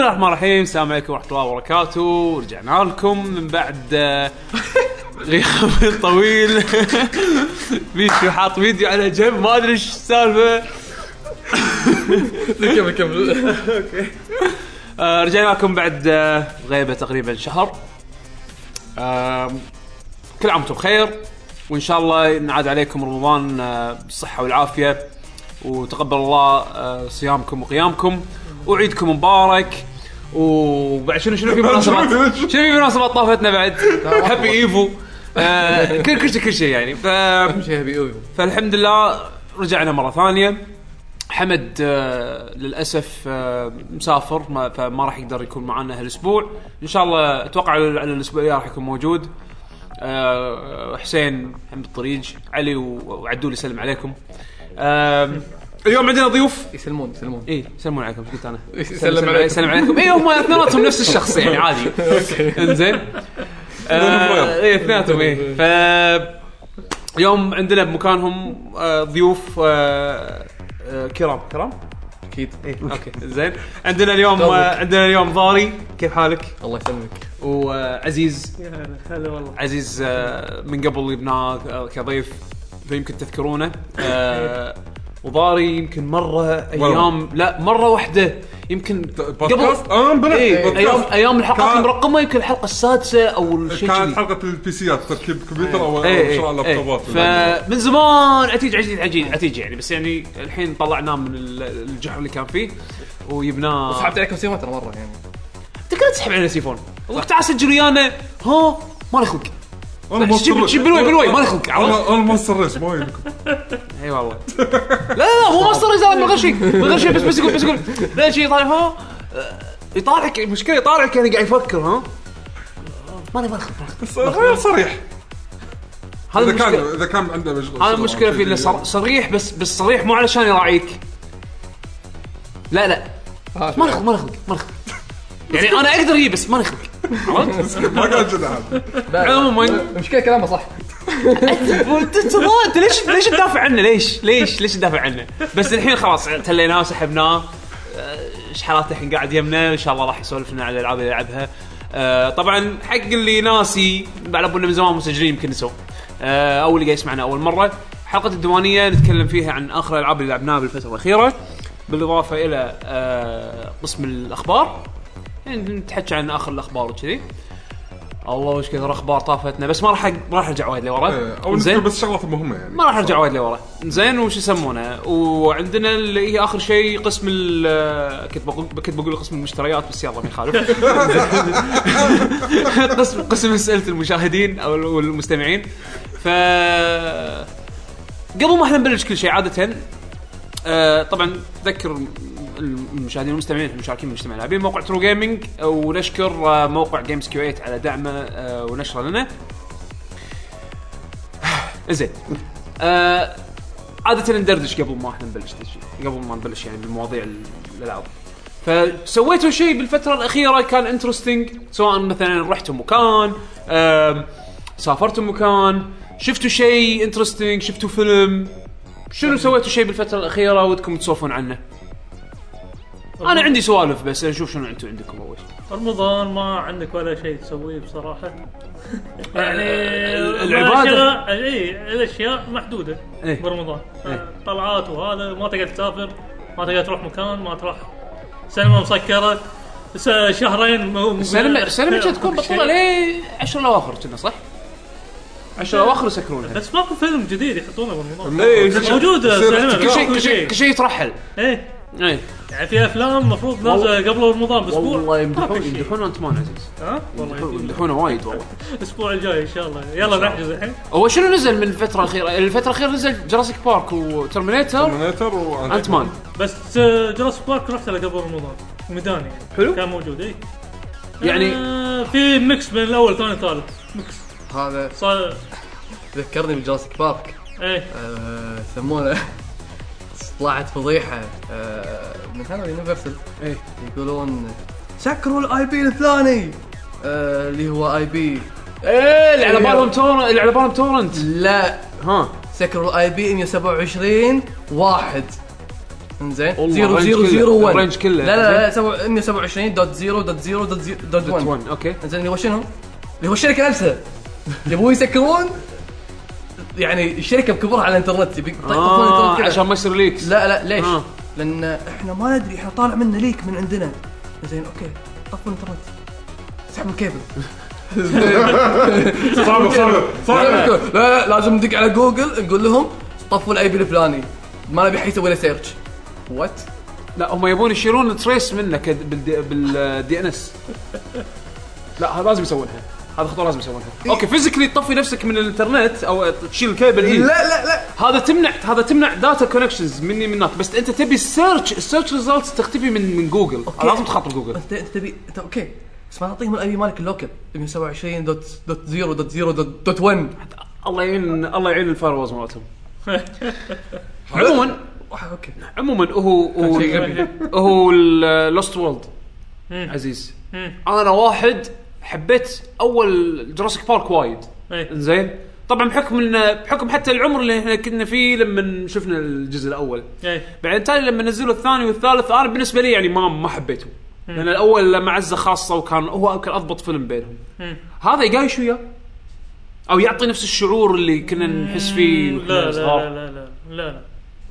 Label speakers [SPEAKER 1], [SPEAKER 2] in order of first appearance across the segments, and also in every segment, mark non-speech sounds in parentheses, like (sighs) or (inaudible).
[SPEAKER 1] الرحمن الرحيم السلام عليكم ورحمه الله وبركاته رجعنا لكم من بعد آه، غياب طويل بيشو حاط فيديو على جنب ما ادري ايش السالفه
[SPEAKER 2] كمل كمل
[SPEAKER 1] آه، رجعنا لكم بعد آه، غيبه تقريبا شهر آم، كل عام وانتم بخير وان شاء الله ينعاد عليكم رمضان آه، بالصحه والعافيه وتقبل الله آه، صيامكم وقيامكم وعيدكم مبارك وبعد شنو شنو في مناسبات شنو في مناسبات طافتنا بعد هابي ايفو آه، كل كل شيء كل شيء يعني ف
[SPEAKER 2] شيء هبي اويو
[SPEAKER 1] فالحمد لله رجعنا مره ثانيه حمد آه، للاسف آه، مسافر ما فما راح يقدر يكون معنا هالاسبوع ان شاء الله اتوقع على على الاسبوع الجاي راح يكون موجود آه، حسين هم بالطريق علي و- وعدول يسلم عليكم آم، اليوم عندنا ضيوف
[SPEAKER 2] يسلمون يسلمون
[SPEAKER 1] اي يسلمون عليكم ايش قلت انا
[SPEAKER 2] يسلم عليكم.
[SPEAKER 1] يسلم عليكم اي هم اثنيناتهم نفس الشخص يعني
[SPEAKER 2] (laughs)
[SPEAKER 1] عادي انزين آه، ايه اثنيناتهم ايه ف اليوم عندنا بمكانهم آه، ضيوف آه، آه، كرام كرام
[SPEAKER 2] اكيد
[SPEAKER 1] اوكي زين عندنا اليوم
[SPEAKER 2] قلبك.
[SPEAKER 1] آه، عندنا اليوم ضاري كيف حالك
[SPEAKER 2] الله يسلمك
[SPEAKER 1] وعزيز
[SPEAKER 3] هلا والله
[SPEAKER 1] عزيز آه، من قبل جبناه آه، كضيف فيمكن تذكرونه
[SPEAKER 3] (laughs)
[SPEAKER 1] آه، وضاري يمكن مره ايام لا مره واحده يمكن قبل
[SPEAKER 4] بودكاست اه بلا
[SPEAKER 1] ايه
[SPEAKER 4] بودكاست.
[SPEAKER 1] ايام ايام الحلقات
[SPEAKER 4] كان-
[SPEAKER 1] المرقمه يمكن الحلقه السادسه او شيء
[SPEAKER 4] كانت
[SPEAKER 1] كذي
[SPEAKER 4] حلقه البي سيات تركيب الكمبيوتر او أو
[SPEAKER 1] ايه
[SPEAKER 4] شراء
[SPEAKER 1] ايه ايه
[SPEAKER 4] اللابتوبات
[SPEAKER 1] فمن زمان عتيج عتيج عتيج عتيج يعني بس يعني الحين طلعناه من ال- الجحر اللي كان فيه وجبناه
[SPEAKER 2] سحبت عليكم سيما ترى مره يعني
[SPEAKER 1] انت كنت تسحب علينا سيفون وقت على سجل ويانا ها ما لي خلق
[SPEAKER 4] انا
[SPEAKER 1] بس جيب- جيب بالواي- بالواي، ما لكم، عرفت؟
[SPEAKER 4] عرفت انا مونستر ريس ما يلكم
[SPEAKER 1] اي والله لا لا مو مصر رجال من غير شيء من غير شيء بس بس يقول بس يقول لا شيء يطالع ها آه، يطالعك المشكله يطالعك يعني قاعد يفكر ها ماني ما لي خلق ما لي خلق. (laughs)
[SPEAKER 4] ص- صريح
[SPEAKER 1] هذا
[SPEAKER 4] اذا كان
[SPEAKER 1] المشكله
[SPEAKER 4] اذا كان عنده مشغل
[SPEAKER 1] هذا المشكله فيه انه صر- صريح بس بس صريح مو علشان يراعيك لا لا ما نخلق ما نخلق ما نخلق يعني انا اقدر اجيب بس ما نخلق عرفت؟
[SPEAKER 4] ما قال كذا
[SPEAKER 1] (laughs)
[SPEAKER 4] هذا
[SPEAKER 1] عموما
[SPEAKER 2] المشكله كلامه صح
[SPEAKER 1] وانت تضا- انت ليش ليش تدافع عنه ليش؟ ليش ليش تدافع عنه؟ بس الحين خلاص تليناه سحبناه آه، ايش حالاته الحين قاعد يمنا ان شاء الله راح يسولف لنا على الالعاب اللي يلعبها آه، طبعا حق اللي ناسي على بالنا من زمان مسجلين يمكن نسوا آه، او اللي قاعد يسمعنا اول مره حلقه الديوانيه نتكلم فيها عن اخر الالعاب اللي لعبناها بالفتره الاخيره بالاضافه الى آه، قسم الاخبار يعني نتحكي عن اخر الاخبار وكذي الله وش كثر اخبار طافتنا بس ما راح أق- ما راح ارجع وايد لورا
[SPEAKER 4] إيه، او نذكر بس شغلات مهمه يعني
[SPEAKER 1] ما راح ارجع وايد لورا زين وش يسمونه وعندنا اللي هي اخر شيء قسم ال كنت بقول كنت بقول قسم المشتريات بس يلا ما يخالف (laughs) قسم قسم اسئله المشاهدين او المستمعين ف قبل ما احنا نبلش كل شيء عاده آه، طبعا تذكر المشاهدين والمستمعين المشاركين بمجتمع اللاعبين موقع ترو جيمنج ونشكر آه، موقع جيمز كيو 8 على دعمه آه، ونشره لنا (sighs) زين آه عادة ندردش قبل ما احنا نبلش تسجيل، قبل ما نبلش يعني بالمواضيع ال- الالعاب فسويتوا شيء بالفترة الأخيرة كان انترستنج سواء مثلا رحتوا مكان آم، سافرتوا مكان شفتوا شيء انترستنج شفتوا فيلم شنو سويتوا شيء بالفترة الأخيرة ودكم تسولفون عنه؟ أنا عندي سوالف بس نشوف شنو أنتم عندكم أول شيء.
[SPEAKER 3] رمضان ما عندك ولا شيء تسويه
[SPEAKER 1] (laughs)
[SPEAKER 3] بصراحه يعني
[SPEAKER 1] ال-
[SPEAKER 3] ما
[SPEAKER 1] العبادة
[SPEAKER 3] أشياء- اي الاشياء محدوده
[SPEAKER 1] إيه.
[SPEAKER 3] برمضان
[SPEAKER 1] إيه.
[SPEAKER 3] طلعات وهذا ما تقدر تسافر ما تقدر تروح مكان ما تروح سينما مسكره س- شهرين مو- مو-
[SPEAKER 1] السينما السينما كانت تكون
[SPEAKER 3] ماكو شيء.
[SPEAKER 1] بطولة ليه 10 الأواخر كنا صح؟ 10 الأواخر يسكرونها
[SPEAKER 3] بس ماكو فيلم جديد يحطونه برمضان
[SPEAKER 4] إيه، كل شيء-
[SPEAKER 3] موجود
[SPEAKER 4] يصير
[SPEAKER 3] سينما
[SPEAKER 1] كل
[SPEAKER 4] كل
[SPEAKER 1] شيء كل شيء كل شيء يترحل
[SPEAKER 3] ايه
[SPEAKER 1] ايه
[SPEAKER 3] يعني في افلام المفروض نازله قبل رمضان باسبوع
[SPEAKER 1] والله
[SPEAKER 3] ما
[SPEAKER 1] يمدحون
[SPEAKER 3] (laughs) في شيء.
[SPEAKER 1] يمدحون انت مان عزيز
[SPEAKER 3] ها والله
[SPEAKER 1] يمدحون-
[SPEAKER 3] يمدحون.
[SPEAKER 1] يمدحونه وايد والله
[SPEAKER 3] الاسبوع الجاي ان شاء الله يلا نحجز الحين
[SPEAKER 1] هو شنو نزل من الفتره الاخيره؟ الفتره الاخيره نزل جراسيك بارك وترمينيتر
[SPEAKER 4] ترمينيتر
[SPEAKER 1] انت مان
[SPEAKER 3] بس آه، جراس بارك رحت له قبل رمضان ميداني يعني
[SPEAKER 1] حلو.
[SPEAKER 3] كان موجود اي
[SPEAKER 1] يعني
[SPEAKER 3] آه في ميكس بين الاول ثاني ثالث ميكس
[SPEAKER 2] هذا
[SPEAKER 3] صار
[SPEAKER 2] ذكرني بجراسيك بارك
[SPEAKER 3] ايه
[SPEAKER 2] آه، يسمونه طلعت فضيحه آه، من هذا يونيفرسال
[SPEAKER 1] إيه.
[SPEAKER 2] يقولون سكروا الاي بي الفلاني آه، اللي هو اي بي
[SPEAKER 1] ايه اللي على بالهم تورنت اللي على بالهم تورنت
[SPEAKER 2] لا
[SPEAKER 1] ها
[SPEAKER 2] سكروا الاي بي 127 واحد انزين
[SPEAKER 1] والله
[SPEAKER 2] زيرو
[SPEAKER 1] الرينج
[SPEAKER 2] زيرو
[SPEAKER 1] كله-
[SPEAKER 2] زيرو 1
[SPEAKER 1] الرينج كله.
[SPEAKER 2] لا لا لا سبعة- 127 دوت 0 دوت 0 دوت 0 دوت 1
[SPEAKER 1] 1 اوكي
[SPEAKER 2] انزين اللي هو شنو؟ اللي هو الشركه نفسها يبون يسكرون يعني الشركه بكبرها على الانترنت يبي يطقطقون
[SPEAKER 1] آه
[SPEAKER 2] الانترنت كذا.
[SPEAKER 1] عشان ما يصير ليكس
[SPEAKER 2] لا لا ليش؟
[SPEAKER 1] آه.
[SPEAKER 2] لان احنا ما ندري احنا طالع منا ليك من عندنا زين اوكي طفوا الانترنت اسحب من الكيبل
[SPEAKER 4] صعبه صعبه
[SPEAKER 1] طيب.
[SPEAKER 2] لا
[SPEAKER 4] صعبه
[SPEAKER 2] لا لازم ندق على جوجل نقول لهم طفوا الاي بي الفلاني ما نبي حد يسوي له سيرش وات
[SPEAKER 1] لا هم يبون يشيلون تريس منه كد- بالدي- بالدي ان اس لا هذا لازم يسوونها هذا خطوه لازم يسوونها اوكي فيزيكلي تطفي نفسك من الانترنت او تشيل إيه. الكيبل اي
[SPEAKER 2] لا لا لا
[SPEAKER 1] هذا تمنع هذا تمنع داتا كونكشنز مني من هناك بس انت تبي السيرش السيرش ريزلتس تختفي من من جوجل لازم تخاطر جوجل
[SPEAKER 2] انت انت تبي انت اوكي بس ما تعطيهم الاي بي مالك اللوكل 127 دوت دوت 0 دوت 0 دوت دوت 1
[SPEAKER 1] (laughs) الله يعين الله يعين الفاروز مالتهم (laughs) عموما
[SPEAKER 2] اوكي
[SPEAKER 1] عموما هو هو
[SPEAKER 2] شيء غبي.
[SPEAKER 1] (laughs)
[SPEAKER 3] إيه،
[SPEAKER 1] هو اللوست وورلد
[SPEAKER 3] مم.
[SPEAKER 1] عزيز
[SPEAKER 3] مم.
[SPEAKER 1] انا واحد حبيت اول جراسيك بارك وايد
[SPEAKER 3] إيه.
[SPEAKER 1] زين طبعا بحكم ان بحكم حتى العمر اللي احنا كنا فيه لما شفنا الجزء الاول
[SPEAKER 3] إيه.
[SPEAKER 1] بعدين تالي لما نزلوا الثاني والثالث انا بالنسبه لي يعني ما ما حبيتهم لان الاول لما عزه خاصه وكان هو كان اضبط فيلم بينهم
[SPEAKER 3] مم.
[SPEAKER 1] هذا يقايش وياه او يعطي نفس الشعور اللي كنا نحس فيه وإحنا
[SPEAKER 3] لا لا
[SPEAKER 1] صغار.
[SPEAKER 3] لا لا لا لا لا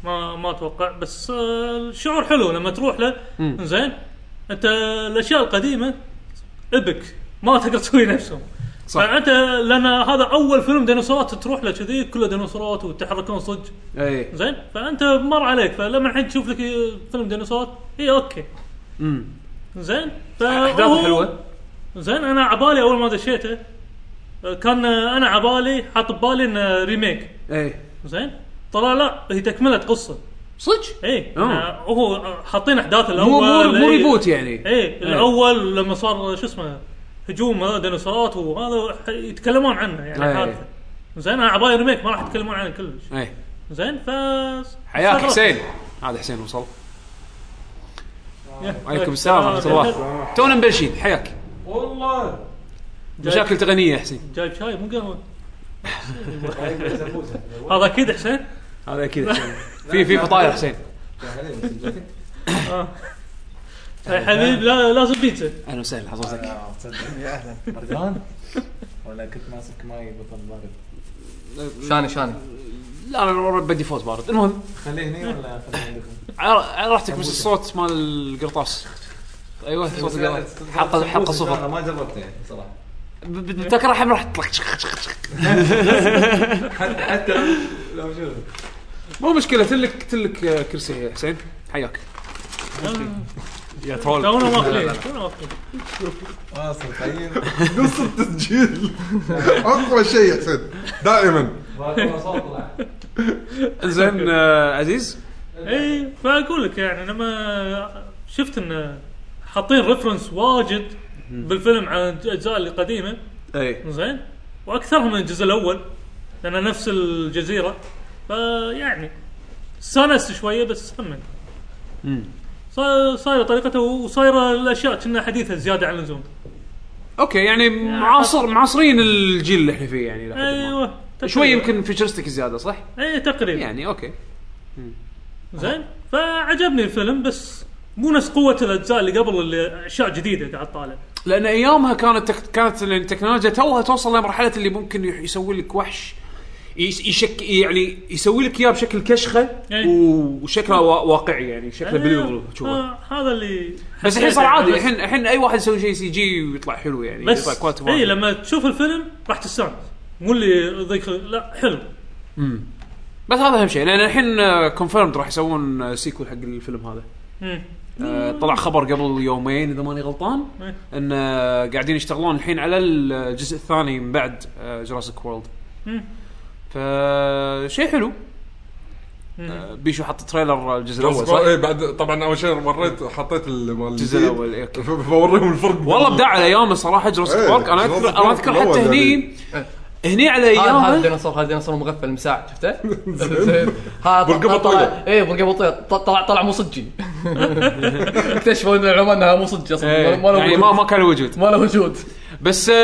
[SPEAKER 3] ما ما اتوقع بس آه، الشعور حلو لما تروح له زين انت الاشياء القديمه ابك ما تقدر تسوي نفسهم
[SPEAKER 1] صح.
[SPEAKER 3] صح انت لان هذا اول فيلم ديناصورات تروح له كذي كله ديناصورات وتحركون صدق
[SPEAKER 1] اي
[SPEAKER 3] زين فانت مر عليك فلما الحين تشوف لك فيلم ديناصورات اي اوكي
[SPEAKER 1] امم
[SPEAKER 3] زين
[SPEAKER 1] احداثه حلوه
[SPEAKER 3] زين انا عبالي اول ما دشيته آه، كان آه، انا عبالي حاط ببالي انه ريميك
[SPEAKER 1] اي
[SPEAKER 3] زين طلع لا هي تكمله قصه
[SPEAKER 1] صدق
[SPEAKER 3] اي
[SPEAKER 1] آه.
[SPEAKER 3] آه، هو حاطين احداث
[SPEAKER 1] مو
[SPEAKER 3] الاول
[SPEAKER 1] مو مو
[SPEAKER 3] إيه.
[SPEAKER 1] ريبوت يعني
[SPEAKER 3] اي الاول لما صار شو اسمه هجوم هذا ديناصورات وهذا ح- يتكلمون عنه يعني
[SPEAKER 1] إيه.
[SPEAKER 3] حادثه زين انا عبالي ريميك ما راح يتكلمون عنه كلش
[SPEAKER 1] اي
[SPEAKER 3] زين ف
[SPEAKER 1] حياك
[SPEAKER 3] استغرب.
[SPEAKER 1] إيه. حسين هذا حسين وصل
[SPEAKER 3] يا-
[SPEAKER 1] وعليكم السلام ورحمه الله تونا مبلشين حياك
[SPEAKER 5] والله
[SPEAKER 1] مشاكل تقنيه يا حسين
[SPEAKER 3] جايب شاي مو قهوه هذا اكيد حسين
[SPEAKER 1] هذا اكيد
[SPEAKER 3] (laughs)
[SPEAKER 1] حسين. في في فطاير حسين
[SPEAKER 3] يا إيه، حبيب لا لازم بيتزا
[SPEAKER 1] اهلا وسهلا حضرتك
[SPEAKER 5] صدقني اهلا مرضان ولا كنت ماسك ماي بطل بارد
[SPEAKER 2] شاني شاني
[SPEAKER 1] لا انا بدي فوت بارد المهم
[SPEAKER 5] خليه هني ولا خليه (laughs) عندكم؟
[SPEAKER 1] على على راحتك بس الصوت مال القرطاس ايوه صوت القرطاس حلقه حلقه
[SPEAKER 5] انا
[SPEAKER 1] صفر
[SPEAKER 5] ما جربته يعني صراحه
[SPEAKER 1] بتذكر راح راح تطلع
[SPEAKER 5] حتى لو شوف
[SPEAKER 1] مو مشكله تلك تلك آه، كرسي يا حسين حياك يا ترول
[SPEAKER 3] تونا ماخذين تونا ماخذين
[SPEAKER 5] واصل طيب (laughs)
[SPEAKER 4] نص (laughs) (laughs) التسجيل اقوى شيء يا حسين دائما
[SPEAKER 5] والله صوت طلع
[SPEAKER 1] زين آه، عزيز
[SPEAKER 3] اي فاقول لك يعني لما شفت ان حاطين ريفرنس واجد بالفيلم عن الاجزاء القديمه
[SPEAKER 1] اي
[SPEAKER 3] زين واكثرهم من الجزء الاول لان نفس الجزيره فيعني استانست شويه بس هم صا- صايره طريقته وصايره الاشياء كنا حديثه زياده عن اللزوم
[SPEAKER 1] اوكي يعني معاصر معاصرين الجيل اللي احنا فيه يعني لحد ما.
[SPEAKER 5] أيوة.
[SPEAKER 3] ايوه
[SPEAKER 1] شوي
[SPEAKER 3] تقريباً.
[SPEAKER 1] يمكن فيتشرستك زياده صح؟
[SPEAKER 3] اي تقريبا
[SPEAKER 1] يعني اوكي
[SPEAKER 3] زين فعجبني الفيلم بس مو نفس قوه الاجزاء اللي قبل اللي اشياء جديده قاعد طالع
[SPEAKER 1] لان ايامها كانت تك... كانت التكنولوجيا توها توصل لمرحله اللي ممكن يح- يسوي لك وحش يس- يشك يعني يسوي لك اياه بشكل كشخه
[SPEAKER 3] أي.
[SPEAKER 1] و- وشكله وا- واقعي يعني شكله بليفبل تشوفه
[SPEAKER 3] إيه. أيوة. آه، هذا اللي
[SPEAKER 1] بس الحين
[SPEAKER 3] حسيته
[SPEAKER 1] صار عادي
[SPEAKER 3] يعني
[SPEAKER 1] الحين الحين اي واحد يسوي شيء سي جي ويطلع حلو يعني
[SPEAKER 3] بس,
[SPEAKER 1] يطلع
[SPEAKER 3] بس
[SPEAKER 1] كواليتي
[SPEAKER 3] اي
[SPEAKER 1] وايد.
[SPEAKER 3] لما تشوف الفيلم راح تستانس مو اللي ذيك لا حلو
[SPEAKER 1] بس هذا اهم شيء لان الحين كونفيرمد راح يسوون آه، سيكول حق الفيلم هذا
[SPEAKER 3] مم.
[SPEAKER 1] آه، طلع خبر قبل يومين اذا ماني غلطان
[SPEAKER 3] إيه.
[SPEAKER 1] ان آه، قاعدين يشتغلون الحين على الجزء الثاني من بعد آه، جراسيك وورلد
[SPEAKER 2] إيه.
[SPEAKER 3] مم.
[SPEAKER 1] فشيء حلو
[SPEAKER 2] إيه.
[SPEAKER 3] مم.
[SPEAKER 1] آه، بيشو حط تريلر الجزء الاول
[SPEAKER 4] بس
[SPEAKER 1] صح؟
[SPEAKER 4] إيه بعد طبعا اول شيء مريت حطيت ال- مال
[SPEAKER 1] الجزء
[SPEAKER 4] الجديد.
[SPEAKER 1] الأول، إيه، أوكي.
[SPEAKER 4] ف- (laughs) فوريهم الفرق
[SPEAKER 1] والله ابداع على ايامه صراحه جراسيك
[SPEAKER 4] إيه،
[SPEAKER 1] بارك انا اذكر
[SPEAKER 4] جراسيك
[SPEAKER 1] انا
[SPEAKER 4] بارك
[SPEAKER 1] اذكر
[SPEAKER 4] الأول
[SPEAKER 1] حتى هني
[SPEAKER 4] يعني.
[SPEAKER 1] هني على
[SPEAKER 2] هذا هذا
[SPEAKER 1] ايامه
[SPEAKER 2] الديناصور هذا الديناصور مغفل مساعد شفته؟ هذا
[SPEAKER 4] برقبة طويلة.
[SPEAKER 2] اي برقبه طويله ط- طلع طلع مو صجي اكتشفوا ان العلماء انها مو صجي اصلا
[SPEAKER 1] إيه،
[SPEAKER 2] ما له
[SPEAKER 1] يعني ما
[SPEAKER 2] وجود.
[SPEAKER 1] ما كان له وجود
[SPEAKER 2] ما له وجود
[SPEAKER 1] بس آه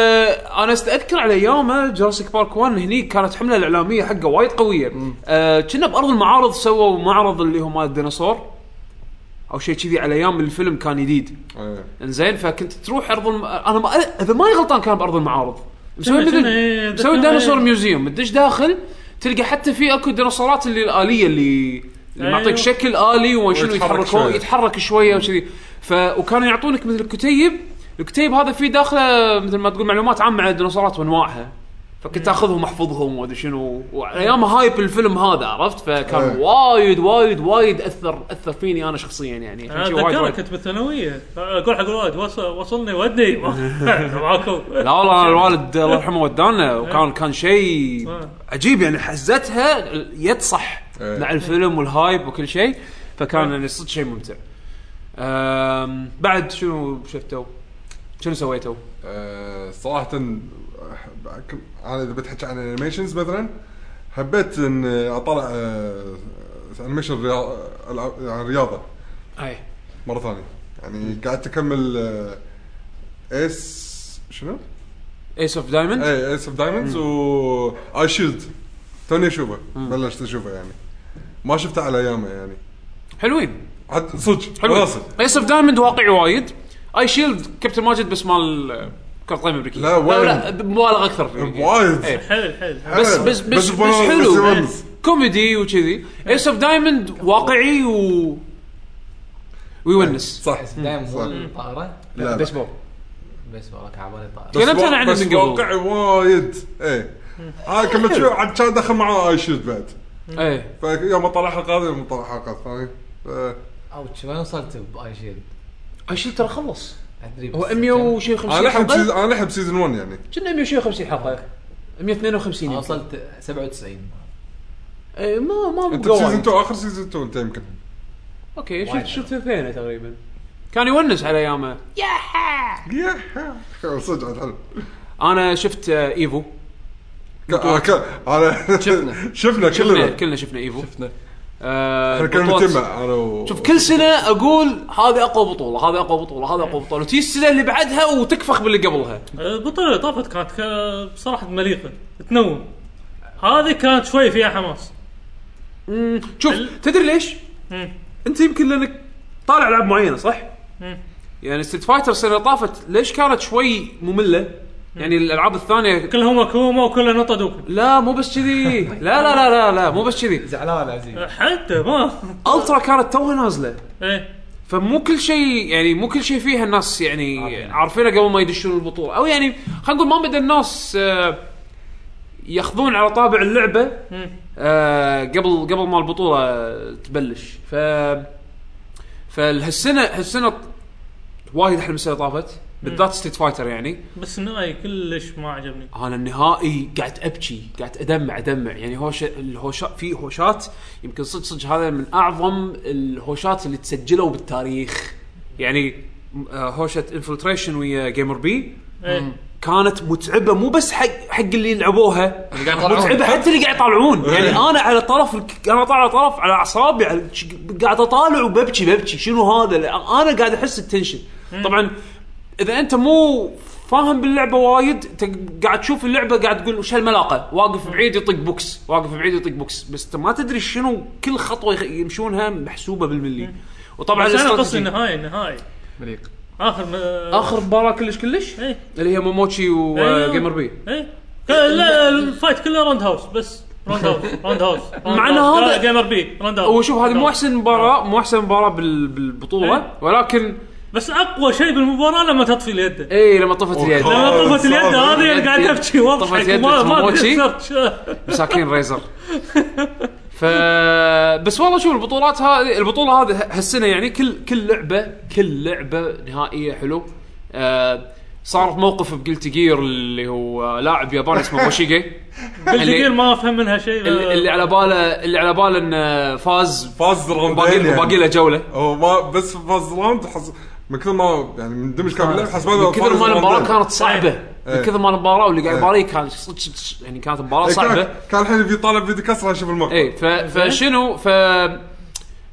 [SPEAKER 1] انا استذكر على ايامه جراسيك بارك 1 هني كانت حمله الاعلاميه حقه وايد قويه آه، كنا بارض المعارض سووا معرض اللي هو مال الديناصور او شيء كذي على ايام الفيلم كان جديد
[SPEAKER 4] إيه.
[SPEAKER 1] انزين فكنت تروح ارض الم... انا ما... اذا ماني غلطان كان بارض المعارض مسوي
[SPEAKER 3] شنو-
[SPEAKER 1] مثل مسوي
[SPEAKER 3] شنو-
[SPEAKER 1] ديناصور ميوزيوم تدش داخل تلقى حتى في اكو ديناصورات اللي الاليه اللي اللي معطيك
[SPEAKER 3] أيوة.
[SPEAKER 1] شكل الي وما شنو
[SPEAKER 4] ويتحرك
[SPEAKER 1] يتحركون
[SPEAKER 4] شوية.
[SPEAKER 1] يتحرك شويه وكذي ف وكانوا يعطونك مثل كتيب الكتيب هذا فيه داخله مثل ما تقول معلومات عامه عن الديناصورات وانواعها فكنت اخذهم احفظهم وادري شنو وايام هايب الفيلم هذا عرفت فكان
[SPEAKER 4] أيوة.
[SPEAKER 1] وايد وايد وايد اثر اثر فيني انا شخصيا يعني عشان شي وايد-
[SPEAKER 3] اتذكرك
[SPEAKER 1] وايد-
[SPEAKER 3] كنت بالثانويه اقول حق الوالد وص- وصلني (laughs) ودني معاكم
[SPEAKER 1] لا والله أنا الوالد الله يرحمه ودانا وكان كان شيء عجيب يعني حزتها يد صح
[SPEAKER 4] إيه.
[SPEAKER 1] مع الفيلم والهايب وكل شيء فكان يعني صدق شيء ممتع. أم، بعد شنو شفتوا؟ شنو سويتوا؟
[SPEAKER 4] آه، صراحة أح- كم- انا اذا بتحكي عن انيميشنز مثلا حبيت آه، ان اطلع انيميشن الرياضة
[SPEAKER 1] اي
[SPEAKER 4] آه، مرة ثانية يعني قاعد اكمل آه، ايس شنو؟ إيه،
[SPEAKER 1] ايس اوف دايموند
[SPEAKER 4] اي ايس اوف دايموندز و اي شيلد توني اشوفه بلشت اشوفه يعني ما شفته على ايامه يعني
[SPEAKER 1] حلوين
[SPEAKER 4] حتى صدق
[SPEAKER 1] حلوين
[SPEAKER 4] راسل
[SPEAKER 1] ايس اوف دايموند واقعي وايد اي شيلد كابتن ماجد بس مال كره قدم امريكيه
[SPEAKER 4] لا، وين؟
[SPEAKER 1] لا بمبالغه اكثر فيه.
[SPEAKER 4] وايد
[SPEAKER 1] إيه.
[SPEAKER 3] حلو حلو
[SPEAKER 1] بس بس
[SPEAKER 4] بس
[SPEAKER 1] بس, بس,
[SPEAKER 4] بس
[SPEAKER 1] حلو
[SPEAKER 4] بس-
[SPEAKER 1] كوميدي وكذي ايس اوف دايموند واقعي و ويونس
[SPEAKER 4] صح
[SPEAKER 2] دايم
[SPEAKER 4] صح.
[SPEAKER 2] مو الطائره
[SPEAKER 4] لا لا.
[SPEAKER 1] بيسبول
[SPEAKER 2] بس والله كعبالي الطائره
[SPEAKER 4] بس
[SPEAKER 1] تكلمت يعني أنا عنه
[SPEAKER 4] بس
[SPEAKER 1] من قبل.
[SPEAKER 4] واقعي وايد ايه انا كملت شوي عاد كان دخل معاه اي شيلد بعد
[SPEAKER 1] ايه
[SPEAKER 4] فيوم طلع حلقات يوم طلع حلقات ثانيه ف-
[SPEAKER 2] اوتش وين وصلت باي شيلد؟
[SPEAKER 1] اي شيء ترى خلص يعني
[SPEAKER 2] ادري
[SPEAKER 1] هو
[SPEAKER 2] بس
[SPEAKER 1] 100 وشي
[SPEAKER 4] انا
[SPEAKER 1] 50
[SPEAKER 4] لحم سيز-
[SPEAKER 1] حلقه
[SPEAKER 4] انا لحم سيزون 1 يعني
[SPEAKER 1] كنا 150 حلقه 152
[SPEAKER 2] كم. انا
[SPEAKER 1] يمكن.
[SPEAKER 2] وصلت 97
[SPEAKER 1] اي ما ما
[SPEAKER 4] انت
[SPEAKER 1] بقوا
[SPEAKER 4] سيزون
[SPEAKER 1] وايد.
[SPEAKER 4] 2 اخر سيزون 2 انت يمكن
[SPEAKER 1] اوكي
[SPEAKER 2] وايد.
[SPEAKER 1] شفت شفت اثنين تقريبا كان يونس على ايامه
[SPEAKER 4] يا (laughs) صدق عاد حلو
[SPEAKER 1] انا شفت آه، ايفو
[SPEAKER 4] ك- آه، ك- انا
[SPEAKER 2] شفنا.
[SPEAKER 4] (laughs) شفنا
[SPEAKER 1] كلنا
[SPEAKER 4] كلنا
[SPEAKER 1] إيه، كلنا شفنا ايفو
[SPEAKER 2] شفنا
[SPEAKER 1] آه،
[SPEAKER 4] احنا كنا
[SPEAKER 1] البطولات-
[SPEAKER 4] نتجمع انا و
[SPEAKER 1] شوف كل سنه اقول هذه اقوى بطوله هذه اقوى بطوله هذه اقوى بطوله وتجي السنه اللي بعدها وتكفخ باللي قبلها
[SPEAKER 3] البطوله اللي طافت كانت ك- بصراحه مليقه تنوم هذه كانت شوي فيها حماس
[SPEAKER 1] مم، شوف تدري ليش؟
[SPEAKER 3] مم.
[SPEAKER 1] انت يمكن لانك طالع العاب معينه صح؟
[SPEAKER 3] مم.
[SPEAKER 1] يعني ستريت فايتر السنه اللي طافت ليش كانت شوي ممله؟ يعني الالعاب الثانيه
[SPEAKER 3] كلهم كوما وكلها نطا دوكن
[SPEAKER 1] لا مو بس
[SPEAKER 3] (laughs)
[SPEAKER 1] كذي لا لا لا لا لا مو بس كذي
[SPEAKER 2] زعلان
[SPEAKER 5] (laughs)
[SPEAKER 2] عزيز
[SPEAKER 3] حتى ما (laughs)
[SPEAKER 1] الترا كانت توها نازله
[SPEAKER 3] ايه
[SPEAKER 1] فمو كل شيء يعني مو كل شيء فيها الناس يعني عارفينه قبل ما يدشون البطوله او يعني خلينا نقول ما بدا الناس آه، ياخذون على طابع اللعبه
[SPEAKER 3] مم.
[SPEAKER 1] آه، قبل قبل ما البطوله تبلش ف فهالسنه هالسنه وايد حلمسه طافت بالذات ستريت فايتر يعني
[SPEAKER 3] بس النهائي كلش ما عجبني
[SPEAKER 1] انا النهائي قاعد ابكي قاعد ادمع ادمع يعني هوش الهوش في هوشات يمكن صدق صدق هذا من اعظم الهوشات اللي تسجلوا بالتاريخ يعني م- آه، هوشه انفلتريشن ويا جيمر بي
[SPEAKER 3] ايه
[SPEAKER 1] كانت متعبه مو بس حق حق اللي يلعبوها
[SPEAKER 2] اللي قاعد يطلعون.
[SPEAKER 1] متعبه حتى اللي قاعد يطالعون يعني
[SPEAKER 4] إيه.
[SPEAKER 1] انا على طرف الك... انا طالع على طرف على اعصابي على... ش- قاعد اطالع وببكي ببكي شنو هذا لا، انا قاعد احس التنشن طبعا اذا انت مو فاهم باللعبه وايد انت قاعد تشوف اللعبه قاعد تقول وش هالملاقه واقف بعيد يطق بوكس واقف بعيد يطق بوكس بس انت ما تدري شنو كل خطوه يخ- يمشونها محسوبه بالملي وطبعا
[SPEAKER 3] بس انا قصدي
[SPEAKER 1] الاستراتيجي-
[SPEAKER 3] النهائي النهائي
[SPEAKER 2] مليق
[SPEAKER 3] اخر م...
[SPEAKER 1] اخر مباراه كلش كلش
[SPEAKER 3] ايه
[SPEAKER 1] اللي هي موموتشي
[SPEAKER 3] أيوه.
[SPEAKER 1] وجيمر بي
[SPEAKER 3] ايه ك- لا الفايت كله راوند هاوس بس راوند هاوس راوند هاوس
[SPEAKER 1] مع إنه هذا-
[SPEAKER 3] جيمر بي راوند هاوس
[SPEAKER 1] هو شوف هذه مو احسن مباراه مو احسن مباراه بال- بالبطوله
[SPEAKER 3] آه. إيه.
[SPEAKER 1] ولكن
[SPEAKER 3] بس اقوى شيء بالمباراه لما تطفي اليد
[SPEAKER 1] اي إيه، لما طفت اليد
[SPEAKER 4] أوكي.
[SPEAKER 3] لما طفت اليد
[SPEAKER 4] صار
[SPEAKER 3] هذه اللي قاعد
[SPEAKER 1] يد.
[SPEAKER 3] ابكي
[SPEAKER 1] طفت
[SPEAKER 3] واضحك
[SPEAKER 1] يد
[SPEAKER 3] ما ما
[SPEAKER 1] موتشي.
[SPEAKER 3] قصرت.
[SPEAKER 1] (laughs) مساكين
[SPEAKER 3] (laughs)
[SPEAKER 1] ريزر ف بس والله شوف البطولات هذه البطوله هذه هالسنه يعني كل كل لعبه كل لعبه نهائيه حلو آه صارت موقف بجلتي جير اللي هو لاعب ياباني اسمه
[SPEAKER 3] (laughs)
[SPEAKER 1] موشيجي
[SPEAKER 3] بالدقيقه ما افهم منها شيء
[SPEAKER 1] اللي اللي على باله اللي على باله انه فاز
[SPEAKER 4] فاز
[SPEAKER 1] وباقي
[SPEAKER 4] راوندين
[SPEAKER 1] له- وباقي
[SPEAKER 4] يعني.
[SPEAKER 1] له جوله
[SPEAKER 4] هو ما بس فاز راوند حس... من كثر ما يعني مندمج كان باللعب حسبان
[SPEAKER 1] من كثر ما المباراه كانت صعبه
[SPEAKER 3] إيه.
[SPEAKER 1] من كثر ما المباراه واللي قاعد يباريه كان صدق صدق- يعني كانت
[SPEAKER 4] إيه،
[SPEAKER 1] مباراه صعبه
[SPEAKER 4] كان الحين بيطالع فيديو كسره اشوف المقطع
[SPEAKER 1] اي ف- فشنو ف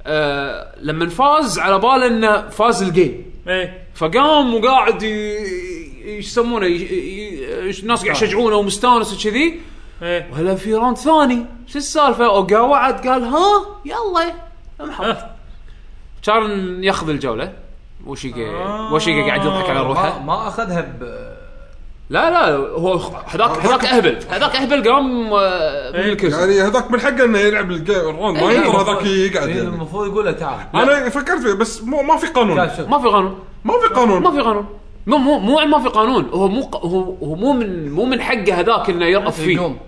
[SPEAKER 1] آه، لما فاز على باله انه فاز الجيم
[SPEAKER 3] ايه
[SPEAKER 1] فقام وقاعد ي- ي- ايش يسمونه ي- ي- ي- الناس قاعد يشجعونه ومستانس وكذي
[SPEAKER 3] ايه
[SPEAKER 1] وهلا في راوند ثاني شو السالفه اوقا وعد قال ها يلا امحط
[SPEAKER 3] آه.
[SPEAKER 1] كان ياخذ الجوله وشيكا
[SPEAKER 3] آه.
[SPEAKER 1] وشيكا قاعد يضحك على
[SPEAKER 2] ما,
[SPEAKER 1] روحه
[SPEAKER 2] ما اخذها ب آه،
[SPEAKER 1] لا لا هو هذاك هذاك اهبل هذاك اهبل قام آه، من
[SPEAKER 3] إيه.
[SPEAKER 1] الكرسي
[SPEAKER 4] يعني هذاك من حقه انه يلعب الجا- الراوند ما يقدر هذاك يقعد
[SPEAKER 2] إيه،
[SPEAKER 4] يعني
[SPEAKER 2] المفروض يقول له تعال
[SPEAKER 4] انا فكرت فيه بس مو ما في قانون
[SPEAKER 2] تعال شوف
[SPEAKER 1] ما في قانون
[SPEAKER 4] ما في قانون
[SPEAKER 1] ما في قانون مو مو مو ما في قانون هو مو ق- هو هو مو من مو من حقه هذاك انه يرأف فيه
[SPEAKER 2] يقوم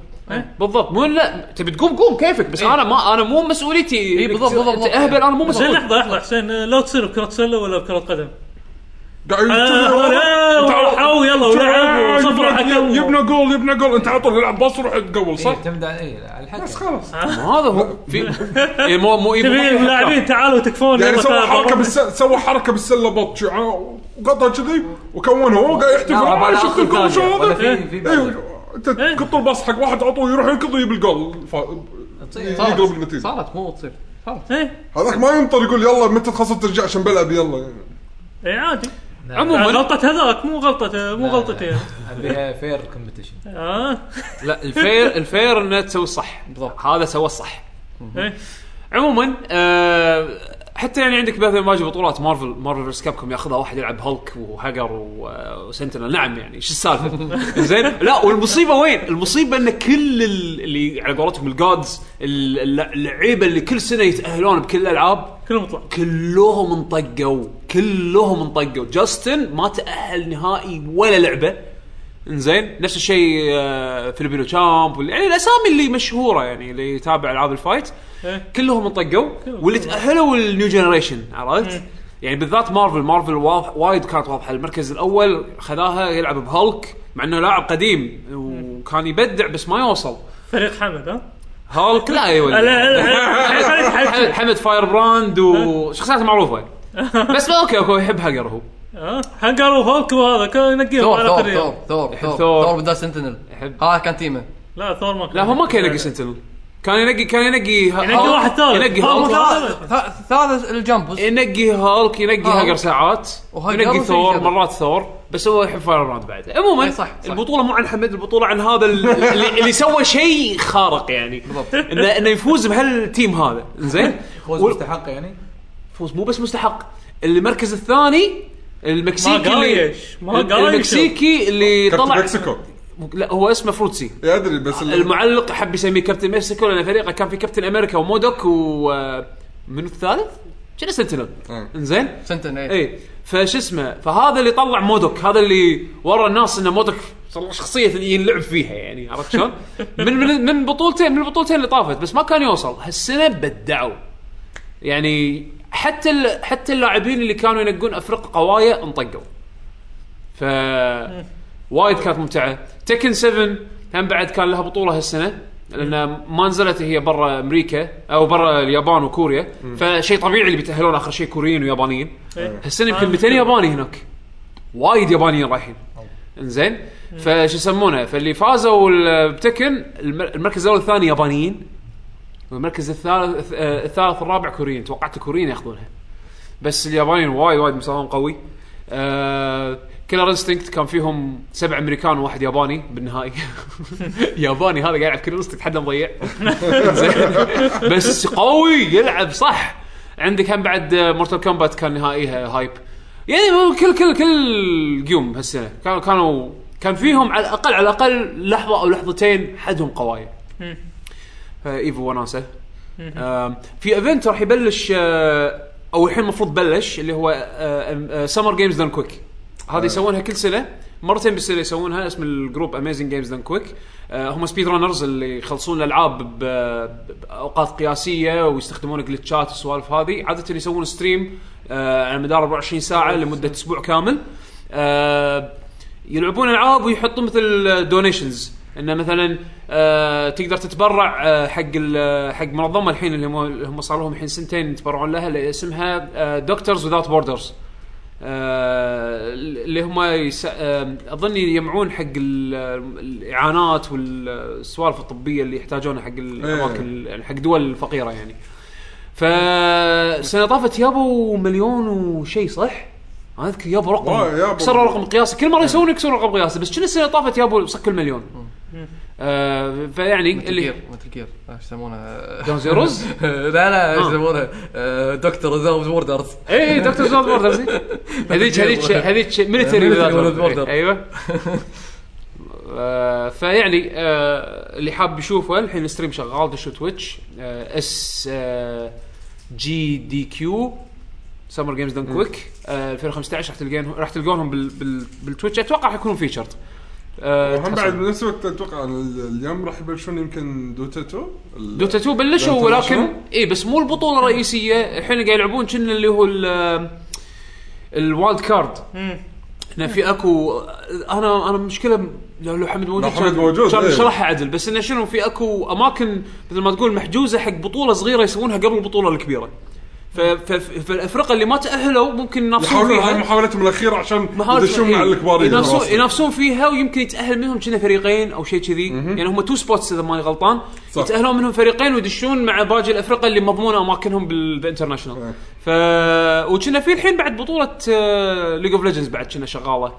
[SPEAKER 1] بالضبط مو لا تبي تقوم قوم كيفك بس
[SPEAKER 3] إيه.
[SPEAKER 1] انا ما انا مو مسؤوليتي
[SPEAKER 2] إيه، بالضبط، بالضبط، بالضبط.
[SPEAKER 1] اهبل انا مو
[SPEAKER 3] زين
[SPEAKER 1] مسؤول
[SPEAKER 3] لحظه لحظه حسين آه، لو تصير بكره سله ولا بكره قدم
[SPEAKER 4] قاعد
[SPEAKER 3] آه، حاول يلا ولعب وصفر حكم
[SPEAKER 4] يبنى جول يبنى جول انت على طول العب باص روح تقول صح؟
[SPEAKER 2] يعتمد على اي على الحكم
[SPEAKER 4] بس خلاص
[SPEAKER 1] ما هذا هو
[SPEAKER 3] (laughs)
[SPEAKER 1] في إيه، مو مو إيه، مو-
[SPEAKER 3] تبي اللاعبين تعالوا تكفون
[SPEAKER 4] يعني
[SPEAKER 3] يلا
[SPEAKER 4] سوى
[SPEAKER 3] تعالوا.
[SPEAKER 4] حركه بالسله سوى حركه بالسله بط شو- آه، وقطها كذي وكونها هو قاعد يحتفل
[SPEAKER 2] لا،
[SPEAKER 4] انا
[SPEAKER 2] ولا
[SPEAKER 4] شفت
[SPEAKER 2] آخر
[SPEAKER 4] الجول شو
[SPEAKER 2] ثانية، ولا
[SPEAKER 4] هذا؟
[SPEAKER 2] في- في بعد.
[SPEAKER 4] ايوه انت
[SPEAKER 3] إيه.
[SPEAKER 4] تقط الباص حق واحد على طول يروح يركض ويجيب الجول ف- يقلب
[SPEAKER 2] صارت
[SPEAKER 4] النتيجه
[SPEAKER 2] صارت مو تصير صارت
[SPEAKER 3] ايه
[SPEAKER 4] هذاك ما ينطر يقول يلا متى تخلص ترجع عشان بلعب يلا يعني.
[SPEAKER 3] إيه، عادي
[SPEAKER 1] عموما
[SPEAKER 3] غلطة هذاك مو غلطة
[SPEAKER 1] نعم.
[SPEAKER 3] يعني. مو غلطتي
[SPEAKER 2] ابيها فير كومبيتيشن
[SPEAKER 3] اه
[SPEAKER 1] لا الفير الفير انه تسوي الصح بالضبط هذا سوى الصح
[SPEAKER 3] إيه.
[SPEAKER 1] عموما آه حتى يعني عندك مثلا باقي بطولات مارفل مارفل فيرس كابكم ياخذها واحد يلعب هولك وهاجر و- وسنتنل نعم يعني شو السالفه (laughs) زين لا والمصيبه وين المصيبه ان كل ال- اللي على قولتهم الجادز اللعيبه اللي كل سنه يتاهلون بكل الالعاب
[SPEAKER 3] كلهم طلع
[SPEAKER 1] كلهم انطقوا كلهم انطقوا جاستن ما تاهل نهائي ولا لعبه انزين نفس الشيء آه، فيليبينو تشامب وال- يعني الاسامي اللي مشهوره يعني اللي يتابع العاب الفايت
[SPEAKER 3] إيه.
[SPEAKER 1] كلهم انطقوا
[SPEAKER 3] كلهم. إيه.
[SPEAKER 1] واللي تاهلوا النيو جنريشن عرفت؟ يعني بالذات مارفل مارفل وا- وايد كانت واضحه المركز الاول خذاها يلعب بهالك مع انه لاعب قديم
[SPEAKER 3] إيه.
[SPEAKER 1] وكان يبدع بس ما يوصل
[SPEAKER 3] فريق حمد ها
[SPEAKER 1] هالك لا يا
[SPEAKER 3] لا،
[SPEAKER 1] ولد
[SPEAKER 3] لا، لا، حمد-
[SPEAKER 1] (laughs)
[SPEAKER 3] حمد.
[SPEAKER 1] حمد حمد فاير براند وشخصيات معروفه بس ما اوكي اوكي يحب هاجر هو
[SPEAKER 3] ها هنجر وهولك وهذا كانوا ينقيهم
[SPEAKER 2] ثور
[SPEAKER 3] على
[SPEAKER 2] ثور
[SPEAKER 3] قرية.
[SPEAKER 2] ثور ثور ثور
[SPEAKER 1] ثور.
[SPEAKER 2] ثور بدال سنتنل
[SPEAKER 1] يحب
[SPEAKER 2] هذا كان تيمه
[SPEAKER 3] لا ثور ما كان
[SPEAKER 1] لا هو ما كان ينقي سنتنل كان ينقي كان ينقي ه-
[SPEAKER 3] ينقي
[SPEAKER 1] هالك-
[SPEAKER 3] واحد ثالث.
[SPEAKER 1] ينقي
[SPEAKER 3] هو
[SPEAKER 1] هالك
[SPEAKER 3] مو-
[SPEAKER 2] ثالث الجمب
[SPEAKER 1] ينقي هالك ينقي
[SPEAKER 2] آه.
[SPEAKER 1] هاجر ساعات
[SPEAKER 2] وهاجر
[SPEAKER 1] ينقي
[SPEAKER 2] وش
[SPEAKER 1] ثور
[SPEAKER 2] يجرب؟
[SPEAKER 1] مرات ثور بس هو يحب فاير براند بعد عموما
[SPEAKER 2] إي صح، صح.
[SPEAKER 1] البطوله مو عن حمد البطوله عن هذا ال- اللي, اللي سوى شيء خارق يعني
[SPEAKER 2] بالضبط.
[SPEAKER 1] انه انه يفوز بهالتيم هذا زين
[SPEAKER 5] فوز مستحق يعني
[SPEAKER 1] فوز مو بس مستحق المركز الثاني المكسيكي
[SPEAKER 3] ما
[SPEAKER 1] اللي
[SPEAKER 3] قايش، ما قايش.
[SPEAKER 1] المكسيكي اللي
[SPEAKER 4] كابتن
[SPEAKER 1] طلع آه،
[SPEAKER 4] مكسيكو
[SPEAKER 1] لا هو اسمه فروتسي
[SPEAKER 4] ادري بس ال-
[SPEAKER 1] المعلق حب يسميه كابتن مكسيكو لان فريقه كان في كابتن امريكا ومودوك و من الثالث؟ كنا سنتنل
[SPEAKER 4] آه.
[SPEAKER 1] انزين
[SPEAKER 2] سنتنل اي
[SPEAKER 1] اي إيه. فش اسمه فهذا اللي طلع مودوك هذا اللي ورا الناس ان مودوك صار شخصيه اللي يلعب فيها يعني عرفت شلون؟ من من من بطولتين من البطولتين اللي طافت بس ما كان يوصل هالسنه بدعوا يعني حتى ال... حتى اللاعبين اللي كانوا ينقون افرقه قوايا انطقوا ف وايد كانت ممتعه تكن 7 هم بعد كان لها بطوله هالسنه لان ما نزلت هي برا امريكا او برا اليابان وكوريا فشيء طبيعي اللي بيتاهلون اخر شيء كوريين ويابانيين
[SPEAKER 3] إيه.
[SPEAKER 1] هالسنه يمكن 200 ياباني هناك وايد يابانيين رايحين انزين فش يسمونه فاللي فازوا ال- بتكن الم- المركز الاول والثاني يابانيين والمركز الثالث آه، الثالث والرابع كوريين توقعت الكوريين ياخذونها بس اليابانيين وايد وايد مساهم قوي آه كيلر انستنكت كان فيهم سبع امريكان وواحد ياباني بالنهائي (laughs) ياباني هذا قاعد يلعب كيلر انستنكت حد مضيع (laughs) زين. بس قوي يلعب صح عندك هم بعد مورتال كومبات كان نهائيها هايب يعني هو كل كل كل قيوم هالسنه كانوا كانوا كان فيهم على الاقل على الاقل لحظه او لحظتين حدهم قوايا
[SPEAKER 3] مم.
[SPEAKER 1] ايفو وناسه آم، في ايفنت راح يبلش آه، او الحين المفروض بلش اللي هو آه، سمر جيمز دان كويك هذه يسوونها كل سنه مرتين بالسنه يسوونها اسم الجروب اميزنج جيمز دان كويك آه، هم سبيد رانرز اللي يخلصون الالعاب ب- باوقات قياسيه ويستخدمون جلتشات والسوالف هذه عاده يسوون ستريم آه، على مدار 24 ساعه لمده اسبوع كامل آه، يلعبون العاب ويحطون مثل دونيشنز انه مثلا آه تقدر تتبرع آه حق ال- حق منظمه الحين اللي هم اللي هم صار لهم الحين سنتين يتبرعون لها آه، اللي اسمها دكتورز وذاوت بوردرز آه، اللي هم يس... آه اظن يجمعون حق ال- الاعانات والسوالف الطبيه اللي يحتاجونها حق الاماكن يعني حق دول الفقيره يعني فالسنه طافت يابو مليون وشي صح؟ انا اذكر يابو رقم
[SPEAKER 4] والله يابو.
[SPEAKER 1] كسروا رقم قياسي كل مره يسوون يكسرون رقم قياسي بس كل السنه طافت يابو صك المليون آه فيعني
[SPEAKER 2] إيه، اللي
[SPEAKER 1] اللي
[SPEAKER 2] متل جير ايش يسمونها
[SPEAKER 1] دون زيروز
[SPEAKER 2] آه، (laughs) لا لا ايش
[SPEAKER 1] آه.
[SPEAKER 2] يسمونها آه، دكتور زوز ووردرز
[SPEAKER 1] اي اي دكتور زود بوردرز هذيك هذيك هذيك ميلتري
[SPEAKER 2] Military
[SPEAKER 1] وذات
[SPEAKER 2] without
[SPEAKER 1] بوردر
[SPEAKER 2] border.
[SPEAKER 1] ايوه آه، فيعني آه، اللي حاب يشوفه الحين الستريم شغال دشوا تويتش اس uh, جي دي كيو سمر جيمز دون كويك 2015 راح تلقين راح تلقونهم بال- بال- بالتويتش اتوقع راح يكونون Uh, فيتشرد
[SPEAKER 4] وهم آه، بعد بنفس الوقت اتوقع إن ال- اليوم راح يبلشون يمكن دوتا 2 ال-
[SPEAKER 1] دوتا 2 بلشوا
[SPEAKER 4] دوتا
[SPEAKER 1] ولكن
[SPEAKER 4] ماشية؟
[SPEAKER 1] اي بس مو البطوله الرئيسيه الحين قاعد يلعبون كنا اللي هو ال- الوايلد كارد
[SPEAKER 3] مم.
[SPEAKER 1] انه في اكو انا انا مشكله لو لو حمد موجود
[SPEAKER 4] لو حمد
[SPEAKER 1] كان-
[SPEAKER 4] موجود،
[SPEAKER 1] كان
[SPEAKER 4] إيه.
[SPEAKER 1] شرحها عدل بس انه شنو في اكو اماكن مثل ما تقول محجوزه حق بطوله صغيره يسوونها قبل البطوله الكبيره ف- ف- فالافرقه اللي ما تاهلوا ممكن ينافسون
[SPEAKER 4] يحاولون هاي
[SPEAKER 1] فيها
[SPEAKER 4] محاولتهم الاخيره عشان يدشون
[SPEAKER 1] إيه.
[SPEAKER 4] مع الكبار
[SPEAKER 1] ينافسون
[SPEAKER 4] بالواسطة.
[SPEAKER 1] ينافسون فيها ويمكن يتاهل منهم كنا فريقين او شيء كذي يعني هم تو سبوتس اذا ماني غلطان
[SPEAKER 4] صح.
[SPEAKER 1] يتاهلون منهم فريقين ويدشون مع باقي الافرقه اللي مضمونه اماكنهم بالانترناشونال
[SPEAKER 4] إيه.
[SPEAKER 1] ف وكنا في الحين بعد آه، بطوله ليج اوف ليجندز بعد كنا شغاله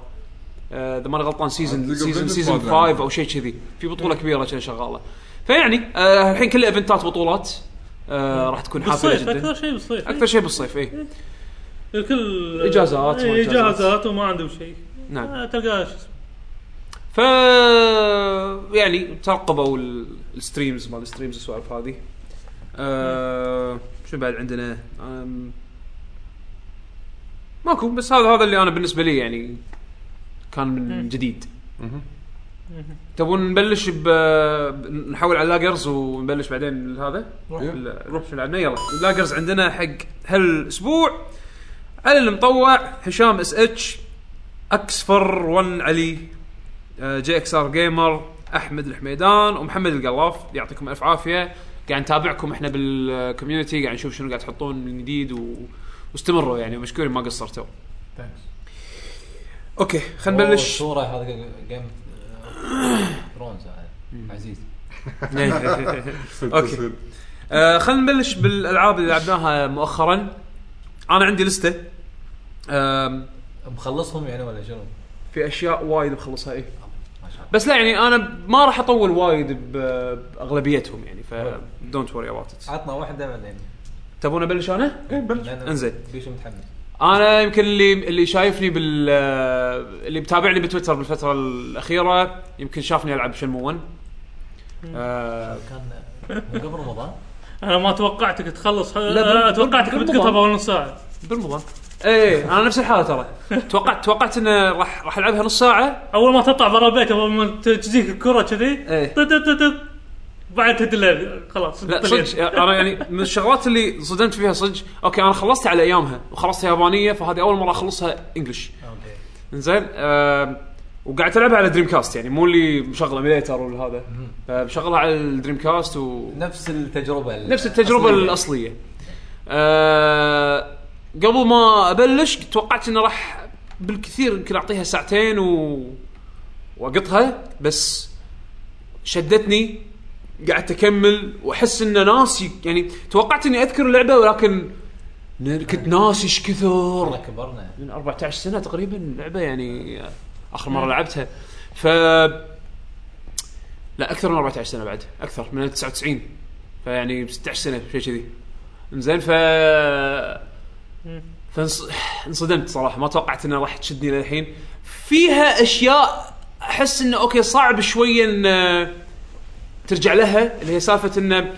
[SPEAKER 1] آه، اذا ماني غلطان سيزون
[SPEAKER 4] League of
[SPEAKER 1] سيزون
[SPEAKER 4] Legends
[SPEAKER 1] سيزون
[SPEAKER 4] ما أدري.
[SPEAKER 1] 5 او شيء كذي في بطوله كبيره كنا شغاله فيعني آه، الحين كل ايفنتات بطولات آه، راح تكون حافله
[SPEAKER 3] بالصيف
[SPEAKER 1] جدا
[SPEAKER 3] اكثر شيء بالصيف
[SPEAKER 1] اكثر شيء بالصيف إيه. اي
[SPEAKER 3] الكل
[SPEAKER 1] إجازات وما
[SPEAKER 3] إيه،
[SPEAKER 1] إجازات.
[SPEAKER 3] اجازات وما عندهم شيء
[SPEAKER 1] نعم
[SPEAKER 3] آه، تلقاه شو اسمه
[SPEAKER 1] ف يعني ترقبوا ال- الستريمز مال الستريمز السوالف هذه أه شو بعد عندنا أم، ماكو بس هذا هذا اللي انا بالنسبه لي يعني كان من جديد
[SPEAKER 4] مهم.
[SPEAKER 1] تبون نبلش ب نحول على اللاجرز ونبلش بعدين هذا روح شو لعبنا يلا اللاجرز عندنا حق هالاسبوع علي المطوع هشام اس اتش اكسفر 1 علي آه، جي اكس ار جيمر احمد الحميدان ومحمد القلاف يعطيكم الف عافيه قاعد نتابعكم احنا بالكوميونتي قاعد نشوف شنو قاعد تحطون من جديد و... واستمروا يعني مشكورين ما قصرتوا اوكي خلينا نبلش
[SPEAKER 5] (laughs) صوره هذا جيم (coughs) ثرونز هذا عزيز
[SPEAKER 1] أوكي. (laughs) آه خلينا نبلش بالالعاب اللي لعبناها مؤخرا انا عندي لسته آم،
[SPEAKER 5] مخلصهم يعني ولا شنو؟
[SPEAKER 1] في اشياء وايد مخلصها ايه
[SPEAKER 5] ما شاء الله
[SPEAKER 1] بس لا يعني انا ما راح اطول وايد ب- باغلبيتهم يعني ف دونت وري اباوت ات
[SPEAKER 5] عطنا واحده بعدين
[SPEAKER 1] تبون ابلش انا؟
[SPEAKER 5] لأن
[SPEAKER 1] انزين.
[SPEAKER 5] بيشو متحمس
[SPEAKER 1] انا يمكن اللي اللي شايفني بال اللي متابعني بتويتر بالفتره الاخيره يمكن شافني العب شنمو 1 آه
[SPEAKER 5] كان من قبل رمضان
[SPEAKER 3] انا ما توقعتك تخلص
[SPEAKER 1] لا، بال-
[SPEAKER 3] لا توقعتك
[SPEAKER 1] بال-
[SPEAKER 3] بتقطع
[SPEAKER 1] بالضبط.
[SPEAKER 3] باول نص ساعه
[SPEAKER 1] بالمضى ايه انا نفس الحاله ترى توقعت توقعت انه راح راح العبها نص ساعه
[SPEAKER 3] اول ما تطلع برا البيت اول ما تجيك الكره كذي
[SPEAKER 1] إيه.
[SPEAKER 3] طب طب طب طب. بعد تدلع خلاص
[SPEAKER 1] لا
[SPEAKER 3] طلعت.
[SPEAKER 1] صدق انا يعني من الشغلات اللي صدمت فيها صدق اوكي انا خلصت على ايامها وخلصتها يابانيه فهذه اول مره اخلصها انجلش
[SPEAKER 5] اوكي
[SPEAKER 1] زين آه وقاعد تلعبها على دريم كاست يعني مو اللي مشغله ميليتر ولا هذا آه مشغلها على الدريم كاست و
[SPEAKER 5] نفس التجربه ال-
[SPEAKER 1] نفس التجربه
[SPEAKER 5] الأصلية.
[SPEAKER 1] الاصليه آه قبل ما ابلش توقعت انه راح بالكثير يمكن اعطيها ساعتين و واقطها بس شدتني قعدت اكمل واحس ان ناسي يعني توقعت اني اذكر اللعبه ولكن كنت ناسي ايش كثر
[SPEAKER 5] والله كبرنا
[SPEAKER 1] من 14 سنه تقريبا لعبه يعني اخر مره لعبتها ف لا اكثر من 14 سنه بعد اكثر من 99 فيعني 16 سنه شيء كذي زين ف فانصدمت صراحه ما توقعت انها راح تشدني للحين فيها اشياء احس انه اوكي صعب شويه ان آه، ترجع لها اللي هي سالفه انه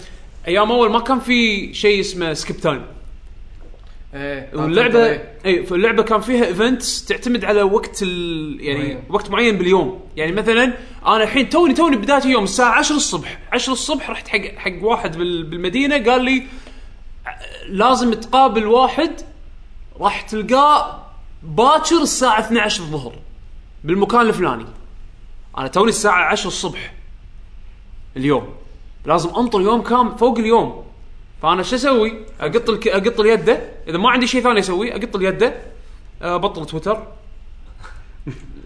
[SPEAKER 1] ايام اول ما كان في شيء اسمه سكيب تايم
[SPEAKER 2] ايه
[SPEAKER 1] واللعبه اي فاللعبه إيه، كان فيها ايفنتس تعتمد على وقت ال... يعني معين.
[SPEAKER 2] معين.
[SPEAKER 1] وقت معين باليوم يعني مثلا انا الحين توني توني بدايه اليوم الساعه 10 الصبح 10 الصبح رحت حق حق واحد بال... بالمدينه قال لي "ع- لازم تقابل واحد راح تلقاه باكر الساعه 12 الظهر بالمكان الفلاني انا توني الساعه 10 الصبح اليوم لازم انطر يوم كام فوق اليوم فانا شو اسوي؟ اقط الك... اقط اليده اذا ما عندي شيء ثاني اسويه اقط اليده ابطل آه، تويتر (laughs)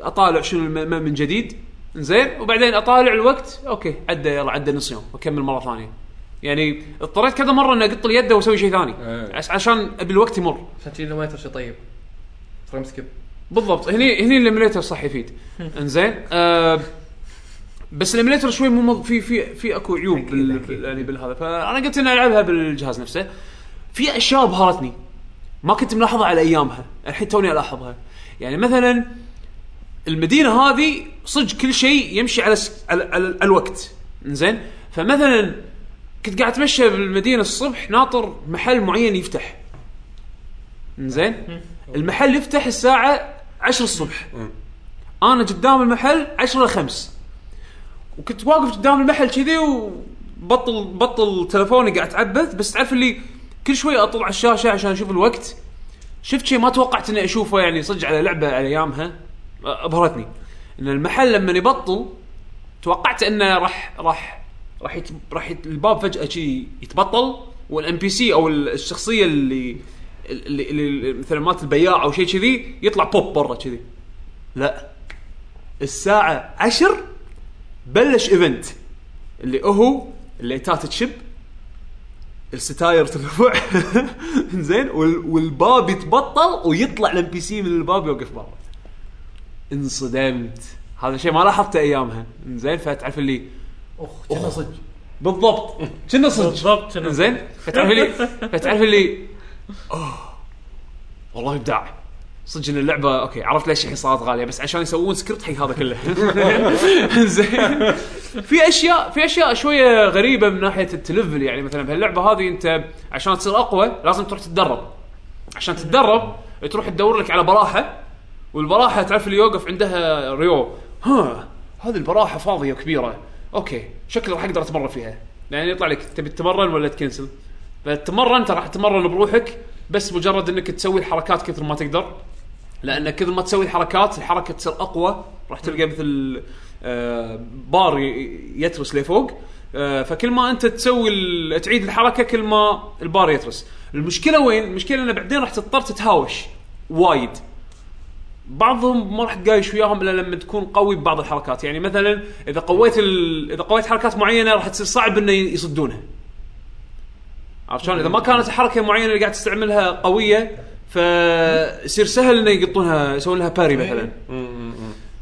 [SPEAKER 1] اطالع شنو الم- من جديد زين وبعدين اطالع الوقت اوكي عدى يلا عدى نص يوم اكمل مره ثانيه يعني اضطريت كذا مره اني اقط اليد واسوي شيء ثاني
[SPEAKER 4] إيه.
[SPEAKER 1] عس- عشان ابي الوقت يمر
[SPEAKER 2] عشان كذي ما يترشي طيب ترى مسكب
[SPEAKER 1] بالضبط هني هني الايميليتر صح يفيد انزين آه بس الايميليتر شوي مو مض- في في في اكو عيوب بال بال- يعني بالهذا فانا قلت اني العبها بالجهاز نفسه في اشياء بهرتني ما كنت ملاحظها على ايامها الحين توني الاحظها يعني مثلا المدينه هذه صدق كل شيء يمشي على س... على, على على الوقت زين فمثلا كنت قاعد اتمشى بالمدينه الصبح ناطر محل معين يفتح زين المحل يفتح الساعه 10 الصبح انا قدام المحل 10 ل 5 وكنت واقف قدام المحل كذي وبطل بطل تلفوني قاعد اتعبث بس تعرف اللي كل شوي اطلع على الشاشه عشان اشوف الوقت شفت شيء ما توقعت اني اشوفه يعني صدق على لعبه على ايامها أ- ابهرتني ان المحل لما يبطل توقعت انه راح راح راح يت... راح يت... الباب فجاه شي يتبطل والام بي سي او ال- الشخصيه اللي اللي, اللي مثلا مالت البياع او شيء كذي يطلع بوب برا كذي لا الساعه 10 بلش ايفنت اللي هو الليتات تشب الستاير ترفع (laughs) زين وال- والباب يتبطل ويطلع الام بي سي من الباب يوقف برا انصدمت هذا شيء ما لاحظته ايامها زين فتعرف اللي
[SPEAKER 2] اخ كنا صدق
[SPEAKER 1] بالضبط كنا صدق
[SPEAKER 3] بالضبط شنو.
[SPEAKER 1] زين فتعرف اللي فتعرف اللي أوه. والله ابداع صدق ان اللعبه اوكي عرفت ليش الحين صارت غاليه بس عشان يسوون سكريبت حق هذا كله (laughs) زين في اشياء في اشياء شويه غريبه من ناحيه التلفل يعني مثلا بهاللعبه هذه انت عشان تصير اقوى لازم تروح تتدرب عشان تتدرب تروح تدور لك على براحه والبراحه تعرف اللي يوقف عندها ريو ها هذه البراحه فاضيه وكبيره اوكي شكلي راح اقدر اتمرن فيها يعني يطلع لك تبي تتمرن ولا تكنسل فتتمرن انت راح تتمرن بروحك بس مجرد انك تسوي الحركات كثر ما تقدر لان كثر ما تسوي الحركات الحركه تصير اقوى راح تلقى مثل آه، بار ي- يترس لفوق آه، فكل ما انت تسوي ال- تعيد الحركه كل ما البار يترس المشكله وين المشكله انه بعدين راح تضطر تتهاوش وايد بعضهم ما راح تقايش وياهم الا لما تكون قوي ببعض الحركات يعني مثلا اذا قويت ال... اذا قويت حركات معينه راح تصير صعب انه يصدونها عرفت شلون؟ اذا ما كانت الحركه المعينه اللي قاعد تستعملها قويه فيصير سهل انه يقطونها يسوون لها باري مثلا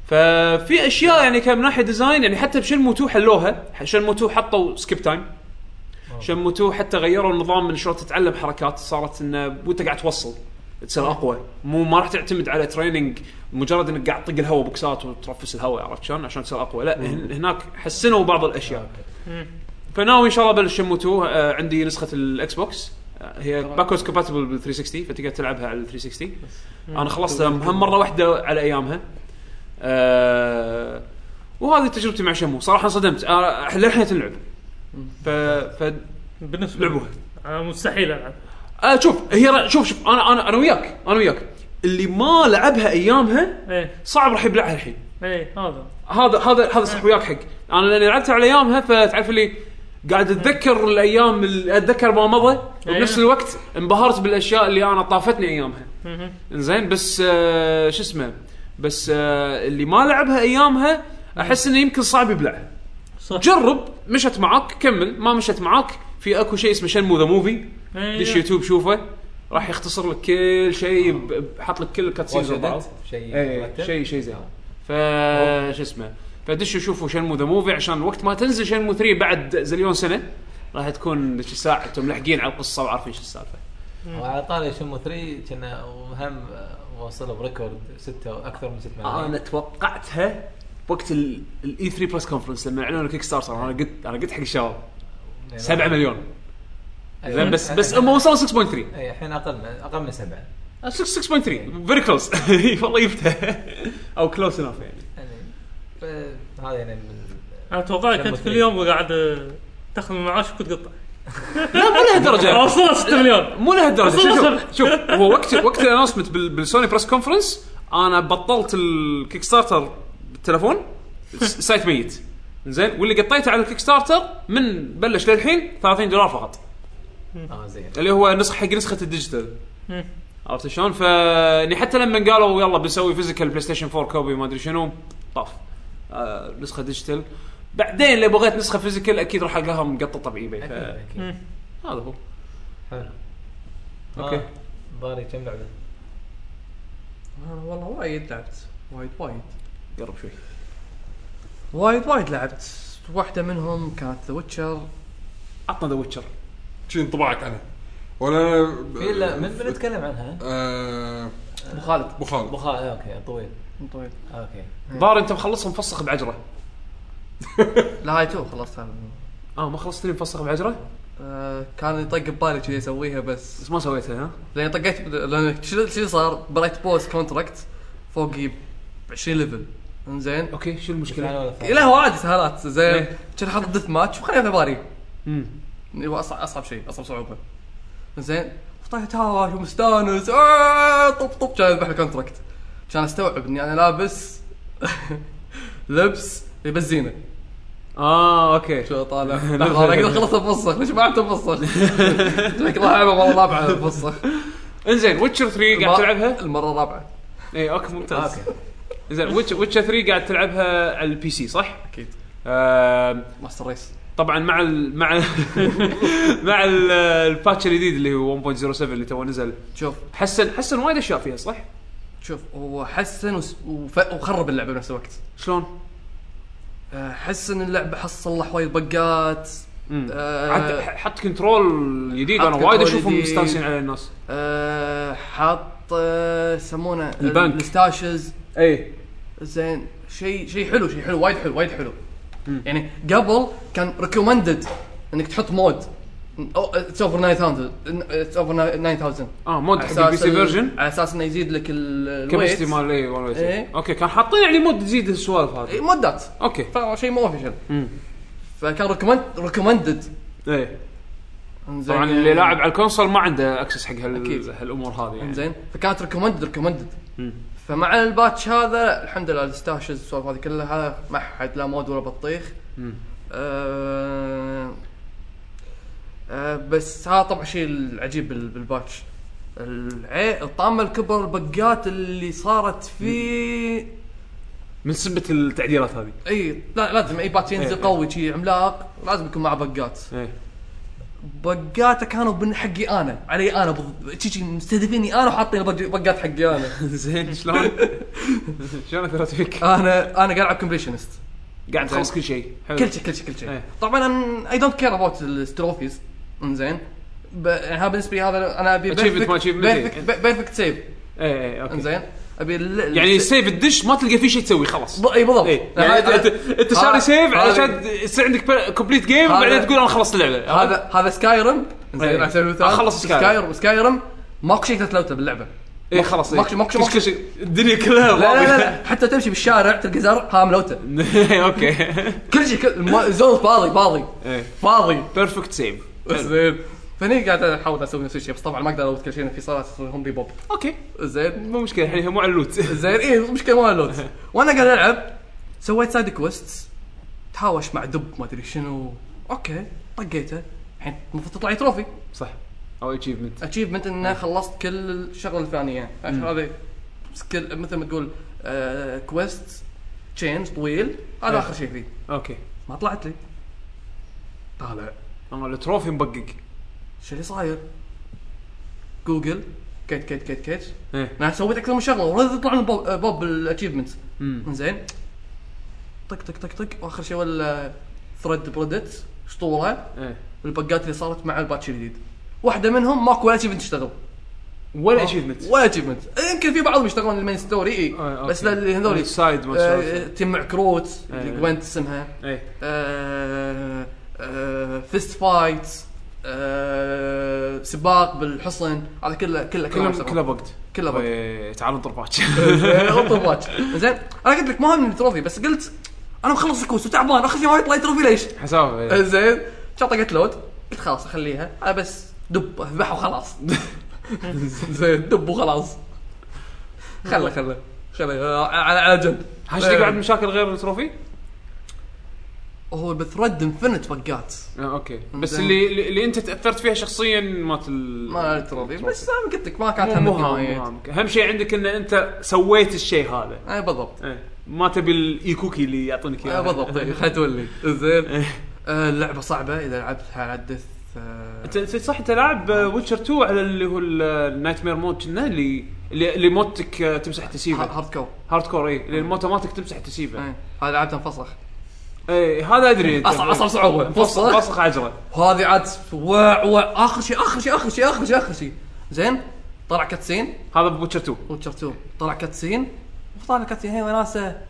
[SPEAKER 1] ففي اشياء يعني كان من ناحيه ديزاين يعني حتى بشنمو 2 حلوها شنمو 2 حطوا سكيب تايم شنمو 2 حتى غيروا النظام من شلون تتعلم حركات صارت انه وانت قاعد توصل تصير اقوى مو ما راح تعتمد على تريننج مجرد انك قاعد تطق الهواء بوكسات وترفس الهواء عرفت شلون عشان تصير اقوى لا هن- هناك حسنوا بعض الاشياء فناوي ان شاء الله بلش شمو 2 آه، عندي نسخه الاكس بوكس آه، هي باكورز كومباتبل بال 360 فتقدر تلعبها على ال 360 انا خلصتها هم مره واحده على ايامها آه، وهذه تجربتي مع شمو صراحه انصدمت آه، للحين تنلعب ف ف
[SPEAKER 3] بالنسبه
[SPEAKER 1] لعبوها
[SPEAKER 3] أنا مستحيل العب
[SPEAKER 1] آه شوف هي را- شوف شوف انا انا انا وياك انا وياك اللي ما لعبها ايامها
[SPEAKER 3] ايه
[SPEAKER 1] صعب راح يبلعها الحين
[SPEAKER 3] ايه هذا
[SPEAKER 1] هذا هذا هذا صح وياك حق انا لاني لعبتها على ايامها فتعرف اللي قاعد اتذكر الايام ال- اتذكر ما مضى وبنفس
[SPEAKER 3] أيوة.
[SPEAKER 1] الوقت انبهرت بالاشياء اللي انا طافتني ايامها
[SPEAKER 3] مهم.
[SPEAKER 1] زين بس آه شو اسمه بس آه اللي ما لعبها ايامها احس انه يمكن صعب يبلعها
[SPEAKER 3] صح
[SPEAKER 1] جرب مشت معاك كمل ما مشت معاك في اكو شيء اسمه شنمو ذا موفي
[SPEAKER 3] إيه.
[SPEAKER 1] دش يوتيوب شوفه راح يختصر لك كل شيء ب- حاط لك كل الكاتسينز ببعض
[SPEAKER 5] شيء
[SPEAKER 1] ايه
[SPEAKER 5] مرتب؟
[SPEAKER 1] شيء شيء زي هذا ف شو اسمه فدشوا شوفوا شنمو ذا موفي عشان وقت ما تنزل شنمو 3 بعد زليون سنه راح تكون ذيك الساعه انتم ملحقين على القصه وعارفين شو السالفه
[SPEAKER 5] وعلى طاري شمو 3 كنا وهم وصلوا بريكورد ستة اكثر من 6
[SPEAKER 1] انا
[SPEAKER 5] ملايين
[SPEAKER 1] توقعتها وقت E الاي 3 بلس كونفرنس لما اعلنوا الكيك ستارتر انا قلت انا قلت حق الشباب 7 مليون
[SPEAKER 5] يعني أيوة.
[SPEAKER 1] زين بس بس هم وصلوا 6.3
[SPEAKER 5] اي الحين اقل من اقل من سبعه
[SPEAKER 1] 6.3 فيري كلوز (laughs) والله (laughs) جبتها او كلوز انف يعني
[SPEAKER 5] يعني ف- هذا يعني من
[SPEAKER 3] انا اتوقع كنت كل يوم وقاعد آه، تاخذ من معاش وكنت قطع
[SPEAKER 1] لا مو (laughs) لهالدرجه
[SPEAKER 3] وصلت 6 مليون
[SPEAKER 1] مو لهالدرجه شوف
[SPEAKER 3] أصلاً-
[SPEAKER 1] شوف, شوف هو وقت وقت الانونسمنت بالسوني بريس كونفرنس انا بطلت الكيك ستارتر بالتلفون س- سايت ميت زين واللي قطيته على الكيك ستارتر من بلش للحين 30 دولار فقط
[SPEAKER 5] اه زين
[SPEAKER 1] اللي هو نسخ حق نسخه الديجيتال عرفت شلون؟ فاني حتى لما قالوا يلا بنسوي فيزيكال بلاي ستيشن 4 كوبي ما ادري شنو طاف آه نسخه ديجيتال بعدين لو بغيت نسخه فيزيكال اكيد راح القاها مقططه بايباي
[SPEAKER 5] اكيد
[SPEAKER 1] فهذا
[SPEAKER 5] اكيد
[SPEAKER 1] هو
[SPEAKER 5] حلو
[SPEAKER 1] أوكي.
[SPEAKER 5] آه، باري كم لعبه؟
[SPEAKER 2] آه، انا والله وايد لعبت وايد وايد
[SPEAKER 1] قرب شوي
[SPEAKER 2] وايد وايد لعبت واحده منهم كانت آه، ذا ويتشر
[SPEAKER 1] عطنا ذا ويتشر
[SPEAKER 4] شي انطباعك عنها ولا انا
[SPEAKER 5] في لا من من نتكلم عنها؟
[SPEAKER 4] آه،
[SPEAKER 2] ابو خالد
[SPEAKER 4] ابو خالد
[SPEAKER 5] ابو خالد اوكي طويل
[SPEAKER 2] طيب
[SPEAKER 5] اوكي
[SPEAKER 1] ضار انت مخلصها مفسخ بعجره
[SPEAKER 2] لا هاي تو خلصتها
[SPEAKER 1] اه ما خلصت لي مفسخ بعجره
[SPEAKER 2] آه، كان يطق ببالي كذي اسويها بس
[SPEAKER 1] بس ما سويتها ها
[SPEAKER 2] لان طقيت لان شنو شنو صار بريت بوست كونتراكت فوقي 20 ليفل انزين
[SPEAKER 1] اوكي شو
[SPEAKER 5] ثاني
[SPEAKER 1] المشكله؟
[SPEAKER 5] ولا ثالث؟
[SPEAKER 2] لا هو عادي سهالات زين
[SPEAKER 1] طيب. إيه.
[SPEAKER 2] كان حاط ديث ماتش وخليها في بالي
[SPEAKER 1] امم
[SPEAKER 2] هو اصعب اصعب شيء اصعب صعوبه زين طلعت هاي ومستانس آه، طب طب كان يذبح لي كونتراكت كان استوعب اني انا لابس (laughs) لبس اللي بس زينه
[SPEAKER 1] اه اوكي (laughs)
[SPEAKER 2] شو طالع لحظه انا اقدر اخلصها بفسخ ليش ما عرفت بفسخ؟ لك لعبه مره رابعه بفسخ
[SPEAKER 1] (laughs) انزين ويتشر 3 قاعد تلعبها؟
[SPEAKER 2] المره الرابعه
[SPEAKER 1] اي اوكي ممتاز
[SPEAKER 5] اوكي
[SPEAKER 1] زين ويتشر 3 قاعد تلعبها على البي سي صح؟
[SPEAKER 2] اكيد
[SPEAKER 1] آم،
[SPEAKER 2] ماستر ريس
[SPEAKER 1] طبعا مع ال مع ال مع ال- (laughs) الباتش الجديد اللي هو 1.07 اللي تو نزل
[SPEAKER 2] شوف
[SPEAKER 1] حسن حسن وايد اشياء فيها صح؟
[SPEAKER 2] شوف هو حسن وس- وف- وخرب اللعبه بنفس الوقت
[SPEAKER 1] شلون؟
[SPEAKER 2] آه، حسن اللعبه حس صلح وايد بقات
[SPEAKER 1] مم.
[SPEAKER 2] آه،
[SPEAKER 1] عاد ح- حط كنترول جديد
[SPEAKER 2] حط
[SPEAKER 1] انا وايد
[SPEAKER 2] كنترول
[SPEAKER 1] اشوفهم
[SPEAKER 2] جديد.
[SPEAKER 1] مستانسين على الناس
[SPEAKER 2] آه، حاط آه، يسمونه
[SPEAKER 1] البنك.
[SPEAKER 2] الستاشز
[SPEAKER 1] اي
[SPEAKER 2] زين شيء شيء حلو شيء حلو وايد حلو وايد حلو يعني قبل كان ريكومندد انك تحط مود او اتس اوفر 9000 اتس اوفر 9000
[SPEAKER 1] اه مود
[SPEAKER 2] على
[SPEAKER 1] حق البي
[SPEAKER 2] اساس
[SPEAKER 1] سي
[SPEAKER 2] ال-
[SPEAKER 1] فيرجن
[SPEAKER 2] على اساس انه يزيد لك ال-
[SPEAKER 1] كبستي
[SPEAKER 2] الويت
[SPEAKER 1] مال اي والله يصير.
[SPEAKER 2] إيه.
[SPEAKER 1] اوكي كان حاطين يعني مود تزيد السوالف
[SPEAKER 2] إيه،
[SPEAKER 1] هذه
[SPEAKER 2] مودات
[SPEAKER 1] اوكي
[SPEAKER 2] فشيء مو اوفيشال
[SPEAKER 1] مم.
[SPEAKER 2] فكان ريكومند ريكومندد
[SPEAKER 1] ايه طبعا اللي لاعب على الكونسول ما عنده اكسس حق
[SPEAKER 2] أكيد.
[SPEAKER 1] هال... هالامور هذه يعني
[SPEAKER 2] زين فكانت ريكومندد ريكومندد
[SPEAKER 1] مم.
[SPEAKER 2] فمع الباتش هذا الحمد لله الستاشز السوالف هذه كلها ما حد لا مود ولا بطيخ
[SPEAKER 1] مم.
[SPEAKER 2] آه آه بس هذا طبعا الشيء العجيب بال- بالباتش العي... الطامه الكبر البقات اللي صارت فيه
[SPEAKER 1] من سبه التعديلات هذه
[SPEAKER 2] اي لا لازم اي باتش ينزل
[SPEAKER 1] إيه.
[SPEAKER 2] قوي شي عملاق لازم يكون معه بقات
[SPEAKER 1] ايه
[SPEAKER 2] بقاته كانوا من حقي انا علي انا بض... شي مستهدفيني انا وحاطين بق- بقات حقي انا
[SPEAKER 1] (laughs) زين شلون؟ (laughs) شلون اثرت فيك؟
[SPEAKER 2] انا انا قاعد العب كومبليشنست
[SPEAKER 1] قاعد تخلص كل شيء حلو.
[SPEAKER 2] كل شيء كل شيء كل شيء
[SPEAKER 1] إيه.
[SPEAKER 2] طبعا اي دونت كير اباوت التروفيز انزين ب- يعني هذا بالنسبه لي هذا انا ابي
[SPEAKER 1] Achievement ما achievement.
[SPEAKER 2] بيرفكت سيف
[SPEAKER 1] ايه ايه اوكي
[SPEAKER 2] انزين ابي ال-
[SPEAKER 1] يعني
[SPEAKER 2] ال-
[SPEAKER 1] سيف الدش ما تلقى فيه شيء تسوي خلاص
[SPEAKER 2] ب- اي بالضبط
[SPEAKER 1] ايه
[SPEAKER 2] هذا-
[SPEAKER 1] يعني انت انت- انت شاري
[SPEAKER 2] هذا-
[SPEAKER 1] سيف
[SPEAKER 2] هذا-
[SPEAKER 1] علشان يصير عندك كومبليت جيم
[SPEAKER 2] هذا-
[SPEAKER 1] وبعدين تقول انا خلصت اللعبه
[SPEAKER 2] هذا هذا سكايرم
[SPEAKER 1] إيه.
[SPEAKER 2] زين عشان المثال
[SPEAKER 1] أخلص Skyrim.
[SPEAKER 2] سكايرم ماكو شيء تتلوته باللعبه
[SPEAKER 1] ايه خلاص ايه
[SPEAKER 2] ماكو- ماكو- ماكو-
[SPEAKER 1] كل شيء الدنيا كلها
[SPEAKER 2] لا لا لا, لا حتى تمشي بالشارع تلقى زرع ها ملوته
[SPEAKER 1] (laughs) لا اوكي
[SPEAKER 2] كل شيء كل الم- الزون فاضي فاضي
[SPEAKER 1] ايه
[SPEAKER 2] فاضي
[SPEAKER 1] بيرفكت سيف
[SPEAKER 2] زين فهني قاعد احاول اسوي نفس الشيء بس طبعا ما اقدر اوت كل شيء لأن في صارت هم ريبوب
[SPEAKER 1] اوكي
[SPEAKER 2] زين
[SPEAKER 1] مو مشكله الحين هي مو على
[SPEAKER 2] (laughs)
[SPEAKER 1] اللوت
[SPEAKER 2] زين ايه مشكله ما اللوت وانا قاعد العب سويت سايد كويست تهاوش مع دب ما ادري شنو اوكي طقيته الحين المفروض تطلع لي تروفي
[SPEAKER 1] صح او اتشيفمنت
[SPEAKER 2] اتشيفمنت انه خلصت كل الشغله الفلانيه عشان هذا سكيل مثل ما تقول آه كويست تشينج طويل هذا
[SPEAKER 1] إيه.
[SPEAKER 2] اخر شيء فيه
[SPEAKER 1] اوكي
[SPEAKER 2] ما طلعت لي طالع
[SPEAKER 1] اه التروفي مبقق
[SPEAKER 2] شو اللي صاير؟ جوجل كيت كيت كيت كيت
[SPEAKER 1] ايه
[SPEAKER 2] انا سويت اكثر من شغله ورد يطلع لي بوب, بوب بالاتشيفمنت
[SPEAKER 1] مم.
[SPEAKER 2] زين طق طق طق طق واخر شيء ولا ثريد بريدت اسطوره
[SPEAKER 1] ايه
[SPEAKER 2] البقات اللي صارت مع الباتش الجديد واحده منهم ماكو ولا اتشيفمنت تشتغل
[SPEAKER 1] ولا اتشيفمنت
[SPEAKER 2] ولا اتشيفمنت يمكن في بعضهم يشتغلون المين ستوري اي بس لا اللي هذول
[SPEAKER 1] السايد آه، ما
[SPEAKER 2] آه،
[SPEAKER 1] شاء
[SPEAKER 2] تجمع كروت
[SPEAKER 1] إيه.
[SPEAKER 2] جوينت اسمها
[SPEAKER 1] ايه
[SPEAKER 2] آه، آه، فيست فايت آه، سباق بالحصن هذا كله كله
[SPEAKER 1] كله كله وقت إيه،
[SPEAKER 2] كله بقت.
[SPEAKER 1] تعالوا (laughs) ضربات
[SPEAKER 2] (laughs) طبات زين انا قلت لك ما همني التروفي بس قلت انا مخلص الكوس وتعبان اخر شيء ما يطلع لي تروفي ليش؟ (laughs)
[SPEAKER 1] حسافه
[SPEAKER 2] زين شو طقت لود قلت خلاص اخليها انا بس دب اذبح
[SPEAKER 1] (laughs)
[SPEAKER 2] وخلاص زين دب وخلاص خله خله خله آه، على على جنب
[SPEAKER 1] هاشتاج
[SPEAKER 2] آه.
[SPEAKER 1] بعد مشاكل غير التروفي؟
[SPEAKER 2] هو بثرد انفنت بقات
[SPEAKER 1] آه، اوكي بس
[SPEAKER 2] زين.
[SPEAKER 1] اللي اللي اللي انت تاثرت فيها شخصيا مالت ال
[SPEAKER 2] ما التروفي بس انا قلت لك ما كانت
[SPEAKER 1] مو مو
[SPEAKER 2] همك
[SPEAKER 1] هام-
[SPEAKER 2] وايد.
[SPEAKER 1] مو هامك. اهم شيء عندك ان انت سويت الشيء هذا
[SPEAKER 2] اي
[SPEAKER 1] (laughs)
[SPEAKER 2] بالضبط
[SPEAKER 1] إيه. ما تبي الاي كوكي اللي يعطونك
[SPEAKER 2] اي
[SPEAKER 1] اياه
[SPEAKER 2] آه، بالضبط إي، خلها تولي زين
[SPEAKER 1] إيه.
[SPEAKER 2] آه، اللعبه صعبه اذا لعبتها على الدث آه،
[SPEAKER 1] انت أنت صح انت لاعب ويتشر 2 على اللي هو النايت مير مود كنا اللي اللي اللي موتك آه، تمسح
[SPEAKER 2] ه-
[SPEAKER 1] تسيبه
[SPEAKER 2] هارد كور إيه.
[SPEAKER 1] هارد كور اي اللي الموتة مالتك تمسح تسيبه
[SPEAKER 2] إي، هذا لعبتها انفصخ
[SPEAKER 1] اي هذا ادري أنت.
[SPEAKER 2] اصعب اصعب صعوبه مفصل
[SPEAKER 1] إيه. فسخ عجله
[SPEAKER 2] وهذه عاد وا وا اخر شيء اخر شيء اخر شيء اخر شيء اخر شيء زين طلع كاتسين
[SPEAKER 1] هذا بوتشر 2
[SPEAKER 2] ويتشر 2 طلع كاتسين وطلع كاتسين هي وناسه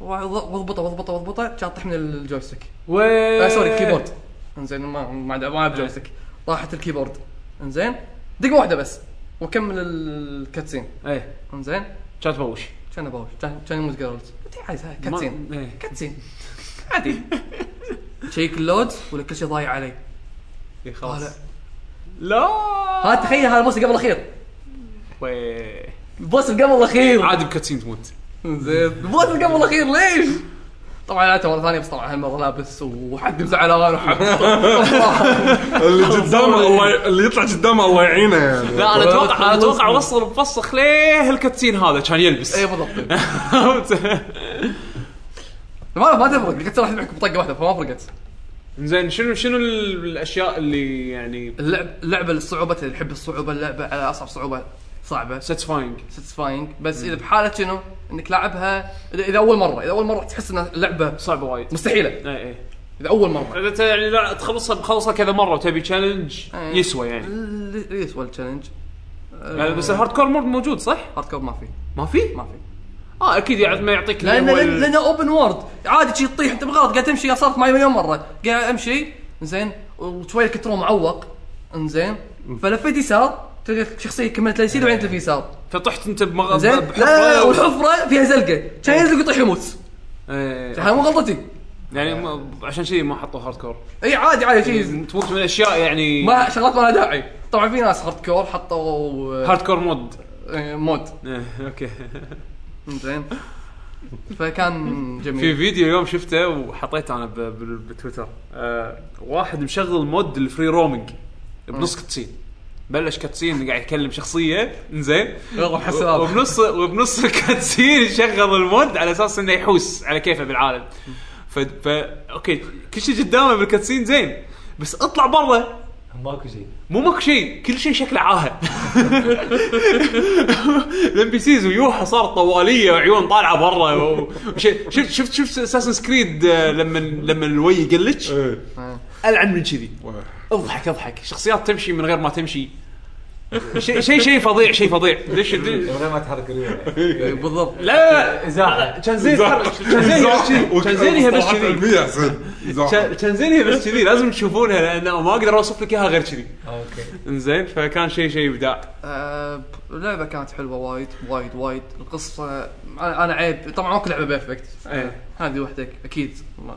[SPEAKER 2] واضبطه واضبطه واضبطه شاطح من الجويستيك آه
[SPEAKER 1] وي
[SPEAKER 2] سوري الكيبورد انزين ما ما ما
[SPEAKER 1] إيه.
[SPEAKER 2] ألعب جويستيك طاحت الكيبورد انزين دقمه واحده بس وكمل الكاتسين
[SPEAKER 1] اي
[SPEAKER 2] انزين
[SPEAKER 1] كان تبوش
[SPEAKER 2] كان ابوش كان كان يموت جيرلز انت عايزها كاتسين
[SPEAKER 1] ما- إيه.
[SPEAKER 2] كاتسين عادي شيك اللود ولا كل شيء ضايع علي
[SPEAKER 1] إي، خلاص
[SPEAKER 2] طالع
[SPEAKER 1] لا
[SPEAKER 2] هذا تخيل هذا البوس قبل الاخير
[SPEAKER 1] وي
[SPEAKER 2] البوس قبل الاخير
[SPEAKER 1] عادي بكاتسين تموت
[SPEAKER 2] زين البوس قبل الاخير ليش؟ طبعا لعبته مره ثانيه بس طبعا هالمره لابس وحد زعلان (laughs) وحد
[SPEAKER 4] اللي قدامه الله ي... اللي يطلع قدامه الله يعينه يعني
[SPEAKER 1] لا انا
[SPEAKER 2] ولا
[SPEAKER 1] اتوقع انا اتوقع
[SPEAKER 2] تخلصني.
[SPEAKER 1] وصل بفسخ ليه الكاتسين هذا كان يلبس
[SPEAKER 2] اي إيه، بالضبط ما ما تفرق قلت راح تحكم بطقه واحده فما فرقت
[SPEAKER 1] (laughs) زين شنو شنو ال- الاشياء اللي يعني
[SPEAKER 2] اللعب اللعبه الصعوبه اللي يحب الصعوبه اللعبه على اصعب صعوبه صعبه
[SPEAKER 1] ساتسفاينج
[SPEAKER 2] ساتسفاينج بس اذا بحاله شنو انك لاعبها اذا إذا اول مره اذا اول مره تحس ان اللعبه
[SPEAKER 1] صعبه وايد
[SPEAKER 2] مستحيله
[SPEAKER 1] اي اي
[SPEAKER 2] اذا اول مره
[SPEAKER 1] اذا انت يعني لا تخلصها تخلصها كذا مره وتبي تشالنج
[SPEAKER 2] إيه.
[SPEAKER 1] يسوى يعني
[SPEAKER 2] ال- يسوى التشالنج
[SPEAKER 1] يعني بس الهارد كور مود موجود صح؟
[SPEAKER 2] هارد كور ما في
[SPEAKER 1] ما في؟
[SPEAKER 2] ما في
[SPEAKER 1] اه اكيد يعني ما يعطيك اللي
[SPEAKER 2] لان
[SPEAKER 1] هو
[SPEAKER 2] لان
[SPEAKER 1] ال-
[SPEAKER 2] لأن اوبن وورد عادي شي تطيح انت بالغلط قاعد تمشي صارت معي مليون مره قاعد امشي زين وشوي الكنترول معوق انزين فلفيت يسار تلقى شخصيه كملت اليسير وبعدين تلف يسار
[SPEAKER 1] فطحت انت بمغ...
[SPEAKER 2] زين
[SPEAKER 1] بحفرة
[SPEAKER 2] لا
[SPEAKER 1] و-
[SPEAKER 2] والحفره فيها زلقه كان يزلق ويطيح يموت
[SPEAKER 1] إيه.
[SPEAKER 2] هاي مو غلطتي
[SPEAKER 1] يعني ما- عشان شيء ما حطوا هارد كور
[SPEAKER 2] اي عادي عادي شيء
[SPEAKER 1] تموت من اشياء يعني
[SPEAKER 2] ما شغلات ما لها داعي طبعا في ناس هارد كور حطوا
[SPEAKER 1] هارد كور مود
[SPEAKER 2] آه، مود
[SPEAKER 1] إيه،
[SPEAKER 2] (laughs)
[SPEAKER 1] اوكي
[SPEAKER 2] زين فكان
[SPEAKER 1] في
[SPEAKER 2] جميل
[SPEAKER 1] فيديو يوم شفته وحطيته انا ب- بال- بتويتر آه، واحد مشغل مود الفري رومينج بنص
[SPEAKER 2] إيه.
[SPEAKER 1] كاتسين بلش كاتسين قاعد يكلم شخصيه زين
[SPEAKER 2] يلا حس
[SPEAKER 1] و- وبنص وبنص (laughs) الكاتسين يشغل المود على اساس انه يحوس على كيفه بالعالم ف... ف... اوكي كل شيء قدامه بالكاتسين زين بس اطلع برا
[SPEAKER 5] ماكو شيء
[SPEAKER 1] مو ماكو شيء كل شيء شكله عاهه (laughs) الام بي سيز ويوحى صارت طواليه وعيون طالعه برا و- وشي- شفت شفت شفت اساسن سكريد لما لما الوي قلتش
[SPEAKER 4] إيه.
[SPEAKER 1] العن من كذي
[SPEAKER 4] واه.
[SPEAKER 1] اضحك اضحك شخصيات تمشي من غير ما تمشي شيء شيء شيء فظيع شيء فظيع ليش
[SPEAKER 5] من
[SPEAKER 1] لا
[SPEAKER 5] غير ما تحرك اليمين
[SPEAKER 2] بالضبط
[SPEAKER 1] لا
[SPEAKER 5] إزاحة.
[SPEAKER 1] لا، كان زين كان زين يهبش كذي. كان زين يهبش
[SPEAKER 4] مصطلحات
[SPEAKER 1] كذي
[SPEAKER 4] علمية أحسن.
[SPEAKER 1] كان- كان زين يهبش كذي لازم تشوفونها لان ما اقدر اوصف لك اياها غير كذي (laughs)
[SPEAKER 5] اوكي
[SPEAKER 1] انزين فكان شيء شيء ابداع
[SPEAKER 2] آه، اللعبه كانت حلوه وايد وايد وايد القصه انا أنا عيب طبعا ماكو لعبه بيرفكت
[SPEAKER 1] إيه.
[SPEAKER 2] هذه وحدك اكيد ما-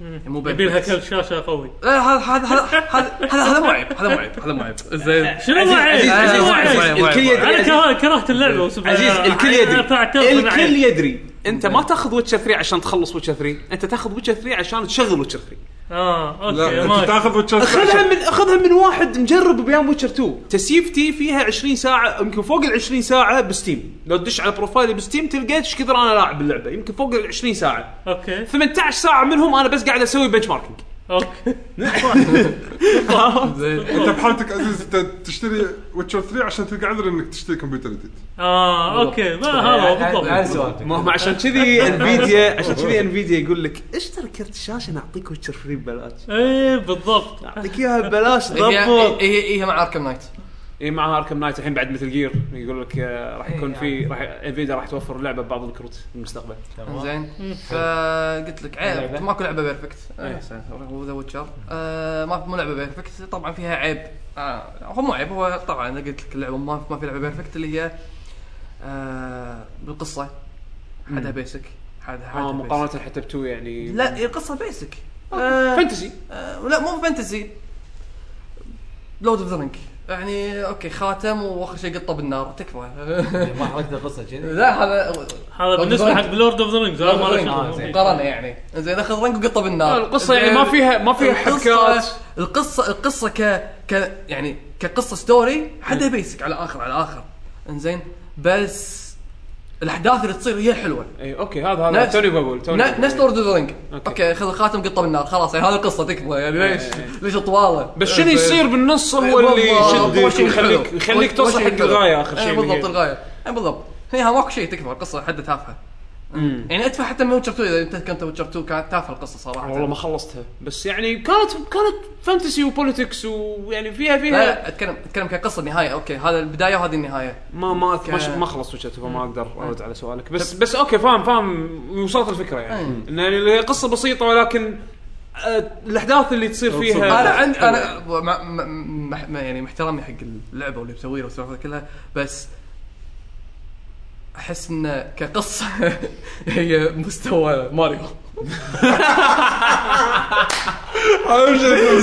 [SPEAKER 2] يعني مو
[SPEAKER 3] يبي لها
[SPEAKER 2] بيرفكت
[SPEAKER 3] كل شاشه قوي
[SPEAKER 2] لا، هذا هذا هذا هذا- هذا هذا مو عيب هذا مو عيب هذا مو عيب زين
[SPEAKER 3] شنو ما عيب؟
[SPEAKER 2] عزيز،
[SPEAKER 3] شنو ما
[SPEAKER 2] عزيز، عزيز.
[SPEAKER 3] عيب؟
[SPEAKER 1] الكل يدري
[SPEAKER 3] انا
[SPEAKER 1] عزيز-
[SPEAKER 3] كره- كرهت اللعبه سبحان
[SPEAKER 1] عزيز
[SPEAKER 3] الله.
[SPEAKER 1] الكل
[SPEAKER 3] أنا
[SPEAKER 1] يدري
[SPEAKER 3] فاعترف إن
[SPEAKER 1] الكل
[SPEAKER 3] عيب.
[SPEAKER 1] يدري انت ما تاخذ ويتشر 3 عشان تخلص ويتشر 3 انت تاخذ ويتشر 3 عشان تشغل ويتشر 3
[SPEAKER 3] اه
[SPEAKER 4] لا
[SPEAKER 3] اوكي
[SPEAKER 4] انت
[SPEAKER 3] ماشي
[SPEAKER 4] تاخذ وتشوف
[SPEAKER 1] خذها من خذها من واحد مجرب بيام ويتشر 2 تسيفتي فيها 20 ساعه يمكن فوق ال 20 ساعه بستيم لو تدش على بروفايلي بستيم تلقى ايش كثر انا لاعب اللعبه يمكن فوق ال 20 ساعه
[SPEAKER 3] اوكي
[SPEAKER 1] 18 ساعه منهم انا بس قاعد اسوي بنش ماركينج (laughs)
[SPEAKER 3] اوكي
[SPEAKER 2] زين
[SPEAKER 4] انت بحالتك عزيز انت تشتري ويتشر 3 عشان تلقى عذر انك تشتري كمبيوتر جديد
[SPEAKER 3] اه اوكي ما هذا
[SPEAKER 5] على
[SPEAKER 3] بالضبط
[SPEAKER 1] ما
[SPEAKER 5] سؤالك
[SPEAKER 1] هم عشان كذي انفيديا عشان كذي انفيديا يقول لك اشتري كرت شاشه نعطيك ويتشر 3 ببلاش
[SPEAKER 3] ايه بالضبط
[SPEAKER 1] نعطيك اياها (laughs) ببلاش
[SPEAKER 2] هي
[SPEAKER 1] ضبط
[SPEAKER 2] هي هي مع اركم نايت
[SPEAKER 1] اي يعني إيه، مع اركم نايت الحين بعد مثل جير يقول لك آه، راح
[SPEAKER 2] إيه،
[SPEAKER 1] يكون
[SPEAKER 2] يعني.
[SPEAKER 1] في راح انفيدا راح توفر اللعبه ببعض الكروت في المستقبل
[SPEAKER 2] زين فقلت لك عيب
[SPEAKER 5] لعبة.
[SPEAKER 2] ماكو لعبه بيرفكت
[SPEAKER 1] إيه.
[SPEAKER 2] ذا ويتشر ما مو لعبه بيرفكت طبعا فيها عيب آه، هو مو عيب هو طبعا انا قلت لك اللعبه ما ما في لعبه بيرفكت اللي هي آه، بالقصه حدها بيسك حدها
[SPEAKER 1] اه
[SPEAKER 2] حدها بيسك
[SPEAKER 1] مقارنه حتى بتو يعني
[SPEAKER 2] لا هي القصه بيسك
[SPEAKER 1] آه، فانتسي
[SPEAKER 2] آه، لا مو فانتزي لود اوف ذا رينج يعني اوكي خاتم واخر شيء قطه بالنار تكفى (laughs)
[SPEAKER 5] ما حركت القصه كذي
[SPEAKER 2] لا هذا
[SPEAKER 3] هذا بالنسبه حق لورد اوف ذا رينجز هذا ما له
[SPEAKER 5] آه،
[SPEAKER 3] شغل.
[SPEAKER 5] زين.
[SPEAKER 2] مقارنه يعني زين اخذ رنج وقطه بالنار
[SPEAKER 1] القصه يعني ما فيها ما فيها حبكات
[SPEAKER 2] القصة- القصه القصه ك ك يعني كقصه ستوري حدها بيسك على اخر على اخر انزين بس الاحداث اللي تصير هي الحلوه
[SPEAKER 1] اي اوكي إيه، هذا هذا
[SPEAKER 2] نفس-
[SPEAKER 1] آه، توني بقول توني
[SPEAKER 2] ن-
[SPEAKER 1] بقول.
[SPEAKER 2] نفس لورد اوف ذا رينج
[SPEAKER 1] أوكي. إيه.
[SPEAKER 2] اوكي خذ الخاتم قطه بالنار خلاص يعني هذه القصه تكفى يعني ليش ليش طواله
[SPEAKER 1] بس شنو يصير بالنص هو
[SPEAKER 2] بالضبط.
[SPEAKER 1] اللي
[SPEAKER 2] هو
[SPEAKER 1] يشدك
[SPEAKER 2] شيء
[SPEAKER 1] يخليك
[SPEAKER 2] حلو.
[SPEAKER 1] يخليك
[SPEAKER 2] هو-
[SPEAKER 1] توصل
[SPEAKER 2] هو
[SPEAKER 1] حق
[SPEAKER 2] شيء حلو.
[SPEAKER 1] الغايه اخر
[SPEAKER 2] إيه
[SPEAKER 1] شيء
[SPEAKER 2] بالضبط
[SPEAKER 1] بالضبط
[SPEAKER 2] الغايه اي بالضبط هي ماكو شيء تكفى القصه حد تافهه
[SPEAKER 1] أمم.
[SPEAKER 2] يعني ادفع حتى من ويتشر 2 اذا انت كنت ويتشر 2 كانت تافهه القصه صراحه
[SPEAKER 1] والله ما خلصتها بس يعني كانت كانت فانتسي وبوليتكس ويعني يعني فيها
[SPEAKER 2] لا
[SPEAKER 1] فيها
[SPEAKER 2] لا اتكلم اتكلم كقصه نهايه اوكي هذا البدايه وهذه النهايه
[SPEAKER 1] ما ما آه. أذك- ما, ش-
[SPEAKER 2] ك-
[SPEAKER 1] ما خلص وجهته فما اقدر ارد على سؤالك بس بس اوكي فاهم فاهم وصلت الفكره يعني
[SPEAKER 2] أي.
[SPEAKER 1] ان هي قصه بسيطه ولكن آه، الاحداث اللي تصير فيها
[SPEAKER 2] انا عند انا مع- مع- مع- مع- يعني محترمي حق اللعبه واللي مسويها والسوالف هذه كلها بس احس انه كقصه (laughs) هي مستوى ماريو
[SPEAKER 4] اهم شيء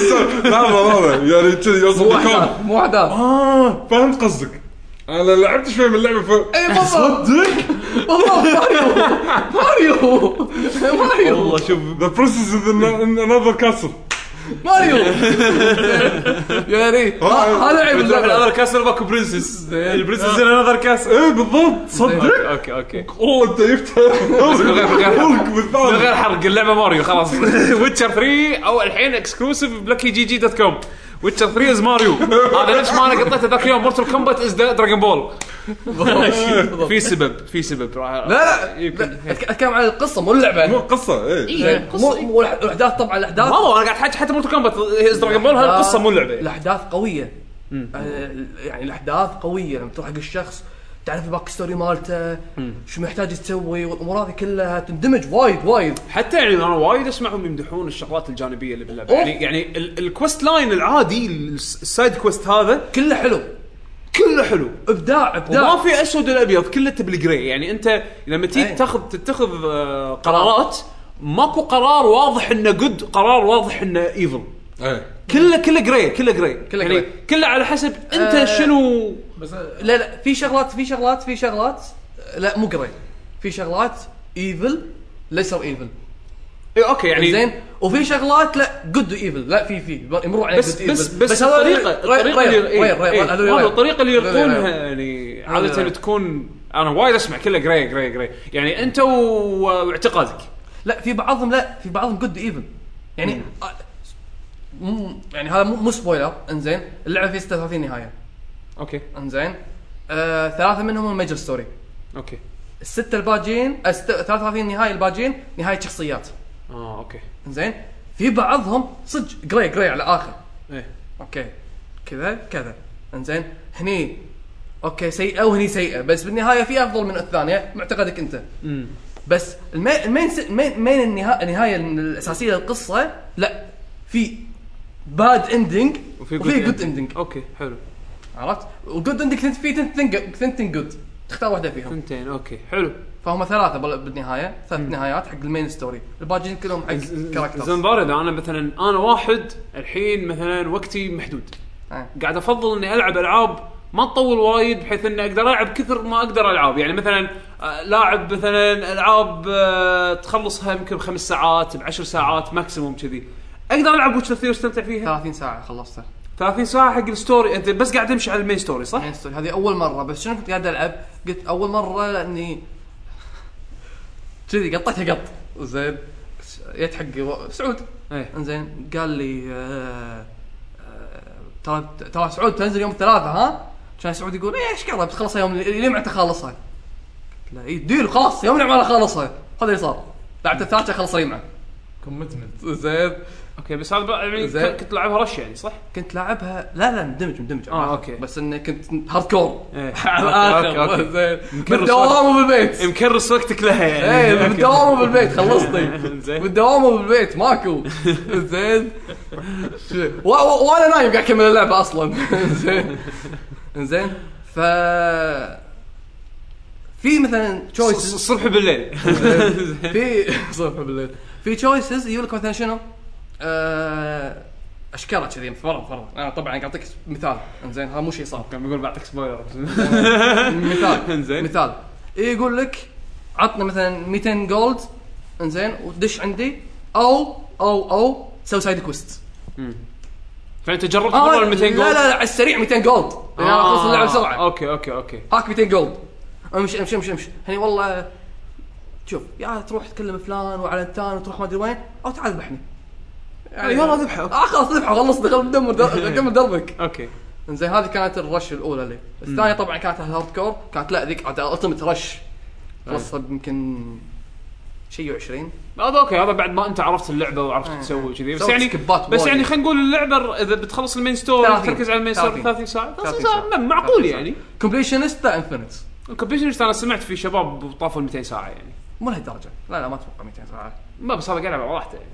[SPEAKER 4] لحظه لحظه يعني كذي يوصل
[SPEAKER 2] مو
[SPEAKER 4] مكان
[SPEAKER 2] احداث مو احداث
[SPEAKER 4] اه فهمت قصدك انا لعبت شوي من اللعبه ف
[SPEAKER 2] اي بالضبط
[SPEAKER 4] صدق
[SPEAKER 2] بالضبط إيه، ماريو ماريو ماريو
[SPEAKER 4] والله شوف ذا بروسيس از انذر كاسل
[SPEAKER 2] ماريو يا ريت
[SPEAKER 4] آه،
[SPEAKER 2] هذا عيب
[SPEAKER 1] بتروح
[SPEAKER 2] اللعبه
[SPEAKER 1] لانذر كاسل ماكو يعني برنسس
[SPEAKER 2] زين.
[SPEAKER 1] البرنسس لانذر كاسل
[SPEAKER 4] اي إيه، بالضبط صدق
[SPEAKER 1] اوكي اوكي
[SPEAKER 4] والله انت جبتها
[SPEAKER 1] غير-
[SPEAKER 4] هولك
[SPEAKER 1] من
[SPEAKER 4] (laughs) بالثاني
[SPEAKER 1] غير حرق اللعبه ماريو خلاص (laughs) ويتشر 3 او الحين اكسكلوسيف بلاكي جي جي دوت كوم ويتشر 3 از ماريو
[SPEAKER 2] (laughs)
[SPEAKER 1] هذا نفس ما انا قطيته ذاك اليوم مورتل كومبات از دراجون بول في سبب في سبب راح-
[SPEAKER 2] لا لا
[SPEAKER 1] يمكن
[SPEAKER 2] لا، أتك- اتكلم عن القصه مو اللعبه
[SPEAKER 4] مو إيه.
[SPEAKER 2] يعني.
[SPEAKER 4] قصه اي
[SPEAKER 2] زين، مو مو الأح- الاحداث طبعا الاحداث
[SPEAKER 1] ما هو انا قاعد احكي حتى مورتل كومبات از دراجون بول هاي القصه مو اللعبه يعني.
[SPEAKER 2] الاحداث قويه آه، يعني الاحداث قويه لما تروح حق الشخص تعرف الباك ستوري مالته شو محتاج تسوي والامور هذه كلها تندمج وايد وايد
[SPEAKER 1] حتى يعني انا وايد اسمعهم يمدحون الشغلات الجانبيه اللي باللعبه
[SPEAKER 2] أوه.
[SPEAKER 1] يعني يعني ال- الكوست لاين العادي الس- السايد كوست هذا
[SPEAKER 2] كله حلو
[SPEAKER 1] كله حلو
[SPEAKER 2] ابداع
[SPEAKER 1] وما
[SPEAKER 2] ابداع
[SPEAKER 1] في اسود ولا ابيض كله تبلي جراي يعني انت لما تيجي
[SPEAKER 2] أي.
[SPEAKER 1] تاخذ تتخذ آه، قرارات ماكو قرار واضح انه جود قرار واضح انه ايفل
[SPEAKER 4] إيه.
[SPEAKER 1] كله كله جراي كله جراي
[SPEAKER 2] كله
[SPEAKER 1] يعني
[SPEAKER 2] grey.
[SPEAKER 1] كله على حسب انت
[SPEAKER 2] آه.
[SPEAKER 1] شنو
[SPEAKER 5] بس
[SPEAKER 2] لا لا في شغلات في شغلات في شغلات لا مو قري في شغلات ايفل ليسوا ايفل
[SPEAKER 1] إيه اوكي يعني
[SPEAKER 2] زين وفي شغلات لا جود ايفل لا في في يمروا عليك
[SPEAKER 1] بس
[SPEAKER 2] good evil.
[SPEAKER 1] بس بس
[SPEAKER 2] هذول
[SPEAKER 1] الطريقه
[SPEAKER 2] غير-
[SPEAKER 1] الطريقه
[SPEAKER 2] غير-
[SPEAKER 1] اللي إيه،
[SPEAKER 2] غير- غير-
[SPEAKER 1] إيه،
[SPEAKER 2] هذول
[SPEAKER 1] هذا
[SPEAKER 2] غير.
[SPEAKER 1] الطريقه اللي
[SPEAKER 2] هذول غير-
[SPEAKER 1] يرقونها
[SPEAKER 2] غير.
[SPEAKER 1] يعني
[SPEAKER 2] هذول
[SPEAKER 1] عاده
[SPEAKER 2] غير.
[SPEAKER 1] تكون انا وايد اسمع كله جراي جراي جراي يعني انت و- واعتقادك
[SPEAKER 2] لا في بعضهم لا في بعضهم جود ايفل
[SPEAKER 1] إيه.
[SPEAKER 2] يعني آه، مم يعني هذا مو مو سبويلر انزين اللعبه فيها 36 نهايه
[SPEAKER 1] اوكي
[SPEAKER 2] انزين آه ثلاثه منهم هم ميجر ستوري
[SPEAKER 1] اوكي
[SPEAKER 2] السته الباجين آه، ست- 33 نهايه الباجين نهايه شخصيات آه،
[SPEAKER 1] اه اوكي
[SPEAKER 2] انزين في بعضهم صدق جراي جراي على اخر
[SPEAKER 1] ايه
[SPEAKER 2] اوكي كذا كذا انزين هني اوكي سيئه وهني سيئه بس بالنهايه في افضل من الثانيه معتقدك انت
[SPEAKER 1] امم
[SPEAKER 2] بس المي- المين س- المين المين النهايه النهايه الاساسيه للقصه لا في باد اندنج وفي جود اندنج
[SPEAKER 1] اوكي حلو
[SPEAKER 2] عرفت؟ وجود اندنج في ثنتين ثنتين جود تختار واحده فيهم
[SPEAKER 1] ثنتين اوكي حلو
[SPEAKER 2] فهم ثلاثه بال- بالنهايه ثلاث نهايات حق المين ستوري الباقيين كلهم حق
[SPEAKER 1] زين
[SPEAKER 2] كاركترز
[SPEAKER 1] ضار اذا انا مثلا انا واحد الحين مثلا وقتي محدود
[SPEAKER 2] آه.
[SPEAKER 1] قاعد افضل اني العب العاب ما تطول وايد بحيث اني اقدر العب كثر ما اقدر العاب يعني مثلا آه، لاعب مثلا العاب آه، تخلصها يمكن بخمس ساعات بعشر ساعات ماكسيموم كذي اقدر العب ويتشر 3 واستمتع فيها
[SPEAKER 2] 30 ساعه خلصتها
[SPEAKER 1] 30 ساعه حق الستوري انت بس قاعد تمشي على المين ستوري صح؟
[SPEAKER 2] المين ستوري هذه اول مره بس شنو كنت قاعد العب؟ قلت اول مره لاني (laughs) كذي قطيتها قط زين جيت حق و- سعود
[SPEAKER 1] ايه
[SPEAKER 2] انزين قال لي آه، آه، ترى ترى سعود تنزل يوم الثلاثاء ها؟ كان سعود يقول ايه ايش قرب تخلصها يوم اليوم انت خالصها قلت له اي ديل خلاص يوم العمالة خالصها هذا اللي صار لعبت الثلاثة خلص الجمعة
[SPEAKER 5] كومتمنت
[SPEAKER 2] زين
[SPEAKER 1] اوكي بس هذا بقى يعني
[SPEAKER 2] زين.
[SPEAKER 1] كنت لعبها رش يعني صح؟
[SPEAKER 2] كنت لاعبها لا لا مندمج مندمج
[SPEAKER 1] آه، أوكي.
[SPEAKER 2] بس اني كنت هارد كور
[SPEAKER 1] (laughs) ايه
[SPEAKER 2] على
[SPEAKER 1] أوكي،
[SPEAKER 2] الاخر
[SPEAKER 1] أوكي. إيه،
[SPEAKER 2] زين
[SPEAKER 1] مكرس
[SPEAKER 2] بالدوام وبالبيت
[SPEAKER 1] مكرس وقتك لها يعني
[SPEAKER 2] ايه بالدوام وبالبيت خلصني
[SPEAKER 1] (laughs) زين.
[SPEAKER 2] بالدوام
[SPEAKER 1] (laughs)
[SPEAKER 2] وبالبيت ماكو زين و- و- وانا نايم قاعد اكمل اللعبه اصلا (laughs) زين زين ف في مثلا
[SPEAKER 1] الص-
[SPEAKER 2] تشويسز
[SPEAKER 1] الصبح بالليل (laughs)
[SPEAKER 2] في صبح بالليل في تشويسز يقول لك مثلا شنو؟ آه، اشكالها كذي فرض فرض انا طبعا قاعد اعطيك مثال زين هذا مو شيء صار
[SPEAKER 1] كان بقول بعطيك سبويلر (laughs)
[SPEAKER 2] مثال
[SPEAKER 1] إنزين.
[SPEAKER 2] مثال إيه يقول لك عطنا مثلا 200 جولد انزين ودش عندي او او او سوي سايد كويست
[SPEAKER 1] فانت جربت مره ال 200 جولد
[SPEAKER 2] آه،
[SPEAKER 1] آه.
[SPEAKER 2] لا لا لا على السريع 200 جولد يعني انا اخلص اللعبه بسرعه
[SPEAKER 1] اوكي اوكي اوكي
[SPEAKER 2] هاك 200 جولد امشي امشي امشي امشي هني والله شوف يا تروح تكلم فلان وعلى تان وتروح ما ادري وين او تعال ذبحني يعني
[SPEAKER 1] يلا ذبحه.
[SPEAKER 2] اه خلاص ذبحه خلصني خل دمر در- كمل دربك
[SPEAKER 1] اوكي
[SPEAKER 2] انزين هذه كانت الرش الاولى لي الثانيه طبعا كانت الهارد كور كانت لا ذيك التمت رش خلصت يمكن شيء 20
[SPEAKER 1] هذا اوكي هذا بعد ما انت عرفت اللعبه وعرفت
[SPEAKER 2] إيه.
[SPEAKER 1] شو تسوي كذي بس
[SPEAKER 2] سويت
[SPEAKER 1] يعني
[SPEAKER 2] سكيبات
[SPEAKER 1] بس
[SPEAKER 2] وايد.
[SPEAKER 1] يعني خلينا نقول اللعبه ر- اذا بتخلص المين ستوري
[SPEAKER 2] 30.
[SPEAKER 1] تركز على المين ستوري
[SPEAKER 2] 30.
[SPEAKER 1] 30 ساعه 30
[SPEAKER 2] 30
[SPEAKER 1] ساعه
[SPEAKER 2] ساعة.
[SPEAKER 1] معقول
[SPEAKER 2] 30
[SPEAKER 1] يعني
[SPEAKER 2] كومبليشنست ذا انفينيت
[SPEAKER 1] الكومبيشنست انا سمعت في شباب طافوا ال 200 ساعه يعني
[SPEAKER 2] مو لهالدرجه لا لا ما اتوقع 200 ساعه
[SPEAKER 1] ما بس هذا قاعد على راحته يعني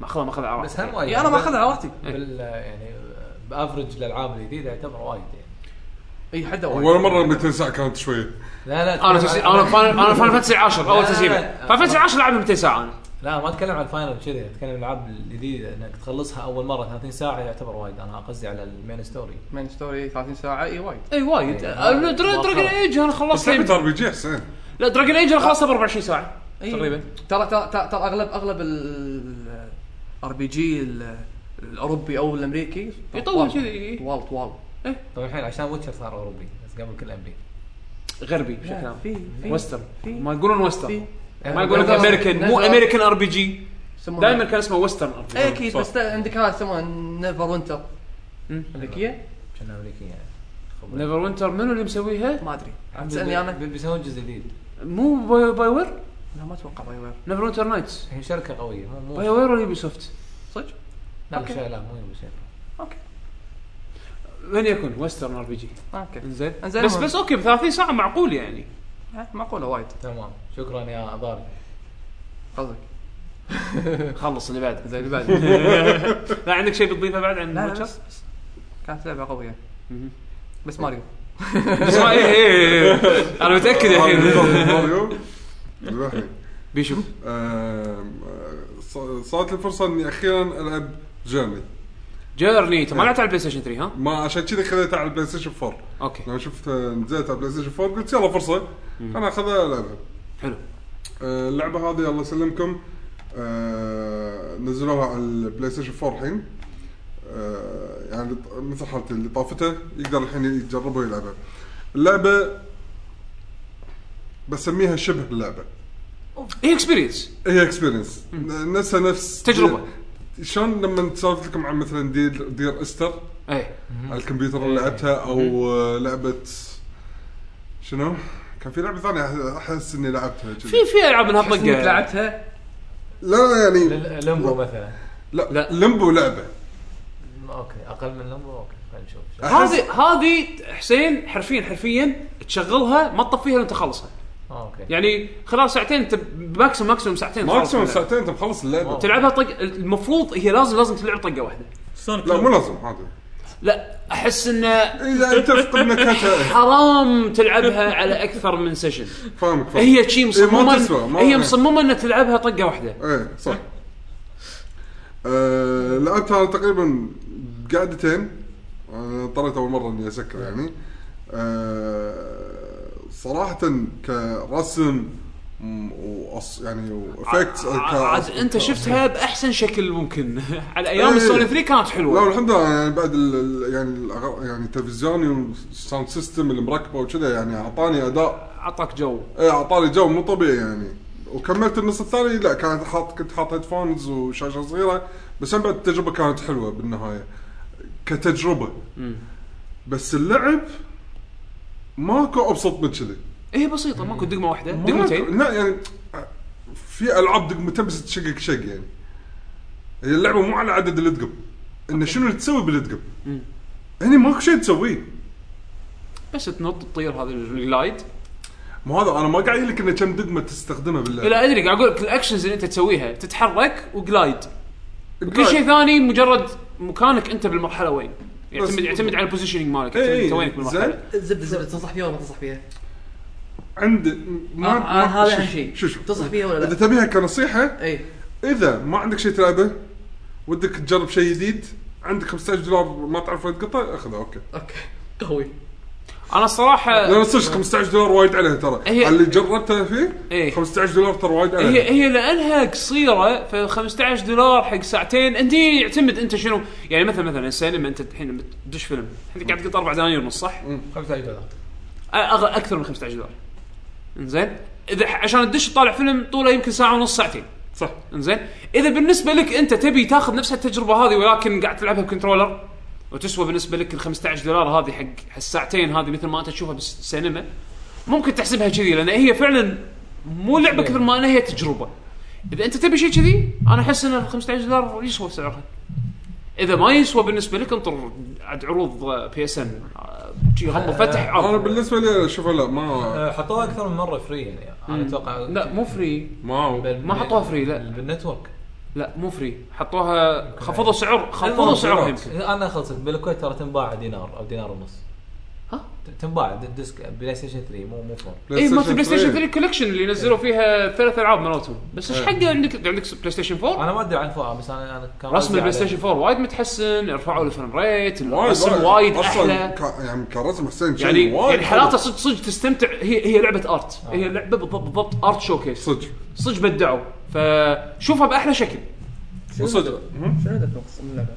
[SPEAKER 1] ماخذها ماخذها على
[SPEAKER 5] بس
[SPEAKER 1] راحته
[SPEAKER 5] هم وايد
[SPEAKER 2] يعني انا ما اخذها على راحتي
[SPEAKER 5] بال يعني بافرج الالعاب الجديده يعتبر وايد يعني
[SPEAKER 2] اي حدا
[SPEAKER 4] ولا
[SPEAKER 2] وايد
[SPEAKER 4] مره 200 ساعه كانت شويه
[SPEAKER 5] لا لا
[SPEAKER 1] انا
[SPEAKER 5] أتكلم
[SPEAKER 1] تسي...
[SPEAKER 5] عن-
[SPEAKER 1] انا فان انا فان فانتسي 10 اول
[SPEAKER 5] لا،
[SPEAKER 1] تسييم
[SPEAKER 5] لا، لا.
[SPEAKER 1] فان فانتسي 10 لعبها 200 ساعه انا
[SPEAKER 5] لا ما اتكلم عن الفاينل كذا اتكلم عن الالعاب الجديده انك تخلصها اول مره 30 ساعه يعتبر وايد انا قصدي على المين ستوري
[SPEAKER 2] مين ستوري 30 ساعه اي وايد
[SPEAKER 1] اي وايد دراجون ايج انا
[SPEAKER 4] بس
[SPEAKER 1] خلصتها
[SPEAKER 4] لعبه ار بي جي حسين
[SPEAKER 1] لا دراجون ايج انا خلصتها ب 24 ساعه
[SPEAKER 2] إي.
[SPEAKER 1] تقريبا.
[SPEAKER 2] ترى ترى ترى ترى اغلب اغلب الار بي جي الاوروبي او الامريكي
[SPEAKER 1] يطول
[SPEAKER 2] طوال-
[SPEAKER 1] كذي.
[SPEAKER 2] طوال طوال
[SPEAKER 5] طبعا الحين عشان ويتشر صار اوروبي بس قبل كل امريكي
[SPEAKER 1] غربي بشكل عام
[SPEAKER 2] في في
[SPEAKER 1] وسترن
[SPEAKER 2] في-
[SPEAKER 1] ما يقولون وسترن
[SPEAKER 2] في-
[SPEAKER 1] ما يقولون
[SPEAKER 2] نزل-
[SPEAKER 1] امريكان مو
[SPEAKER 2] نزل-
[SPEAKER 1] امريكان ار بي جي
[SPEAKER 2] يسمونها-
[SPEAKER 1] دائما كان اسمه وسترن ار
[SPEAKER 2] اي
[SPEAKER 1] بي جي
[SPEAKER 2] اكيد
[SPEAKER 4] صح.
[SPEAKER 2] إيه، بس عندك هذا يسمونه نيفر وينتر
[SPEAKER 1] مم.
[SPEAKER 2] امريكيه
[SPEAKER 5] كنا امريكي يعني خبر.
[SPEAKER 1] نيفر وينتر منو اللي مسويها؟
[SPEAKER 2] ما ادري عم تسالني انا
[SPEAKER 5] بي- بيسوون جزء جديد
[SPEAKER 1] مو باي, باي وير؟
[SPEAKER 2] لا ما اتوقع باي وير
[SPEAKER 1] نيفر وينتر نايتس
[SPEAKER 5] هي شركه قويه مو مو
[SPEAKER 1] باي وير ولا يوبي سوفت؟
[SPEAKER 2] صدق
[SPEAKER 5] لا
[SPEAKER 2] أوكي.
[SPEAKER 5] شيء- لا مو يوبي سوفت.
[SPEAKER 2] اوكي
[SPEAKER 1] من يكون وسترن ار بي جي
[SPEAKER 2] اوكي
[SPEAKER 1] انزين
[SPEAKER 2] إنزين،
[SPEAKER 1] بس
[SPEAKER 2] المهم.
[SPEAKER 1] بس اوكي ب 30 ساعه معقول يعني
[SPEAKER 2] ها، معقوله آه، وايد
[SPEAKER 5] تمام شكرا يا ضاري
[SPEAKER 2] قصدك
[SPEAKER 1] خلص اللي بعده
[SPEAKER 2] زي اللي بعد (laughs) لا
[SPEAKER 1] لا عندك شيء بتضيفه بعد عن
[SPEAKER 2] لا
[SPEAKER 1] ويتشر؟
[SPEAKER 2] بس بس كانت لعبه قويه
[SPEAKER 1] مهم.
[SPEAKER 2] بس ماريو
[SPEAKER 1] بس ما إيه إيه إيه. انا متاكد (laughs) الحين
[SPEAKER 4] آه، ماريو الوحيد.
[SPEAKER 1] بيشوف
[SPEAKER 4] آم، آه، ص- صارت لي فرصه اني اخيرا العب جيرني
[SPEAKER 1] جيرني انت ما لعبت على البلاي ستيشن 3 ها؟
[SPEAKER 4] ما عشان كذا خذيتها على البلاي ستيشن 4
[SPEAKER 1] اوكي
[SPEAKER 4] لما شفت آه، نزلت على البلاي ستيشن 4 قلت يلا فرصه انا اخذها العبها
[SPEAKER 1] حلو
[SPEAKER 4] آه، اللعبه هذه الله يسلمكم آه، نزلوها على البلاي ستيشن 4 الحين آه، يعني ط- مثل حالتي اللي طافته يقدر الحين يجربها ويلعبها اللعبه بسميها شبه لعبه
[SPEAKER 1] هي اكسبيرينس
[SPEAKER 4] هي اكسبيرينس نفسها نفس
[SPEAKER 1] تجربة.
[SPEAKER 4] شلون لما سولفت لكم عن مثلا دير, دير استر
[SPEAKER 1] اي
[SPEAKER 4] على الكمبيوتر اللي لعبتها او لعبه شنو؟ كان في لعبه ثانيه احس اني لعبتها كذي.
[SPEAKER 1] في في العاب منها
[SPEAKER 2] بس انك
[SPEAKER 1] طقه
[SPEAKER 2] لعبتها
[SPEAKER 4] لا لا يعني
[SPEAKER 5] لل- لمبو مثلا
[SPEAKER 4] لا,
[SPEAKER 1] لا.
[SPEAKER 4] لا. لمبو لعبه
[SPEAKER 5] اوكي اقل من لمبو اوكي خلينا نشوف شو-
[SPEAKER 1] هذه هذه حسين حرفيا حرفيا تشغلها ما تطفيها لين تخلصها
[SPEAKER 5] اوكي
[SPEAKER 1] يعني خلال ساعتين انت ماكسيموم ماكسيموم ساعتين تخلص
[SPEAKER 4] ماكسيموم
[SPEAKER 1] اللعبة.
[SPEAKER 4] ساعتين انت مخلص اللعبه
[SPEAKER 5] واو.
[SPEAKER 1] تلعبها طق المفروض هي لازم لازم تلعب طقه واحده
[SPEAKER 3] سونيك
[SPEAKER 4] لا
[SPEAKER 3] يوم.
[SPEAKER 4] مو لازم هذا
[SPEAKER 1] لا احس انه
[SPEAKER 4] اذا انت فقد
[SPEAKER 1] (laughs)
[SPEAKER 4] نكهتها
[SPEAKER 1] حرام
[SPEAKER 4] (laughs)
[SPEAKER 1] تلعبها على اكثر من سيشن
[SPEAKER 4] فاهمك فاهمك
[SPEAKER 1] هي شي
[SPEAKER 4] إيه،
[SPEAKER 1] مصممه
[SPEAKER 4] ما تسوى، ما-
[SPEAKER 1] هي مصممه انها تلعبها طقه واحده
[SPEAKER 4] ايه صح آه، لعبتها تقريبا قعدتين آه، أنا اضطريت اول مره اني اسكر يعني آه، صراحه كرسم م- وأص يعني وافكتس
[SPEAKER 1] عاد انت شفتها باحسن شكل ممكن (laughs) على ايام
[SPEAKER 4] إيه.
[SPEAKER 1] السوني 3 كانت
[SPEAKER 4] لا
[SPEAKER 1] حلوه
[SPEAKER 4] والحمد لله يعني بعد ال- ال- يعني الأغ- يعني تلفزيوني والساوند سيستم اللي مركبه وكذا يعني اعطاني اداء
[SPEAKER 1] عطاك جو
[SPEAKER 4] ايه اعطاني جو مو طبيعي يعني وكملت النص الثاني لا كانت حاط كنت حاط هيدفونز وشاشه صغيره بس هم بعد التجربه كانت حلوه بالنهايه كتجربه بس اللعب ماكو ابسط من كذي
[SPEAKER 1] هي بسيطه ماكو دقمه واحده
[SPEAKER 4] ماكو-
[SPEAKER 1] دقمتين
[SPEAKER 4] لا يعني في العاب دقمتين بس تشقك شق يعني هي اللعبه مو على عدد الدقم انه شنو تسوي بالدقم
[SPEAKER 1] مم.
[SPEAKER 4] هني ماكو شيء تسويه
[SPEAKER 1] بس تنط تطير هذا الجلايد
[SPEAKER 4] مو هذا انا ما قاعد اقول لك انه كم دقمه تستخدمها باللعبه
[SPEAKER 1] لا ادري قاعد اقول لك الاكشنز اللي انت تسويها تتحرك وجلايد
[SPEAKER 4] طيب.
[SPEAKER 1] كل شيء ثاني مجرد مكانك انت بالمرحله وين يعتمد
[SPEAKER 4] بس-
[SPEAKER 1] يعتمد على البوزيشننج مالك
[SPEAKER 4] إيه،
[SPEAKER 1] يعتمد انت
[SPEAKER 4] إيه،
[SPEAKER 1] وينك
[SPEAKER 4] زين
[SPEAKER 1] بالمرحله
[SPEAKER 2] الزبده الزبده تنصح فيها ولا ما تنصح فيها؟
[SPEAKER 4] عند
[SPEAKER 2] آه،
[SPEAKER 4] ما
[SPEAKER 2] آه، هذا اهم
[SPEAKER 4] شو-
[SPEAKER 2] شيء
[SPEAKER 4] شو شو
[SPEAKER 2] تنصح فيها ولا
[SPEAKER 4] اذا
[SPEAKER 2] لا؟ إيه.
[SPEAKER 4] تبيها كنصيحه
[SPEAKER 2] اي
[SPEAKER 4] اذا ما عندك شيء تلعبه ودك تجرب شيء جديد عندك 15 دولار ما تعرف وين تقطع اخذه اوكي
[SPEAKER 2] اوكي قوي
[SPEAKER 1] انا الصراحه
[SPEAKER 4] لان صدق 15 دولار وايد عليها ترى
[SPEAKER 1] هي-
[SPEAKER 4] اللي جربتها فيه
[SPEAKER 1] إيه.
[SPEAKER 4] 15 دولار ترى وايد
[SPEAKER 1] هي
[SPEAKER 4] عليها
[SPEAKER 1] هي لانها قصيره ف 15 دولار حق ساعتين انت يعتمد انت شنو يعني مثلا مثلا السينما انت الحين لما تدش فيلم انت قاعد تقط اربع دنانير ونص صح؟
[SPEAKER 5] 15 دولار
[SPEAKER 1] أغ- اكثر من 15 دولار انزين اذا ح- عشان تدش تطالع فيلم طوله يمكن ساعه ونص ساعتين
[SPEAKER 4] صح
[SPEAKER 1] انزين اذا بالنسبه لك انت تبي تاخذ نفس التجربه هذه ولكن قاعد تلعبها بكنترولر وتسوى بالنسبه لك ال 15 دولار هذه حق الساعتين هذه مثل ما انت تشوفها بالسينما ممكن تحسبها كذي لان هي فعلا مو لعبه كثر ما انها هي تجربه اذا انت تبي شيء كذي انا احس ان 15 دولار يسوى سعرها اذا ما يسوى بالنسبه لك انطر عاد عروض آه، بي اس ان هم آه، فتح
[SPEAKER 4] انا
[SPEAKER 1] عرض
[SPEAKER 4] بالنسبه لي شوف لا ما
[SPEAKER 5] آه، حطوها اكثر من مره فري يعني انا اتوقع
[SPEAKER 1] لا مو فري
[SPEAKER 4] ما
[SPEAKER 5] بال-
[SPEAKER 1] ما حطوها فري، لا.
[SPEAKER 5] بالنتورك
[SPEAKER 1] لا مو فري حطوها خفضوا سعر خفضوا
[SPEAKER 4] إيه،
[SPEAKER 5] المهم،
[SPEAKER 1] سعرها
[SPEAKER 4] سعرات.
[SPEAKER 1] يمكن
[SPEAKER 5] انا خلصت بالكويت ترى تنباع دينار او دينار ونص
[SPEAKER 1] ها؟
[SPEAKER 5] ت- تنباع د- ديسك بلاي ستيشن 3 مو مو 4
[SPEAKER 1] اي مالت بلاي ستيشن 3 كولكشن اللي
[SPEAKER 4] إيه.
[SPEAKER 1] نزلوا فيها ثلاث العاب مالتهم بس ايش حقه عندك عندك بلاي ستيشن 4
[SPEAKER 5] انا ما ادري عن 4 بس انا انا كان
[SPEAKER 1] رسم
[SPEAKER 5] قصدي
[SPEAKER 1] البلاي
[SPEAKER 5] على-
[SPEAKER 1] ستيشن 4 وايد متحسن رفعوا الفريم ريت الرسم وايد احلى
[SPEAKER 4] ك... يعني كرسم حسين شيء
[SPEAKER 1] يعني
[SPEAKER 4] وايد
[SPEAKER 1] يعني
[SPEAKER 4] حلو. آه.
[SPEAKER 1] حالاته صدق صدق تستمتع هي هي لعبه ارت هي لعبه بالضبط بالضبط ارت شوكيس
[SPEAKER 4] صدق
[SPEAKER 1] صدق بدعوا فشوفها باحلى شكل
[SPEAKER 4] صدق
[SPEAKER 2] شنو هدف المقصود من اللعبه؟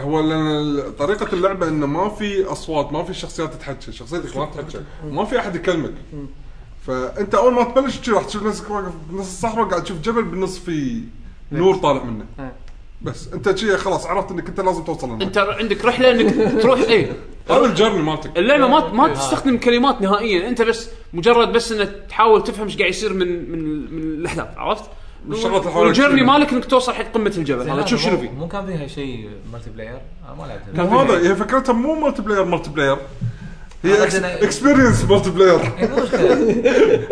[SPEAKER 4] هو لأن طريقة اللعبة انه ما في اصوات ما في شخصيات تتحكى شخصيتك ما تتحكى ما في احد يكلمك فانت اول ما تبلش تشي راح تشوف نفسك واقف بنص الصحراء قاعد تشوف جبل بالنص في نور طالع منه
[SPEAKER 2] إيه.
[SPEAKER 4] بس انت شي خلاص عرفت انك انت لازم توصل لهناك.
[SPEAKER 1] انت عندك رحله انك تروح إيه. اي
[SPEAKER 4] هذا الجرني مالتك
[SPEAKER 1] اللعبه ما
[SPEAKER 4] إيه،
[SPEAKER 1] ما تستخدم كلمات نهائيا انت بس مجرد بس انك تحاول تفهم ايش قاعد يصير من من من الاحداث عرفت؟
[SPEAKER 4] والشغلات اللي حواليك
[SPEAKER 1] والجيرني
[SPEAKER 4] شنو؟
[SPEAKER 1] مالك انك توصل حق قمه الجبل
[SPEAKER 5] زين،
[SPEAKER 1] هذا
[SPEAKER 5] هذا
[SPEAKER 1] تشوف شنو
[SPEAKER 5] مو-
[SPEAKER 1] فيه
[SPEAKER 5] مو كان فيها شيء ملتي بلاير انا ما لعبت
[SPEAKER 1] كان-
[SPEAKER 4] هذا هي فكرتها مو مالتي بلاير مالتي بلاير هي
[SPEAKER 5] أنا- أنا-
[SPEAKER 4] اكسبيرينس مالتي بلاير
[SPEAKER 5] يعني مو مشكلة.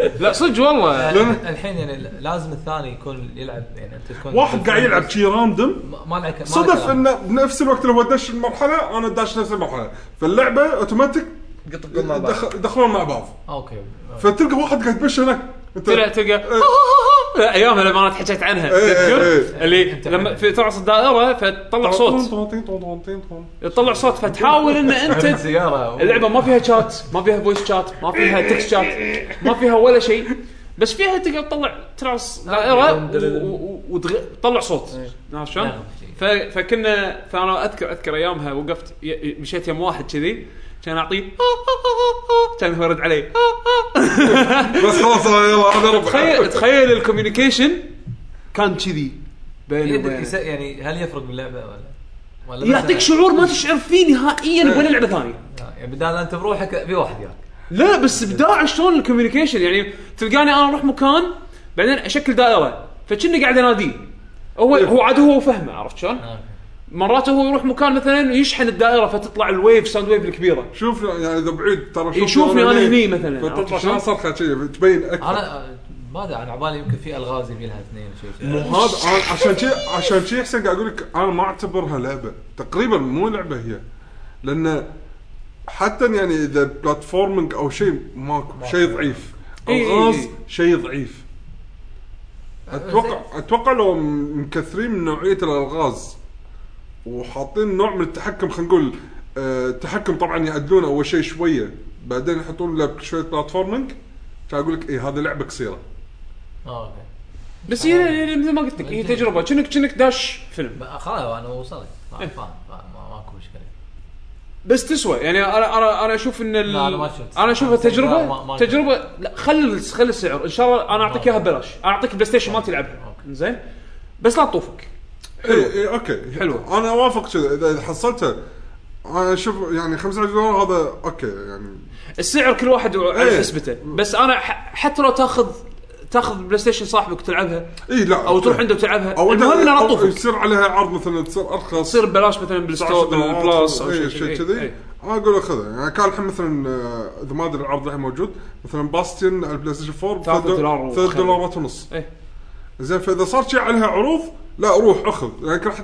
[SPEAKER 1] (laughs) لا صدق والله
[SPEAKER 4] لأن-
[SPEAKER 5] الحين يعني لازم الثاني يكون يلعب يعني انت تكون
[SPEAKER 4] واحد قاعد يلعب شي راندوم
[SPEAKER 5] ما ما لك ما لك
[SPEAKER 4] صدف
[SPEAKER 5] كلام.
[SPEAKER 4] انه بنفس الوقت اللي هو دش المرحله انا داش نفس المرحله فاللعبه اوتوماتيك
[SPEAKER 2] قطبكم مع بعض
[SPEAKER 4] دخ- يدخلون مع بعض
[SPEAKER 5] اوكي
[SPEAKER 4] فتلقى واحد قاعد يتمشى هناك انت
[SPEAKER 1] طلع تلقى (laughs) لا، ايامها لما انا حكيت عنها
[SPEAKER 4] إيه،
[SPEAKER 1] تذكر؟
[SPEAKER 4] إيه.
[SPEAKER 1] اللي لما في تعرس الدائره فتطلع صوت يطلع صوت فتحاول ان
[SPEAKER 4] (laughs)
[SPEAKER 1] انت
[SPEAKER 5] سيارة
[SPEAKER 1] اللعبه ما فيها شات ما فيها فويس شات ما فيها تكست شات ما فيها ولا شيء بس فيها تقدر تطلع تراس دائره وتطلع صوت عرفت شلون؟
[SPEAKER 5] نعم.
[SPEAKER 1] ف- فكنا فانا اذكر اذكر ايامها وقفت ي- ي- مشيت يم واحد كذي كان "آه، اعطيه آه، كان هو يرد علي "آه،
[SPEAKER 4] بس خلاص أنا يلا انا ربع
[SPEAKER 1] تخيل تخيل الكوميونيكيشن كان كذي بيني
[SPEAKER 5] يدري
[SPEAKER 1] وبينه.
[SPEAKER 5] يس- يعني هل يفرق باللعبه ولا ولا بس-
[SPEAKER 1] يعطيك شعور ما تشعر فيه نهائيا ولا لعبه ثانيه
[SPEAKER 5] آه، يعني بدال انت بروحك في واحد وياك
[SPEAKER 1] لا بس ابداع شلون الكوميونيكيشن يعني تلقاني انا اروح مكان بعدين اشكل دائره فكني قاعد اناديه هو هو عاد هو فهمه عرفت شلون؟
[SPEAKER 5] آه.
[SPEAKER 1] مرات هو يروح مكان مثلا ويشحن الدائره فتطلع الويف ساوند ويف الكبيره
[SPEAKER 4] شوف يعني اذا بعيد ترى
[SPEAKER 1] يشوفني أنا هني مثلاً، عرفت
[SPEAKER 4] فتطلع
[SPEAKER 1] شلون؟
[SPEAKER 4] شلون صرخه شي تبين اكثر
[SPEAKER 5] انا آه، ما ادري انا عبالي يمكن في الغاز يبي لها اثنين شيء
[SPEAKER 4] مو هذا أنا- عشان شي عشان شي احسن قاعد اقول لك انا ما اعتبرها لعبه تقريبا مو لعبه هي لان حتى يعني اذا بلاتفورمينج او شيء ماكو شيء ضعيف
[SPEAKER 1] إي إي
[SPEAKER 4] الغاز
[SPEAKER 1] إي.
[SPEAKER 4] شيء ضعيف اتوقع اتوقع لو م- مكثرين من نوعيه الالغاز وحاطين نوع من التحكم خلينا نقول آه، التحكم طبعا يعدلون اول شيء شويه بعدين يحطون لك شويه بلاتفورمينج كان اقول لك اي إيه، هذه لعبه قصيره
[SPEAKER 5] اه اوكي
[SPEAKER 1] بس هي
[SPEAKER 5] آه.
[SPEAKER 1] يعني مثل ما قلت لك هي تجربه كأنك كأنك داش فيلم
[SPEAKER 5] بقى خلاص انا وصلت فاهم فاهم فاهم، ما- ماكو مشكله
[SPEAKER 1] بس تسوى يعني انا انا انا اشوف ان ال...
[SPEAKER 5] لا، أنا ما شفت.
[SPEAKER 1] انا اشوفها
[SPEAKER 5] لا، ما-
[SPEAKER 1] تجربه
[SPEAKER 5] ما-
[SPEAKER 1] تجربه لا خل خل السعر ان شاء الله انا اعطيك اياها ببلاش انا اعطيك البلاي ستيشن مالتي العبها
[SPEAKER 5] أوكي.
[SPEAKER 1] زين بس لا تطوفك
[SPEAKER 4] اي اي اوكي
[SPEAKER 1] حلوة.
[SPEAKER 4] انا اوافق كذا اذا إذا حصلتها انا اشوف يعني 25 دولار هذا اوكي يعني
[SPEAKER 1] السعر كل واحد على
[SPEAKER 4] إيه.
[SPEAKER 1] حسبته بس انا ح- حتى لو تاخذ تاخذ بلاي ستيشن صاحبك تلعبها
[SPEAKER 4] اي إيه، لا
[SPEAKER 1] او تروح
[SPEAKER 4] أوكي.
[SPEAKER 1] عنده وتلعبها
[SPEAKER 4] او إذا-
[SPEAKER 1] المهم انه
[SPEAKER 4] أو إيه.
[SPEAKER 1] لطوفك
[SPEAKER 4] يصير عليها عرض مثلا تصير ارخص
[SPEAKER 1] تصير ببلاش مثلا بالستور
[SPEAKER 4] 19 دولار
[SPEAKER 1] بالبلس او
[SPEAKER 4] إيه،
[SPEAKER 1] شيء
[SPEAKER 4] شيء
[SPEAKER 1] شيء
[SPEAKER 4] كذي انا اقول له خذها يعني كان الحين مثلا آه، اذا ما ادري العرض الحين موجود مثلا باستيون على البلاي ستيشن 4
[SPEAKER 1] ثلاثة
[SPEAKER 4] بثلاث
[SPEAKER 1] دولار وخير.
[SPEAKER 4] ثلاث دولارات ونص
[SPEAKER 1] إيه.
[SPEAKER 4] زين فاذا صار شيء عليها عروض لا روح اخذ يعني راح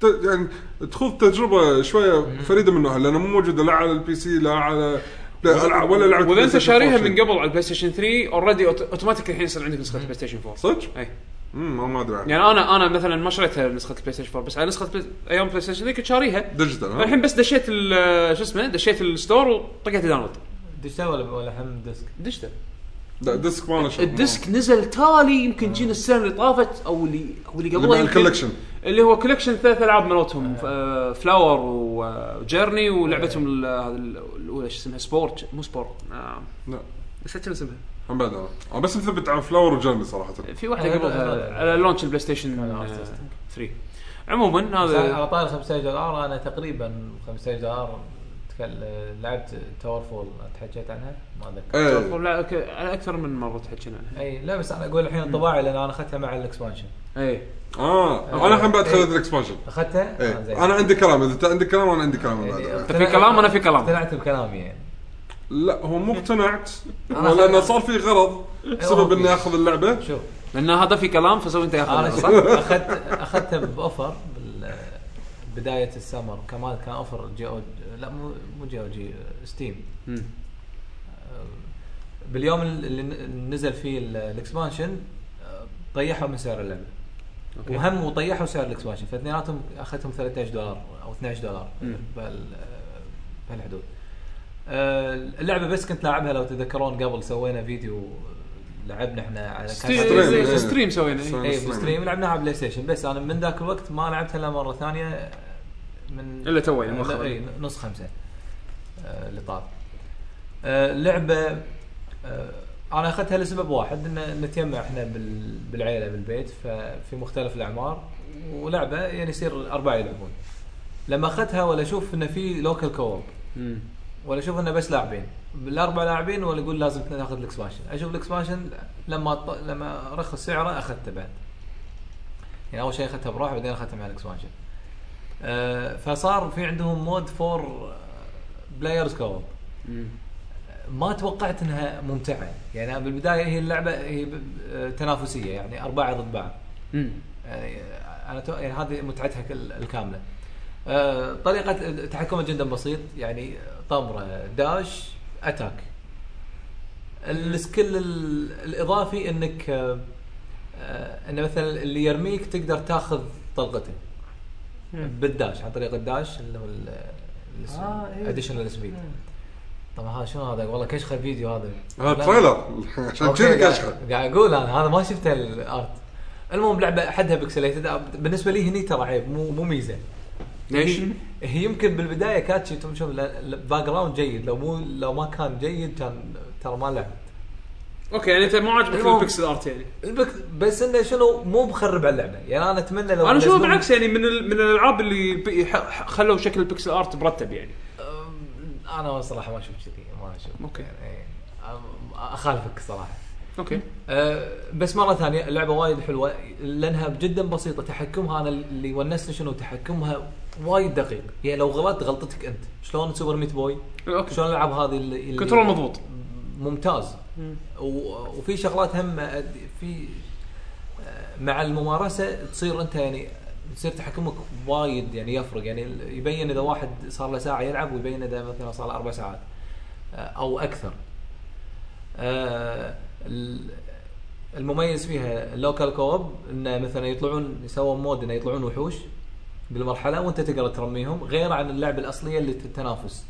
[SPEAKER 4] ت- يعني تخوض تجربه شويه فريده من نوعها لانها مو موجوده لا على البي سي لا على لا ألعب- ولا لعبه
[SPEAKER 1] واذا
[SPEAKER 4] بلاي
[SPEAKER 1] انت
[SPEAKER 4] ستيشن
[SPEAKER 1] شاريها
[SPEAKER 4] 4
[SPEAKER 1] من
[SPEAKER 4] شيء. إيه.
[SPEAKER 1] قبل على البلاي ستيشن 3 اوريدي اوتوماتيك الحين يصير عندك نسخه بلاي ستيشن 4
[SPEAKER 4] صدق؟
[SPEAKER 1] اي
[SPEAKER 4] امم ما- ما ادري عنها.
[SPEAKER 1] إيه. يعني انا انا مثلا ما شريتها نسخه البلاي ستيشن 4 بس على نسخه بلاي... ايام بلاي ستيشن 3 كنت شاريها
[SPEAKER 4] ديجيتال ها؟
[SPEAKER 1] يعني الحين بس دشيت ال- شو اسمه دشيت الستور وطقيت داونلود
[SPEAKER 5] ديجيتال ولا ولا هم ديسك
[SPEAKER 1] دشته
[SPEAKER 4] لا ديسك ما له شغل.
[SPEAKER 1] الديسك نزل تالي يمكن جينا السنه اللي طافت او اللي او اللي
[SPEAKER 4] اللي مع
[SPEAKER 1] قبلها يمكن-
[SPEAKER 4] الكولكشن.
[SPEAKER 1] اللي هو كولكشن ثلاث العاب مالتهم آه، فلاور وجيرني ولعبتهم ال- هذه ال- الاولى شو اسمها سبورت مو سبورت آه،
[SPEAKER 4] لا
[SPEAKER 1] نسيت شنو اسمها
[SPEAKER 4] هم بعد انا أنا بس مثبت على فلاور وجنبي صراحه
[SPEAKER 1] في واحده
[SPEAKER 5] آه،
[SPEAKER 1] قبلها
[SPEAKER 5] آه،
[SPEAKER 1] على لونش البلاي ستيشن
[SPEAKER 5] آه،
[SPEAKER 1] آه،
[SPEAKER 5] آه.
[SPEAKER 1] 3 عموما
[SPEAKER 5] بس
[SPEAKER 1] هذا
[SPEAKER 5] على طاري 15 دولار انا تقريبا 15 دولار تكل- لعبت تاور فول تحكيت عنها ما اذكر
[SPEAKER 4] ايه
[SPEAKER 1] لا أك- انا اكثر من مره تحكينا عنها
[SPEAKER 5] اي لا بس انا اقول الحين انطباعي لان انا اخذتها مع الاكسبانشن
[SPEAKER 1] اي
[SPEAKER 4] اه انا الحين بعد خذيت الاكسبانشن
[SPEAKER 5] اخذتها إيه. آه، زين.
[SPEAKER 4] ايه انا عندي كلام اذا انت عندك كلام انا عندي كلام
[SPEAKER 5] يعني
[SPEAKER 4] بعد
[SPEAKER 1] إيه. أنت في كلام وأنا في كلام.
[SPEAKER 5] اقتنعت بكلامي يعني
[SPEAKER 4] لا هو مو اقتنعت
[SPEAKER 5] أنا إيه،
[SPEAKER 4] هو لانه
[SPEAKER 5] خلنا-
[SPEAKER 4] صار في غرض بسبب اني اخذ اللعبه
[SPEAKER 5] شوف
[SPEAKER 1] لان هذا في كلام فسوي انت
[SPEAKER 5] انا
[SPEAKER 1] ياخذ
[SPEAKER 5] شوف، اخذت اخذتها باوفر بال- بدايه السمر كمان كان اوفر جي او لا مو مو جي او جي ستيم باليوم اللي نزل فيه ال- الاكسبانشن آه، طيحوا من سعر اللعبه
[SPEAKER 1] أوكي.
[SPEAKER 5] وهم وطيحوا سعر الاكسبانشن فاثنيناتهم اخذتهم 13 دولار او 12 دولار
[SPEAKER 1] مم.
[SPEAKER 5] بهال بهالحدود آه، اللعبه بس كنت لاعبها لو تذكرون قبل سوينا فيديو لعبنا احنا على
[SPEAKER 4] ستريم.
[SPEAKER 1] ستريم ستريم سوينا إيه.
[SPEAKER 4] ستريم.
[SPEAKER 1] إي.
[SPEAKER 5] اي
[SPEAKER 4] بالستريم.
[SPEAKER 5] بالستريم إيه، لعبناها على بلاي ستيشن بس انا من ذاك الوقت ما لعبتها الا مره ثانيه من
[SPEAKER 1] إلا تو يعني مؤخراً.
[SPEAKER 5] اي نص خمسه آه، اللي طاف آه، لعبه آه، انا اخذتها لسبب واحد ان نتجمع احنا بال- بالعيله بالبيت ففي مختلف الاعمار ولعبه يعني يصير اربعه يلعبون لما اخذتها ولا اشوف انه في لوكال كوب
[SPEAKER 1] مم.
[SPEAKER 5] ولا اشوف انه بس لاعبين بالاربع لاعبين ولا اقول لازم ناخذ الاكسبانشن اشوف الاكسبانشن لما ط... لما رخص سعره اخذته بعد يعني اول شيء اخذته بروحي بعدين اخذته مع الاكسبانشن أه فصار في عندهم مود فور بلايرز كوب
[SPEAKER 1] مم.
[SPEAKER 5] ما توقعت انها ممتعه يعني بالبدايه هي اللعبه هي ب- آه، تنافسيه يعني اربعه ضد بعض
[SPEAKER 1] مم.
[SPEAKER 5] يعني انا تو... يعني هذه متعتها كل- الكامله. آه، طريقه تحكمها جدا بسيط يعني طمره داش اتاك. السكيل ال- الاضافي انك آه، آه، انه مثلا اللي يرميك تقدر تاخذ طلقته بالداش عن طريق الداش اللي هو
[SPEAKER 3] آه، إيه.
[SPEAKER 5] الاديشنال سبيد. طبعا هذا شنو هذا والله كشخه الفيديو هذا
[SPEAKER 4] هذا
[SPEAKER 5] لا.
[SPEAKER 4] تريلر
[SPEAKER 5] (laughs)
[SPEAKER 4] عشان
[SPEAKER 5] أوكي،
[SPEAKER 4] كذي
[SPEAKER 5] قاعد-
[SPEAKER 4] كشخه
[SPEAKER 5] قاعد اقول انا هذا ما شفته الارت المهم لعبه حدها بكسليتد بالنسبه لي هني ترى عيب مو مو ميزه
[SPEAKER 1] ليش؟
[SPEAKER 5] هي- هي يمكن بالبدايه كانت شي- شوف الباك جراوند جيد لو مو لو ما كان جيد كان ترى ما لعب
[SPEAKER 1] اوكي يعني انت مو عاجبك
[SPEAKER 5] المهم.
[SPEAKER 1] البكسل ارت يعني
[SPEAKER 5] البك- بس انه شنو مو مخرب على اللعبه يعني انا اتمنى لو
[SPEAKER 1] انا اشوفه
[SPEAKER 5] ينزلون-
[SPEAKER 1] بالعكس يعني من ال- من الالعاب اللي بي- ح- ح- خلوا شكل البكسل ارت مرتب يعني
[SPEAKER 5] أم، انا صراحه ما اشوف كذي ما اشوف
[SPEAKER 1] أوكي.
[SPEAKER 5] يعني أم- اخالفك صراحه
[SPEAKER 1] اوكي
[SPEAKER 5] أه، بس مره ثانيه اللعبه وايد حلوه لانها جدا بسيطه تحكمها انا اللي ونسني شنو تحكمها وايد دقيق يعني لو غلطت غلطتك انت شلون سوبر ميت بوي
[SPEAKER 1] اوكي
[SPEAKER 5] شلون الالعاب هذه اللي اللي-
[SPEAKER 1] كنترول مضبوط
[SPEAKER 5] ممتاز و- وفي شغلات هم أد- في أه، مع الممارسه تصير انت يعني تصير تحكمك وايد يعني يفرق يعني ال- يبين اذا واحد صار له ساعه يلعب ويبين اذا مثلا صار له اربع ساعات أه، او اكثر. أه، ال- المميز فيها اللوكال كوب انه مثلا يطلعون يسوون مود انه يطلعون وحوش بالمرحله وانت تقدر ترميهم غير عن اللعبه الاصليه اللي التنافس.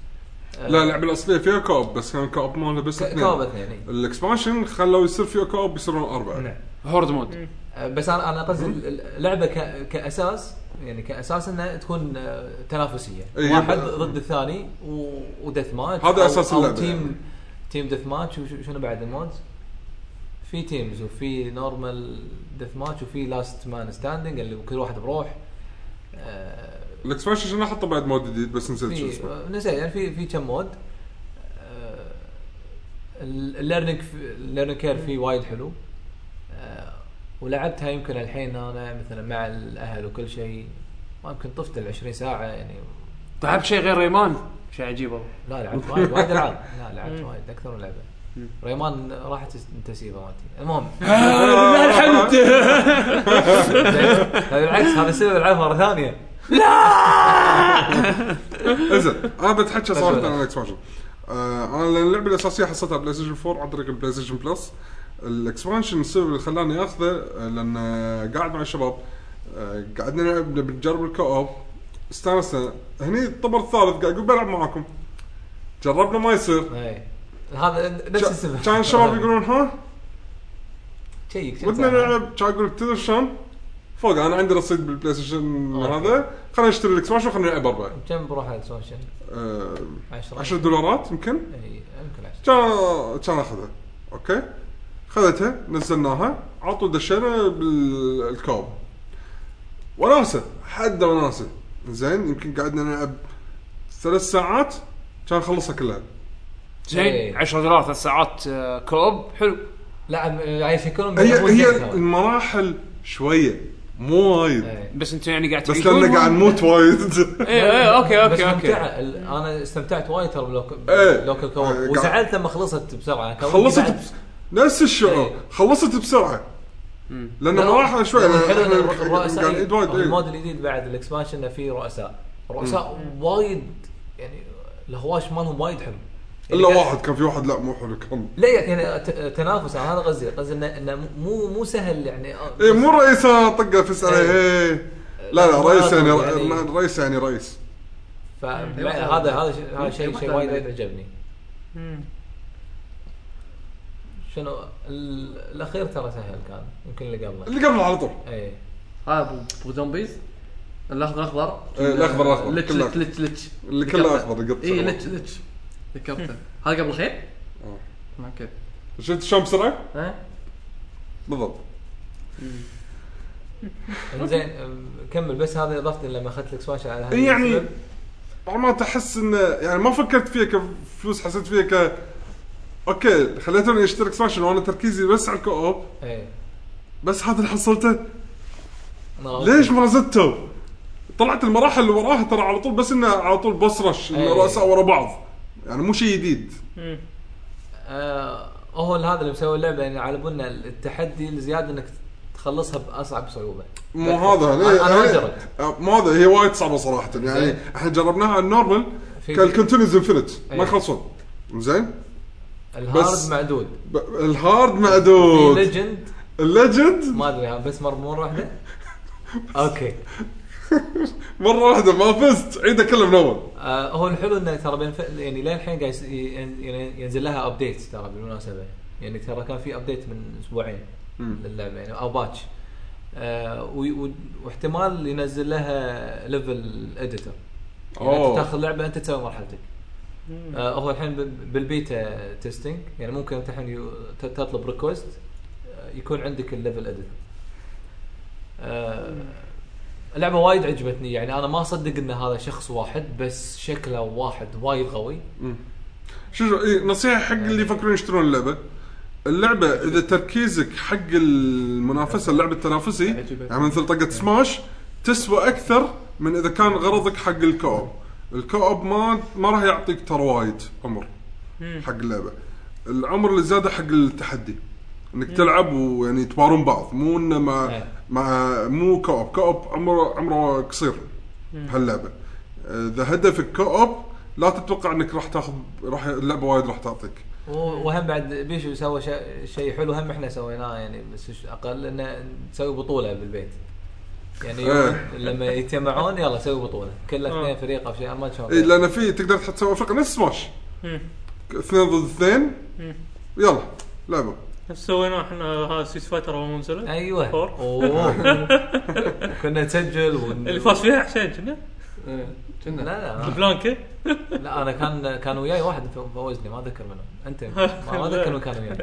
[SPEAKER 5] أه،
[SPEAKER 4] لا اللعبه الاصليه فيها كوب بس كان كوب ماله بس
[SPEAKER 5] ك-
[SPEAKER 4] اثنين
[SPEAKER 5] كوب اثنين إي.
[SPEAKER 4] الاكسبانشن خلوا يصير فيها كوب يصيرون اربعه
[SPEAKER 5] نعم.
[SPEAKER 1] هورد مود
[SPEAKER 5] أه، بس انا انا قصدي اللعبه ك- كاساس يعني كاساس انها تكون أه، تنافسيه
[SPEAKER 4] إي،
[SPEAKER 5] واحد
[SPEAKER 4] يبقى-
[SPEAKER 5] ضد الثاني و- وديث ماتش
[SPEAKER 4] إيه، يعني هذا
[SPEAKER 5] أو-
[SPEAKER 4] أساس
[SPEAKER 5] أو
[SPEAKER 4] اللعبة يعني.
[SPEAKER 5] تيم تيم ديث ماتش وشنو بعد المود؟ في تيمز وفي نورمال ديث ماتش وفي لاست مان ستاندنج اللي كل واحد بروح أه،
[SPEAKER 4] الاكسبانشن شنو حطوا بعد مود جديد بس نسيت شو
[SPEAKER 5] في
[SPEAKER 4] اسمه
[SPEAKER 5] نسيت يعني في في كم مود آه، ال- الليرنينج الليرنينج كير فيه وايد حلو آه، ولعبتها يمكن الحين انا مثلا مع الاهل وكل شيء ما يمكن طفت ال 20 ساعه يعني
[SPEAKER 1] لعبت طيب، شيء غير ريمان شيء عجيب والله
[SPEAKER 5] لا لعبت وايد وايد العاب لا لعبت
[SPEAKER 3] مم.
[SPEAKER 5] وايد اكثر من لعبه ريمان راحت التسييفه مالتي المهم آه،
[SPEAKER 1] الحمد
[SPEAKER 5] هذا بالعكس هذا السبب العبها مره ثانيه
[SPEAKER 4] انزين انا بتحكى صراحه عن الاكسبانشن آه انا اللعبه الاساسيه حصلتها بلاي ستيشن 4 عن طريق البلاي ستيشن بلس الاكسبانشن السبب اللي خلاني اخذه آه، لان آه، قاعد مع الشباب آه، قعدنا نلعب بنجرب الكوب استانسنا هني الطبر الثالث قاعد اقول بلعب معاكم جربنا ما يصير
[SPEAKER 5] (laughs) إي. إيه. هذا نفس
[SPEAKER 4] جا-
[SPEAKER 5] السبب
[SPEAKER 4] كان
[SPEAKER 5] (laughs)
[SPEAKER 4] الشباب يقولون ها
[SPEAKER 5] شيك شيك
[SPEAKER 4] ودنا
[SPEAKER 5] ساعة.
[SPEAKER 4] نلعب كان اقول لك تدري شلون؟ فوق انا عندي رصيد بالبلاي ستيشن
[SPEAKER 5] أوكي.
[SPEAKER 4] هذا خلينا نشتري الاكسبانشن وخلينا نلعب اربعه
[SPEAKER 5] كم بروح على السوشيال؟
[SPEAKER 4] آه،
[SPEAKER 5] 10
[SPEAKER 4] 10 دولارات يمكن
[SPEAKER 5] اي يمكن 10
[SPEAKER 4] كان كان اخذها اوكي خذتها نزلناها عطوا دشينا بالكوب وناسه حد وناسه زين يمكن قعدنا نلعب ثلاث ساعات كان خلصها كلها
[SPEAKER 1] زين
[SPEAKER 5] إيه.
[SPEAKER 1] 10 دولار ثلاث ساعات آه، كوب حلو
[SPEAKER 5] لا يعني عايش يكون
[SPEAKER 4] هي هي المراحل شويه مو وايد
[SPEAKER 5] إيه.
[SPEAKER 1] بس انتم يعني قاعد إيه،
[SPEAKER 4] بس لان قاعد نموت وايد
[SPEAKER 1] اي اي اوكي
[SPEAKER 5] بس
[SPEAKER 1] اوكي اوكي
[SPEAKER 5] ممتعه ال- انا استمتعت وايد ترى بلوك-
[SPEAKER 4] إيه.
[SPEAKER 5] بلوكال
[SPEAKER 4] إيه،
[SPEAKER 5] كواب
[SPEAKER 4] قاعد-
[SPEAKER 5] وزعلت لما خلصت بسرعه كان ودي
[SPEAKER 4] خلصت
[SPEAKER 5] بعد-
[SPEAKER 4] بس- نفس الشعور خلصت بسرعه لان المراحل شوي
[SPEAKER 5] لأن
[SPEAKER 4] لأن
[SPEAKER 5] الحلو ان
[SPEAKER 4] إحنا
[SPEAKER 5] الرؤساء
[SPEAKER 4] قاعد ايد وايد إيه.
[SPEAKER 5] المود الجديد بعد الاكسبانشن انه في رؤساء رؤساء وايد يعني الهواش مالهم وايد حلو يعني
[SPEAKER 4] الا
[SPEAKER 5] كان-
[SPEAKER 4] واحد كان في واحد لا مو حلو كان
[SPEAKER 5] لا يعني ت- تنافس أنا هذا قصدي قصدي انه إنه مو مو سهل يعني آه،
[SPEAKER 4] اي إيه، مو رئيسه طقه فس عليه
[SPEAKER 5] إيه.
[SPEAKER 4] إيه. لا لا
[SPEAKER 5] لا،
[SPEAKER 4] رئيس يعني
[SPEAKER 5] يعني-
[SPEAKER 4] رئيس يعني رئيس
[SPEAKER 5] فلا، يعني هذا هذا شيء- هذا شيء شيء وايد وايد عجبني
[SPEAKER 3] مم.
[SPEAKER 5] شنو ال- الاخير ترى سهل كان يمكن اللي قبله إيه.
[SPEAKER 4] اللي قبل على طول
[SPEAKER 5] اي
[SPEAKER 2] هذا أبو- ابو آه، زومبيز الاخضر الاخضر
[SPEAKER 4] إيه، الأخضر الأخضر،
[SPEAKER 2] لتش
[SPEAKER 4] كله.
[SPEAKER 2] لتش لتش لتش
[SPEAKER 4] اللي كله
[SPEAKER 2] ذكرته.
[SPEAKER 4] أخضر، قط
[SPEAKER 5] إيه،
[SPEAKER 2] اي
[SPEAKER 4] سلام.
[SPEAKER 2] لتش لتش ذكرته هذا قبل خير؟
[SPEAKER 4] آه.
[SPEAKER 2] اوكي
[SPEAKER 4] شفت شلون بسرعه؟
[SPEAKER 2] ها
[SPEAKER 4] بالضبط
[SPEAKER 5] انزين أم، كمل بس هذا اضفتي لما اخذت الاكسبانشن على هذا
[SPEAKER 4] إيه يعني
[SPEAKER 5] السبب.
[SPEAKER 4] بعض ما تحس انه يعني ما فكرت فيها كفلوس حسيت فيها ك اوكي خليتوني اشترك سماشن وانا تركيزي بس على الكوب
[SPEAKER 5] اي
[SPEAKER 4] بس هذا اللي حصلته
[SPEAKER 5] أنا-
[SPEAKER 4] ليش ما زدته؟ طلعت المراحل اللي وراها ترى على طول بس انه على طول بوس رش انه
[SPEAKER 5] إيه.
[SPEAKER 4] رؤساء ورا بعض يعني مو شيء جديد
[SPEAKER 3] مم.
[SPEAKER 5] آه هو هذا اللي مسوي اللعبه يعني على بالنا التحدي الزياده انك تخلصها باصعب صعوبه
[SPEAKER 4] مو هذا
[SPEAKER 5] أنا- أنا
[SPEAKER 4] هي-
[SPEAKER 5] جربت.
[SPEAKER 4] آه، مو هذا هي وايد صعبه صراحه يعني
[SPEAKER 5] زين.
[SPEAKER 4] احنا جربناها على النورمال
[SPEAKER 5] في-
[SPEAKER 4] كان الكونتينيوز انفنت ما
[SPEAKER 5] إيه.
[SPEAKER 4] يخلصون زين بس-
[SPEAKER 5] الهارد معدود
[SPEAKER 4] ب- الهارد
[SPEAKER 5] في
[SPEAKER 4] معدود
[SPEAKER 5] ليجند
[SPEAKER 4] الليجند
[SPEAKER 5] ما ادري ها، بس مر مره
[SPEAKER 4] (laughs)
[SPEAKER 5] واحده اوكي
[SPEAKER 4] مره واحده ما فزت عيده كله من اول
[SPEAKER 5] آه هو الحلو انه ترى بين يعني لين الحين قاعد يس- ين- ين- ينزل لها ابديت ترى بالمناسبه يعني ترى كان في ابديت من اسبوعين للعبه يعني او باتش آه وي- و- واحتمال ينزل لها ليفل اديتور يعني
[SPEAKER 4] أوه.
[SPEAKER 5] انت تاخذ لعبه انت تسوي مرحلتك آه هو الحين بال- بالبيتا تيستنج يعني ممكن انت الحين يو- ت- تطلب ريكوست يكون عندك الليفل اديتور آه اللعبه وايد عجبتني يعني انا ما اصدق ان هذا شخص واحد بس شكله واحد وايد قوي
[SPEAKER 4] شو شو إيه نصيحه حق اللي يفكرون يشترون اللعبه اللعبه اذا تركيزك حق المنافسه اللعب التنافسي يعني مثل طقه سماش تسوى اكثر من اذا كان غرضك حق الكوب الكوب ما ما راح يعطيك ترى وايد عمر حق اللعبه العمر اللي زاده حق التحدي انك تلعب ويعني تبارون بعض مو انه مع
[SPEAKER 5] إيه.
[SPEAKER 4] مع مو كوب كوب عمره عمره قصير بهاللعبه اذا هدفك كوب لا تتوقع انك راح تاخذ راح اللعبه وايد راح تعطيك
[SPEAKER 5] و- وهم بعد بيشو سوى شا- شيء حلو هم احنا سويناه يعني بس ش- اقل انه نسوي بطوله بالبيت يعني يوم
[SPEAKER 4] إيه.
[SPEAKER 5] لما يتجمعون يلا سوي بطوله كل اثنين فريق او شيء أنا ما شلون
[SPEAKER 4] إيه لان في تقدر تحط سوى فرق نفس سماش
[SPEAKER 3] مم.
[SPEAKER 4] اثنين ضد اثنين
[SPEAKER 3] مم.
[SPEAKER 4] يلا لعبه
[SPEAKER 3] نفس سويناه احنا ها سيس فايتر اول ما نزلت
[SPEAKER 5] ايوه
[SPEAKER 3] فور. (laughs)
[SPEAKER 5] اوه كنا نسجل ون...
[SPEAKER 3] اللي فاز فيها حسين كنا
[SPEAKER 2] إيه.
[SPEAKER 5] لا
[SPEAKER 2] كنا
[SPEAKER 5] لا
[SPEAKER 3] البلانكا
[SPEAKER 5] لا انا كان كان وياي واحد ف- فوزني ما اذكر منه
[SPEAKER 3] (laughs)
[SPEAKER 5] انت ما ما اذكر من كان وياي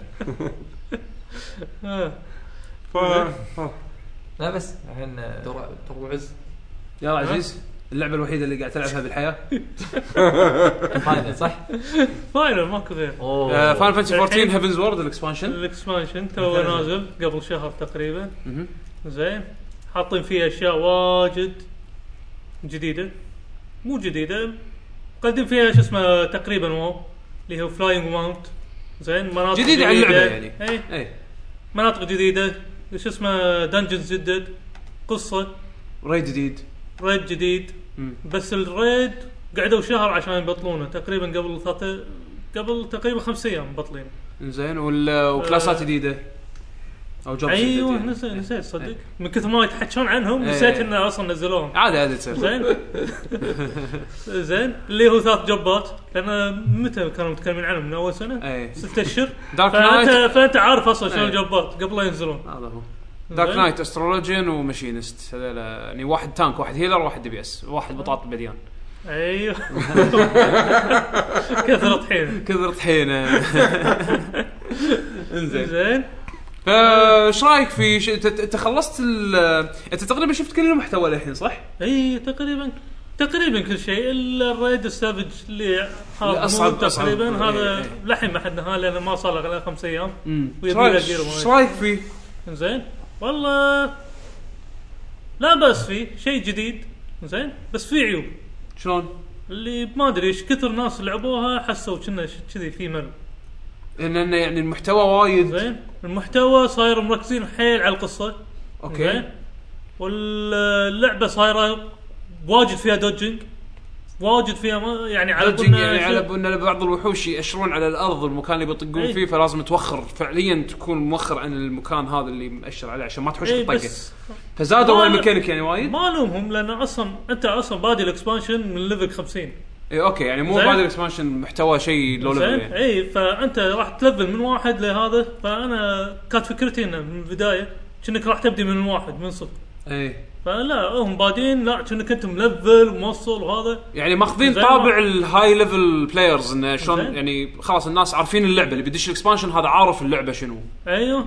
[SPEAKER 3] آه.
[SPEAKER 4] ف
[SPEAKER 5] لا بس الحين آه،
[SPEAKER 2] ترى ترى عز
[SPEAKER 6] يا عزيز اللعبه الوحيده اللي قاعد تلعبها بالحياه
[SPEAKER 5] فاينل صح؟
[SPEAKER 1] (laughs)
[SPEAKER 3] فاينل ماكو غير
[SPEAKER 1] آه،
[SPEAKER 3] آه،
[SPEAKER 5] اوه
[SPEAKER 6] فاين فانتسي 14 هيفنز وورد الاكسبانشن
[SPEAKER 3] الاكسبانشن تو نازل قبل شهر تقريبا زين حاطين فيه اشياء واجد جديده مو جديده مقدم فيها شو اسمه تقريبا واو اللي هو فلاينج ماونت زين مناطق
[SPEAKER 6] جديدة على اللعبة يعني.
[SPEAKER 3] اي
[SPEAKER 6] اي
[SPEAKER 1] إيه.
[SPEAKER 3] مناطق جديده شو اسمه دنجنز جدد قصه
[SPEAKER 6] ري جديد
[SPEAKER 3] ريد جديد بس الريد قعدوا شهر عشان يبطلونه تقريبا قبل ثلاثة قبل تقريبا خمس ايام مبطلين
[SPEAKER 6] زين وال- وكلاسات
[SPEAKER 3] آه.
[SPEAKER 6] جديده او جوب
[SPEAKER 3] ايوه
[SPEAKER 1] يعني.
[SPEAKER 3] نسيت
[SPEAKER 1] إيه.
[SPEAKER 3] نسيت صدق من كثر ما يتحكون عنهم
[SPEAKER 6] إيه.
[SPEAKER 3] نسيت انه اصلا نزلوهم
[SPEAKER 6] عادي عادي تصير
[SPEAKER 3] زين زين اللي هو ثلاث جبات لان متى كانوا متكلمين عنهم من اول
[SPEAKER 1] إيه.
[SPEAKER 3] سنه؟
[SPEAKER 6] اي
[SPEAKER 3] ست اشهر
[SPEAKER 6] دارك نايت
[SPEAKER 3] فانت فانت عارف اصلا شنو
[SPEAKER 6] إيه.
[SPEAKER 3] الجبات قبل لا ينزلون
[SPEAKER 6] هذا هو دارك
[SPEAKER 3] زين.
[SPEAKER 6] نايت استرولوجين وماشينست هذول يعني واحد تانك واحد هيلر واحد دي بي اس واحد بطاط بديان
[SPEAKER 3] ايوه كثرة حين
[SPEAKER 6] كثر
[SPEAKER 1] (laughs)
[SPEAKER 6] طحينه انزين
[SPEAKER 3] زين
[SPEAKER 1] آه،
[SPEAKER 6] فايش رايك في ش... انت انت خلصت ال... انت تقريبا شفت كل المحتوى للحين صح؟
[SPEAKER 3] اي تقريبا تقريبا إيه، كل شيء الا الريد السافج اللي هذا
[SPEAKER 1] أصعب-
[SPEAKER 3] مو مبدع
[SPEAKER 1] أصعب.
[SPEAKER 3] تقريبا
[SPEAKER 1] إيه،
[SPEAKER 3] هذا
[SPEAKER 1] إيه.
[SPEAKER 3] للحين ما حدناه لانه ما صار له غير خمس ايام
[SPEAKER 1] ايش
[SPEAKER 3] ويبي له
[SPEAKER 1] رايك-
[SPEAKER 3] جير
[SPEAKER 1] إيش رايك فيه؟
[SPEAKER 3] زين والله لا باس فيه شيء جديد زين بس فيه عيوب
[SPEAKER 1] شلون؟
[SPEAKER 3] اللي ما ادري ايش كثر ناس لعبوها حسوا كنا ش- كذي في ملل
[SPEAKER 1] لان إنه يعني المحتوى وايد
[SPEAKER 3] زين المحتوى صاير مركزين حيل على القصه
[SPEAKER 1] اوكي
[SPEAKER 3] زين؟ واللعبه صايره واجد فيها دوجنج واجد فيها ما يعني على
[SPEAKER 1] دجنج
[SPEAKER 3] قولنا
[SPEAKER 1] يعني
[SPEAKER 3] شو-
[SPEAKER 1] على ان بعض الوحوش يأشرون على الارض المكان اللي بيطقون
[SPEAKER 3] إيه.
[SPEAKER 1] فيه فلازم توخر فعليا تكون موخر عن المكان هذا اللي مأشر عليه عشان ما تحوش
[SPEAKER 3] إيه
[SPEAKER 1] الطقه
[SPEAKER 3] بس
[SPEAKER 1] فزادوا
[SPEAKER 3] ما-
[SPEAKER 1] الميكانيك يعني وايد
[SPEAKER 3] ما الومهم لان اصلا انت اصلا بادي الاكسبانشن من ليفل 50
[SPEAKER 1] اي اوكي يعني مو
[SPEAKER 3] زين.
[SPEAKER 1] بعد الاكسبانشن محتوى شيء لو ليفل
[SPEAKER 3] زين إيه.
[SPEAKER 1] يعني.
[SPEAKER 3] اي فانت راح تلفل من واحد لهذا فانا كانت فكرتي انه من البدايه كأنك راح تبدي من واحد من صفر
[SPEAKER 1] اي
[SPEAKER 3] فلا هم بادين لا كأنك انت ملفل وموصل وهذا
[SPEAKER 1] يعني ماخذين
[SPEAKER 3] زين.
[SPEAKER 1] طابع الهاي ليفل بلايرز انه شلون
[SPEAKER 3] زين.
[SPEAKER 1] يعني خلاص الناس عارفين اللعبه اللي بيدش الاكسبانشن هذا عارف اللعبه شنو
[SPEAKER 3] ايوه
[SPEAKER 2] آه.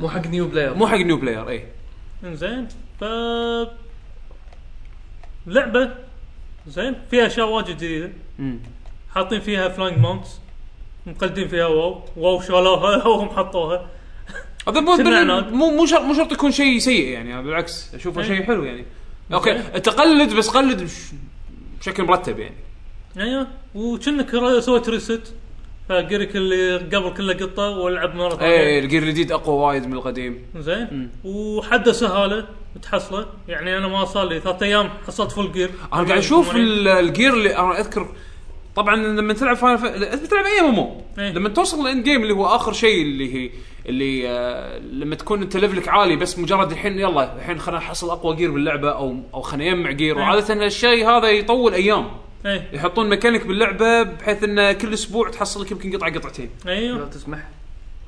[SPEAKER 2] مو حق نيو بلاير
[SPEAKER 1] مو حق إيه. نيو بلاير اي
[SPEAKER 3] انزين ف لعبه زين فيها اشياء واجد جديده
[SPEAKER 1] مم.
[SPEAKER 3] حاطين فيها فلانج ماونتس مقلدين فيها واو واو شالوها (laughs) واو حطوها
[SPEAKER 1] هذا مو
[SPEAKER 3] شنو
[SPEAKER 1] بال-
[SPEAKER 3] عناد؟
[SPEAKER 1] مو مو شرط مو شرط يكون شيء سيء يعني بالعكس اشوفه
[SPEAKER 3] إيه.
[SPEAKER 1] شيء حلو يعني اوكي التقلد بس قلد بش- بشكل مرتب يعني
[SPEAKER 3] ايوه وكأنك را- سويت ريست فجيرك اللي قبل كله قطه والعب مره
[SPEAKER 1] اي
[SPEAKER 3] ثانيه
[SPEAKER 1] الجير إيه، الجديد اقوى وايد من القديم
[SPEAKER 3] زين وحده سهاله بتحصله يعني انا ما صار لي ثلاث ايام حصلت فول جير
[SPEAKER 1] انا قاعد اشوف ال- الجير اللي انا اذكر طبعا لما تلعب فاينل ف... انت بتلعب اي مو
[SPEAKER 3] إيه.
[SPEAKER 1] لما توصل الاند جيم اللي هو اخر شيء اللي هي اللي آه لما تكون انت ليفلك عالي بس مجرد الحين يلا الحين خلينا نحصل اقوى جير باللعبه او او خلينا نجمع جير
[SPEAKER 3] إيه.
[SPEAKER 1] وعاده الشيء هذا يطول ايام
[SPEAKER 3] اي
[SPEAKER 1] يحطون ميكانيك باللعبه بحيث انه كل اسبوع تحصل لك يمكن قطعه قطعتين
[SPEAKER 2] لو
[SPEAKER 3] ايوه
[SPEAKER 2] تسمح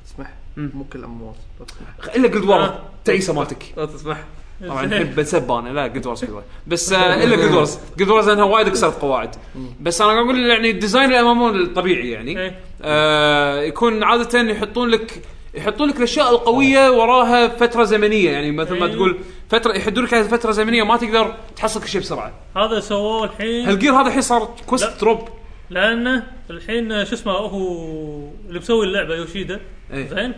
[SPEAKER 2] تسمح مو كل امواس لو تسمح
[SPEAKER 1] الا جلد وورز
[SPEAKER 3] آه.
[SPEAKER 1] تعيسه مالتك
[SPEAKER 2] لو تسمح
[SPEAKER 3] (laughs)
[SPEAKER 1] طبعا الحين بنسب انا لا جود وورز بس آه، الا جود وورز جود وورز لانها وايد كسرت قواعد بس انا قاعد اقول يعني الديزاين الامامي الطبيعي يعني
[SPEAKER 3] إيه.
[SPEAKER 1] آه يكون عاده يحطون لك يحطون لك الاشياء القويه وراها فتره زمنيه يعني مثل ما
[SPEAKER 3] إيه.
[SPEAKER 1] تقول فتره يحدوا لك هذه فتره زمنيه ما تقدر تحصل كل شيء بسرعه
[SPEAKER 3] هذا سووه الحين
[SPEAKER 1] هالجير هذا الحين صار كوست
[SPEAKER 3] إيه. لا.
[SPEAKER 1] دروب
[SPEAKER 3] لانه الحين شو اسمه هو اللي مسوي اللعبه يوشيدا
[SPEAKER 1] إيه.
[SPEAKER 3] زين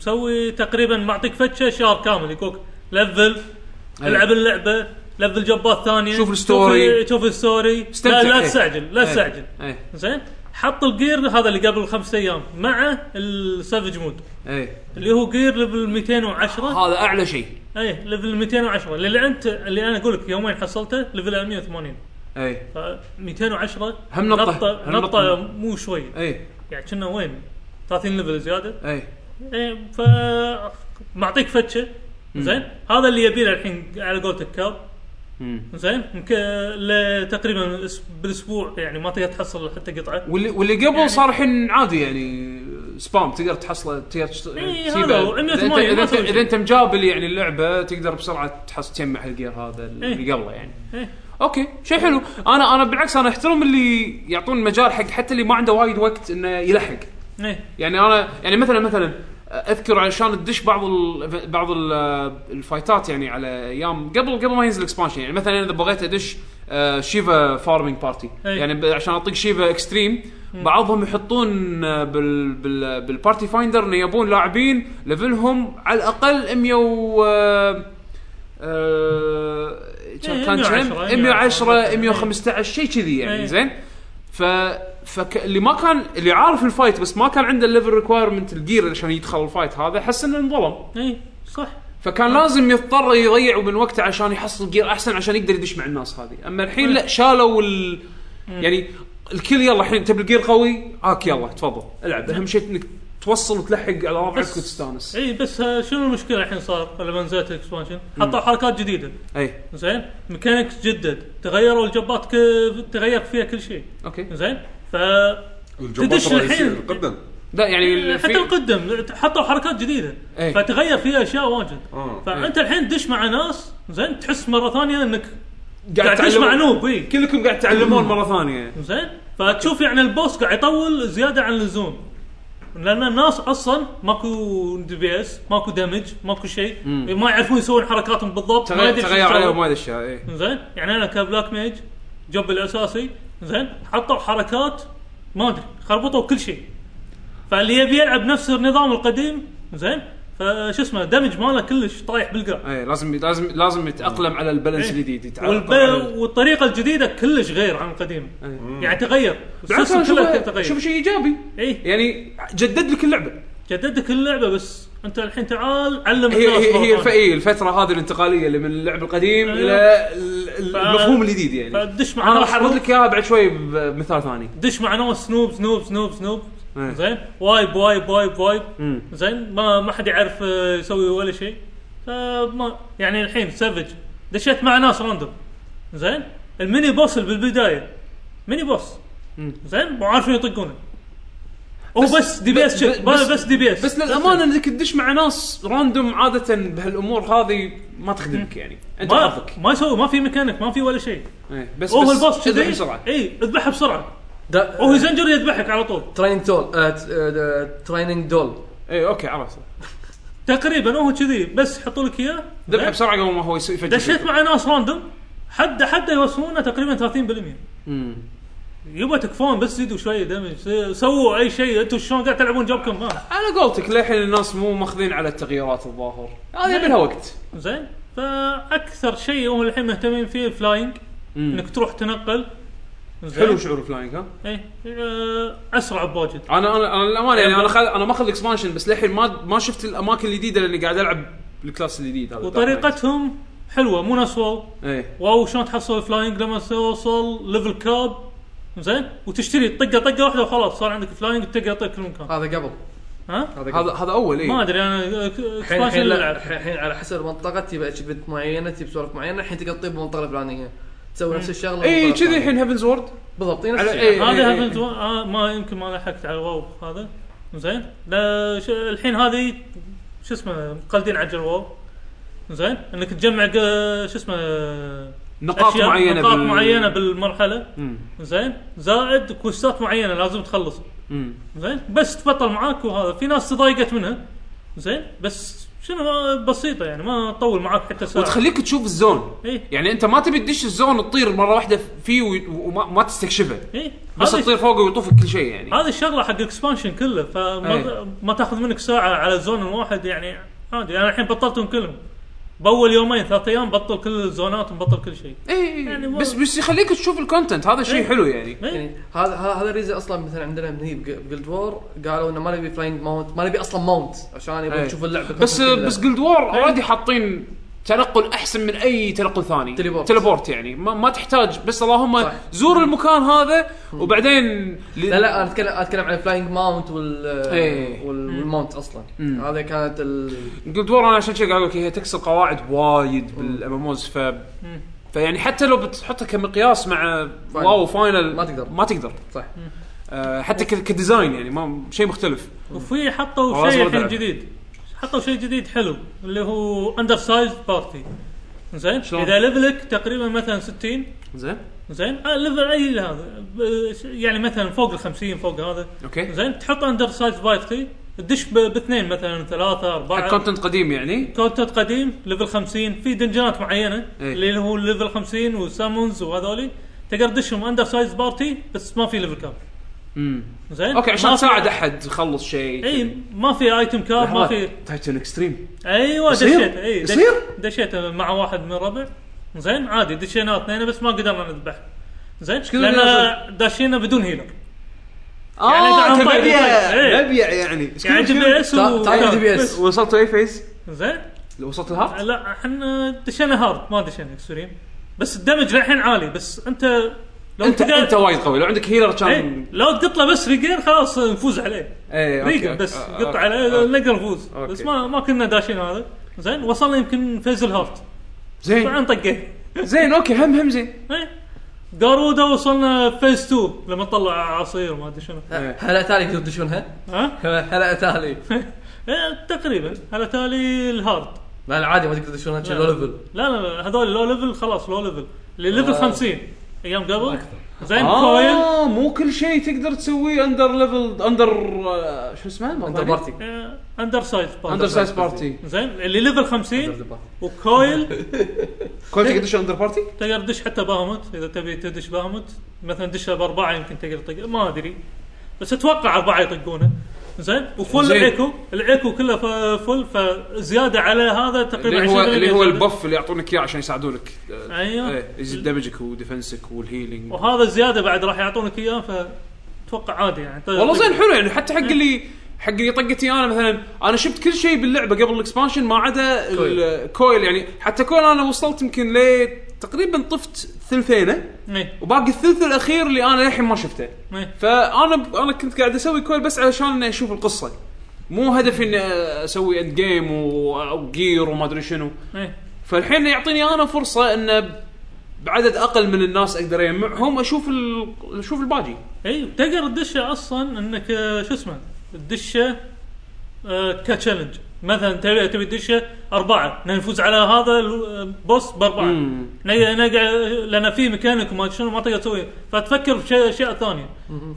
[SPEAKER 3] مسوي تقريبا معطيك فتشه شهر كامل يقولك لفل العب اللعبه لفل جبات ثانيه
[SPEAKER 1] إيه. شوف الستوري.
[SPEAKER 3] شوف- شوف الستوري
[SPEAKER 1] استمتع.
[SPEAKER 3] لا لا
[SPEAKER 1] إيه.
[SPEAKER 3] تستعجل لا تستعجل
[SPEAKER 1] ايه
[SPEAKER 3] زين حط الجير هذا اللي قبل خمسة ايام مع السافج مود
[SPEAKER 1] ايه
[SPEAKER 3] اللي هو جير ليفل 210
[SPEAKER 1] هذا اعلى شيء
[SPEAKER 3] اي ليفل 210 اللي انت اللي انا اقول لك يومين حصلته ليفل 180
[SPEAKER 1] ايه
[SPEAKER 3] ف 210
[SPEAKER 1] هم نطة.
[SPEAKER 3] نطه,
[SPEAKER 1] هم
[SPEAKER 3] نطة
[SPEAKER 1] نطة.
[SPEAKER 3] مو شوي
[SPEAKER 1] ايه
[SPEAKER 3] يعني كنا وين 30 ليفل زياده
[SPEAKER 1] ايه
[SPEAKER 3] ايه ف معطيك فتشه زين هذا اللي يبي له الحين على قولتك كاب
[SPEAKER 1] مم.
[SPEAKER 3] زين يمكن ل- تقريبا أس- بالاسبوع يعني ما تقدر تحصل حتى قطعه
[SPEAKER 1] واللي واللي
[SPEAKER 3] يعني
[SPEAKER 1] قبل صار الحين عادي يعني سبام تقدر تحصله تقدر تشت-
[SPEAKER 3] إيه،
[SPEAKER 1] تسيبه.
[SPEAKER 3] هذا هو،
[SPEAKER 1] إذا أنت-
[SPEAKER 3] 180 ما
[SPEAKER 1] اذا انت
[SPEAKER 3] تسوي شيء.
[SPEAKER 1] اذا انت مجابل يعني اللعبه تقدر بسرعه تحصل تجمع هالجير هذا اللي
[SPEAKER 3] إيه.
[SPEAKER 1] قبله يعني
[SPEAKER 3] إيه.
[SPEAKER 1] اوكي شيء حلو انا انا بالعكس انا احترم اللي يعطون مجال حق حتى اللي ما عنده وايد وقت انه يلحق
[SPEAKER 3] ايه
[SPEAKER 1] يعني انا يعني مثلا مثلا اذكر علشان تدش بعض ال بعض ال الفايتات يعني على ايام قبل قبل ما ينزل الاكسبانشن يعني مثلا اذا بغيت ادش آه، شيفا فارمينج بارتي
[SPEAKER 3] أي.
[SPEAKER 1] يعني ب- عشان اعطيك شيفا اكستريم بعضهم يحطون آه، بال بال بالبارتي فايندر انه يبون لاعبين ليفلهم على الاقل 100 و آه، آه، كان
[SPEAKER 3] إيه،
[SPEAKER 1] كان
[SPEAKER 3] 110
[SPEAKER 1] كم؟ 110 115 شيء كذي يعني
[SPEAKER 3] أي.
[SPEAKER 1] زين ف فك... اللي ما كان اللي عارف الفايت بس ما كان عنده الليفل ريكوايرمنت الجير عشان يدخل الفايت هذا حس انه انظلم
[SPEAKER 3] ايه صح
[SPEAKER 1] فكان
[SPEAKER 3] إيه.
[SPEAKER 1] لازم يضطر يضيع من وقته عشان يحصل جير احسن عشان يقدر يدش مع الناس هذه اما
[SPEAKER 3] إيه.
[SPEAKER 1] الحين لا شالوا ال... يعني الكل يلا الحين تبي الجير قوي هاك يلا تفضل العب اهم شيء انك توصل وتلحق على ربعك
[SPEAKER 3] بس-
[SPEAKER 1] وتستانس
[SPEAKER 3] اي بس آه، شنو المشكله الحين صار لما نزلت الاكسبانشن حطوا حركات جديده
[SPEAKER 1] اي
[SPEAKER 3] زين ميكانكس جدد تغيروا الجبات ك... تغير فيها كل شيء
[SPEAKER 1] اوكي
[SPEAKER 3] زين ف
[SPEAKER 4] الجبات
[SPEAKER 3] تدش
[SPEAKER 4] الرئيسيه
[SPEAKER 3] الحين.
[SPEAKER 4] القدم
[SPEAKER 1] لا يعني
[SPEAKER 3] إيه، حتى
[SPEAKER 1] في...
[SPEAKER 3] القدم حطوا حركات جديده
[SPEAKER 1] إيه.
[SPEAKER 3] فتغير فيها اشياء واجد
[SPEAKER 4] آه،
[SPEAKER 3] فانت الحين تدش مع ناس زين تحس مره ثانيه انك
[SPEAKER 1] قاعد
[SPEAKER 3] قاعد تدش مع
[SPEAKER 1] تعلمون.
[SPEAKER 3] نوب إيه. اي
[SPEAKER 1] كلكم قاعد تعلمون مره ثانيه
[SPEAKER 3] زين فتشوف يعني البوس قاعد يطول زياده عن اللزوم لان الناس اصلا ماكو دي بي اس ماكو دمج ماكو شيء ما يعرفون يسوون حركاتهم بالضبط ما
[SPEAKER 1] تغير
[SPEAKER 3] يدري شو
[SPEAKER 1] تغير
[SPEAKER 3] يسوي.
[SPEAKER 1] إيه. عليهم وايد اشياء اي
[SPEAKER 3] زين يعني انا كبلاك ميج جب الاساسي زين حطوا حركات ما ادري خربطوا كل شيء فاللي يبي يلعب نفس النظام القديم زين فشو اسمه دمج ماله كلش طايح بالقاع
[SPEAKER 1] اي إيه، لازم لازم لازم يتاقلم على البالانس
[SPEAKER 3] إيه.
[SPEAKER 1] الجديد يتعرف
[SPEAKER 3] والب...
[SPEAKER 1] على-
[SPEAKER 3] والطريقه الجديده كلش غير عن القديم يعني تغير
[SPEAKER 1] بالعكس
[SPEAKER 3] السلسلة كلها
[SPEAKER 1] أنا
[SPEAKER 3] تغير إيه،
[SPEAKER 1] شوف شيء ايجابي
[SPEAKER 3] اي
[SPEAKER 1] يعني جدد لك اللعبه
[SPEAKER 3] جددك اللعبه بس انت الحين تعال علم
[SPEAKER 1] هي
[SPEAKER 3] الناس
[SPEAKER 1] هي,
[SPEAKER 3] مرة
[SPEAKER 1] هي الف...
[SPEAKER 3] ثانية.
[SPEAKER 1] إيه الفتره هذه الانتقاليه اللي من اللعب القديم
[SPEAKER 3] أيوة.
[SPEAKER 1] الى ال- ال-
[SPEAKER 3] ف-
[SPEAKER 1] المفهوم الجديد يعني
[SPEAKER 3] فدش مع
[SPEAKER 1] انا
[SPEAKER 3] ناس
[SPEAKER 1] راح ارد
[SPEAKER 3] نوب-
[SPEAKER 1] لك اياها بعد شوي بمثال ثاني
[SPEAKER 3] دش مع ناس سنوب سنوب سنوب سنوب
[SPEAKER 1] إيه.
[SPEAKER 3] زين وايب وايب وايب وايب
[SPEAKER 1] مم.
[SPEAKER 3] زين ما ما حد يعرف آه، يسوي ولا شيء فما يعني الحين سافج دشيت مع ناس راندوم زين الميني بوس اللي بالبدايه ميني بوس زين مو عارفين يطقونه هو بس, دي بي اس
[SPEAKER 1] بس-
[SPEAKER 3] شيك بس,
[SPEAKER 1] بس-
[SPEAKER 3] بس دي بي اس
[SPEAKER 1] بس للامانه انك تدش مع ناس راندوم عاده بهالامور هذه ما تخدمك يعني انت
[SPEAKER 3] ما,
[SPEAKER 1] حظك
[SPEAKER 3] ما يسوي ما في ميكانيك ما في ولا شيء
[SPEAKER 1] إيه، بس
[SPEAKER 3] هو
[SPEAKER 1] بس
[SPEAKER 3] البوس
[SPEAKER 1] اذبح آه.
[SPEAKER 3] كذي
[SPEAKER 1] بسرعه
[SPEAKER 3] اي اذبحه بسرعه وهو يزنجر يذبحك على طول
[SPEAKER 2] تريننج دول تريننج دول
[SPEAKER 1] اي اوكي إيه، عرفت
[SPEAKER 3] تقريبا هو كذي بس يحطوا لك اياه
[SPEAKER 1] ذبحه
[SPEAKER 3] زين؟
[SPEAKER 1] بسرعه قبل ما هو يسوي يفجر
[SPEAKER 3] إيه. دشيت مع ناس راندوم حد حد يوصلونه تقريبا 30%
[SPEAKER 1] مم.
[SPEAKER 3] يبا تكفون بس زيدوا شويه دمج س- سووا اي شيء انتم شلون قاعد تلعبون آه. جوبكم ما
[SPEAKER 1] على قولتك للحين الناس مو ماخذين على التغييرات الظاهر هذا يبي لها وقت
[SPEAKER 3] زين فاكثر شيء هم الحين مهتمين فيه الفلاينج
[SPEAKER 1] مم.
[SPEAKER 3] انك تروح تنقل زين؟
[SPEAKER 1] حلو شعور فلاينج ها
[SPEAKER 3] ايه آه، اسرع بواجد
[SPEAKER 1] انا انا انا للامانه يعني انا خل... انا ماخذ الاكسبانشن بس للحين ما ما شفت الاماكن الجديده لاني قاعد العب الكلاس الجديد هذا
[SPEAKER 3] وطريقتهم حلوه مو ناس واو
[SPEAKER 1] ايه
[SPEAKER 3] واو شلون تحصل فلاينج لما توصل ليفل كاب زين وتشتري طقه طقه واحده وخلاص صار عندك فلاينج تقدر تطق كل مكان
[SPEAKER 2] هذا قبل
[SPEAKER 3] ها
[SPEAKER 2] هذا قبل
[SPEAKER 1] هذا هذا اول
[SPEAKER 3] ما
[SPEAKER 1] ايه
[SPEAKER 3] ادري انا
[SPEAKER 2] الحين
[SPEAKER 3] اكسبانشن
[SPEAKER 2] الحين لا-
[SPEAKER 3] العب
[SPEAKER 2] الحين الحين على حسب المنطقه تبي اتشيفمنت معينه تبي سوالف معينه الحين تقدر تطيب بالمنطقه الفلانيه تسوي نفس الشغله
[SPEAKER 1] اي
[SPEAKER 2] بالمنطقة
[SPEAKER 1] إيه، كذي
[SPEAKER 2] الفلانية.
[SPEAKER 1] الحين هيفنز وورد
[SPEAKER 2] بالضبط إي، نفس
[SPEAKER 1] على-
[SPEAKER 2] الشيء
[SPEAKER 1] إي.
[SPEAKER 3] هذا هافنت و... آه ما يمكن ما لحقت على واو هذا زين لا ش... الحين هذه شو اسمه مقلدين عجل واو زين انك تجمع ق- شو اسمه
[SPEAKER 1] نقاط
[SPEAKER 3] أشياء-
[SPEAKER 1] معينه
[SPEAKER 3] نقاط
[SPEAKER 1] بال-
[SPEAKER 3] معينه بالمرحله
[SPEAKER 1] مم.
[SPEAKER 3] زين زائد كوستات معينه لازم تخلص
[SPEAKER 1] مم.
[SPEAKER 3] زين بس تبطل معاك وهذا في ناس تضايقت منها زين بس شنو بسيطه يعني ما تطول معاك حتى إيه، ساعه
[SPEAKER 1] وتخليك تشوف الزون
[SPEAKER 3] اي
[SPEAKER 1] يعني انت ما تبي تدش الزون تطير مره واحده فيه وي- وما ما تستكشفه
[SPEAKER 3] اي
[SPEAKER 1] بس
[SPEAKER 3] إيه. هذه-
[SPEAKER 1] تطير فوقه ويطوفك كل شيء يعني
[SPEAKER 3] هذه الشغله حق الاكسبانشن كله فما
[SPEAKER 1] أي.
[SPEAKER 3] ما تاخذ منك ساعه على الزون الواحد يعني عادي انا الحين بطلتهم كلهم باول يومين ثلاث ايام بطل كل الزونات وبطل كل شيء
[SPEAKER 1] اي
[SPEAKER 3] يعني
[SPEAKER 1] يعني
[SPEAKER 3] ما-
[SPEAKER 1] بس بس يخليك تشوف الكونتنت هذا شيء
[SPEAKER 3] إيه.
[SPEAKER 1] حلو يعني
[SPEAKER 3] إيه؟
[SPEAKER 2] يعني هذا هذا هذا الريزن اصلا مثلا عندنا من هي بجلد وور قالوا انه ما نبي فلاينج ماونت ما نبي اصلا ماونت عشان يبغى
[SPEAKER 1] إيه.
[SPEAKER 2] نشوف اللعبه
[SPEAKER 1] بس
[SPEAKER 2] كلها.
[SPEAKER 1] بس جلد وور
[SPEAKER 3] إيه.
[SPEAKER 1] اوريدي حاطين تنقل احسن من اي تنقل ثاني
[SPEAKER 2] تليبورت.
[SPEAKER 1] تليبورت يعني ما, ما تحتاج بس اللهم
[SPEAKER 2] صح.
[SPEAKER 1] زور المكان هذا وبعدين
[SPEAKER 2] لا لا انا اتكلم اتكلم عن الفلاينج ماونت وال
[SPEAKER 1] إي.
[SPEAKER 2] وال- والماونت اصلا
[SPEAKER 1] إيه. مم.
[SPEAKER 2] هذا كانت ال
[SPEAKER 1] جلد وور انا عشان كذا قاعد اقول لك إيه، هي تكسر قواعد وايد بالاماموز ف فيعني حتى لو بتحطها كمقياس مع واو فاينل
[SPEAKER 2] ما تقدر.
[SPEAKER 1] ما تقدر
[SPEAKER 2] صح
[SPEAKER 1] أه حتى ك- كديزاين يعني ما شيء مختلف
[SPEAKER 3] وفي حطوا
[SPEAKER 1] والله
[SPEAKER 3] شيء
[SPEAKER 1] لازم
[SPEAKER 3] الحين
[SPEAKER 1] ألعب.
[SPEAKER 3] جديد حطوا شيء جديد حلو اللي هو اندر سايز بارتي زين
[SPEAKER 1] شلون؟
[SPEAKER 3] اذا ليفلك تقريبا مثلا 60
[SPEAKER 1] زين
[SPEAKER 3] زين آه ليفل اي هذا ب- يعني مثلا فوق ال 50 فوق هذا
[SPEAKER 1] اوكي
[SPEAKER 3] زين تحط اندر سايز بارتي تدش ب- باثنين مثلا ثلاثه اربعه
[SPEAKER 1] كونتنت قديم يعني
[SPEAKER 3] كونتنت قديم ليفل 50 في دنجنات معينه
[SPEAKER 1] إيه.
[SPEAKER 3] اللي هو ليفل 50 وسامونز وهذولي تقدر تدشهم اندر سايز بارتي بس ما في ليفل كاب
[SPEAKER 1] امم
[SPEAKER 3] زين
[SPEAKER 1] اوكي
[SPEAKER 3] ما
[SPEAKER 1] عشان
[SPEAKER 3] في-
[SPEAKER 1] تساعد احد يخلص شيء
[SPEAKER 3] اي ما في ايتم كاب ما في
[SPEAKER 1] تايتن اكستريم
[SPEAKER 3] ايوه
[SPEAKER 1] يصير؟
[SPEAKER 3] دشيت اي دش-
[SPEAKER 1] يصير؟
[SPEAKER 3] دشيت مع واحد من ربع زين عادي دشينا اثنين بس ما قدرنا نذبح زين
[SPEAKER 1] كثر
[SPEAKER 3] لان
[SPEAKER 1] الناس-
[SPEAKER 3] داشينا بدون هيلر
[SPEAKER 1] اه
[SPEAKER 3] تبع-
[SPEAKER 1] كمبيع
[SPEAKER 3] إيه.
[SPEAKER 1] مبيع يعني
[SPEAKER 3] يعني دي بي اس
[SPEAKER 2] تا-
[SPEAKER 3] و- إيه.
[SPEAKER 2] تعال دي بي اس.
[SPEAKER 1] وصلت اي فيز
[SPEAKER 3] زين
[SPEAKER 1] وصلت الهارد
[SPEAKER 3] لا احنا دشينا هارد ما دشينا اكستريم بس الدمج للحين عالي بس انت لو
[SPEAKER 1] انت
[SPEAKER 3] تقدر-
[SPEAKER 1] انت وايد قوي لو عندك هيلر
[SPEAKER 3] ايه
[SPEAKER 1] كان
[SPEAKER 3] لو تقط له بس ريجين خلاص نفوز عليه
[SPEAKER 1] ايه أوكي،
[SPEAKER 3] ريجن
[SPEAKER 1] أوكي،
[SPEAKER 3] بس
[SPEAKER 1] آه،
[SPEAKER 3] قط
[SPEAKER 1] أوكي،
[SPEAKER 3] عليه
[SPEAKER 1] آه.
[SPEAKER 3] نقدر نفوز
[SPEAKER 1] أوكي.
[SPEAKER 3] بس ما ما كنا داشين هذا زين وصلنا يمكن فيز الهارت
[SPEAKER 1] زين
[SPEAKER 3] طبعا طقيت
[SPEAKER 1] زين اوكي هم هم زين
[SPEAKER 3] ايه جارودا وصلنا فيز 2 لما طلع عصير ما ادري شنو
[SPEAKER 1] إيه.
[SPEAKER 2] هلا تالي تقدر تدشونها
[SPEAKER 3] ها؟
[SPEAKER 2] هلا تالي
[SPEAKER 3] ايه تقريبا على تالي الهارد
[SPEAKER 2] لا العادي ما تقدر تدشونها شي لو ليفل
[SPEAKER 3] لا لا لا هذول لو ليفل خلاص لو ليفل اللي ليفل
[SPEAKER 2] آه.
[SPEAKER 3] 50 ايام قبل
[SPEAKER 5] أكثر.
[SPEAKER 3] زين كويل
[SPEAKER 1] اه مو كل شيء تقدر تسويه اندر ليفل اندر آه، شو اسمه؟ مرة
[SPEAKER 2] اندر
[SPEAKER 1] ثانية.
[SPEAKER 2] بارتي
[SPEAKER 3] آه، اندر سايز بارتي.
[SPEAKER 1] اندر سايز بارتي
[SPEAKER 3] زين اللي ليفل 50 وكويل
[SPEAKER 1] كنت تقدر تدش اندر بارتي؟
[SPEAKER 3] تقدر تدش حتى باهموت اذا تبي تدش باهموت مثلا دشها باربعه يمكن تقدر تطق ما ادري بس اتوقع اربعه يطقونه زين وفل
[SPEAKER 1] زين.
[SPEAKER 3] الايكو الايكو كله ف- فل فزياده على هذا تقريبا
[SPEAKER 1] اللي هو
[SPEAKER 3] 20%
[SPEAKER 1] اللي هو
[SPEAKER 3] زيادة.
[SPEAKER 1] البف اللي يعطونك اياه عشان يساعدونك آه،
[SPEAKER 3] ايوه
[SPEAKER 1] ايه يزيد دمجك وديفنسك والهيلينج
[SPEAKER 3] وهذا الزياده بعد راح يعطونك اياه فاتوقع عادي يعني
[SPEAKER 1] والله زين حلو يعني حتى حق اللي حق اللي طقتي انا مثلا انا شفت كل شيء باللعبه قبل الاكسبانشن ما عدا
[SPEAKER 2] كويل.
[SPEAKER 1] الكويل يعني حتى كويل انا وصلت يمكن ل تقريبا طفت ثلثينه
[SPEAKER 3] ايه
[SPEAKER 1] وباقي الثلث الاخير اللي انا للحين ما شفته
[SPEAKER 3] ايه
[SPEAKER 1] فانا انا كنت قاعد اسوي كويل بس علشان اني اشوف القصه مو هدفي اني اسوي اند جيم وجير وما ادري شنو
[SPEAKER 3] ايه
[SPEAKER 1] فالحين يعطيني انا فرصه ان بعدد اقل من الناس اقدر اجمعهم اشوف ال... اشوف الباجي
[SPEAKER 3] اي تقدر تدشه اصلا انك آه، شو اسمه تدشه آه، كتشالنج مثلا تبي تبي تدشه اربعه نبي نفوز على هذا آه، البوس باربعه
[SPEAKER 1] مم.
[SPEAKER 3] نق- نق- لان في ميكانيك وما شنو ما تقدر تسوي فتفكر في اشياء ثانيه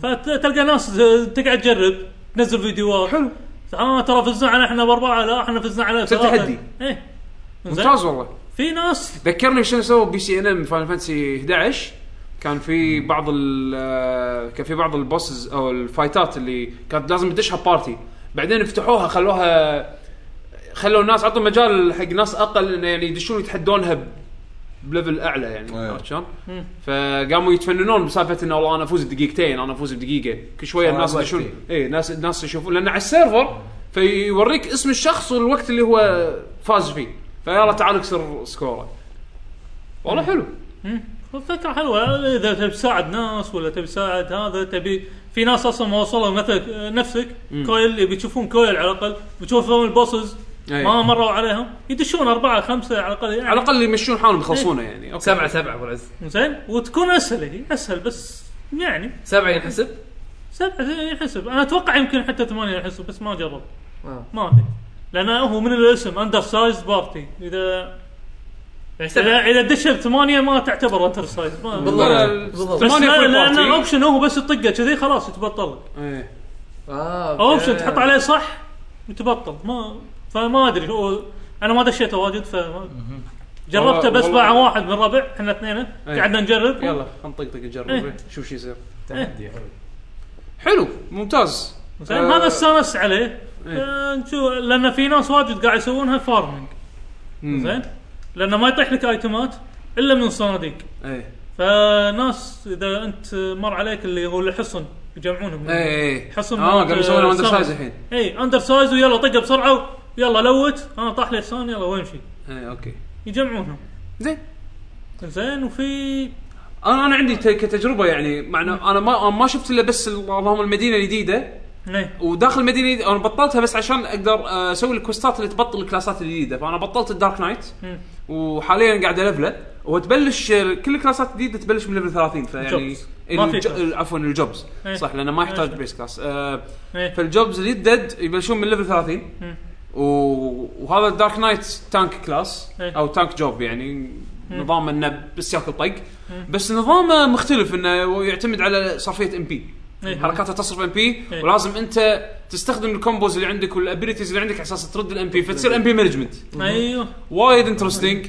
[SPEAKER 3] فتلقى ناس ز- تقعد تجرب تنزل فيديوهات
[SPEAKER 1] حلو.
[SPEAKER 3] اه ترى فزنا على احنا باربعه لا احنا فزنا على
[SPEAKER 1] صرت
[SPEAKER 3] ثلاثة.
[SPEAKER 1] تحدي.
[SPEAKER 3] ايه زين.
[SPEAKER 1] ممتاز والله
[SPEAKER 3] في ناس
[SPEAKER 1] ذكرني شنو سووا بي سي ان ام فاينل فانتسي 11 كان في بعض ال آه، كان في بعض البوسز او الفايتات اللي كانت لازم تدشها بارتي بعدين فتحوها خلوها خلوا الناس عطوا مجال حق ناس اقل انه يعني يدشون يتحدونها ب- بليفل اعلى يعني
[SPEAKER 4] أيوة.
[SPEAKER 1] عرفت شلون؟
[SPEAKER 3] مم.
[SPEAKER 1] فقاموا يتفننون بسالفه انه والله انا افوز بدقيقتين انا افوز بدقيقه كل شويه
[SPEAKER 5] صار
[SPEAKER 1] الناس
[SPEAKER 5] وقت
[SPEAKER 1] يدشون
[SPEAKER 5] إيه.
[SPEAKER 1] اي ناس الناس يشوفون لان على السيرفر فيوريك اسم الشخص والوقت اللي هو فاز فيه فيلا تعال اكسر سكوره والله حلو
[SPEAKER 3] فكرة حلوة إذا تبي تساعد ناس ولا تبي تساعد هذا تبي في ناس أصلا ما وصلوا مثل نفسك كويل يبي يشوفون كويل على الأقل بتشوفون البوسز
[SPEAKER 1] أي.
[SPEAKER 3] ما مروا عليهم يدشون أربعة خمسة على الأقل يعني
[SPEAKER 1] على الاقل يمشون حالهم يخلصونه يعني أوكي.
[SPEAKER 2] سبعه سبعه ابو العز
[SPEAKER 3] زين وتكون أسهل هي أسهل بس يعني
[SPEAKER 2] سبعه ينحسب
[SPEAKER 3] سبعة زين يحسب أنا أتوقع يمكن حتى ثمانية يحسب بس ما جرب
[SPEAKER 2] آه.
[SPEAKER 3] ما أدري لأن هو من الاسم أندر سايز بارتي إذا إذا إذا دشت ثمانية ما تعتبر أندر سايز ما
[SPEAKER 1] لا،
[SPEAKER 2] بالضبط.
[SPEAKER 3] بس
[SPEAKER 1] ثمانية
[SPEAKER 3] لا-
[SPEAKER 1] فول
[SPEAKER 3] لان
[SPEAKER 1] بارتي.
[SPEAKER 3] اوبشن هو بس تطقه كذي خلاص يتبطل
[SPEAKER 1] إيه.
[SPEAKER 2] اه أوكي.
[SPEAKER 3] اوبشن تحط عليه صح يتبطل ما فما ادري هو انا ما دشيته واجد ف جربته
[SPEAKER 1] والله-
[SPEAKER 3] بس
[SPEAKER 1] والله- إيه.
[SPEAKER 3] مع واحد من ربع احنا اثنين قعدنا نجرب
[SPEAKER 1] يلا خلينا نطقطق نجرب
[SPEAKER 3] إيه.
[SPEAKER 1] شوف شو يصير
[SPEAKER 5] تحدي حلو
[SPEAKER 1] حلو ممتاز
[SPEAKER 3] زين
[SPEAKER 1] آه.
[SPEAKER 3] هذا استانست عليه
[SPEAKER 1] إيه.
[SPEAKER 3] آه، نشوف لان في ناس واجد قاعد يسوونها فارمنج
[SPEAKER 1] مم.
[SPEAKER 3] زين لانه ما يطيح لك ايتمات الا من صناديق
[SPEAKER 1] ايه
[SPEAKER 3] فناس اذا انت مر عليك اللي هو الحصن يجمعونهم
[SPEAKER 1] ايه
[SPEAKER 3] حصن
[SPEAKER 1] اه
[SPEAKER 3] مالت-
[SPEAKER 1] قاعد يسوون اندر
[SPEAKER 3] سامر.
[SPEAKER 1] سايز الحين
[SPEAKER 3] اي اندر سايز ويلا طقه بسرعه يلا لوت انا طاح لي حصان يلا وامشي
[SPEAKER 1] ايه اوكي
[SPEAKER 3] يجمعونهم
[SPEAKER 1] زين
[SPEAKER 3] زين وفي
[SPEAKER 1] انا انا عندي ت- كتجربه يعني معنا انا ما أنا ما شفت الا بس ال- اللهم المدينه الجديده
[SPEAKER 3] ايه
[SPEAKER 1] وداخل المدينه الجديدة انا بطلتها بس عشان اقدر آه، اسوي الكوستات اللي تبطل الكلاسات الجديده فانا بطلت الدارك نايت
[SPEAKER 3] مم.
[SPEAKER 1] وحاليا قاعد الفله وتبلش آه، كل الكلاسات الجديده تبلش من ليفل 30 فيعني
[SPEAKER 3] الجوبز. ما في
[SPEAKER 1] الج-
[SPEAKER 3] كلاس.
[SPEAKER 1] عفوا الجوبز
[SPEAKER 3] إيه.
[SPEAKER 1] صح لانه ما يحتاج
[SPEAKER 3] إيه.
[SPEAKER 1] بيس كلاس آه،
[SPEAKER 3] ايه
[SPEAKER 1] فالجوبز الجدد يبلشون من ليفل 30
[SPEAKER 3] مم.
[SPEAKER 1] و- وهذا الدارك نايت تانك كلاس
[SPEAKER 3] إيه.
[SPEAKER 1] او تانك جوب يعني نظام انه بس ياكل طق بس نظامه مختلف انه يعتمد على صرفيه ام بي
[SPEAKER 3] إيه.
[SPEAKER 1] حركاتها تصرف ام بي
[SPEAKER 3] إيه.
[SPEAKER 1] ولازم انت تستخدم الكومبوز اللي عندك والابيلتيز اللي عندك على اساس ترد الام بي فتصير ام بي مانجمنت
[SPEAKER 3] ايوه
[SPEAKER 1] وايد آه، انترستنج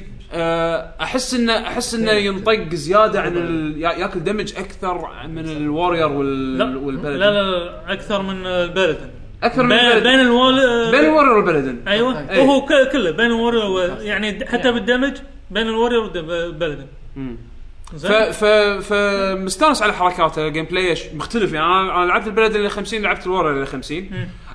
[SPEAKER 1] احس انه احس انه ينطق زياده عن ال- يا- ياكل دمج اكثر من الوارير وال
[SPEAKER 3] لا
[SPEAKER 1] والبلد
[SPEAKER 3] لا لا اكثر من البلد
[SPEAKER 1] اكثر من
[SPEAKER 3] بين
[SPEAKER 1] البلد
[SPEAKER 3] بين الوال
[SPEAKER 1] بين الوارير والبلدن
[SPEAKER 3] ايوه
[SPEAKER 1] إيه.
[SPEAKER 3] وهو ك- كله بين الوريور و- يعني د- حتى بالدمج بين الوريور والبلد
[SPEAKER 1] ف
[SPEAKER 3] زين
[SPEAKER 1] ف فمستانس على حركاته جيم بلاي مختلف يعني انا أنا لعبت البلد اللي 50 لعبت الورا اللي 50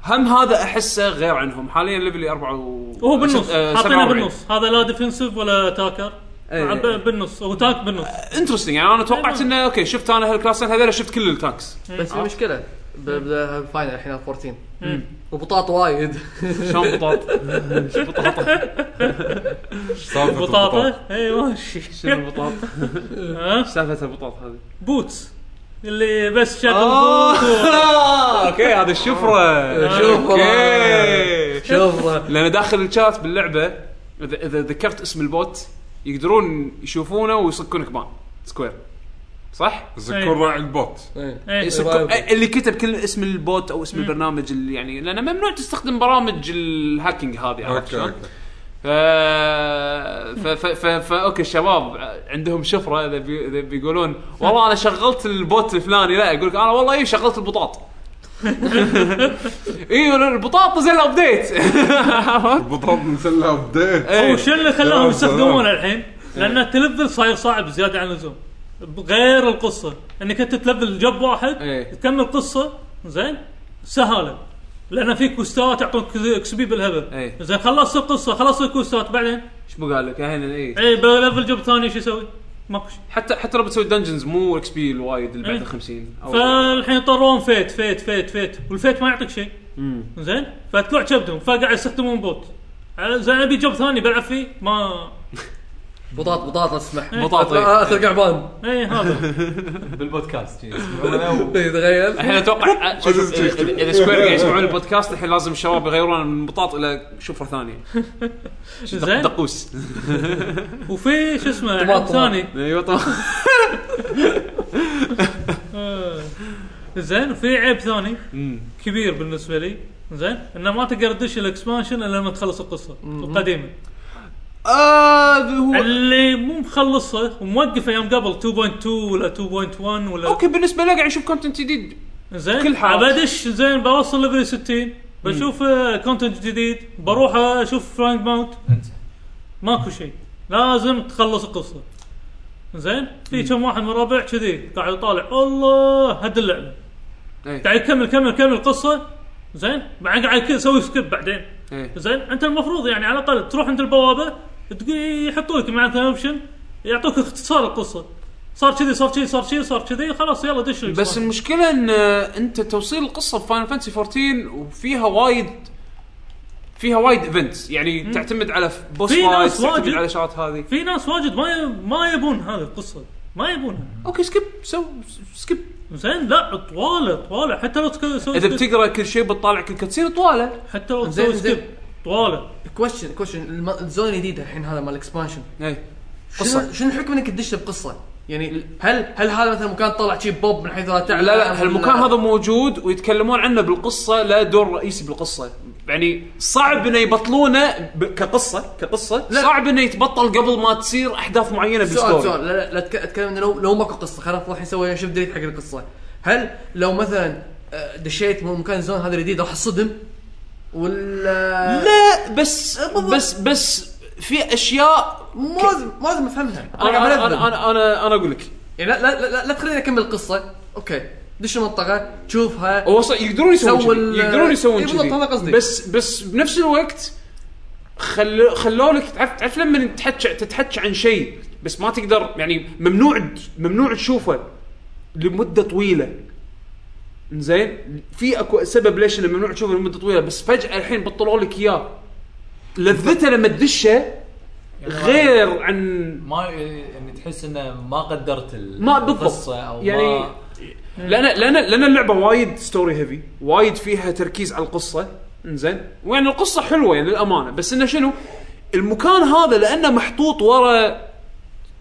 [SPEAKER 1] هم هذا احسه غير عنهم حاليا ليفلي 4 و
[SPEAKER 3] وهو بالنص
[SPEAKER 1] ست- آه،
[SPEAKER 3] حاطينه
[SPEAKER 1] 47.
[SPEAKER 3] بالنص هذا لا ديفنسيف ولا تاكر
[SPEAKER 1] إيه.
[SPEAKER 3] مع ب- بالنص هو تاك بالنص
[SPEAKER 1] انترستنج يعني انا توقعت انه اوكي شفت انا هالكلاسين هذول شفت كل
[SPEAKER 3] (laughs)
[SPEAKER 1] التانكس
[SPEAKER 2] بس في مشكله ب- ب- فاينل الحين 14 وبطاط
[SPEAKER 1] (laughs)
[SPEAKER 2] وايد
[SPEAKER 1] شلون بطاط
[SPEAKER 4] سالفة البطاطا.
[SPEAKER 3] بطاطا ايوه ماشي
[SPEAKER 1] شنو
[SPEAKER 3] (laughs)
[SPEAKER 1] البطاط
[SPEAKER 3] ها؟
[SPEAKER 1] سالفه البطاط هذه
[SPEAKER 3] بوتس اللي بس شغل
[SPEAKER 1] (laughs)
[SPEAKER 3] بوت
[SPEAKER 1] آه، اوكي هذا الشفره
[SPEAKER 3] أه.
[SPEAKER 2] شوف
[SPEAKER 1] اوكي
[SPEAKER 2] شوف
[SPEAKER 1] لان داخل الشات باللعبه اذا اذا ذكرت اسم البوت يقدرونه يشوفونه ويصكونك بان سكوير صح؟
[SPEAKER 4] بس يكون راعي البوت
[SPEAKER 3] إيه.
[SPEAKER 1] يصير كو- أي- اللي كتب كل اسم البوت او اسم البرنامج اللي يعني لان ممنوع تستخدم برامج الهاكينج هذه عرفت
[SPEAKER 4] اوكي
[SPEAKER 1] شلون؟
[SPEAKER 4] اوكي
[SPEAKER 1] ف... ف... ف... ف... ف... اوكي الشباب عندهم شفره اذا بي... إذا بيقولون والله انا شغلت البوت الفلاني لا يقول لك انا والله اي شغلت البطاط ايوه البطاط نزل له ابديت (laughs)
[SPEAKER 4] البطاط نزل له ابديت
[SPEAKER 1] إيه.
[SPEAKER 3] هو شو اللي
[SPEAKER 4] سلام،
[SPEAKER 3] خلاهم يستخدمون
[SPEAKER 4] سلام.
[SPEAKER 3] الحين؟ لان التلفل صاير صعب زياده عن اللزوم غير القصه انك انت تلفل جب واحد
[SPEAKER 1] إيه.
[SPEAKER 3] تكمل قصه زين سهاله لان في كوستات يعطونك اكس بي بالهبل
[SPEAKER 1] إيه.
[SPEAKER 3] زين خلصت القصه خلصت الكوستات بعدين
[SPEAKER 1] ايش قال لك إيه. الحين اي
[SPEAKER 3] اي بلفل جب ثاني شو يسوي؟ ماكو شيء
[SPEAKER 1] حتى حتى لو بتسوي دنجنز مو اكس بي الوايد اللي بعد
[SPEAKER 3] إيه.
[SPEAKER 1] ال 50 او
[SPEAKER 3] فالحين طرون فيت فيت فيت فيت والفيت ما يعطيك شيء زين فتقع شبتهم فقاعد يستخدمون بوت زين ابي جوب ثاني بلعب فيه ما
[SPEAKER 2] بطاط بطاط لا تسمح
[SPEAKER 1] بطاط، إيه.
[SPEAKER 2] آه، اثر قعبان
[SPEAKER 3] اي إيه، هذا (laughs)
[SPEAKER 5] بالبودكاست شي.
[SPEAKER 2] إيه، تخيل
[SPEAKER 1] الحين اتوقع شوف، اذا إذا سكوير قاعد يسمعون البودكاست الحين لازم الشباب يغيرون من بطاط الى شفره ثانيه
[SPEAKER 3] زين (laughs)
[SPEAKER 1] دقوس
[SPEAKER 3] وفي شو اسمه
[SPEAKER 2] طماط
[SPEAKER 3] عيب ثاني
[SPEAKER 1] ايوه طبعا
[SPEAKER 3] آه. زين وفي عيب ثاني كبير بالنسبه لي زين انه ما تقدر تدش الاكسبانشن الا لما تخلص القصه القديمه
[SPEAKER 1] آه، هو
[SPEAKER 3] اللي مو مخلصه وموقفه يوم قبل 2.2 ولا 2.1 ولا
[SPEAKER 1] اوكي بالنسبه لي قاعد اشوف كونتنت يعني جديد
[SPEAKER 3] زين
[SPEAKER 1] كل
[SPEAKER 3] كل
[SPEAKER 1] حاجة.
[SPEAKER 3] بدش زين بوصل ليفل 60 بشوف آه، كونتنت جديد بروح آه، اشوف فرانك ماونت ماكو شيء لازم تخلص القصه زين في كم واحد من ربع كذي قاعد يطالع الله هد اللعبه
[SPEAKER 1] إيه.
[SPEAKER 3] قاعد يكمل كمل كمل القصه زين بعدين قاعد كذا يسوي سكيب بعدين
[SPEAKER 1] إيه.
[SPEAKER 3] زين انت المفروض يعني على الاقل تروح عند البوابه تق- يحطوا لك معناته اوبشن يعطوك اختصار القصه صار كذي صار كذي صار كذي صار كذي خلاص يلا دش
[SPEAKER 1] بس
[SPEAKER 3] الإكسبانشن.
[SPEAKER 1] المشكله ان آه، انت توصيل القصه في فاينل فانتسي 14 وفيها وايد فيها وايد ايفنتس يعني تعتمد على بوس
[SPEAKER 3] في ناس
[SPEAKER 1] فايتس تعتمد
[SPEAKER 3] واجد.
[SPEAKER 1] على شغلات هذه
[SPEAKER 3] في ناس واجد ما ي... ما يبون هذه القصه ما يبونها
[SPEAKER 1] اوكي سكيب سو سكيب
[SPEAKER 3] زين لا طواله طواله حتى لو تسوي
[SPEAKER 1] اذا بتقرا كل شيء بتطالع كل كتسين طواله
[SPEAKER 3] حتى لو
[SPEAKER 2] زين،
[SPEAKER 3] تسوي
[SPEAKER 2] زين.
[SPEAKER 3] سكيب طواله
[SPEAKER 2] كويشن كويشن الم- الزون الجديد الحين هذا مال الاكسبانشن
[SPEAKER 1] ايه
[SPEAKER 2] إيه. شنو شنو الحكم انك تدش بقصه؟ يعني هل هل هذا مثلا مكان طلع شي بوب من حيث لا تعلم
[SPEAKER 1] لا لا هالمكان هذا موجود ويتكلمون عنه بالقصه لا دور رئيسي بالقصه يعني صعب انه يبطلونه ب... كقصه كقصه لا.
[SPEAKER 2] لا.
[SPEAKER 1] صعب انه يتبطل قبل ما تصير احداث معينه
[SPEAKER 2] سؤال
[SPEAKER 1] بالستوري
[SPEAKER 2] سؤال لا لا, لا تك- اتكلم انه لو لو ماكو قصه خلينا نروح نسوي شيف ديليت حق القصه هل لو مثلا آه، دشيت من مكان زون هذا الجديد راح اصدم ولا
[SPEAKER 1] لا بس بس بس في اشياء
[SPEAKER 2] مو لازم مو لازم افهمها انا قاعد
[SPEAKER 1] انا انا
[SPEAKER 2] بلذذ.
[SPEAKER 1] انا, أنا, أنا اقول لك
[SPEAKER 2] يعني لا لا لا, لا, لا تخليني اكمل القصه اوكي دش المنطقه تشوفها
[SPEAKER 1] هو ص- يقدرون يسوون
[SPEAKER 2] سووا
[SPEAKER 1] كذي
[SPEAKER 2] ال-
[SPEAKER 1] يقدرون يسوون
[SPEAKER 2] إيه بالضبط،
[SPEAKER 1] كذي
[SPEAKER 2] هذا قصدي.
[SPEAKER 1] بس بس بنفس الوقت خلو خلوا لك تعرف تعرف لما تتحكى تتحكى عن شيء بس ما تقدر يعني ممنوع ممنوع تشوفه لمده طويله زين في اكو سبب ليش انه ممنوع تشوفه لمده طويله بس فجاه الحين بطلوا لك اياه لذته لما تدشه غير عن
[SPEAKER 5] ما يعني تحس انه ما قدرت ال-
[SPEAKER 1] ما بالضبط
[SPEAKER 5] القصة او
[SPEAKER 1] يعني
[SPEAKER 5] ما-
[SPEAKER 1] لان لان لان اللعبه وايد ستوري هيفي وايد فيها تركيز على القصه انزين ويعني القصه حلوه يعني للامانه بس انه شنو المكان هذا لانه محطوط ورا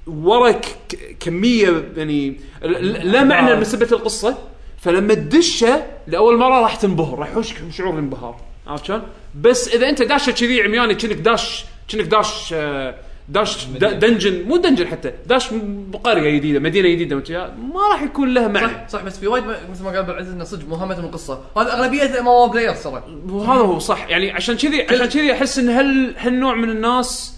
[SPEAKER 1] ورا ك- ك- كميه يعني ل- ل- لا معنى لمسبه القصه فلما تدشه لاول مره راح تنبهر راح يحوشك شعور الانبهار عرفت شلون؟ بس اذا انت داشه كذي عمياني كأنك داش كأنك داش آه، داش د- دنجن مو دنجن حتى داش م- قريه جديده مدينه جديده وكذا، ما راح يكون لها معنى
[SPEAKER 2] صح صح بس في وايد م- مثل ما قال عبد العزيز انه صدق مهمه القصه هذا اغلبيه ما هو بلاير ترى
[SPEAKER 1] وهذا هو صح يعني عشان كذي عشان كذي احس ان هل هالنوع من الناس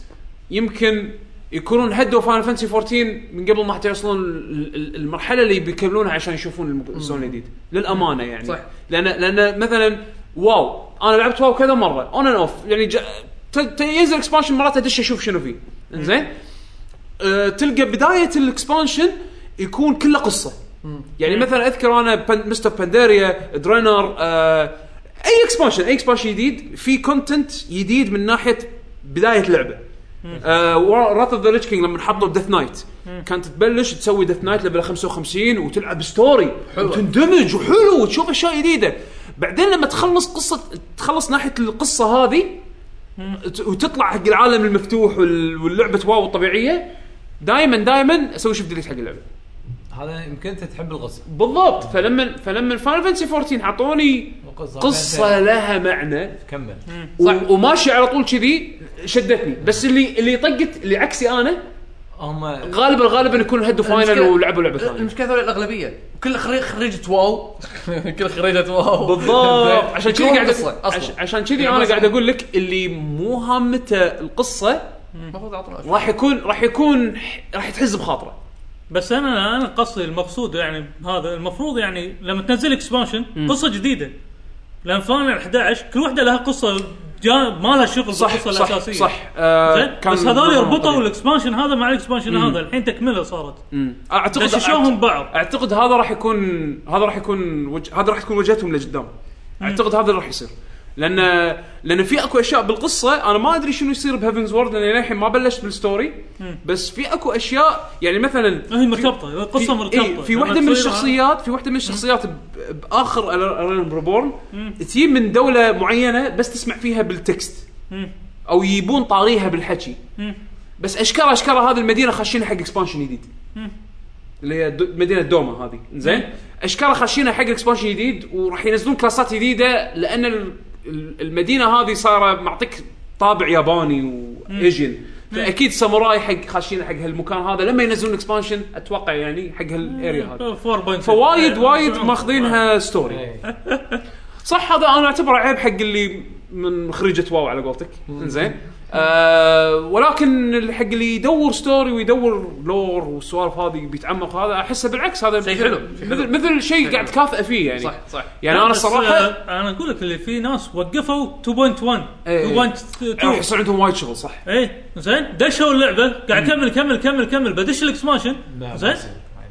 [SPEAKER 1] يمكن يكونون هدوا فاينل فانتسي 14 من قبل ما حتى يوصلون ال- ال- المرحله اللي بيكملونها عشان يشوفون الم- الزون الجديد للامانه يعني
[SPEAKER 2] صح.
[SPEAKER 1] لان لان مثلا واو انا لعبت واو كذا مره اون اند اوف يعني جا- ت- ت- ينزل اكسبانشن مرات ادش اشوف شنو فيه زين أه تلقى بدايه الاكسبانشن يكون كله قصه يعني مثلا اذكر انا بن مستر بانديريا درينر آه اي اكسبانشن اي اكسبانشن جديد في كونتنت جديد من ناحيه بدايه اللعبه آه، راث اوف ذا ريتش كينج لما حطوا ديث نايت كانت تبلش تسوي ديث نايت ليفل 55 وتلعب ستوري وتندمج وحلو وتشوف اشياء جديده بعدين لما تخلص قصه تخلص ناحيه القصه هذه ت- وتطلع حق العالم المفتوح وال- واللعبه واو الطبيعيه دائما دائما اسوي شيفت ديليت حق اللعبه
[SPEAKER 5] هذا يمكن انت تحب الغصب
[SPEAKER 1] بالضبط فلما فلما فاينل فانتسي 14 اعطوني
[SPEAKER 5] القصة-
[SPEAKER 1] قصه لها معنى
[SPEAKER 5] كمل
[SPEAKER 1] صح وماشي على طول كذي شدتني بس اللي اللي طقت اللي عكسي انا
[SPEAKER 5] هم
[SPEAKER 1] غالبا غالبا يكون هدوا فاينل
[SPEAKER 2] المشكلة-
[SPEAKER 1] ولعبوا لعبه ثانيه
[SPEAKER 2] المشكله هذول الاغلبيه كل خريج خريجة واو كل خريجة واو
[SPEAKER 1] بالضبط عشان كذي
[SPEAKER 2] يكرهون
[SPEAKER 1] قاعد
[SPEAKER 2] القصة أصلاً.
[SPEAKER 1] عش- عشان كذي
[SPEAKER 2] يعني
[SPEAKER 1] انا
[SPEAKER 2] ما
[SPEAKER 1] قاعد
[SPEAKER 2] صار.
[SPEAKER 1] اقول لك اللي مو هامته القصه
[SPEAKER 2] المفروض يعطونا أشياء.
[SPEAKER 1] راح يكون راح يكون راح تحز بخاطره
[SPEAKER 3] بس انا انا قصدي المقصود يعني هذا المفروض يعني لما تنزل اكسبانشن قصه جديده لان فاينل 11 كل واحده لها قصه جانب ما لها شغل بالقصه
[SPEAKER 1] صح
[SPEAKER 3] الاساسيه
[SPEAKER 1] صح آه
[SPEAKER 3] زين؟ بس هذول يربطوا الاكسبانشن هذا مع الاكسبانشن هذا الحين تكمله صارت
[SPEAKER 1] مم. اعتقد
[SPEAKER 3] دششوهم بعض
[SPEAKER 1] اعتقد هذا راح يكون هذا راح يكون وجه... هذا راح تكون وجهتهم لقدام اعتقد هذا اللي راح يصير لان لان في اكو اشياء بالقصه انا ما ادري شنو يصير بهيفنز وورد لان للحين ما بلشت بالستوري بس في اكو اشياء يعني مثلا
[SPEAKER 3] هي مرتبطه القصه مرتبطه
[SPEAKER 1] إيه في
[SPEAKER 3] لما
[SPEAKER 1] واحده من
[SPEAKER 3] يعني تصير-
[SPEAKER 1] الشخصيات في واحده من الشخصيات ب- باخر ارين ريبورن تجي من دوله معينه بس تسمع فيها بالتكست
[SPEAKER 3] مم.
[SPEAKER 1] او يبون طاريها بالحكي
[SPEAKER 3] مم.
[SPEAKER 1] بس اشكرها اشكرها هذه المدينه خاشينها حق اكسبانشن جديد اللي هي دو- مدينه دوما هذه زين اشكرها خاشينها حق اكسبانشن جديد وراح ينزلون كلاسات جديده لان ال- ال- المدينه هذه صار معطيك طابع ياباني وايجن فاكيد ساموراي حق خاشينه حق هالمكان هذا لما ينزلون اكسبانشن اتوقع يعني حق هالاريا هذه
[SPEAKER 3] 4.7.
[SPEAKER 1] فوايد وايد
[SPEAKER 3] آه.
[SPEAKER 1] ماخذينها ستوري
[SPEAKER 5] إيه.
[SPEAKER 1] صح هذا انا اعتبره عيب حق اللي من خريجة واو على قولتك زين آه ولكن حق اللي يدور ستوري ويدور لور والسوالف هذه بيتعمق هذا احسه بالعكس هذا
[SPEAKER 2] شيء
[SPEAKER 1] مثل-
[SPEAKER 2] حلو، شيء حلو.
[SPEAKER 1] مثل مثل شيء قاعد تكافئه فيه يعني
[SPEAKER 2] صح صح
[SPEAKER 1] يعني انا
[SPEAKER 3] بس،
[SPEAKER 1] الصراحه
[SPEAKER 3] آه، انا اقول لك اللي في ناس وقفوا 2.1
[SPEAKER 1] إيه.
[SPEAKER 3] 2.2
[SPEAKER 1] راح يصير عندهم وايد شغل صح
[SPEAKER 3] ايه زين دشوا اللعبه قاعد كمل كمل كمل كمل بدش الاكسبانشن
[SPEAKER 5] لا،
[SPEAKER 3] زين
[SPEAKER 5] بس-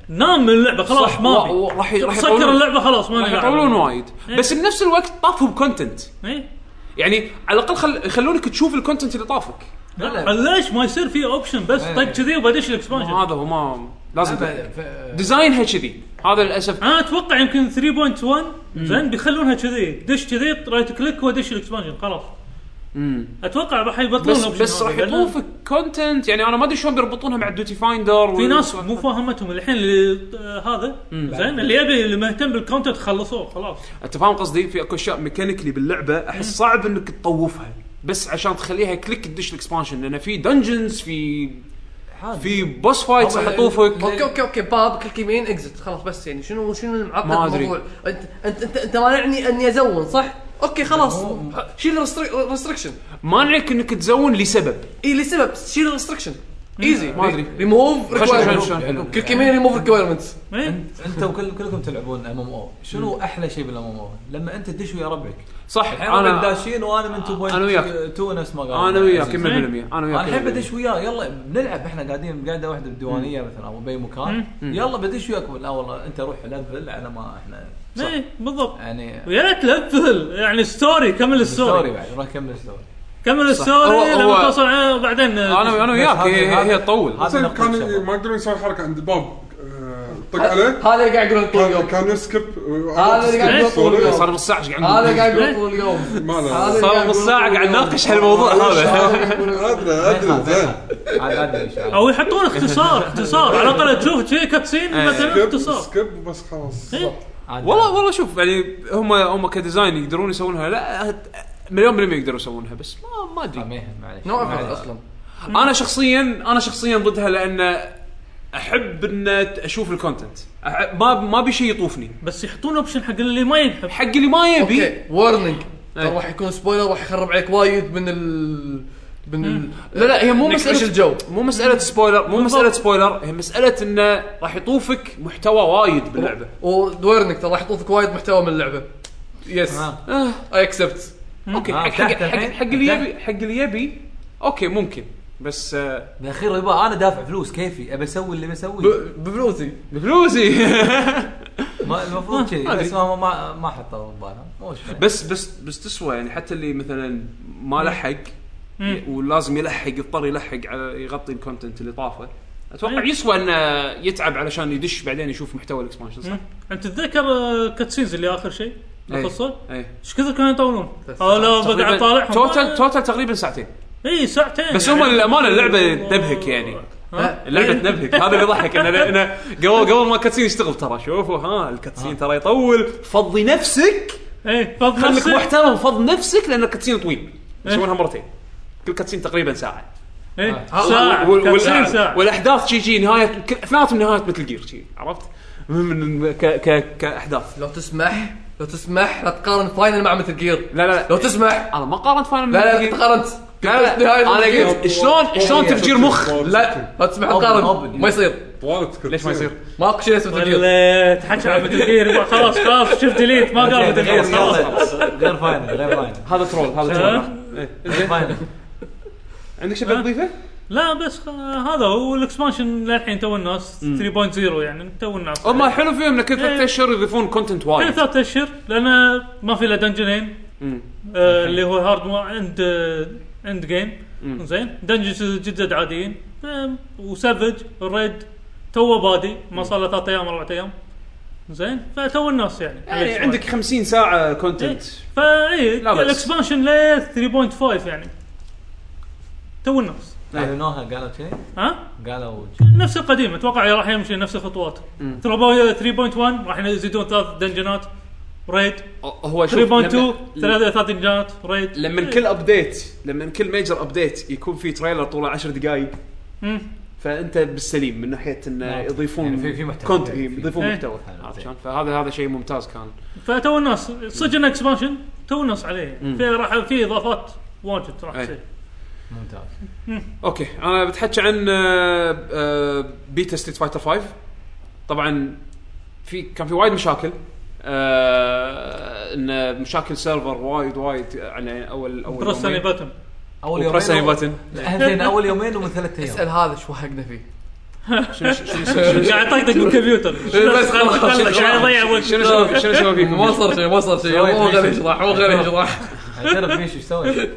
[SPEAKER 3] نام من اللعبه خلاص
[SPEAKER 1] صح،
[SPEAKER 3] ما
[SPEAKER 1] وا-
[SPEAKER 3] في
[SPEAKER 1] وا- راح ي- راح
[SPEAKER 3] سكر
[SPEAKER 1] يطولون-
[SPEAKER 3] اللعبه خلاص ما
[SPEAKER 1] راح
[SPEAKER 3] نلعب.
[SPEAKER 1] يطولون وايد
[SPEAKER 3] إيه.
[SPEAKER 1] بس بنفس الوقت طافهم كونتنت
[SPEAKER 3] ايه
[SPEAKER 1] يعني على الاقل خل... خلونك تشوف الكونتنت اللي طافك
[SPEAKER 5] لا.
[SPEAKER 3] أه، ليش ما يصير في اوبشن بس
[SPEAKER 5] إيه.
[SPEAKER 3] طق كذي وبدش الاكسبانشن
[SPEAKER 1] هذا هو ما لازم
[SPEAKER 5] أما-
[SPEAKER 1] ت-
[SPEAKER 5] ف-
[SPEAKER 1] ديزاينها كذي هذا للاسف
[SPEAKER 3] انا اتوقع يمكن 3.1 زين بيخلونها كذي دش كذي رايت كليك ودش الاكسبانشن خلاص اتوقع راح يبطلون
[SPEAKER 1] بس
[SPEAKER 3] الأوبشن
[SPEAKER 1] بس
[SPEAKER 3] هذا،
[SPEAKER 1] راح
[SPEAKER 3] لأن
[SPEAKER 1] يطوفك كونتنت يعني انا ما ادري شلون بيربطونها مع الدوتي فايندر
[SPEAKER 3] في ناس مو فاهمتهم الحين اللي آه، هذا زين اللي يبي اللي مهتم بالكونتنت خلصوه خلاص
[SPEAKER 1] انت فاهم قصدي في اكو اشياء ميكانيكلي باللعبه احس صعب انك تطوفها بس عشان تخليها كليك تدش الاكسبانشن لان في دنجنز في في بوس فايتس
[SPEAKER 5] هم-
[SPEAKER 1] راح يطوفك
[SPEAKER 2] اوكي اوكي اوكي باب كليك يمين اكزت خلاص بس يعني شنو شنو المعقد
[SPEAKER 1] ما أدري.
[SPEAKER 2] بالموضوع؟ انت انت انت, انت مانعني اني ازون صح؟ اوكي خلاص
[SPEAKER 5] مو-
[SPEAKER 2] شيل الريستركشن
[SPEAKER 1] مانعك انك تزون لسبب
[SPEAKER 2] اي إيه، لسبب شيل الريستركشن ايزي
[SPEAKER 1] ما أدري.
[SPEAKER 2] ريموف
[SPEAKER 1] خش- خش- خش-
[SPEAKER 2] ريكوايرمنت
[SPEAKER 5] يعقوب،
[SPEAKER 2] كليك يمين ريموف ريكوايرمنتس
[SPEAKER 3] إيه.
[SPEAKER 5] انت انت وكل كلكم تلعبون ام ام او شنو احلى شيء بالام ام او لما انت تدش ويا ربعك
[SPEAKER 1] صح
[SPEAKER 5] الحين انا
[SPEAKER 1] انا
[SPEAKER 5] داشين وانا من 2.2
[SPEAKER 1] أنا وياك.
[SPEAKER 5] 2 نفس ما قال
[SPEAKER 1] انا وياك
[SPEAKER 5] عزيز.
[SPEAKER 1] 100% انا
[SPEAKER 5] انا
[SPEAKER 1] وياك
[SPEAKER 5] الحين
[SPEAKER 1] 100%.
[SPEAKER 5] بدش وياه يلا بنلعب احنا قاعدين بقعده واحده بالديوانيه مثلا او باي مكان يلا بدش وياك لا والله انت روح لفل على ما احنا
[SPEAKER 3] ايه بالضبط
[SPEAKER 5] يعني
[SPEAKER 3] ويا ريت لفل يعني ستوري كمل
[SPEAKER 5] ستوري
[SPEAKER 3] الستوري
[SPEAKER 5] بعد روح كمل ستوري
[SPEAKER 3] كمل
[SPEAKER 1] هو-
[SPEAKER 3] الستوري
[SPEAKER 1] هو-
[SPEAKER 3] لما توصل عليه وبعدين
[SPEAKER 1] انا انا
[SPEAKER 5] بس
[SPEAKER 1] وياك
[SPEAKER 5] هذا-
[SPEAKER 1] هي هي- هي
[SPEAKER 5] هذا-
[SPEAKER 1] تطول
[SPEAKER 5] هذا
[SPEAKER 4] زين،
[SPEAKER 5] نقطة
[SPEAKER 4] كان
[SPEAKER 5] شباب.
[SPEAKER 4] ما يقدرون يسوي حركه عند الباب آه، طق عليه
[SPEAKER 2] هذا اللي قاعد يقولون طول
[SPEAKER 4] كان-
[SPEAKER 2] اليوم
[SPEAKER 4] كان يسكب آه،
[SPEAKER 2] هذا اللي قاعد يقول طول اليوم.
[SPEAKER 1] صار نص ساعه ايش قاعد
[SPEAKER 2] هذا
[SPEAKER 1] نقول؟
[SPEAKER 2] اللي قاعد يقول طول اليوم
[SPEAKER 4] (laughs) ما له.
[SPEAKER 2] هذا اللي
[SPEAKER 1] صار نص ساعة
[SPEAKER 2] قاعد يقول طول
[SPEAKER 1] قاعد
[SPEAKER 2] اليوم.
[SPEAKER 1] نناقش هالموضوع هذا.
[SPEAKER 2] هذا اللي
[SPEAKER 4] (laughs)
[SPEAKER 2] يقول طول اليوم.
[SPEAKER 4] ادري ادري زين
[SPEAKER 5] عاد عاد ان شاء الله
[SPEAKER 3] او
[SPEAKER 1] (laughs)
[SPEAKER 3] يحطون اختصار اختصار على الاقل تشوف شيء
[SPEAKER 1] إيه.
[SPEAKER 3] كاتسين مثلا
[SPEAKER 4] سكيب
[SPEAKER 3] اختصار إيه؟
[SPEAKER 4] سكيب وبس خلاص
[SPEAKER 5] عاد.
[SPEAKER 1] والله والله شوف يعني هم هم كديزاين يقدرون يسوونها لا مليون بالمية يقدرون يسوونها بس ما ما ادري
[SPEAKER 5] سامحها، معليش
[SPEAKER 2] نوع
[SPEAKER 5] معليش.
[SPEAKER 2] أفضل اصلا
[SPEAKER 1] انا شخصيا انا شخصيا ضدها لان احب ان اشوف الكونتنت أحب- ما ما ابي شيء يطوفني
[SPEAKER 3] بس يحطون اوبشن حق اللي ما ينحب
[SPEAKER 1] حق اللي ما يبي
[SPEAKER 2] اوكي وارنينج
[SPEAKER 1] أي.
[SPEAKER 2] راح يكون سبويلر راح يخرب عليك وايد من ال من ال
[SPEAKER 1] لا لا هي مو
[SPEAKER 2] إنك تعيش
[SPEAKER 1] مساله
[SPEAKER 2] الجو
[SPEAKER 1] مو مساله سبويلر مو مساله سبويلر هي مساله انه راح يطوفك محتوى وايد باللعبه
[SPEAKER 2] ودويرنك ترى راح يطوفك وايد محتوى من اللعبه يس
[SPEAKER 5] ها.
[SPEAKER 1] آه،
[SPEAKER 2] اي اكسبت
[SPEAKER 1] اوكي
[SPEAKER 5] آه،
[SPEAKER 1] حق حق
[SPEAKER 5] تحت
[SPEAKER 1] حق
[SPEAKER 5] الحين؟
[SPEAKER 1] حق اللي
[SPEAKER 5] تحت.
[SPEAKER 1] يبي حق اللي يبي اوكي ممكن بس آه،
[SPEAKER 5] بالاخير يبا انا دافع فلوس كيفي ابي اسوي اللي بسويه
[SPEAKER 2] بفلوسي
[SPEAKER 1] بفلوسي (laughs)
[SPEAKER 5] ما- المفروض كذي
[SPEAKER 1] ما أدري.
[SPEAKER 5] بس ما ما ما حطوا ببالهم مو مشكلة.
[SPEAKER 1] بس بس بس تسوى يعني حتى اللي مثلا ما لحق ي- ولازم يلحق يضطر يلحق على يغطي الكونتنت اللي طافه اتوقع
[SPEAKER 3] مم.
[SPEAKER 1] يسوى انه يتعب علشان يدش بعدين يشوف محتوى الاكسبانشن صح؟
[SPEAKER 3] انت تتذكر كاتسينز آه، اللي اخر شيء
[SPEAKER 1] إيه.
[SPEAKER 3] القصه
[SPEAKER 1] اي
[SPEAKER 3] ايش كثر كانوا يطولون؟ اه لا بقعد طالعهم
[SPEAKER 1] توتال توتال تقريبا ساعتين
[SPEAKER 3] اي ساعتين
[SPEAKER 1] بس
[SPEAKER 3] يعني.
[SPEAKER 1] هم للامانه اللعبه تبهك يعني
[SPEAKER 2] ها؟
[SPEAKER 3] إيه.
[SPEAKER 1] اللعبه تنبهك هذا اللي ضحك ان إن قبل قبل ما الكاتسين يشتغل ترى شوفوا ها
[SPEAKER 3] آه.
[SPEAKER 1] الكاتسين ترى يطول فضي نفسك
[SPEAKER 3] اي فض
[SPEAKER 1] خليك
[SPEAKER 3] إيه، نفسك
[SPEAKER 1] محترم فض نفسك لان الكاتسين طويل
[SPEAKER 3] إيه.
[SPEAKER 1] يسوونها مرتين كل كاتسين تقريبا ساعه
[SPEAKER 3] اي
[SPEAKER 1] آه،
[SPEAKER 3] ساعه
[SPEAKER 1] وال- وال-
[SPEAKER 3] كاتسين ساعه
[SPEAKER 1] والاحداث شي شي نهايه ك- اثنيناتهم نهايه مثل جير شي عرفت؟ من- من ك ك كاحداث
[SPEAKER 2] لو تسمح لو تسمح لا تقارن فاينل مع مثل جير
[SPEAKER 1] لا لا
[SPEAKER 2] لو
[SPEAKER 1] لا
[SPEAKER 2] تسمح
[SPEAKER 1] انا ما قارنت فاينل
[SPEAKER 2] لا لا لا
[SPEAKER 1] لا
[SPEAKER 2] تقارنت
[SPEAKER 1] لا لا انا قلت شلون شلون تفجير مخ
[SPEAKER 2] لا لا تسمح
[SPEAKER 5] أبد.
[SPEAKER 2] تقارن ما يصير
[SPEAKER 4] طوالت
[SPEAKER 1] ليش ما يصير؟
[SPEAKER 2] ماكو شيء اسمه مثل جير
[SPEAKER 3] وليت حكى عن مثل جير خلاص خلاص شفت ديليت ما قال مثل جير
[SPEAKER 5] غير
[SPEAKER 3] خلاص
[SPEAKER 5] غير فاينل غير فاينل
[SPEAKER 1] (laughs) هذا ترول هذا
[SPEAKER 3] ها؟
[SPEAKER 1] ترول
[SPEAKER 5] غير فاينل
[SPEAKER 1] عندك شيء تضيفه؟
[SPEAKER 3] لا بس آه، هذا هو الاكسبانشن للحين تو الناس 3.0 يعني تو الناس
[SPEAKER 1] هم الحلو فيهم ان كل ثلاث
[SPEAKER 3] إيه.
[SPEAKER 1] اشهر يضيفون كونتنت وايد
[SPEAKER 3] ثلاث اشهر لان ما في الا دنجنين آه اللي هو هارد مو- عند آه، عند جيم زين دنجنز جدد عاديين آه، وسافج ريد تو بادي ما صار له ثلاث ايام اربع ايام زين فتو الناس يعني
[SPEAKER 1] يعني عندك 50 ساعه كونتنت
[SPEAKER 3] فاي
[SPEAKER 1] لا بأس.
[SPEAKER 3] الاكسبانشن ل 3.5 يعني تو الناس
[SPEAKER 5] اعلنوها قالوا شيء
[SPEAKER 3] ها
[SPEAKER 5] قالوا
[SPEAKER 3] نفس القديم اتوقع راح يمشي نفس الخطوات ترى باي 3.1 راح يزيدون ثلاث دنجنات ريد
[SPEAKER 1] أه، هو
[SPEAKER 3] 3.2
[SPEAKER 1] شوف لما,
[SPEAKER 3] ثلاث ثلاث دنجنات ريد إيه.
[SPEAKER 1] لما كل ابديت لما كل ميجر ابديت يكون في تريلر طوله 10 دقائق
[SPEAKER 3] مم.
[SPEAKER 1] فانت بالسليم من ناحيه انه
[SPEAKER 5] نعم.
[SPEAKER 1] يضيفون
[SPEAKER 5] يعني في- في محتوى.
[SPEAKER 1] كونت
[SPEAKER 5] في-
[SPEAKER 1] يضيفون
[SPEAKER 3] إيه.
[SPEAKER 1] محتوى
[SPEAKER 5] حلو،
[SPEAKER 1] عرفت
[SPEAKER 5] زين.
[SPEAKER 1] شلون؟ فهذا هذا شيء ممتاز كان
[SPEAKER 3] فتو الناس صدق انه اكسبانشن تو الناس عليه في راح في اضافات واجد راح
[SPEAKER 1] أي.
[SPEAKER 3] تصير
[SPEAKER 5] ممتاز
[SPEAKER 1] اوكي انا بتحكي عن آه، آه، بيتا ستريت فايتر 5 طبعا في كان في وايد مشاكل آه ان مشاكل سيرفر وايد وايد على اول اول
[SPEAKER 3] بروس
[SPEAKER 1] يومين.
[SPEAKER 3] باتن
[SPEAKER 5] اول يومين
[SPEAKER 1] وبرس أني باتن
[SPEAKER 5] زين اول يومين ومن ثلاث ايام
[SPEAKER 2] اسال هذا شو حقنا فيه
[SPEAKER 1] شنو شنو
[SPEAKER 3] قاعد يطقطق
[SPEAKER 1] (laughs)
[SPEAKER 3] بالكمبيوتر
[SPEAKER 2] بس خلاص،
[SPEAKER 3] قاعد يضيع وقت
[SPEAKER 1] شنو شنو شنو سوى فيكم؟
[SPEAKER 2] ما صار شيء ما صار شيء
[SPEAKER 5] سويت
[SPEAKER 2] مو غير
[SPEAKER 5] ميشن.
[SPEAKER 2] يشرح مو غير يشرح
[SPEAKER 5] اعترف بيشو ايش سويت؟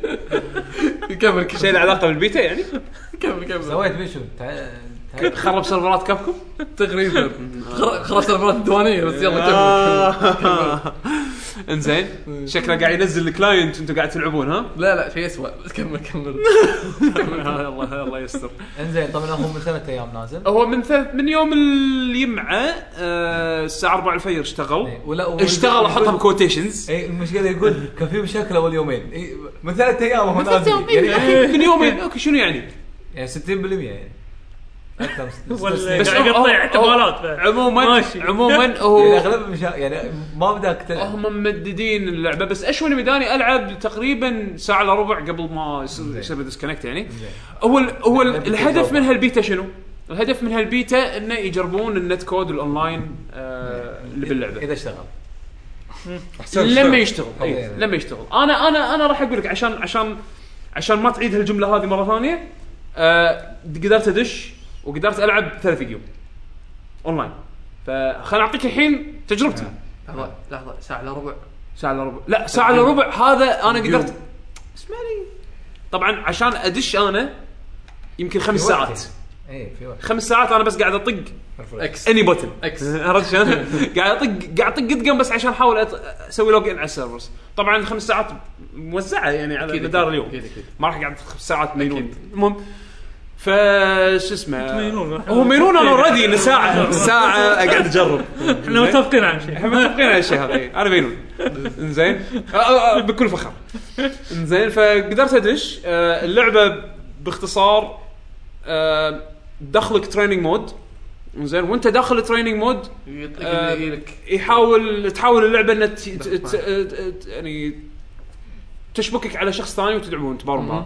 [SPEAKER 2] كمل كمل
[SPEAKER 1] شيء له علاقه بالبيتا يعني؟
[SPEAKER 2] كمل كمل
[SPEAKER 5] سويت بيشو تعال تعال
[SPEAKER 1] خرب سيرفرات كابكم؟
[SPEAKER 2] تقريبا خر- خرجت البنات الديوانيه بس يلا
[SPEAKER 1] آه.
[SPEAKER 2] كمل كمل كمل.
[SPEAKER 1] انزين شكله قاعد ينزل الكلاينت وانتم قاعد تلعبون ها؟
[SPEAKER 2] لا لا شيء اسوء بس كمل كمل
[SPEAKER 3] آه،
[SPEAKER 1] الله الله يستر
[SPEAKER 5] انزين طبعا هو من ثلاث ايام نازل
[SPEAKER 1] هو من ث- من يوم الجمعه آه، الساعه 4 الفجر اشتغل
[SPEAKER 5] إيه، ولا ولا-
[SPEAKER 1] اشتغل احطها بكوتيشنز
[SPEAKER 5] اي المشكله يقول كان في مشاكل اول يومين إي، من ثلاث ايام هو نازل يعني
[SPEAKER 1] من يومين اوكي شنو يعني؟
[SPEAKER 5] يعني 60% يعني اكثر من 60%
[SPEAKER 3] ولا
[SPEAKER 1] بس
[SPEAKER 3] قاعد
[SPEAKER 1] هو- هو-
[SPEAKER 3] يقطع احتمالات بعد.
[SPEAKER 1] عموما
[SPEAKER 3] ماشي.
[SPEAKER 1] عموما
[SPEAKER 5] يعني
[SPEAKER 1] هو
[SPEAKER 5] اغلب المشا... يعني ما بدك تلعب
[SPEAKER 1] هم ممددين اللعبه بس اشوني ميداني العب تقريبا ساعه الا ربع قبل ما يصير يصير ديسكونكت يعني هو ال- هو ال-
[SPEAKER 5] لعبة
[SPEAKER 1] الهدف
[SPEAKER 5] تجربة.
[SPEAKER 1] من هالبيتا شنو؟ الهدف من هالبيتا انه يجربون النت كود الاونلاين آه، اللي باللعبه
[SPEAKER 5] اذا اشتغل
[SPEAKER 1] لما يشتغل إيه،
[SPEAKER 5] طبعاً.
[SPEAKER 1] لما يشتغل انا انا انا راح اقول لك عشان عشان عشان ما تعيد هالجمله هذه مره ثانيه آه، قدرت ادش وقدرت العب ثلاث جيم اونلاين فخليني اعطيك الحين تجربتي
[SPEAKER 2] لحظه لحظه ساعه الا ربع
[SPEAKER 1] ساعه الا ربع لا ساعه الا ربع هذا انا
[SPEAKER 2] اليوم.
[SPEAKER 1] قدرت اسمعني طبعا عشان ادش انا يمكن خمس
[SPEAKER 5] في وقت
[SPEAKER 1] ساعات
[SPEAKER 5] اي في وقت
[SPEAKER 1] خمس ساعات انا بس قاعد اطق
[SPEAKER 2] اكس
[SPEAKER 1] اني بوتن
[SPEAKER 2] اكس
[SPEAKER 1] (laughs) عرفت شلون؟ قاعد اطق قاعد اطق قدقم بس عشان احاول أط- اسوي لوج ان على السيرفرز طبعا خمس ساعات موزعه يعني على
[SPEAKER 2] أكيد،
[SPEAKER 1] مدار
[SPEAKER 2] أكيد،
[SPEAKER 1] اليوم
[SPEAKER 2] أكيد، أكيد.
[SPEAKER 1] ما راح قاعد خمس ساعات مينون المهم فش اسمه
[SPEAKER 3] مينون.
[SPEAKER 1] هو مينون
[SPEAKER 3] إيه.
[SPEAKER 1] انا اوريدي انه ساعه ساعه
[SPEAKER 2] (laughs)
[SPEAKER 1] اقعد اجرب
[SPEAKER 3] احنا متفقين على شيء
[SPEAKER 1] احنا متفقين على الشيء هذا إيه. انا بينون انزين آه، آه، آه، بكل فخر انزين فقدرت ادش آه، اللعبه باختصار آه، دخلك تريننج مود انزين وانت داخل تريننج مود
[SPEAKER 2] يطق
[SPEAKER 1] آه،
[SPEAKER 2] اللي لك
[SPEAKER 1] يحاول تحاول اللعبه انها ت- ت- ت- ت- يعني تشبكك على شخص ثاني وتلعبون تبارون معاه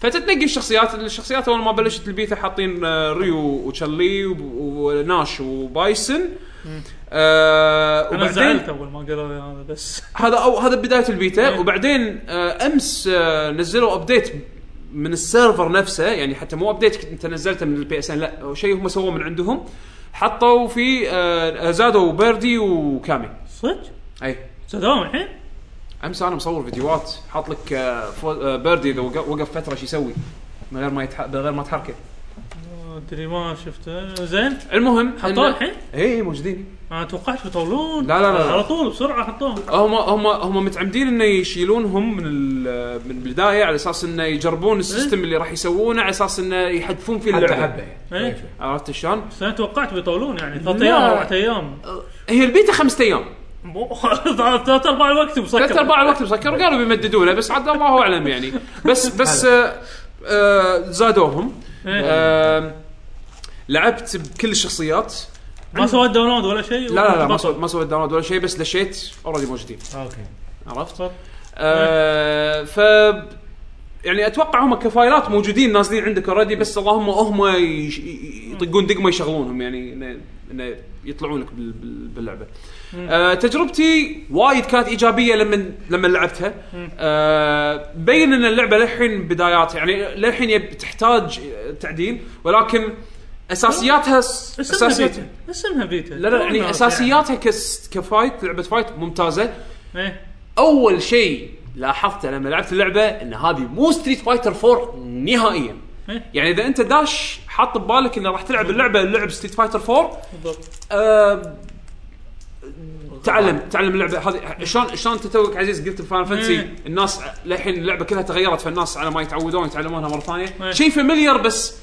[SPEAKER 1] فتتنقي الشخصيات الشخصيات اول ما بلشت البيتا حاطين آه، ريو وتشلي وب- وناش وبايسن آه
[SPEAKER 3] انا
[SPEAKER 1] وبعدين
[SPEAKER 3] زعلت اول ما قالوا لي هذا بس
[SPEAKER 1] هذا او هذا بدايه البيتا
[SPEAKER 3] إيه.
[SPEAKER 1] وبعدين آه، امس آه، نزلوا ابديت من السيرفر نفسه يعني حتى مو ابديت انت نزلته من البي اس ان لا هو شيء هم سووه من عندهم حطوا في آه، زادوا بيردي وكامي
[SPEAKER 3] صدق
[SPEAKER 1] اي
[SPEAKER 3] صدام الحين
[SPEAKER 1] امس انا مصور فيديوهات حاط لك آه، فو- آه، بيردي اذا وق- وقف فتره شو يسوي من غير ما يتح... من غير ما تحركه
[SPEAKER 3] مدري ما شفته زين
[SPEAKER 1] المهم
[SPEAKER 3] حطوه
[SPEAKER 1] إن-
[SPEAKER 3] الحين؟
[SPEAKER 1] اي إي، موجودين
[SPEAKER 3] انا توقعت بيطولون
[SPEAKER 1] لا، لا، لا، لا.
[SPEAKER 3] على طول بسرعه حطوهم
[SPEAKER 1] هم هم هم متعمدين انه يشيلونهم من ال- من البدايه على اساس انه يجربون السيستم اللي راح يسوونه على اساس انه يحذفون فيه
[SPEAKER 5] حبه
[SPEAKER 1] اللعبه
[SPEAKER 5] حبه يعني
[SPEAKER 3] إيه.
[SPEAKER 5] شوي.
[SPEAKER 1] عرفت شلون؟
[SPEAKER 3] بس انا توقعت بيطولون يعني ثلاث
[SPEAKER 1] لا.
[SPEAKER 3] ايام اربع ايام
[SPEAKER 1] هي البيتا خمسة ايام
[SPEAKER 3] مو- (laughs) ثلاث ارباع الوقت مسكر
[SPEAKER 1] ثلاث ارباع الوقت مسكر وقالوا بيمددوا له بس عاد الله اعلم يعني بس بس آه آه زادوهم
[SPEAKER 3] إيه.
[SPEAKER 1] آه لعبت بكل الشخصيات
[SPEAKER 3] ما سويت داونلود ولا شيء
[SPEAKER 1] لا لا لا ما
[SPEAKER 3] وبطل.
[SPEAKER 1] سويت ما سويت داونلود ولا شيء بس دشيت اوريدي موجودين
[SPEAKER 5] اوكي
[SPEAKER 1] عرفت؟
[SPEAKER 3] صح.
[SPEAKER 1] آه ف يعني اتوقع هم كفايلات موجودين نازلين عندك اوريدي بس اللهم هم يش- ي- يطقون دقمه يشغلونهم يعني انه إنه يطلعون لك بال- بال- باللعبه. آه تجربتي وايد كانت ايجابيه لما لما لعبتها. آه بين ان اللعبه للحين بدايات يعني للحين يب- تحتاج تعديل ولكن اساسياتها س-
[SPEAKER 3] اسمها
[SPEAKER 1] اساسيتها
[SPEAKER 3] بيتا اسمها بيتا
[SPEAKER 1] لا لا يعني
[SPEAKER 3] داونلود
[SPEAKER 1] اساسياتها كس كفايت لعبه فايت ممتازه
[SPEAKER 3] يعني. إيه.
[SPEAKER 1] اول شيء لاحظته لما لعبت اللعبه ان هذه مو ستريت فايتر 4 نهائيا
[SPEAKER 3] إيه.
[SPEAKER 1] يعني اذا انت داش حاط ببالك انه راح تلعب اللعبه اللعب ستريت فايتر 4
[SPEAKER 3] بالضبط
[SPEAKER 1] آه تعلم تعلم اللعبه هذه شلون شلون انت توك عزيز قلت بفاينل فانتسي
[SPEAKER 3] إيه.
[SPEAKER 1] الناس للحين اللعبه كلها تغيرت فالناس على ما يتعودون يتعلمونها مره ثانيه
[SPEAKER 3] إيه.
[SPEAKER 1] شيء فاميليار بس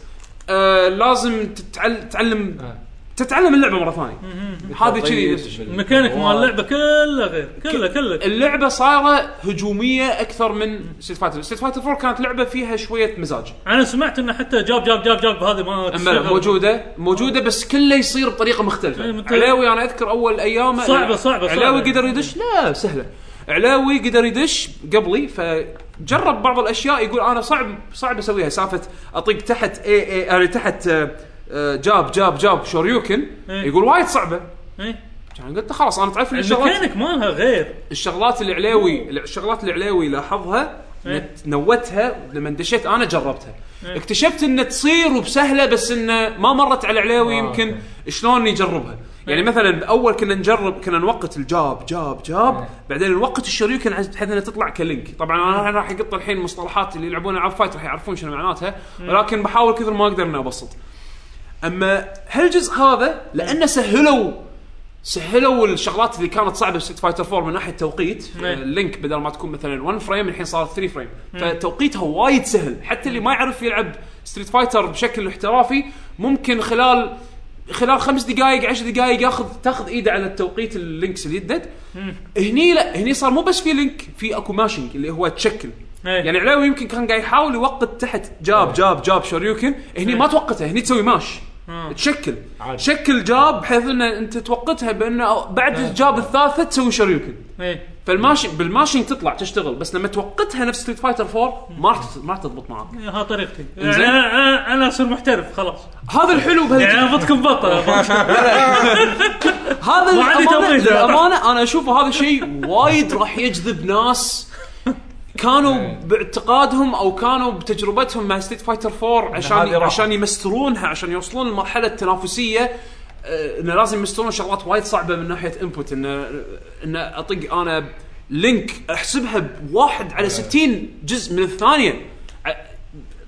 [SPEAKER 1] آه لازم تتعل- تتعلم
[SPEAKER 5] آه.
[SPEAKER 1] تتعلم اللعبه مره ثانيه هذه كذي
[SPEAKER 5] طيب.
[SPEAKER 1] نفس الشيء.
[SPEAKER 3] الميكانيك مال اللعبه كلها غير كلها كلها
[SPEAKER 1] اللعبه صايره هجوميه اكثر من ستيت فايتر ستيت فايتر 4 كانت لعبه فيها شويه مزاج
[SPEAKER 3] انا سمعت انه حتى جاب جاب جاب جاب هذه ما
[SPEAKER 1] اما لا، (laughs)
[SPEAKER 3] تشتغل.
[SPEAKER 1] موجوده موجوده بس كله يصير بطريقه
[SPEAKER 3] إيه،
[SPEAKER 1] مختلفه
[SPEAKER 3] مت-
[SPEAKER 1] علاوي انا اذكر اول ايامه
[SPEAKER 3] صعبة- صعبة-
[SPEAKER 1] علاوي
[SPEAKER 3] صعبة.
[SPEAKER 1] قدر يدش لا سهله علاوي قدر يدش قبلي فجرب بعض الاشياء يقول انا صعب صعب اسويها سالفه اطق تحت اي اي يعني تحت آه، آه، جاب جاب جاب شوريوكن
[SPEAKER 3] إيه.
[SPEAKER 1] يقول وايد صعبه
[SPEAKER 3] إيه.
[SPEAKER 1] كان قلت خلاص انا تعرف الشغلات
[SPEAKER 3] الميكانيك مالها غير
[SPEAKER 1] الشغلات اللي علاوي الشغلات اللي علاوي لاحظها
[SPEAKER 3] إيه.
[SPEAKER 1] نت- نوتها لما دشيت انا جربتها
[SPEAKER 5] إيه.
[SPEAKER 1] اكتشفت ان تصير وبسهله بس انه ما مرت على علاوي
[SPEAKER 5] آه،
[SPEAKER 1] يمكن
[SPEAKER 5] أوكي. إيه.
[SPEAKER 1] شلون يجربها يعني مثلا اول كنا نجرب كنا نوقت الجاب جاب جاب
[SPEAKER 5] إيه.
[SPEAKER 1] بعدين نوقت الشريوكن عز- بحيث انها تطلع كلينك طبعا انا راح اقط الحين مصطلحات اللي يلعبون العاب فايت راح يعرفون شنو معناتها
[SPEAKER 5] إيه.
[SPEAKER 1] ولكن بحاول كثر ما اقدر اني ابسط اما هالجزء هذا لانه سهلوا سهلوا الشغلات اللي كانت صعبه بست فايتر 4 من ناحيه توقيت
[SPEAKER 3] نعم.
[SPEAKER 1] اللينك بدل ما تكون مثلا 1 فريم الحين صارت 3 فريم فتوقيتها وايد سهل حتى اللي ما يعرف يلعب ستريت فايتر بشكل احترافي ممكن خلال خلال خمس دقائق عشر دقائق ياخذ تاخذ ايده على التوقيت اللينكس اللي يدد هني لا هني صار مو بس في لينك في اكو ماشنج اللي هو تشكل
[SPEAKER 3] إيه.
[SPEAKER 1] يعني علاوي يمكن كان قاعد يحاول يوقت تحت جاب جاب جاب شوريوكن هني ما توقته هني تسوي ماش
[SPEAKER 3] آه.
[SPEAKER 1] تشكل
[SPEAKER 5] عادي.
[SPEAKER 1] تشكل جاب بحيث ان انت توقتها بانه بعد الجاب الثالثه تسوي شوريوكن
[SPEAKER 3] إيه.
[SPEAKER 1] فالماشي بالماشين تطلع تشتغل بس لما توقتها نفس ستريت فايتر 4 ما راح تت- ما راح تضبط معك
[SPEAKER 3] إيه، ها طريقتي يعني
[SPEAKER 1] إنزين.
[SPEAKER 3] انا أنا- انا اصير محترف خلاص
[SPEAKER 1] هذا الحلو بهال-
[SPEAKER 3] يعني انا
[SPEAKER 1] (laughs)
[SPEAKER 3] ضدكم بطل
[SPEAKER 1] هذا
[SPEAKER 3] ما عندي
[SPEAKER 1] للأمانة,
[SPEAKER 3] تضييع.
[SPEAKER 1] للأمانة أنا أشوف هذا الشيء وايد راح يجذب ناس كانوا
[SPEAKER 5] إيه.
[SPEAKER 1] باعتقادهم او كانوا بتجربتهم مع ستيت فايتر 4
[SPEAKER 5] هذه
[SPEAKER 1] عشان
[SPEAKER 5] راحة.
[SPEAKER 1] عشان يمسترونها عشان يوصلون للمرحله التنافسيه آه، انه لازم يمسترون شغلات وايد صعبه من ناحيه انبوت انه انه اطق انا لينك احسبها بواحد
[SPEAKER 5] إيه.
[SPEAKER 1] على 60 جزء من الثانيه ع-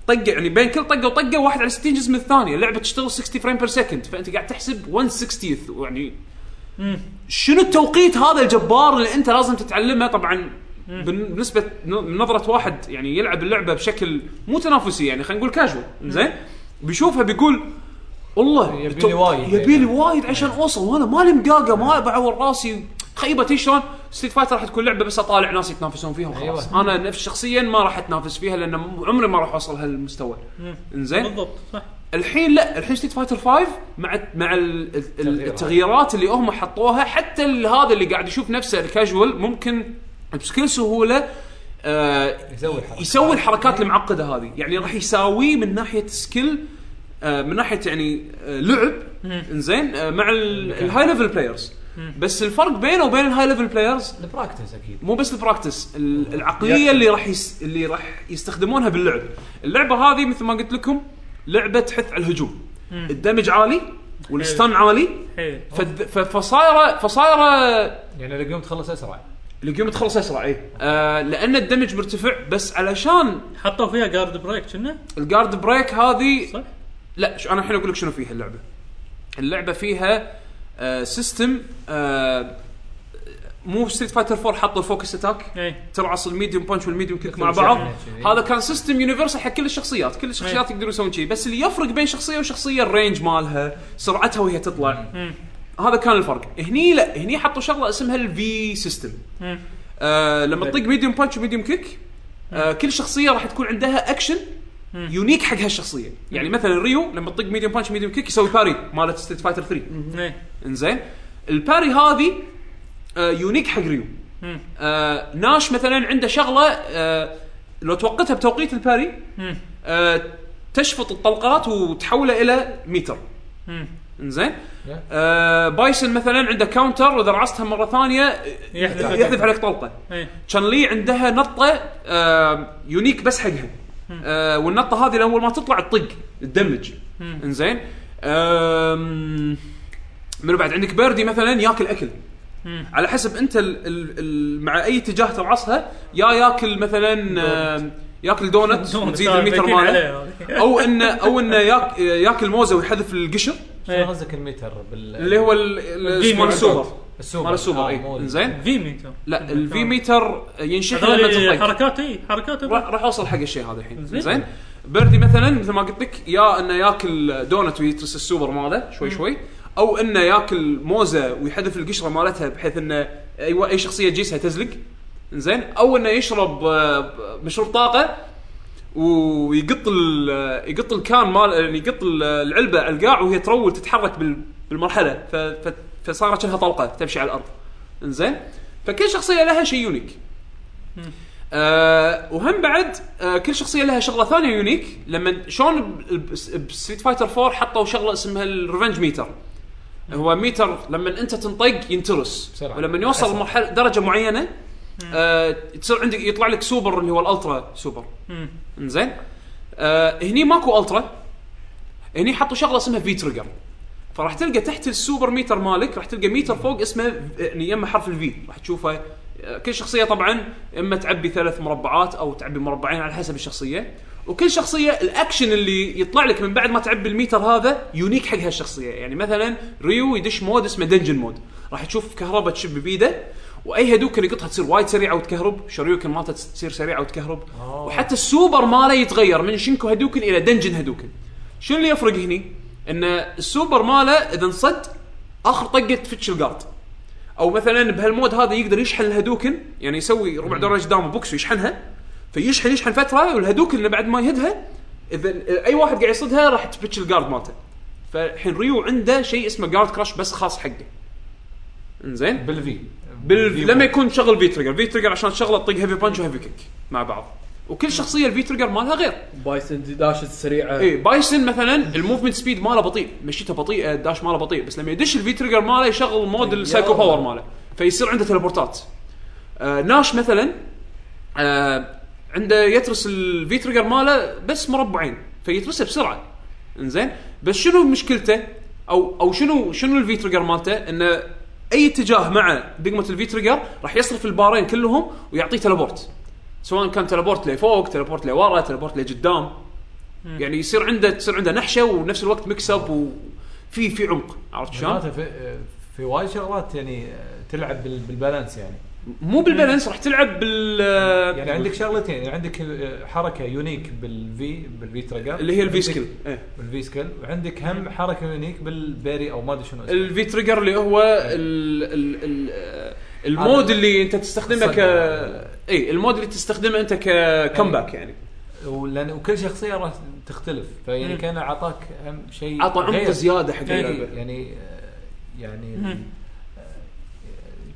[SPEAKER 1] طقه يعني بين كل طقه وطقه واحد على 60 جزء من الثانيه اللعبه تشتغل 60 فريم بير سكند فانت قاعد تحسب 160 يعني شنو التوقيت هذا الجبار اللي انت لازم تتعلمه طبعا بن- بالنسبه ن- من نظره واحد يعني يلعب اللعبه بشكل مو تنافسي يعني خلينا نقول كاجوال زين بيشوفها بيقول والله
[SPEAKER 5] يبي لي
[SPEAKER 1] التوقيت-
[SPEAKER 5] وايد
[SPEAKER 1] يبي لي
[SPEAKER 5] يعني.
[SPEAKER 1] وايد عشان اوصل وانا مالي مقاقه ما بعور راسي خيبه تي شلون ستيت فايتر راح تكون لعبه بس اطالع ناس يتنافسون فيها وخلاص
[SPEAKER 5] أيوة.
[SPEAKER 1] انا نفس شخصيا ما راح اتنافس فيها لان م- عمري ما راح اوصل هالمستوى انزين
[SPEAKER 3] بالضبط صح
[SPEAKER 1] الحين لا الحين ستيت فايتر 5 مع مع ال- ال- التغييرات اللي هم حطوها حتى ال- هذا اللي قاعد يشوف نفسه الكاجوال ممكن بكل سهوله آه
[SPEAKER 5] يسوي الحركة.
[SPEAKER 1] يسوي الحركات المعقده هذه يعني راح يساويه من ناحيه سكيل آه من ناحيه يعني آه لعب انزين آه مع ال- الهاي ليفل بلايرز بس الفرق بينه وبين الهاي ليفل بلايرز
[SPEAKER 5] البراكتس اكيد
[SPEAKER 1] مو بس البراكتس ال- العقليه اللي راح يس... اللي راح يستخدمونها باللعب اللعبه هذه مثل ما قلت لكم لعبه تحث على الهجوم الدمج عالي والستان عالي
[SPEAKER 3] حيل
[SPEAKER 1] فذ... ف... فصايره فصايره
[SPEAKER 5] يعني اليوم تخلص اسرع
[SPEAKER 1] القيوم تخلص اسرع اي آه لان الدمج مرتفع بس علشان
[SPEAKER 3] حطوا فيها جارد بريك كنا
[SPEAKER 1] الجارد بريك هذه
[SPEAKER 3] صح
[SPEAKER 1] لا ش- انا الحين اقول لك شنو فيها اللعبه اللعبه فيها آه سيستم آه مو ستريت فايتر 4 حط الفوكس اتاك
[SPEAKER 3] اي
[SPEAKER 1] ترعص الميديوم بانش والميديوم كيك مع
[SPEAKER 5] مثل
[SPEAKER 1] بعض
[SPEAKER 5] شيء.
[SPEAKER 1] هذا كان سيستم يونيفرسال حق كل الشخصيات كل الشخصيات يقدرون يسوون شيء بس اللي يفرق بين شخصيه وشخصيه الرينج مالها سرعتها وهي تطلع
[SPEAKER 3] مم.
[SPEAKER 1] هذا كان الفرق هني لا هني حطوا شغله اسمها الفي سيستم
[SPEAKER 3] مم.
[SPEAKER 1] آه لما تطق ميديوم بانش وميديوم كيك آه كل شخصيه راح تكون عندها اكشن يونيك حق هالشخصيه يعني مثلا ريو لما تطق ميديوم بانش ميديوم كيك يسوي باري مالت ستريت فايتر 3
[SPEAKER 3] إيه.
[SPEAKER 1] انزين الباري هذه آه يونيك حق ريو
[SPEAKER 3] مم.
[SPEAKER 1] آه ناش مثلا عنده شغله آه لو توقتها بتوقيت الباري
[SPEAKER 3] مم.
[SPEAKER 1] آه تشفط الطلقات وتحوله الى ميتر
[SPEAKER 3] مم.
[SPEAKER 1] انزين آه بايسن مثلا عنده كاونتر واذا رعصتها مره ثانيه آه،
[SPEAKER 3] يحذف عليك.
[SPEAKER 1] يحذف عليك طلقه
[SPEAKER 3] إيه.
[SPEAKER 1] كان لي عندها نطه آه يونيك بس حقها آه والنطه هذه اول ما تطلع تطق تدمج انزين آم، منو بعد عندك بيردي مثلا ياكل اكل
[SPEAKER 3] مم.
[SPEAKER 1] على حسب انت ال ال ال مع اي اتجاه ترعصها يا ياكل مثلا آم، ياكل دونت
[SPEAKER 3] (laughs) دونت،
[SPEAKER 1] وتزيد
[SPEAKER 3] آه،
[SPEAKER 1] الميتر
[SPEAKER 3] فايتين عليه
[SPEAKER 1] ماله
[SPEAKER 3] هذه.
[SPEAKER 1] او انه او انه ياك ياكل موزه ويحذف القشر
[SPEAKER 5] شنو
[SPEAKER 3] إيه.
[SPEAKER 1] (laughs)
[SPEAKER 5] قصدك الميتر بال
[SPEAKER 1] إيه. اللي هو ال- ال-
[SPEAKER 3] الفي
[SPEAKER 1] اسمه
[SPEAKER 3] ميتر.
[SPEAKER 1] السوبر
[SPEAKER 5] السوبر
[SPEAKER 1] مال السوبر إيه. اي
[SPEAKER 5] آه، مو ال-
[SPEAKER 1] انزين
[SPEAKER 3] في ميتر
[SPEAKER 1] لا الفي ميتر ينشحن لما
[SPEAKER 3] هذول
[SPEAKER 1] تطق
[SPEAKER 3] حركات اي حركات
[SPEAKER 1] راح راح اوصل حق الشيء هذا الحين
[SPEAKER 3] زين.
[SPEAKER 1] زين بردي مثلا مثل ما قلت لك يا انه ياكل دونت ويترس السوبر ماله شوي شوي او انه ياكل موزه ويحذف القشره مالتها بحيث انه اي اي شخصيه تجيسها تزلق زين او انه يشرب آه، مشروب طاقه ويقط ال يقط الكان مال يعني يقط ال- العلبه على القاع وهي ترول تتحرك بال- بالمرحله ف- ف- فصارت شبه طلقه تمشي على الارض انزين فكل شخصيه لها شيء يونيك آه وهم بعد آه كل شخصيه لها شغله ثانيه يونيك لما شلون بستريت فايتر 4 حطوا شغله اسمها الريفنج ميتر هو ميتر لما انت تنطق ينترس
[SPEAKER 5] بسرعة.
[SPEAKER 1] ولما يوصل
[SPEAKER 5] أسرع.
[SPEAKER 1] مرحله درجه معينه آه تصير عندك يطلع لك سوبر اللي هو الالترا سوبر
[SPEAKER 3] مم.
[SPEAKER 1] انزين آه هني ماكو الترا هني حطوا شغله اسمها في تريجر فراح تلقى تحت السوبر ميتر مالك راح تلقى ميتر فوق اسمه يعني يما حرف الفي راح تشوفه آه، كل شخصيه طبعا اما تعبي ثلاث مربعات او تعبي مربعين على حسب الشخصيه وكل شخصيه الاكشن اللي يطلع لك من بعد ما تعبي الميتر هذا يونيك حق هالشخصيه يعني مثلا ريو يدش مود اسمه دنجن مود راح تشوف كهرباء تشب بيده واي هدوكن يقطها تصير وايد سريعه وتكهرب شريوكن مالته تصير سريعه وتكهرب وحتى السوبر ماله يتغير من شينكو هدوكن الى دنجن هدوكن شنو اللي يفرق هني؟ ان السوبر ماله اذا انصد اخر طقه تفتش القارد او مثلا بهالمود هذا يقدر يشحن الهدوكن يعني يسوي ربع درجه دام بوكس ويشحنها فيشحن يشحن فتره والهدوكن اللي بعد ما يهدها اذا اي واحد قاعد يصدها راح تفتش القارد مالته فالحين ريو عنده شيء اسمه جارد كراش بس خاص حقه انزين
[SPEAKER 5] بالفي
[SPEAKER 1] بال... لما يكون شغل في تريجر في تريجر عشان شغله تطق هيفي بانش وهيفي كيك مع بعض وكل شخصيه الفي تريجر مالها غير
[SPEAKER 2] بايسن داش السريعه
[SPEAKER 1] اي إيه، بايسن مثلا الموفمنت سبيد ماله بطيء مشيته بطيئه الداش ماله بطيء بس لما يدش الفي تريجر ماله يشغل مود السايكو باور ماله فيصير عنده تليبورتات آه ناش مثلا آه عنده يترس الفي تريجر ماله بس مربعين فيترسه بسرعه انزين بس شنو مشكلته او او شنو شنو الفي تريجر مالته انه اي اتجاه مع دقمه الفي تريجر راح يصرف البارين كلهم ويعطيه تليبورت سواء كان تليبورت لفوق تليبورت لورا تليبورت لقدام يعني يصير عنده تصير عنده نحشه وبنفس الوقت ميكس اب وفي في عمق عرفت شلون؟
[SPEAKER 5] معناته في, آه، في وايد شغلات يعني آه، تلعب بال- بالبالانس يعني
[SPEAKER 1] مو بالبالانس راح تلعب بال
[SPEAKER 5] يعني عندك شغلتين يعني عندك آه، حركه يونيك بالفي بالفي تريجر
[SPEAKER 1] اللي هي الفي سكيل إيه.
[SPEAKER 5] بالفي سكيل وعندك هم حركه يونيك بالبيري او ما ادري شنو اسمه
[SPEAKER 1] الفي تريجر اللي هو ال ال ال آه، المود
[SPEAKER 5] هذا
[SPEAKER 1] اللي انت تستخدمه ك
[SPEAKER 5] صدق. إيه.
[SPEAKER 1] اي المود اللي تستخدمه انت ككمباك يعني
[SPEAKER 5] ولان وكل شخصيه راح تختلف فيعني
[SPEAKER 3] مم.
[SPEAKER 5] كان اعطاك هم شيء
[SPEAKER 1] عطى عمق
[SPEAKER 5] غير.
[SPEAKER 1] زياده حق
[SPEAKER 5] إيه،
[SPEAKER 1] اللعبه
[SPEAKER 5] يعني آه، يعني ال-
[SPEAKER 3] مم.
[SPEAKER 5] آه،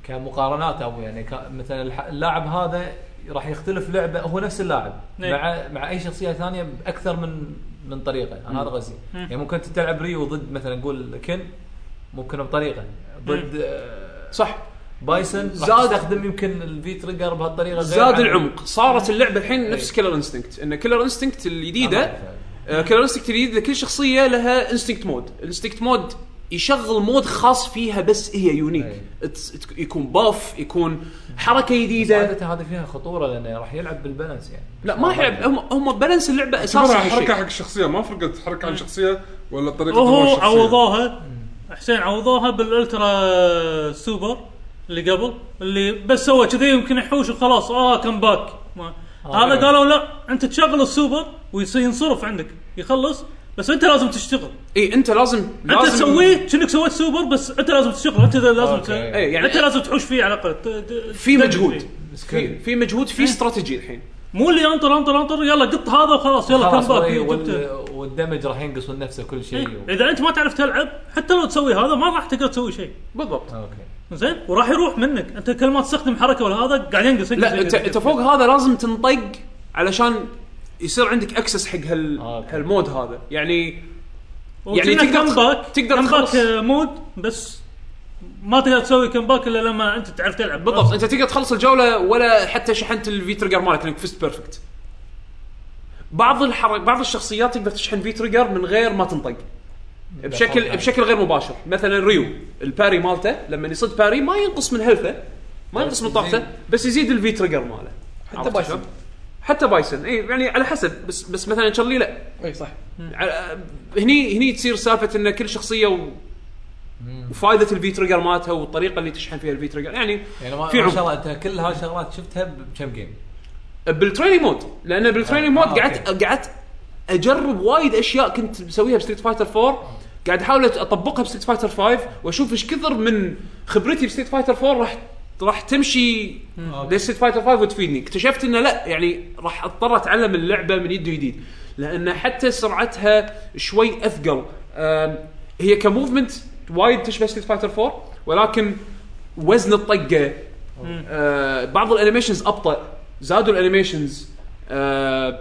[SPEAKER 5] كمقارنات او يعني ك- مثلا الح- اللاعب هذا راح يختلف لعبه هو نفس اللاعب
[SPEAKER 3] إيه.
[SPEAKER 5] مع مع اي شخصيه ثانيه باكثر من من طريقه انا هذا قصدي
[SPEAKER 3] مم.
[SPEAKER 5] يعني ممكن أنت تلعب ريو ضد مثلا نقول كن ممكن بطريقه ضد آه،
[SPEAKER 1] صح
[SPEAKER 5] بايسن راح
[SPEAKER 1] زاد-
[SPEAKER 5] تستخدم يمكن الفي تريجر بهالطريقه غير
[SPEAKER 1] زاد
[SPEAKER 5] عن-
[SPEAKER 1] العمق صارت اللعبه الحين نفس كيلر انستنكت ان كيلر انستنكت الجديده
[SPEAKER 5] أنا-
[SPEAKER 1] آه، كلارستيك الجديد كل شخصيه لها انستنكت مود، الانستنكت مود يشغل مود خاص فيها بس هي يونيك
[SPEAKER 5] أي.
[SPEAKER 1] اتس- ات- يكون باف يكون حركه جديده
[SPEAKER 5] عاده هذه فيها خطوره لانه راح يلعب بالبالانس يعني
[SPEAKER 1] لا ما راح يلعب هم هم بالانس اللعبه اساسا
[SPEAKER 4] ترى حركه
[SPEAKER 1] هالشيء.
[SPEAKER 4] حق الشخصيه ما فرقت حركه
[SPEAKER 1] إيه.
[SPEAKER 4] عن شخصيه ولا طريقه
[SPEAKER 3] وهو
[SPEAKER 4] تمرار الشخصية.
[SPEAKER 3] عوضوها حسين عوضوها بالالترا سوبر اللي قبل اللي بس سوى كذي يمكن يحوش وخلاص اه كم باك ما. هذا قالوا لا انت تشغل السوبر ويصير ينصرف عندك يخلص بس انت لازم تشتغل
[SPEAKER 1] اي انت إيه، لازم
[SPEAKER 3] انت
[SPEAKER 1] لازم-
[SPEAKER 3] تسويه كأنك سويت سوبر بس انت لازم تشتغل انت لازم ت...
[SPEAKER 5] أوكي.
[SPEAKER 1] إيه، يعني-
[SPEAKER 3] انت لازم تحوش فيه على الاقل ت- ت-
[SPEAKER 1] في
[SPEAKER 3] تدمج
[SPEAKER 1] مجهود
[SPEAKER 3] فيه.
[SPEAKER 1] في, في مجهود في استراتيجي الحين
[SPEAKER 3] مو اللي انطر انطر انطر يلا قط هذا وخلاص يلا
[SPEAKER 5] خلاص
[SPEAKER 3] كم باك
[SPEAKER 5] وال-
[SPEAKER 3] جبته.
[SPEAKER 5] وال- والدمج راح ينقص من نفسه كل شيء و...
[SPEAKER 3] اذا انت ما تعرف تلعب حتى لو تسوي هذا ما راح تقدر تسوي شيء
[SPEAKER 1] بالضبط
[SPEAKER 5] اوكي
[SPEAKER 3] زين وراح يروح منك انت كل ما تستخدم حركه ولا هذا قاعد ينقص ينقص-
[SPEAKER 1] لا انت
[SPEAKER 3] ينقص.
[SPEAKER 1] انت فوق هذا لازم تنطق علشان يصير عندك اكسس حق هال
[SPEAKER 5] أوكي.
[SPEAKER 1] هالمود هذا يعني
[SPEAKER 3] وتجينا
[SPEAKER 1] يعني تقدر-
[SPEAKER 3] كم باك
[SPEAKER 1] تقدر
[SPEAKER 3] كم
[SPEAKER 1] تخلص.
[SPEAKER 3] باك آه، مود بس ما تقدر تسوي كم باك الا لما انت تعرف تلعب
[SPEAKER 1] بالضبط انت تقدر تخلص الجوله ولا حتى شحنت الفي تريجر مالك لانك فزت بيرفكت بعض الحرك بعض الشخصيات تقدر تشحن في تريجر من غير ما تنطق بشكل بشكل غير مباشر مثلا ريو الباري مالته لما يصد باري ما ينقص من هيلثه ما ينقص من طاقته بس يزيد الفي تريجر ماله
[SPEAKER 5] حتى
[SPEAKER 1] عرفت شلون؟
[SPEAKER 5] بايسون
[SPEAKER 1] حتى بايسن اي يعني على حسب بس بس مثلا تشارلي لا
[SPEAKER 2] اي إيه، صح
[SPEAKER 1] على- هني هني تصير سالفه ان كل شخصيه و... وفائده الفي تريجر مالتها والطريقه اللي تشحن فيها الفي تريجر يعني
[SPEAKER 5] يعني ما
[SPEAKER 1] في
[SPEAKER 5] ما
[SPEAKER 1] عمق.
[SPEAKER 5] شاء الله انت كل هالشغلات شفتها بكم جيم
[SPEAKER 1] بالتريننج مود لان بالتريننج
[SPEAKER 5] آه،
[SPEAKER 1] مود قعدت
[SPEAKER 5] أوكي.
[SPEAKER 1] قعدت اجرب وايد اشياء كنت مسويها بستريت فايتر 4 قاعد احاول اطبقها بستريت فايتر 5 واشوف ايش كثر من خبرتي بستريت فايتر 4 راح راح تمشي لستريت فايتر 5 وتفيدني اكتشفت انه لا يعني راح اضطر اتعلم اللعبه من يد وجديد لان حتى سرعتها شوي اثقل أم، هي كموفمنت وايد تشبه ستريت فايتر 4 ولكن وزن الطقه آه، بعض الانيميشنز ابطا زادوا الانيميشنز آه،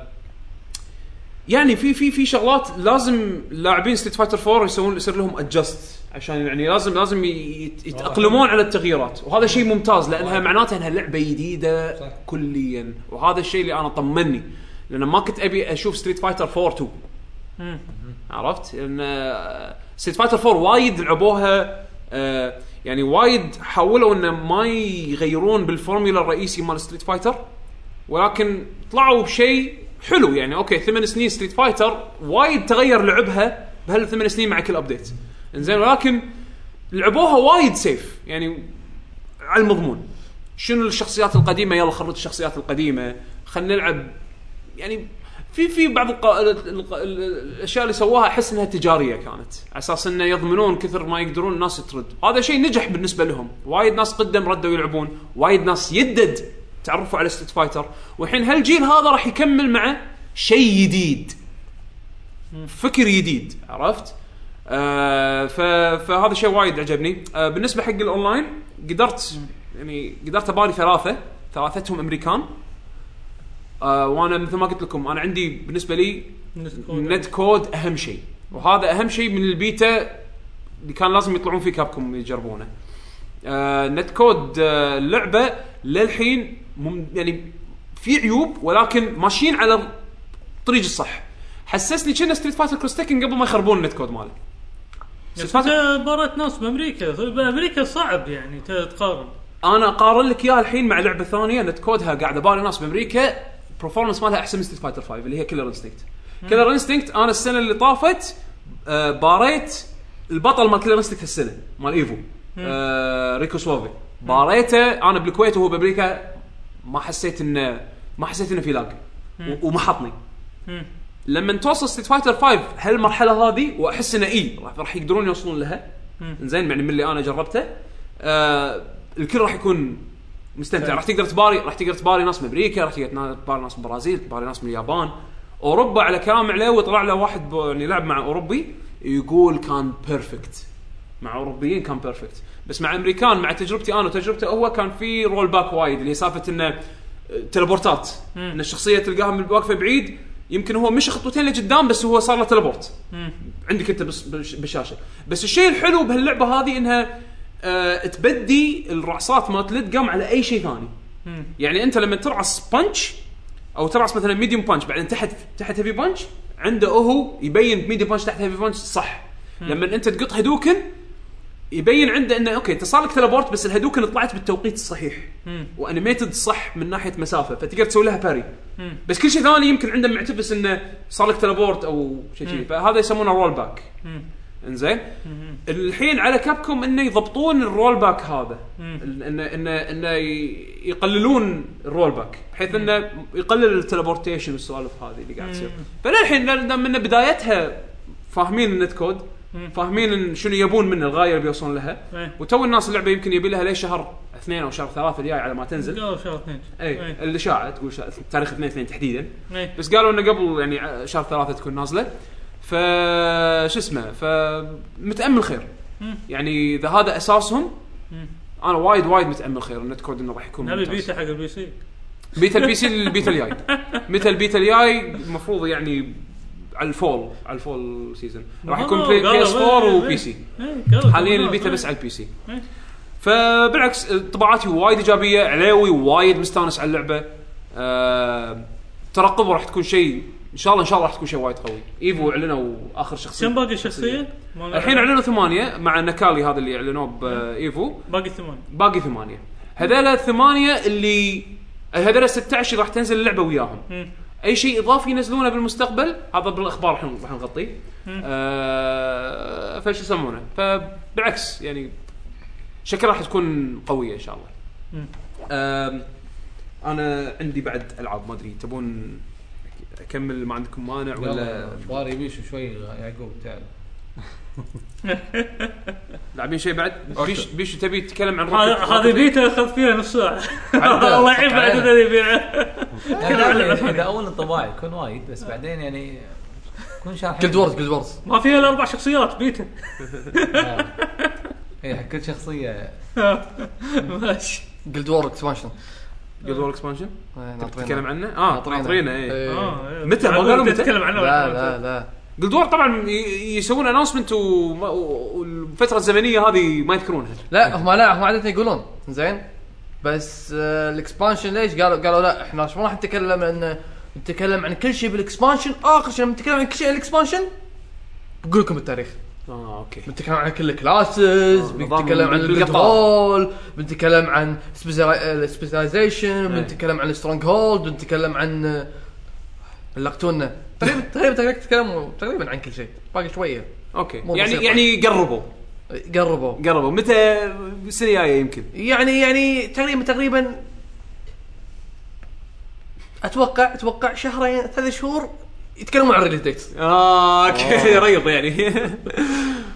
[SPEAKER 1] يعني في في في شغلات لازم لاعبين ستيت فايتر 4 يسوون يصير لهم ادجست عشان يعني لازم لازم يت- يتاقلمون على التغييرات وهذا شيء ممتاز لانها معناته انها لعبه جديده
[SPEAKER 5] صح.
[SPEAKER 1] كليا وهذا الشيء اللي انا طمني لان ما كنت ابي اشوف ستريت فايتر 4 2
[SPEAKER 3] مم.
[SPEAKER 1] عرفت آه، ان ستريت فايتر 4 وايد لعبوها آه، يعني وايد حاولوا انه ما يغيرون بالفورميولا الرئيسي مال ستريت فايتر ولكن طلعوا بشيء حلو يعني اوكي ثمان سنين ستريت فايتر وايد تغير لعبها بهالثمان سنين مع كل ابديت انزين ولكن لعبوها وايد سيف يعني على المضمون شنو الشخصيات القديمه يلا خرج الشخصيات القديمه خلينا نلعب يعني في في بعض القا... ال- ال- ال- الاشياء اللي سواها احس انها تجاريه كانت على اساس انه يضمنون كثر ما يقدرون الناس ترد هذا شيء نجح بالنسبه لهم وايد ناس قدم ردوا يلعبون وايد ناس يدد تعرفوا على ستيت فايتر والحين هالجيل هذا راح يكمل مع شيء جديد فكر جديد عرفت آه ف... فهذا شيء وايد عجبني آه بالنسبه حق الاونلاين قدرت يعني قدرت اباري ثلاثه ثلاثتهم امريكان آه وانا مثل ما قلت لكم انا عندي بالنسبه لي نت كود اهم شيء وهذا اهم شيء من البيتا اللي كان لازم يطلعون فيه كابكم يجربونه آه نت كود آه اللعبه للحين مم يعني في عيوب ولكن ماشيين على الطريق الصح حسسني كنا ستريت فايتر كروس تكن قبل ما يخربون النت كود ماله
[SPEAKER 3] بس انت بارت يعني ناس بامريكا بامريكا صعب يعني ت- تقارن
[SPEAKER 1] انا اقارن لك اياها الحين مع لعبه ثانيه نت كودها قاعده بالي ناس بامريكا برفورمانس مالها احسن من ستيت فايتر 5 اللي هي كلر انستنكت كلر انستنكت انا السنه اللي طافت آه باريت البطل مال كلر انستنكت هالسنه مال ايفو آه ريكو سوافي باريته انا بالكويت وهو بامريكا ما حسيت انه ما حسيت انه في لاج و- وما حطني
[SPEAKER 3] مم.
[SPEAKER 1] لما توصل ستيت فايتر 5 هالمرحله هذه واحس انه اي راح- راح يقدرون يوصلون لها
[SPEAKER 3] مم.
[SPEAKER 1] زين يعني من اللي انا جربته آه الكل راح يكون مستمتع راح تقدر تباري راح تقدر تباري ناس من امريكا راح تقدر تنا- تباري ناس من البرازيل تباري ناس من اليابان اوروبا على كلام عليه طلع له واحد ب- يعني لعب مع اوروبي يقول كان بيرفكت مع اوروبيين كان بيرفكت بس مع امريكان مع تجربتي انا وتجربته هو كان في رول باك وايد اللي هي سالفه انه آه، تلبورتات ان الشخصيه تلقاها من واقفه بعيد يمكن هو مش خطوتين لقدام بس هو صار له تلبورت عندك انت بس بالش- بالشاشه بس الشيء الحلو بهاللعبه هذه انها آه تبدي الرعصات مالت لدقم على اي شيء ثاني يعني انت لما ترعص بانش او ترعص مثلا ميديوم بانش بعدين تحت تحت هيفي بانش عنده هو يبين ميديوم بانش تحت هيفي بانش صح لما انت تقط هدوكن يبين عنده انه اوكي انت صار لك تلبورت بس الهدوكن طلعت بالتوقيت الصحيح وانيميتد صح من ناحيه مسافه فتقدر تسوي لها باري
[SPEAKER 3] مم.
[SPEAKER 1] بس كل شيء ثاني يمكن عنده معتبس انه صار لك تلبورت او شيء شي. فهذا يسمونه رول باك
[SPEAKER 3] مم.
[SPEAKER 1] انزين
[SPEAKER 3] مم.
[SPEAKER 1] الحين على كابكم انه يضبطون الرول باك هذا
[SPEAKER 3] مم.
[SPEAKER 1] ال- انه انه انه ي- يقللون الرول باك بحيث انه يقلل التلبورتيشن والسوالف هذه اللي قاعد تصير
[SPEAKER 3] مم.
[SPEAKER 1] فللحين لأن- لأن من بدايتها فاهمين النت كود
[SPEAKER 3] مم.
[SPEAKER 1] فاهمين إن شنو يبون منه الغايه اللي بيوصلون لها
[SPEAKER 3] إيه.
[SPEAKER 1] وتو الناس اللعبه يمكن يبي لها ليه شهر اثنين او شهر ثلاثه الجاي على ما تنزل
[SPEAKER 3] قالوا شهر اثنين
[SPEAKER 1] اي
[SPEAKER 3] إيه.
[SPEAKER 1] الاشاعه تقول شهر- تاريخ اثنين اثنين تحديدا
[SPEAKER 3] إيه.
[SPEAKER 1] بس قالوا انه قبل يعني ع- شهر ثلاثة تكون نازله ف شو اسمه فمتامل خير
[SPEAKER 3] مم.
[SPEAKER 1] يعني اذا هذا اساسهم
[SPEAKER 3] مم.
[SPEAKER 1] انا وايد وايد متامل خير النت كود انه راح يكون
[SPEAKER 3] نبي
[SPEAKER 1] ممتاز
[SPEAKER 3] بيتا حق البي سي
[SPEAKER 1] بيتا البي سي البيتا
[SPEAKER 3] (laughs)
[SPEAKER 1] الجاي متى البيتا الجاي المفروض يعني على الفول على الفول سيزون راح يكون بلاي
[SPEAKER 3] آه، قالوا-
[SPEAKER 1] بي اس 4
[SPEAKER 3] إيه.
[SPEAKER 1] وبي سي
[SPEAKER 3] إيه، قالوا
[SPEAKER 1] حاليا
[SPEAKER 3] شهر
[SPEAKER 1] البيتا
[SPEAKER 3] إيه.
[SPEAKER 1] بس على البي سي
[SPEAKER 3] إيه.
[SPEAKER 1] فبالعكس طبعاتي وايد ايجابيه عليوي وايد مستانس على اللعبه آه ترقبه راح تكون شيء ان شاء الله ان شاء الله راح تكون شيء وايد قوي ايفو اعلنوا اخر شخصيه
[SPEAKER 3] كم باقي الشخصيه؟ ما-
[SPEAKER 1] الحين اعلنوا ثمانيه مع نكالي هذا اللي اعلنوه بايفو
[SPEAKER 3] باقي ثمانية
[SPEAKER 1] باقي ثمانيه هذول الثمانيه اللي هذول 16 راح تنزل اللعبه وياهم
[SPEAKER 3] مم.
[SPEAKER 1] اي شيء اضافي ينزلونه بالمستقبل هذا بالاخبار الحين راح نغطيه
[SPEAKER 3] مم.
[SPEAKER 1] آه فشو يسمونه فبالعكس يعني شكلها راح تكون قويه ان شاء الله
[SPEAKER 3] مم.
[SPEAKER 1] آم، انا عندي بعد العاب ما ادري تبون اكمل ما عندكم مانع ولا
[SPEAKER 5] ولا باري بيشو شوي يعقوب تعال
[SPEAKER 1] لاعبين شيء بعد بيش بيش تبي تتكلم عن
[SPEAKER 3] هذا-
[SPEAKER 1] روكت-
[SPEAKER 3] هذه
[SPEAKER 1] روكت ليج؟
[SPEAKER 3] بيتا اخذ فيها نص ساعه (laughs) الله يعين بعد
[SPEAKER 5] تعال.
[SPEAKER 3] اذا يبيعها
[SPEAKER 5] إيه، اذا اول انطباع يكون وايد بس بعدين يعني كون شارح
[SPEAKER 2] جلد وورز جلد وورز
[SPEAKER 3] ما فيها الا اربع شخصيات بيتا
[SPEAKER 5] اي آه. إيه، حق كل شخصيه
[SPEAKER 3] ماشي
[SPEAKER 2] جلد وورز اكسبانشن
[SPEAKER 1] جود وور اكسبانشن تتكلم
[SPEAKER 2] ناطرينه
[SPEAKER 1] عنه اه ناطرينه اي
[SPEAKER 2] آه، إيه.
[SPEAKER 3] آه،
[SPEAKER 1] متى؟ ما
[SPEAKER 3] عقول
[SPEAKER 1] قالوا متى؟
[SPEAKER 3] تتكلم عنه
[SPEAKER 2] لا لا لا
[SPEAKER 1] جولد وور طبعا ي- يسوون اناونسمنت والفتره الزمنيه هذه ما يذكرونها
[SPEAKER 2] لا هم لا هم عاده يقولون زين بس آه الاكسبانشن ليش قالوا قالوا لا احنا مش ما راح نتكلم عن نتكلم عن كل شيء بالاكسبانشن اخر شيء لما نتكلم عن كل شيء الاكسبانشن بقول لكم التاريخ آه،
[SPEAKER 1] اه اوكي
[SPEAKER 2] بنتكلم عن كل الكلاسز
[SPEAKER 1] نظام
[SPEAKER 2] بنتكلم عن
[SPEAKER 1] بالقطار.
[SPEAKER 2] الكنترول بنتكلم عن سبيشاليزيشن بنتكلم عن السترونج هولد بنتكلم عن آه، علقتونا تقريبا تقريبا تقريبا تتكلموا تقريبا عن كل شيء باقي شويه
[SPEAKER 1] اوكي
[SPEAKER 2] مو
[SPEAKER 1] يعني
[SPEAKER 2] بسيطة.
[SPEAKER 1] يعني قربوا
[SPEAKER 2] قربوا
[SPEAKER 1] قربوا متى السنه الجايه يمكن
[SPEAKER 2] يعني يعني تقريبا تقريبا اتوقع اتوقع شهرين ثلاث شهور يتكلمون عن ريليز ديت
[SPEAKER 1] اه اوكي
[SPEAKER 2] آه.
[SPEAKER 1] (laughs) ريض يعني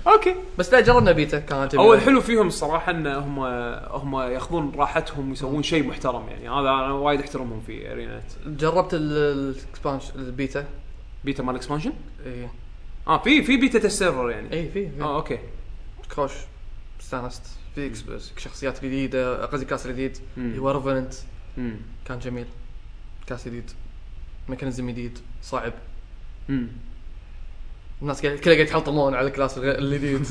[SPEAKER 1] اوكي
[SPEAKER 2] بس لا جربنا بيتا كانت
[SPEAKER 1] هو الحلو فيهم الصراحه ان هم هم ياخذون راحتهم ويسوون شيء محترم يعني هذا انا وايد احترمهم في ارينات
[SPEAKER 2] جربت الاكسبانش البيتا
[SPEAKER 1] بيتا مال اكسبانشن
[SPEAKER 2] اي
[SPEAKER 1] اه في في بيتا تست سيرفر يعني
[SPEAKER 2] اي إيه، في
[SPEAKER 1] اه اوكي
[SPEAKER 2] كروش استانست في إكس- شخصيات جديده قصدي كاس جديد
[SPEAKER 1] مم.
[SPEAKER 2] اللي هو ريفرنت
[SPEAKER 1] امم
[SPEAKER 2] كان جميل كاس جديد ميكانيزم جديد صعب
[SPEAKER 1] امم
[SPEAKER 2] الناس قاعد كلها قاعد يتحلطمون على الكلاس الغ- (laughs) الجديد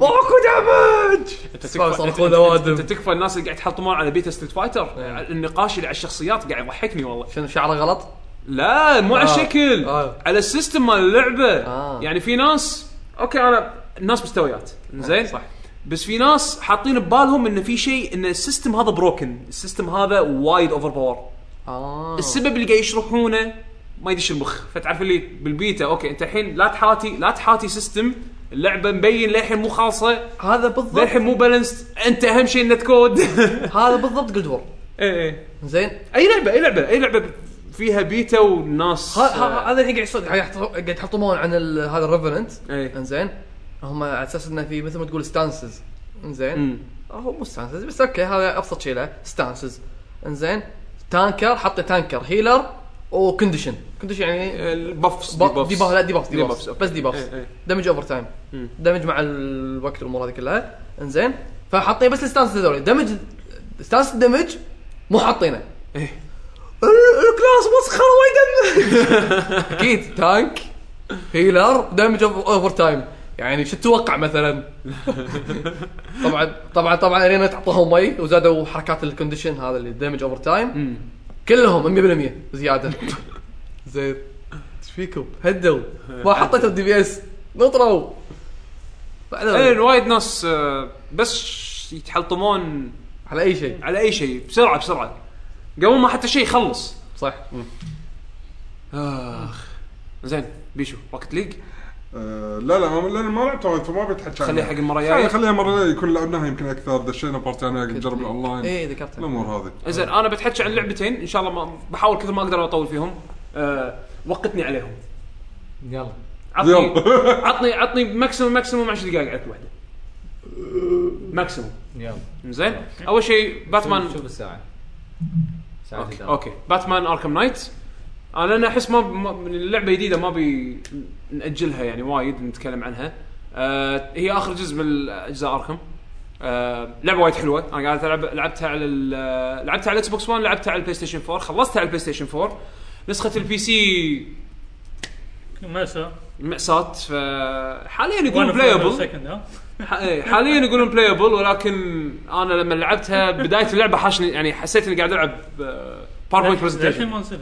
[SPEAKER 2] ماكو دامج صرخوا
[SPEAKER 1] انت
[SPEAKER 2] لوادم
[SPEAKER 1] تكفى الناس اللي قاعد يحطمون على بيتا ستريت فايتر
[SPEAKER 2] نعم.
[SPEAKER 1] النقاش اللي على الشخصيات قاعد يضحكني والله
[SPEAKER 2] شنو شعره غلط؟
[SPEAKER 1] لا مو على
[SPEAKER 2] آه.
[SPEAKER 1] الشكل
[SPEAKER 2] آه.
[SPEAKER 1] على السيستم مال اللعبه
[SPEAKER 2] آه.
[SPEAKER 1] يعني في ناس اوكي انا الناس مستويات زين صح بس في ناس حاطين ببالهم ان في شيء ان السيستم هذا بروكن السيستم هذا وايد اوفر باور
[SPEAKER 2] اه
[SPEAKER 1] السبب اللي قاعد يشرحونه ما يدش المخ فتعرف اللي بالبيتا اوكي انت الحين لا تحاتي لا تحاتي سيستم اللعبه مبين للحين مو خالصه
[SPEAKER 2] هذا بالضبط
[SPEAKER 1] للحين مو بالانسد انت اهم شيء النت كود (laughs)
[SPEAKER 2] هذا بالضبط جلد وور
[SPEAKER 1] ايه ايه
[SPEAKER 2] زين
[SPEAKER 1] اي لعبه اي لعبه اي لعبه فيها بيتا وناس
[SPEAKER 2] ه- ه- هذا الحين قاعد يصير قاعد يحط- قاعد يحطمون عن ال- هذا الريفرنت
[SPEAKER 1] ايه
[SPEAKER 2] انزين هم على اساس انه في مثل ما تقول ستانسز انزين
[SPEAKER 1] أمم.
[SPEAKER 2] هو مو ستانسز بس اوكي هذا ابسط شيء له ستانسز انزين تانكر حط تانكر هيلر وكونديشن كونديشن يعني
[SPEAKER 1] البفس
[SPEAKER 2] ديباف لا
[SPEAKER 1] ديبافس،
[SPEAKER 2] ديباف ديباف
[SPEAKER 1] إيه، أوكي.
[SPEAKER 2] بس ديباف
[SPEAKER 1] إيه، إيه.
[SPEAKER 2] دمج اوفر تايم
[SPEAKER 1] مم.
[SPEAKER 2] دمج مع الوقت والامور هذه كلها انزين فحاطين بس الستانس هذول دمج ستانس الدمج مو حاطينه
[SPEAKER 1] إيه.
[SPEAKER 2] ال- الكلاس مسخره ما يدمج (laughs) اكيد تانك هيلر دمج اوفر تايم يعني شو تتوقع مثلا؟ (laughs) طبعا طبعا طبعا ارينا تعطوهم مي وزادوا حركات الكونديشن هذا اللي دمج اوفر تايم
[SPEAKER 1] أمم.
[SPEAKER 2] كلهم 100% (laughs) زياده زين (laughs) ايش فيكم؟ هدوا ما حطيتوا دي بي اس نطروا
[SPEAKER 1] الحين إيه، وايد ناس آه، بس ش- يتحلطمون
[SPEAKER 2] على اي شيء
[SPEAKER 1] على اي شيء بسرعه بسرعه قبل ما حتى شيء يخلص
[SPEAKER 2] صح آه.
[SPEAKER 1] اخ زين بيشو روكت ليج
[SPEAKER 4] آه، لا لا ما- لأن ما لعبت وايد فما بتحكي
[SPEAKER 1] خليه
[SPEAKER 4] عنها.
[SPEAKER 1] حق المره
[SPEAKER 4] خلي-
[SPEAKER 1] الجايه
[SPEAKER 4] خليها مره يكون لعبناها يمكن اكثر دشينا يعني بارتي انا
[SPEAKER 1] إيه.
[SPEAKER 4] نجرب الاونلاين
[SPEAKER 2] اي ذكرتها
[SPEAKER 4] الامور هذه
[SPEAKER 1] زين
[SPEAKER 5] آه.
[SPEAKER 1] انا بتحكي عن لعبتين ان شاء الله ما بحاول كثر ما اقدر اطول فيهم أه وقتني عليهم
[SPEAKER 5] يلا
[SPEAKER 1] عطني
[SPEAKER 4] يلا.
[SPEAKER 1] عطني عطني ماكسيموم ماكسيموم 10 دقائق عطني واحده ماكسيموم
[SPEAKER 5] يلا
[SPEAKER 1] زين اول شيء باتمان
[SPEAKER 5] شوف الساعه ساعه
[SPEAKER 1] اوكي,
[SPEAKER 5] إدارة.
[SPEAKER 1] أوكي. باتمان اركم نايت انا انا احس ما ما- من اللعبه جديده ما بي ناجلها يعني وايد نتكلم عنها آه هي اخر جزء من اجزاء اركم آه لعبه وايد حلوه انا قاعد العب لعبتها على ال- لعبتها على الاكس بوكس 1 لعبتها على البلاي ستيشن 4 خلصتها على البلاي ستيشن 4 نسخه البي سي
[SPEAKER 3] مأساة
[SPEAKER 1] مأساة فحاليا
[SPEAKER 3] One
[SPEAKER 1] يقولون
[SPEAKER 3] of
[SPEAKER 1] بلايبل
[SPEAKER 3] second، ها؟
[SPEAKER 1] ح- إيه، حاليا يقولون بلايبل ولكن انا لما لعبتها بدايه اللعبه حاشني يعني حسيت اني قاعد آه، العب باوربوينت
[SPEAKER 3] للحين
[SPEAKER 1] برزنتيشن
[SPEAKER 3] ما نزلت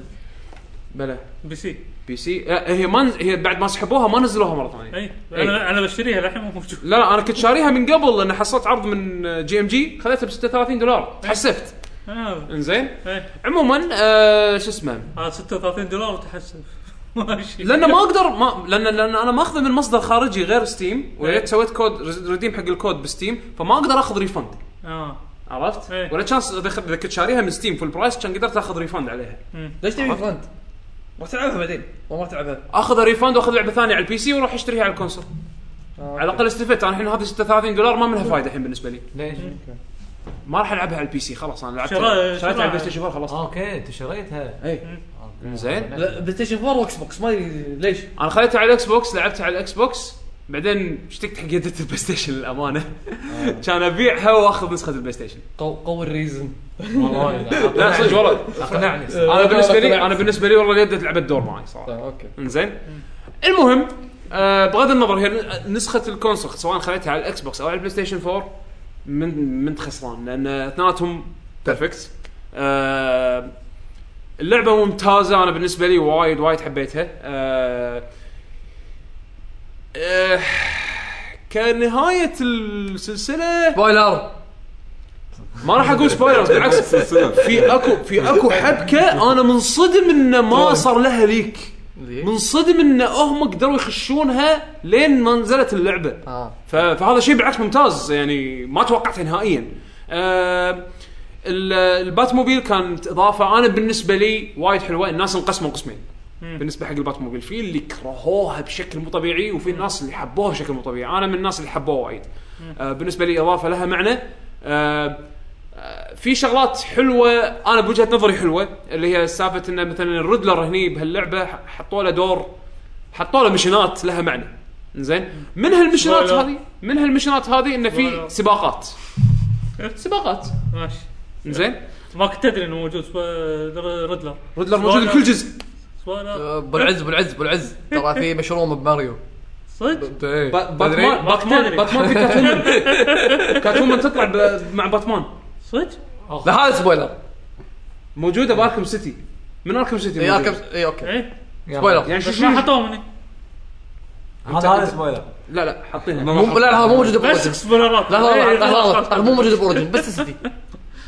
[SPEAKER 1] بلا
[SPEAKER 3] بي سي
[SPEAKER 1] بي سي آه، هي ما نز- هي بعد ما سحبوها ما نزلوها مره ثانيه
[SPEAKER 3] اي انا انا بشتريها للحين مو موجود
[SPEAKER 1] لا لا انا كنت شاريها من قبل لان حصلت عرض من آه، جي ام جي خذيتها ب 36 دولار تحسفت
[SPEAKER 3] هذا
[SPEAKER 1] انزين
[SPEAKER 3] إيه.
[SPEAKER 1] عموما آه شو اسمه
[SPEAKER 3] هذا 36 دولار وتحسف ماشي
[SPEAKER 1] لان ما اقدر ما لان لان انا ماخذه من مصدر خارجي غير ستيم
[SPEAKER 3] إيه.
[SPEAKER 1] وليت سويت كود ريديم حق الكود بستيم فما اقدر اخذ ريفند
[SPEAKER 3] اه
[SPEAKER 1] عرفت؟
[SPEAKER 3] إيه.
[SPEAKER 1] ولا كان اذا خ- إذا كنت شاريها من ستيم فول برايس كان قدرت اخذ ريفند عليها
[SPEAKER 2] ليش تبي فرند؟ راح تلعبها بعدين والله راح تلعبها
[SPEAKER 1] اخذ ريفند واخذ لعبه ثانيه على البي سي واروح اشتريها على الكونسول على الاقل استفدت انا الحين هذه 36 دولار ما منها فايده الحين بالنسبه لي
[SPEAKER 5] ليش؟
[SPEAKER 1] ما راح العبها على البي سي خلاص انا لعبت
[SPEAKER 3] شراء-
[SPEAKER 1] شريتها
[SPEAKER 3] شراء.
[SPEAKER 1] على البلاي ستيشن 4 خلاص
[SPEAKER 5] اوكي انت شريتها
[SPEAKER 1] اي
[SPEAKER 5] أوكي.
[SPEAKER 1] زين
[SPEAKER 2] لا بلاي ستيشن 4 واكس بوكس ما ادري ليش
[SPEAKER 1] انا خليتها على الاكس بوكس لعبتها على الاكس بوكس بعدين اشتقت حق يدة البلاي ستيشن للامانه (laughs) كان ابيعها واخذ نسخه البلاي ستيشن
[SPEAKER 2] قو- قوي الريزن
[SPEAKER 5] والله
[SPEAKER 1] لا صدق والله
[SPEAKER 5] اقنعني
[SPEAKER 1] انا بالنسبه لي انا بالنسبه لي والله اليد لعبت دور معي صراحه
[SPEAKER 2] اوكي
[SPEAKER 1] انزين المهم آه بغض النظر هي نسخه الكونسول سواء خليتها على الاكس بوكس او على البلاي ستيشن 4 من من خسران لان اثنيناتهم بيرفكت آه اللعبه ممتازه انا بالنسبه لي وايد وايد حبيتها آه آه كنهايه السلسله
[SPEAKER 2] سبويلر
[SPEAKER 1] ما راح اقول سبويلرز بالعكس (laughs) في اكو في اكو حبكه انا منصدم انه ما صار لها ليك منصدم ان هم قدروا يخشونها لين ما نزلت اللعبه
[SPEAKER 2] اه
[SPEAKER 1] ف- فهذا شيء بالعكس ممتاز يعني ما توقعته نهائيا آه، ال- الباتموبيل كانت اضافه انا بالنسبه لي وايد حلوه الناس انقسموا قسمين بالنسبه حق الباتموبيل في اللي كرهوها بشكل مو طبيعي وفي الناس اللي حبوها بشكل مو طبيعي انا من الناس اللي حبوها وايد آه، بالنسبه لي اضافه لها معنى آه، في شغلات حلوه انا بوجهه نظري حلوه اللي هي سالفه انه مثلا الريدلر هني بهاللعبه ح- حطوا له دور حطوا له مشنات لها معنى زين من هالمشنات
[SPEAKER 3] سبويلر.
[SPEAKER 1] هذه من هالمشنات هذه انه في
[SPEAKER 3] سبويلر.
[SPEAKER 1] سباقات
[SPEAKER 3] إيه.
[SPEAKER 1] سباقات
[SPEAKER 3] ماشي
[SPEAKER 1] زين
[SPEAKER 3] ما كنت تدري انه موجود سبا- ريدلر
[SPEAKER 1] ريدلر موجود بكل جزء
[SPEAKER 3] سبويلر
[SPEAKER 2] ابو العز ابو العز ابو العز ترى في مشروم بماريو
[SPEAKER 3] صدق؟
[SPEAKER 2] إيه.
[SPEAKER 1] با- باتمان
[SPEAKER 3] ما
[SPEAKER 1] باتمان
[SPEAKER 3] تدري.
[SPEAKER 1] باتمان في كاتومن كاتومن تطلع ب- مع باتمان
[SPEAKER 3] صدق؟
[SPEAKER 2] لا هذا سبويلر
[SPEAKER 1] موجوده باركم سيتي من اركم سيتي
[SPEAKER 2] اي
[SPEAKER 1] موجودة.
[SPEAKER 2] أركب- إي، اوكي
[SPEAKER 3] ايه
[SPEAKER 2] سبويلر
[SPEAKER 1] يعني شو
[SPEAKER 3] بس
[SPEAKER 1] شو
[SPEAKER 3] ما حطوه مني
[SPEAKER 5] هذا هذا سبويلر
[SPEAKER 1] لا لا حاطينها
[SPEAKER 2] مو لا لا هذا مو موجود
[SPEAKER 3] بس
[SPEAKER 2] باوريجن
[SPEAKER 3] سبويلرات
[SPEAKER 2] لا لا لا
[SPEAKER 3] إيه،
[SPEAKER 2] لا هذا مو
[SPEAKER 3] خلاص.
[SPEAKER 2] موجود باوريجن بس سيتي إيه،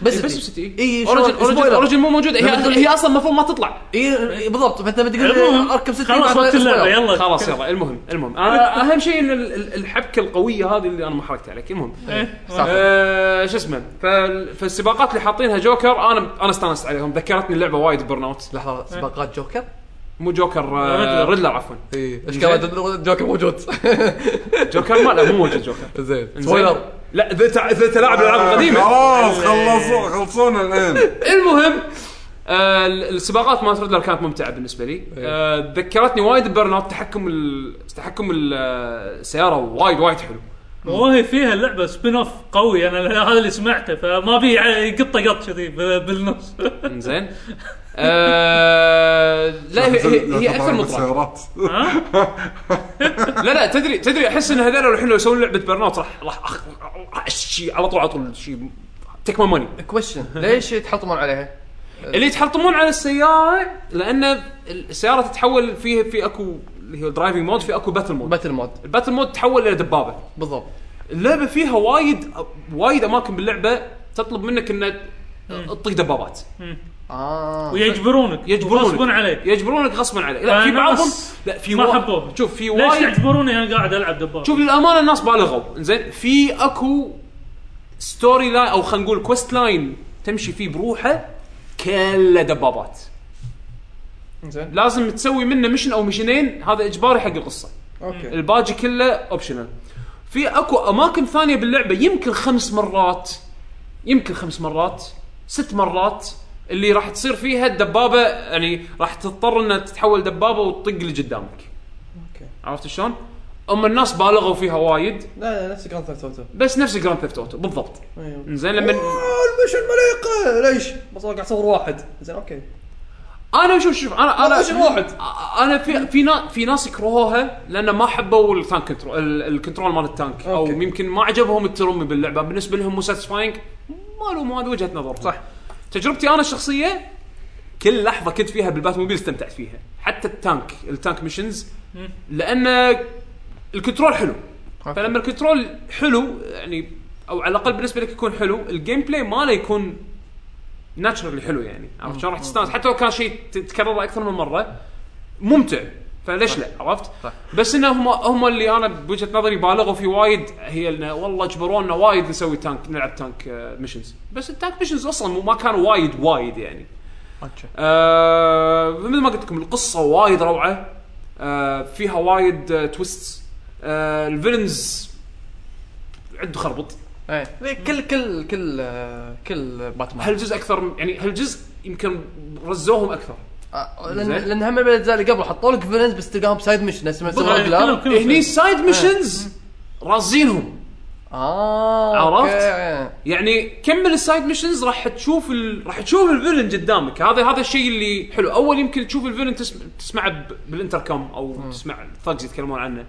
[SPEAKER 2] بس إيه،
[SPEAKER 1] بس
[SPEAKER 2] سيتي
[SPEAKER 1] سيتي
[SPEAKER 2] اي
[SPEAKER 1] اوريجن اوريجن اوريجن مو موجوده هي هي اصلا المفروض ما تطلع
[SPEAKER 2] اي إيه، بالضبط فانت لما تقول
[SPEAKER 3] المهم
[SPEAKER 2] اركب سيتي
[SPEAKER 3] خلاص
[SPEAKER 2] بعد
[SPEAKER 3] وقت اللعبه
[SPEAKER 2] سبويلر.
[SPEAKER 3] يلا
[SPEAKER 1] خلاص يلا المهم المهم انا اهم شيء ان ال- ال- الحبكه القويه هذه اللي انا ما حركت عليك المهم
[SPEAKER 3] إيه،
[SPEAKER 2] سافر.
[SPEAKER 1] آه، شو اسمه فال- فالسباقات اللي حاطينها جوكر انا انا استانست عليهم ذكرتني اللعبه وايد برن اوت
[SPEAKER 2] لحظه سباقات جوكر
[SPEAKER 1] مو جوكر آه،
[SPEAKER 3] ريدلر.
[SPEAKER 1] ريدلر عفوا
[SPEAKER 2] اي اشكال جوكر موجود
[SPEAKER 1] جوكر ما لا مو موجود (laughs) جوكر
[SPEAKER 2] (laughs) زين
[SPEAKER 1] إنزين.
[SPEAKER 2] سبويلر
[SPEAKER 1] لا اذا تع- إذا تلاعب الالعاب القديمه
[SPEAKER 4] آه، خلاص
[SPEAKER 1] إيه.
[SPEAKER 4] خلصوا خلصونا الان
[SPEAKER 1] المهم آه، ال- السباقات مالت ريدلر كانت ممتعه بالنسبه لي آه، ذكرتني وايد ببرن اوت تحكم ال- تحكم ال- آه، السياره وايد وايد حلو
[SPEAKER 3] وهي فيها اللعبه سبين اوف قوي انا هذا اللي سمعته فما في ع- قطه قط كذي ب- بالنص
[SPEAKER 1] زين (laughs) آه، (laughs) لا هي- هي هي اكثر مطرحه (laughs)
[SPEAKER 4] بالسيارات
[SPEAKER 3] ها؟
[SPEAKER 1] لا لا تدري تدري احس ان هذول الحين لو يسوون لعبه برن اوت راح راح أخ- راح شيء على طول على طول شيء تك ماي ماني
[SPEAKER 2] كويشن ليش يتحطمون عليها؟
[SPEAKER 1] اللي يتحطمون على السياره لان السياره تتحول فيها في اكو اللي هو درايفنج مود في اكو باتل مود
[SPEAKER 2] باتل مود
[SPEAKER 1] الباتل مود تحول الى دبابه
[SPEAKER 2] بالضبط
[SPEAKER 1] اللعبه فيها وايد وايد اماكن باللعبه تطلب منك انه تطق دبابات
[SPEAKER 2] اه
[SPEAKER 3] (laughs) ويجبرونك
[SPEAKER 1] آه، يجبرونك
[SPEAKER 3] غصبا عليك
[SPEAKER 1] يجبرونك غصبا عليك لا في
[SPEAKER 3] فالناس
[SPEAKER 1] بعضهم لا في
[SPEAKER 3] ما
[SPEAKER 1] وا-
[SPEAKER 3] حبوها.
[SPEAKER 1] شوف في
[SPEAKER 3] ليش
[SPEAKER 1] وايد
[SPEAKER 3] يجبروني انا قاعد العب دبابه
[SPEAKER 1] شوف للامانه الناس بالغوا زين في اكو ستوري لاين او خلينا نقول كويست لاين تمشي فيه بروحه كله دبابات
[SPEAKER 2] زين
[SPEAKER 1] لازم تسوي منه مشن او مشنين هذا اجباري حق القصه
[SPEAKER 2] اوكي
[SPEAKER 1] الباجي كله اوبشنال في اكو اماكن ثانيه باللعبه يمكن خمس مرات يمكن خمس مرات ست مرات اللي راح تصير فيها الدبابه يعني راح تضطر انها تتحول دبابه وتطق اللي قدامك
[SPEAKER 2] أوكي.
[SPEAKER 1] عرفت شلون؟ اما الناس بالغوا فيها وايد
[SPEAKER 2] لا لا نفس جراند ثيفت اوتو
[SPEAKER 1] بس نفس جراند ثيفت اوتو بالضبط
[SPEAKER 2] ايوه
[SPEAKER 1] زين لما
[SPEAKER 2] المشن مليقه ليش؟ بس أنا قاعد اصور واحد زين اوكي
[SPEAKER 1] انا شوف شوف انا انا
[SPEAKER 2] وش الواحد؟
[SPEAKER 1] انا في في ناس في ناس يكرهوها لان ما حبوا التانك كنترول ال- الكنترول مال التانك او
[SPEAKER 2] أوكي.
[SPEAKER 1] يمكن ما عجبهم الترمي باللعبه بالنسبه لهم مو ساتسفاينج ما لهم هذه وجهه نظر صح تجربتي انا الشخصيه كل لحظه كنت فيها بالباتموبيل استمتعت فيها حتى التانك التانك ميشنز لان الكنترول حلو فلما الكنترول حلو يعني او على الاقل بالنسبه لك يكون حلو الجيم بلاي ماله يكون ناتشرالي حلو يعني عرفت شلون راح تستانس حتى لو كان شيء تتكرر اكثر من مره ممتع فليش لا عرفت؟
[SPEAKER 2] صح.
[SPEAKER 1] بس انه هم هم اللي انا بوجهه نظري بالغوا في وايد هي انه والله اجبرونا وايد نسوي تانك نلعب تانك ميشنز بس التانك ميشنز اصلا مو- ما كانوا وايد وايد يعني آه مثل ما قلت لكم القصه وايد روعه آه فيها وايد آه تويست آه الفيلنز عنده خربط
[SPEAKER 2] ايه ليه كل كل كل آه، كل باتمان
[SPEAKER 1] هالجزء اكثر يعني هالجزء يمكن رزوهم اكثر
[SPEAKER 2] آه، لان
[SPEAKER 1] زين.
[SPEAKER 2] لان هم من الاجزاء اللي قبل حطوا لك فيلنز بس تلقاهم سايد مش نفس ما
[SPEAKER 3] بالضبط،
[SPEAKER 2] يسوون
[SPEAKER 3] كلهم-
[SPEAKER 2] أفلام.
[SPEAKER 3] كلهم
[SPEAKER 1] هني السايد
[SPEAKER 2] آه.
[SPEAKER 1] ميشنز رازينهم
[SPEAKER 2] اه
[SPEAKER 1] عرفت؟
[SPEAKER 2] عرفت؟
[SPEAKER 1] يعني كمل السايد ميشنز راح تشوف ال... راح تشوف الفيلن قدامك هذا هذا الشيء اللي حلو اول يمكن تشوف الفيلن تسمع تسمعه ب... بالانتركم او تسمع الثقز يتكلمون عنه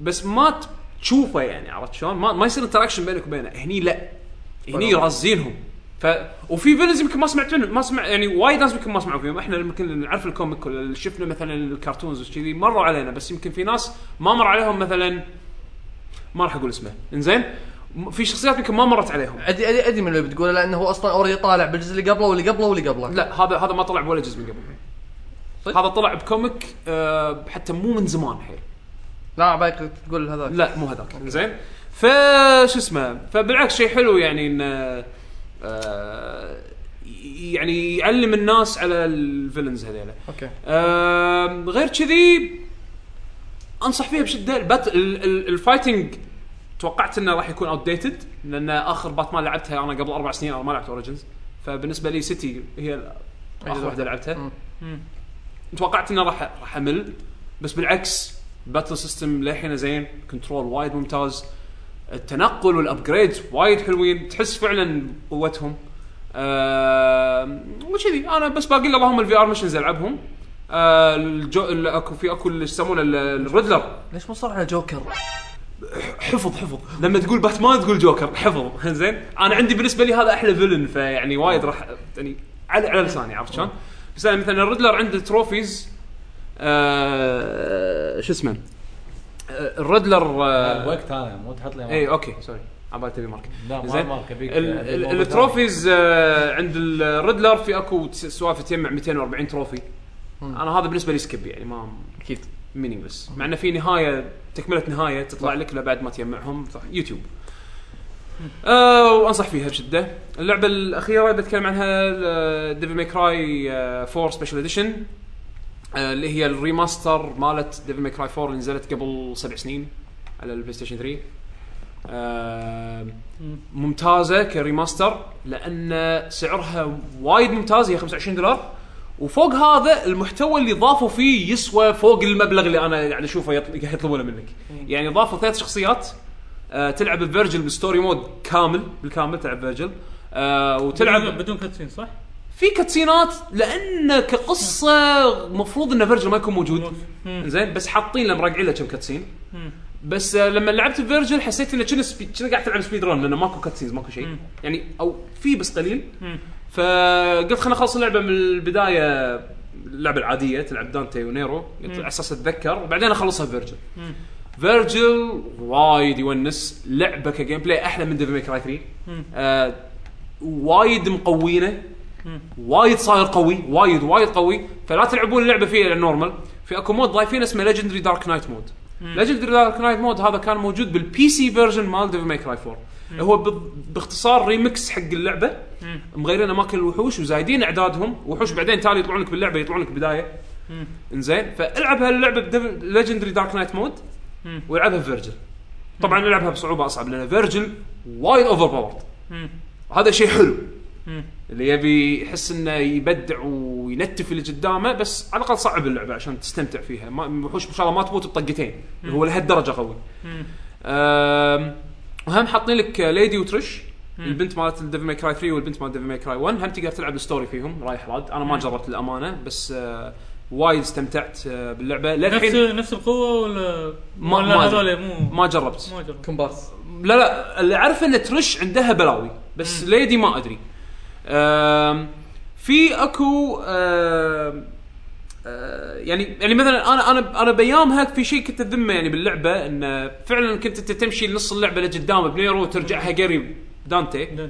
[SPEAKER 1] بس ما ت- تشوفه يعني عرفت شلون؟ ما, ما يصير انتراكشن بينك وبينه هني لا هني رازينهم ف وفي فيلنز يمكن ما سمعت منهم ما سمع يعني وايد ناس يمكن ما سمعوا فيهم احنا يمكن نعرف الكوميك ولا اللي شفنا مثلا الكرتونز وكذي مروا علينا بس يمكن في ناس ما مر عليهم مثلا ما راح اقول اسمه انزين م- في شخصيات يمكن ما مرت عليهم
[SPEAKER 2] ادري ادري ادري من اللي بتقوله لانه هو اصلا اوريدي طالع بالجزء اللي قبله واللي قبله واللي قبله
[SPEAKER 1] لا هذا هذا ما طلع بولا جزء من قبل هذا طلع بكوميك آه حتى مو من زمان حيل
[SPEAKER 2] لا بايك تقول هذاك
[SPEAKER 1] لا مو هذاك زين فا شو اسمه فبالعكس شيء حلو يعني ان آه يعني يعلم الناس على الفيلنز هذيلا
[SPEAKER 2] اوكي
[SPEAKER 1] آم، غير كذي انصح فيها بشده البات ال- ال- الفايتنج توقعت انه راح يكون اوت ديتد لان اخر باتمان لعبتها انا قبل اربع سنين انا ما لعبت اوريجنز فبالنسبه لي سيتي هي اخر واحده لعبتها
[SPEAKER 2] مم.
[SPEAKER 1] توقعت انه راح راح امل بس بالعكس باتل سيستم للحين زين كنترول وايد ممتاز التنقل والابجريدز وايد حلوين تحس فعلا قوتهم آه وكذي انا بس باقي لي اللهم الفي ار مشنز العبهم آه الجو... ال- اكو في اكو اللي يسمونه ال- الريدلر
[SPEAKER 2] ليش ما صار على جوكر؟
[SPEAKER 1] حفظ حفظ لما تقول باتمان تقول جوكر حفظ زين انا عندي بالنسبه لي هذا احلى فيلن فيعني وايد راح يعني على على لساني عرفت شلون؟ بس أنا مثلا الريدلر عنده تروفيز آه شو اسمه آه، الريدلر آه إيه،
[SPEAKER 5] الوقت انا مو تحط لي
[SPEAKER 1] اي اوكي سوري عبالي تبي مارك
[SPEAKER 5] لا ما
[SPEAKER 1] زين.
[SPEAKER 5] مارك ابيك
[SPEAKER 1] ال- ال- التروفيز آه، عند الريدلر في اكو س- سوالف تجمع 240 تروفي انا هذا بالنسبه لي سكيب يعني ما
[SPEAKER 2] اكيد
[SPEAKER 1] مينينجلس مع انه في نهايه تكمله نهايه تطلع لك لك بعد ما تجمعهم صح يوتيوب آه وانصح فيها بشده اللعبه الاخيره اللي بتكلم عنها آه، ديفل ماي كراي 4 سبيشل اديشن آه، اللي هي الريماستر مالت ديفل ماي كراي 4 اللي نزلت قبل سبع سنين على البلاي ستيشن 3 آه ممتازه كريماستر لان سعرها وايد ممتاز هي 25 دولار وفوق هذا المحتوى اللي ضافوا فيه يسوى فوق المبلغ اللي انا قاعد اشوفه يطل- قاعد يطلبونه منك يعني ضافوا ثلاث شخصيات آه تلعب بفيرجل بستوري مود كامل بالكامل تلعب فيرجل آه وتلعب
[SPEAKER 3] بدون- بدون كاتسين صح؟
[SPEAKER 1] في كاتسينات لان كقصه مفروض ان فيرجل ما يكون موجود
[SPEAKER 3] مم.
[SPEAKER 1] زين بس حاطين له مرقعين له كم كاتسين
[SPEAKER 3] مم.
[SPEAKER 1] بس آه، لما لعبت فيرجن حسيت انه كنا سبي... كنا قاعد تلعب سبيد رون لانه ماكو كاتسينز ماكو شيء
[SPEAKER 3] مم.
[SPEAKER 1] يعني او في بس قليل
[SPEAKER 3] مم.
[SPEAKER 1] فقلت خليني اخلص اللعبه من البدايه اللعبه العاديه تلعب دانتي ونيرو قلت على اساس اتذكر وبعدين اخلصها فيرجل فيرجل وايد يونس لعبه كجيم بلاي احلى من ديفل ميكراي 3 آه وايد مقوينه وايد صاير قوي وايد وايد قوي فلا تلعبون اللعبه فيها نورمال في اكو مود ضايفين اسمه ليجندري دارك نايت مود ليجندري دارك نايت مود هذا كان موجود بالبي سي فيرجن مال ديفل ماي كراي 4 هو ب- باختصار ريمكس حق اللعبه مغيرين اماكن الوحوش وزايدين اعدادهم وحوش بعدين تالي يطلعون لك باللعبه يطلعون لك بدايه انزين فالعب هاللعبه بليجندري دارك نايت مود والعبها فيرجل طبعا العبها بصعوبه اصعب لان فيرجل وايد اوفر باورد هذا شيء حلو اللي يبي يحس انه يبدع وينتف اللي قدامه بس على الاقل صعب اللعبه عشان تستمتع فيها ما الوحوش ان شاء الله ما تموت بطقتين هو لهالدرجه قوي أم، وهم حاطين لك ليدي وترش البنت مالت ديفل ماي كراي 3 والبنت مالت ديفل ماي كراي 1 هم تقدر تلعب الستوري فيهم رايح راد انا ما جربت الامانه بس آه، وايد استمتعت آه، باللعبه
[SPEAKER 3] نفس
[SPEAKER 1] للحين
[SPEAKER 3] نفس القوه ولا
[SPEAKER 1] ما-
[SPEAKER 3] ولا
[SPEAKER 1] ما-
[SPEAKER 3] هذول مو
[SPEAKER 1] ما جربت
[SPEAKER 3] ما جرب
[SPEAKER 2] كومبارس
[SPEAKER 1] لا لا اللي اعرفه ان ترش عندها بلاوي بس ليدي ما ادري أم، في اكو أم، أه، يعني يعني مثلا انا انا انا بايامها في شيء كنت اذمه يعني باللعبه انه فعلا كنت انت تمشي نص اللعبه لقدام بنيرو وترجعها قريب دانتي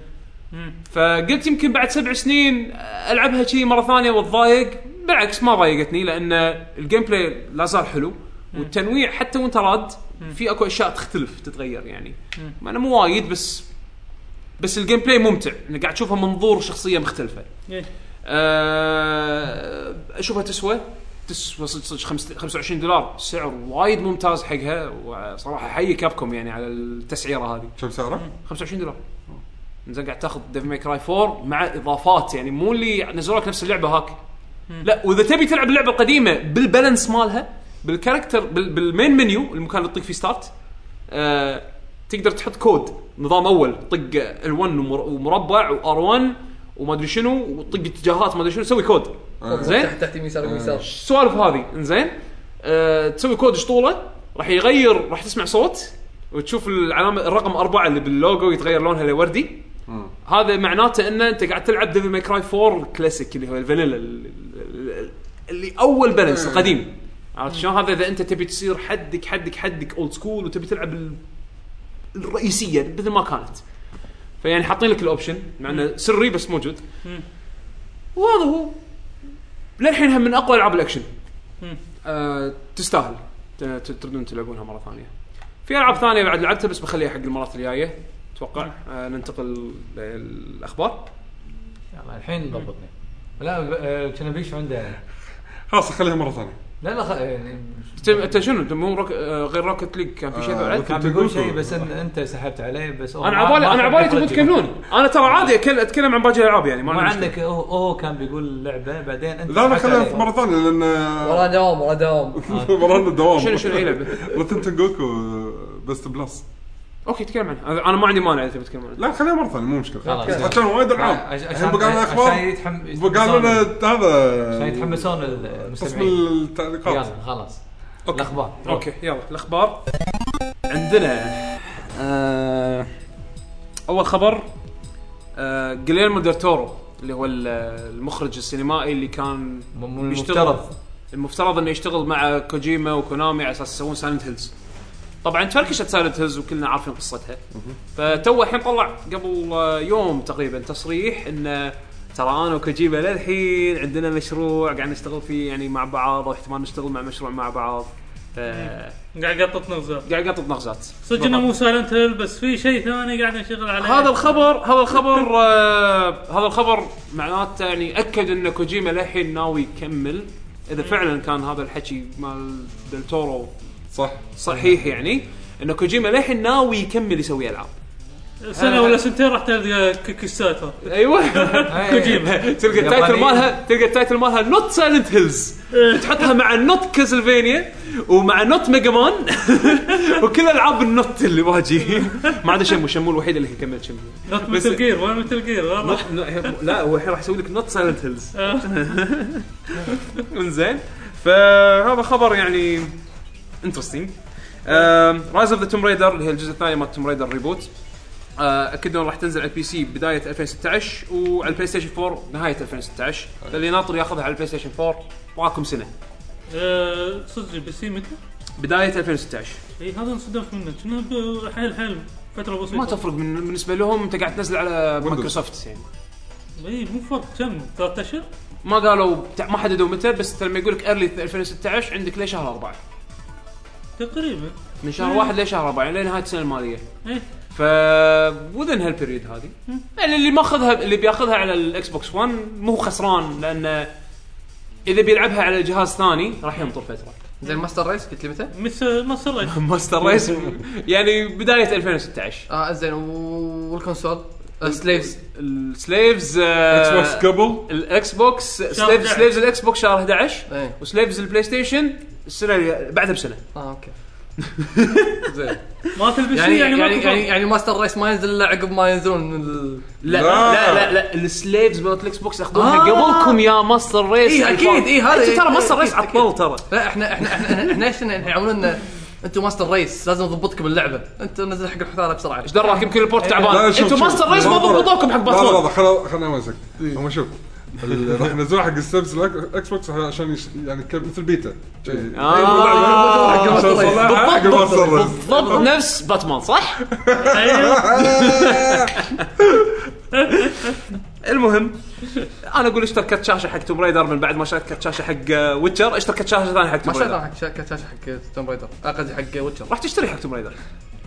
[SPEAKER 1] فقلت يمكن بعد سبع سنين العبها شي مره ثانيه واتضايق بالعكس ما ضايقتني لان الجيم بلاي لا زال حلو والتنويع حتى وانت راد في اكو اشياء تختلف تتغير يعني ما انا مو وايد بس بس الجيم بلاي ممتع انك قاعد تشوفها منظور شخصيه مختلفه
[SPEAKER 3] إيه.
[SPEAKER 1] آه، اشوفها تسوى تسوى صدق صدق خمس- 25 دولار سعر وايد ممتاز حقها وصراحه حي كابكم يعني على التسعيره هذه
[SPEAKER 4] كم سعره؟
[SPEAKER 1] 25 دولار زين قاعد تاخذ ديف ماي كراي 4 مع اضافات يعني مو اللي نزلوا لك نفس اللعبه هاك لا واذا تبي تلعب اللعبه القديمه بالبالانس مالها بالكاركتر بال بالمين منيو المكان اللي تطق فيه ستارت آه تقدر تحط كود نظام اول طق ال1 ومربع وار1 وما ادري شنو وطق اتجاهات ما ادري شنو سوي كود زين
[SPEAKER 2] تحت تحت يمين يسار يمين يسار
[SPEAKER 1] السوالف هذه انزين أه تسوي كود شطوله راح يغير راح تسمع صوت وتشوف العلامه الرقم أربعة اللي باللوجو يتغير لونها لوردي
[SPEAKER 4] مم.
[SPEAKER 1] هذا معناته ان انت قاعد تلعب ديفل ماي كراي 4 كلاسيك اللي هو الفانيلا ال- ال- اللي اول بالانس القديم عرفت شلون هذا اذا انت تبي تصير حدك حدك حدك اولد سكول وتبي تلعب ال- الرئيسيه مثل ما كانت فيعني حاطين لك الاوبشن مع انه سري بس موجود وهذا هو للحين هم من اقوى العاب الاكشن آه تستاهل ت- ت- تردون تلعبونها مره ثانيه في العاب ثانيه بعد لعبتها بس بخليها حق المرات الجايه اتوقع آه ننتقل للاخبار
[SPEAKER 5] يلا الحين ضبطني لا آه، تشنبيش عنده
[SPEAKER 4] خلاص خليها مره ثانيه
[SPEAKER 5] لا لا خ... يعني
[SPEAKER 1] انت انت شنو أنت مو روك آه غير روكت ليج كان في شيء
[SPEAKER 4] آه،
[SPEAKER 1] بعد؟
[SPEAKER 5] كان
[SPEAKER 4] كنت
[SPEAKER 5] بيقول
[SPEAKER 4] أقول
[SPEAKER 5] شيء
[SPEAKER 4] شو.
[SPEAKER 5] بس إن انت سحبت عليه بس هو
[SPEAKER 1] انا
[SPEAKER 5] ما-
[SPEAKER 1] عبالي
[SPEAKER 5] ما
[SPEAKER 1] انا
[SPEAKER 5] خلى
[SPEAKER 1] عبالي تبون
[SPEAKER 5] يخرج.
[SPEAKER 1] تكملوني انا ترى عادي أكل- اتكلم عن باقي الالعاب يعني ما
[SPEAKER 5] مو
[SPEAKER 1] عندي مشكلة.
[SPEAKER 5] عنك هو هو كان بيقول لعبه بعدين انت
[SPEAKER 4] لا لا
[SPEAKER 5] سحبت عليه. آه.
[SPEAKER 4] خليها مره ثانيه لان (laughs)
[SPEAKER 2] ورا دوام ورا دوام
[SPEAKER 4] ورانا الدوام
[SPEAKER 1] شنو- شنو هي
[SPEAKER 4] (laughs)
[SPEAKER 1] لعبة؟
[SPEAKER 4] رتن تنجوكو بست بلس
[SPEAKER 1] اوكي تكلم عنها أنا- انا ما عندي مانع اذا تبي تتكلم عنها
[SPEAKER 4] لا خليها مره ثانيه مو مشكله
[SPEAKER 5] خلاص.
[SPEAKER 4] حكينا وايد العاب
[SPEAKER 5] عش-
[SPEAKER 4] الحين بقى لنا
[SPEAKER 5] عشان
[SPEAKER 4] اخبار
[SPEAKER 5] يتحم-
[SPEAKER 4] بقى لنا
[SPEAKER 5] يتحمسون- عشان
[SPEAKER 4] هذا
[SPEAKER 5] يتحمسون
[SPEAKER 4] قسم
[SPEAKER 5] المستمعين
[SPEAKER 4] التعليقات
[SPEAKER 5] يلا خلاص الاخبار
[SPEAKER 1] اوكي يلا الاخبار عندنا آه اول خبر آه جليرمو ديرتورو اللي هو ال- المخرج السينمائي اللي كان
[SPEAKER 5] م- م-
[SPEAKER 1] بيشتغل-
[SPEAKER 5] المفترض
[SPEAKER 1] المفترض انه يشتغل مع كوجيما وكونامي على اساس يسوون سايلنت هيلز طبعا تفركشت سايلنت هيلز وكلنا عارفين قصتها فتو الحين طلع قبل آه، يوم تقريبا تصريح انه ترى انا وكوجيما للحين عندنا مشروع قاعد نشتغل فيه يعني مع بعض واحتمال نشتغل مع مشروع مع بعض ف-
[SPEAKER 3] قاعد قطط نغزه
[SPEAKER 1] قاعد يقطط نغزات
[SPEAKER 3] صدق انه مو سايلنت هيل بس في شيء ثاني قاعد نشتغل عليه
[SPEAKER 1] هذا الخبر هذا الخبر آه هذا الخبر معناته يعني اكد ان كوجيما للحين ناوي يكمل اذا
[SPEAKER 3] إيه.
[SPEAKER 1] فعلا كان هذا الحكي مال دلتورو
[SPEAKER 4] صح
[SPEAKER 1] صحيح يعني ان كوجيما للحين ناوي يكمل يسوي العاب آه.
[SPEAKER 3] سنه ولا سنتين راح تلقى كيكستات
[SPEAKER 1] (laughs) ايوه
[SPEAKER 3] أيوة. كوجيما
[SPEAKER 1] تلقى التايتل
[SPEAKER 5] يابانيين.
[SPEAKER 1] مالها تلقى التايتل مالها نوت سايلنت هيلز
[SPEAKER 3] إيه.
[SPEAKER 1] تحطها مع نوت كازلفينيا ومع نوت ميجا مان (laughs) وكل العاب النوت اللي واجي ما عدا شمو شمو الوحيد اللي كمل شمو
[SPEAKER 3] نوت
[SPEAKER 1] بس-
[SPEAKER 3] مثل جير وين مثل جير
[SPEAKER 1] نوت- نوت- لا هو الحين راح يسوي لك نوت سايلنت هيلز (laughs) انزين فهذا خبر يعني آه، انترستنج رايز اوف ذا توم ريدر اللي هي الجزء الثاني مال توم ريدر ريبوت آه، اكدوا راح تنزل على البي سي بدايه 2016 وعلى البلاي ستيشن 4 نهايه 2016 فاللي ناطر ياخذها على البلاي ستيشن 4 معاكم سنه
[SPEAKER 3] آه، صدق البي سي متى؟
[SPEAKER 1] بدايه 2016
[SPEAKER 3] اي إيه، هذا انصدمت منه كنا ب- حيل حيل فتره بسيطه
[SPEAKER 1] ما تفرق من بالنسبه لهم انت قاعد تنزل على
[SPEAKER 4] Windows.
[SPEAKER 1] مايكروسوفت يعني
[SPEAKER 3] اي إيه، مو فرق كم ثلاث اشهر؟
[SPEAKER 1] ما قالوا بتاع- ما حددوا متى بس أنت لما يقول لك ايرلي 2016 عندك لشهر اربعه
[SPEAKER 3] تقريبا
[SPEAKER 1] من شهر واحد لشهر اربعه يعني لنهايه السنه الماليه
[SPEAKER 3] اي
[SPEAKER 1] ف وذن هالبريود هذه يعني اللي ماخذها اللي بياخذها على الاكس بوكس 1 مو خسران لانه اذا بيلعبها على جهاز ثاني راح ينطر فتره
[SPEAKER 2] زين ماستر ريس قلت لي متى؟
[SPEAKER 3] مثل ما
[SPEAKER 1] (laughs)
[SPEAKER 3] صريت
[SPEAKER 1] ماستر ريس يعني بدايه 2016
[SPEAKER 2] اه زين و- والكونسول آه،
[SPEAKER 1] (laughs)
[SPEAKER 2] سليفز
[SPEAKER 1] السليفز
[SPEAKER 4] اكس
[SPEAKER 1] آه،
[SPEAKER 4] بوكس قبل
[SPEAKER 1] الاكس بوكس سليفز
[SPEAKER 3] 11.
[SPEAKER 1] سليفز الاكس بوكس شهر 11
[SPEAKER 2] ايه
[SPEAKER 1] وسليفز البلاي ستيشن السنه اللي بعدها بسنه
[SPEAKER 2] اه اوكي زين
[SPEAKER 3] مالت البي
[SPEAKER 2] يعني يعني
[SPEAKER 3] سي يعني
[SPEAKER 2] يعني,
[SPEAKER 3] ماكو
[SPEAKER 2] يعني,
[SPEAKER 3] فرق
[SPEAKER 2] يعني ماستر ريس ما ينزل الا عقب ما ينزلون من ال...
[SPEAKER 1] لا
[SPEAKER 4] لا.
[SPEAKER 1] لا لا لا السليفز مالت الاكس بوكس ياخذونها
[SPEAKER 2] آه.
[SPEAKER 1] قبلكم يا ماستر ريس
[SPEAKER 2] إيه، أكيد، إيه، هذا-
[SPEAKER 1] أنت ترى ماستر
[SPEAKER 2] أكيد،
[SPEAKER 1] ريس
[SPEAKER 2] أكيد.
[SPEAKER 1] عطل ترى
[SPEAKER 2] لا احنا احنا احنا احنا ايش إحنا يعملون لنا انتم ماستر ريس لازم نضبطكم اللعبه انت نزل حق الحثاله بسرعه
[SPEAKER 1] ايش دراك يمكن البورت تعبان
[SPEAKER 4] لا، شوف،
[SPEAKER 1] انتم
[SPEAKER 4] شوف.
[SPEAKER 1] ماستر ريس ما
[SPEAKER 4] لا، لا،
[SPEAKER 1] ضبطوكم حق إيه.
[SPEAKER 4] لا لا
[SPEAKER 1] باتمان
[SPEAKER 4] لا خل خلنا ماسك هم شوف ال- (laughs) راح ينزلوها حق السيرفس الاكس بوكس عشان يش- يعني ك- مثل بيتا
[SPEAKER 1] إيه.
[SPEAKER 4] شي. إيه،
[SPEAKER 1] آه.
[SPEAKER 4] عشان يصلحها حق الماستر ريس
[SPEAKER 1] ضبط نفس باتمان صح؟ (laughs)
[SPEAKER 3] أيوة.
[SPEAKER 1] المهم انا اقول اشتري كرت شاشه حق توم رايدر من بعد ما شريت كرت شاشه حق آه، ويتشر اشتري كرت شاشه ثانيه حق
[SPEAKER 2] ما
[SPEAKER 1] توم
[SPEAKER 2] شريت
[SPEAKER 1] رايدر
[SPEAKER 2] انا حق شا- كرت شاشه حق توم رايدر آه، قصدي حق ويتشر
[SPEAKER 1] راح تشتري حق توم رايدر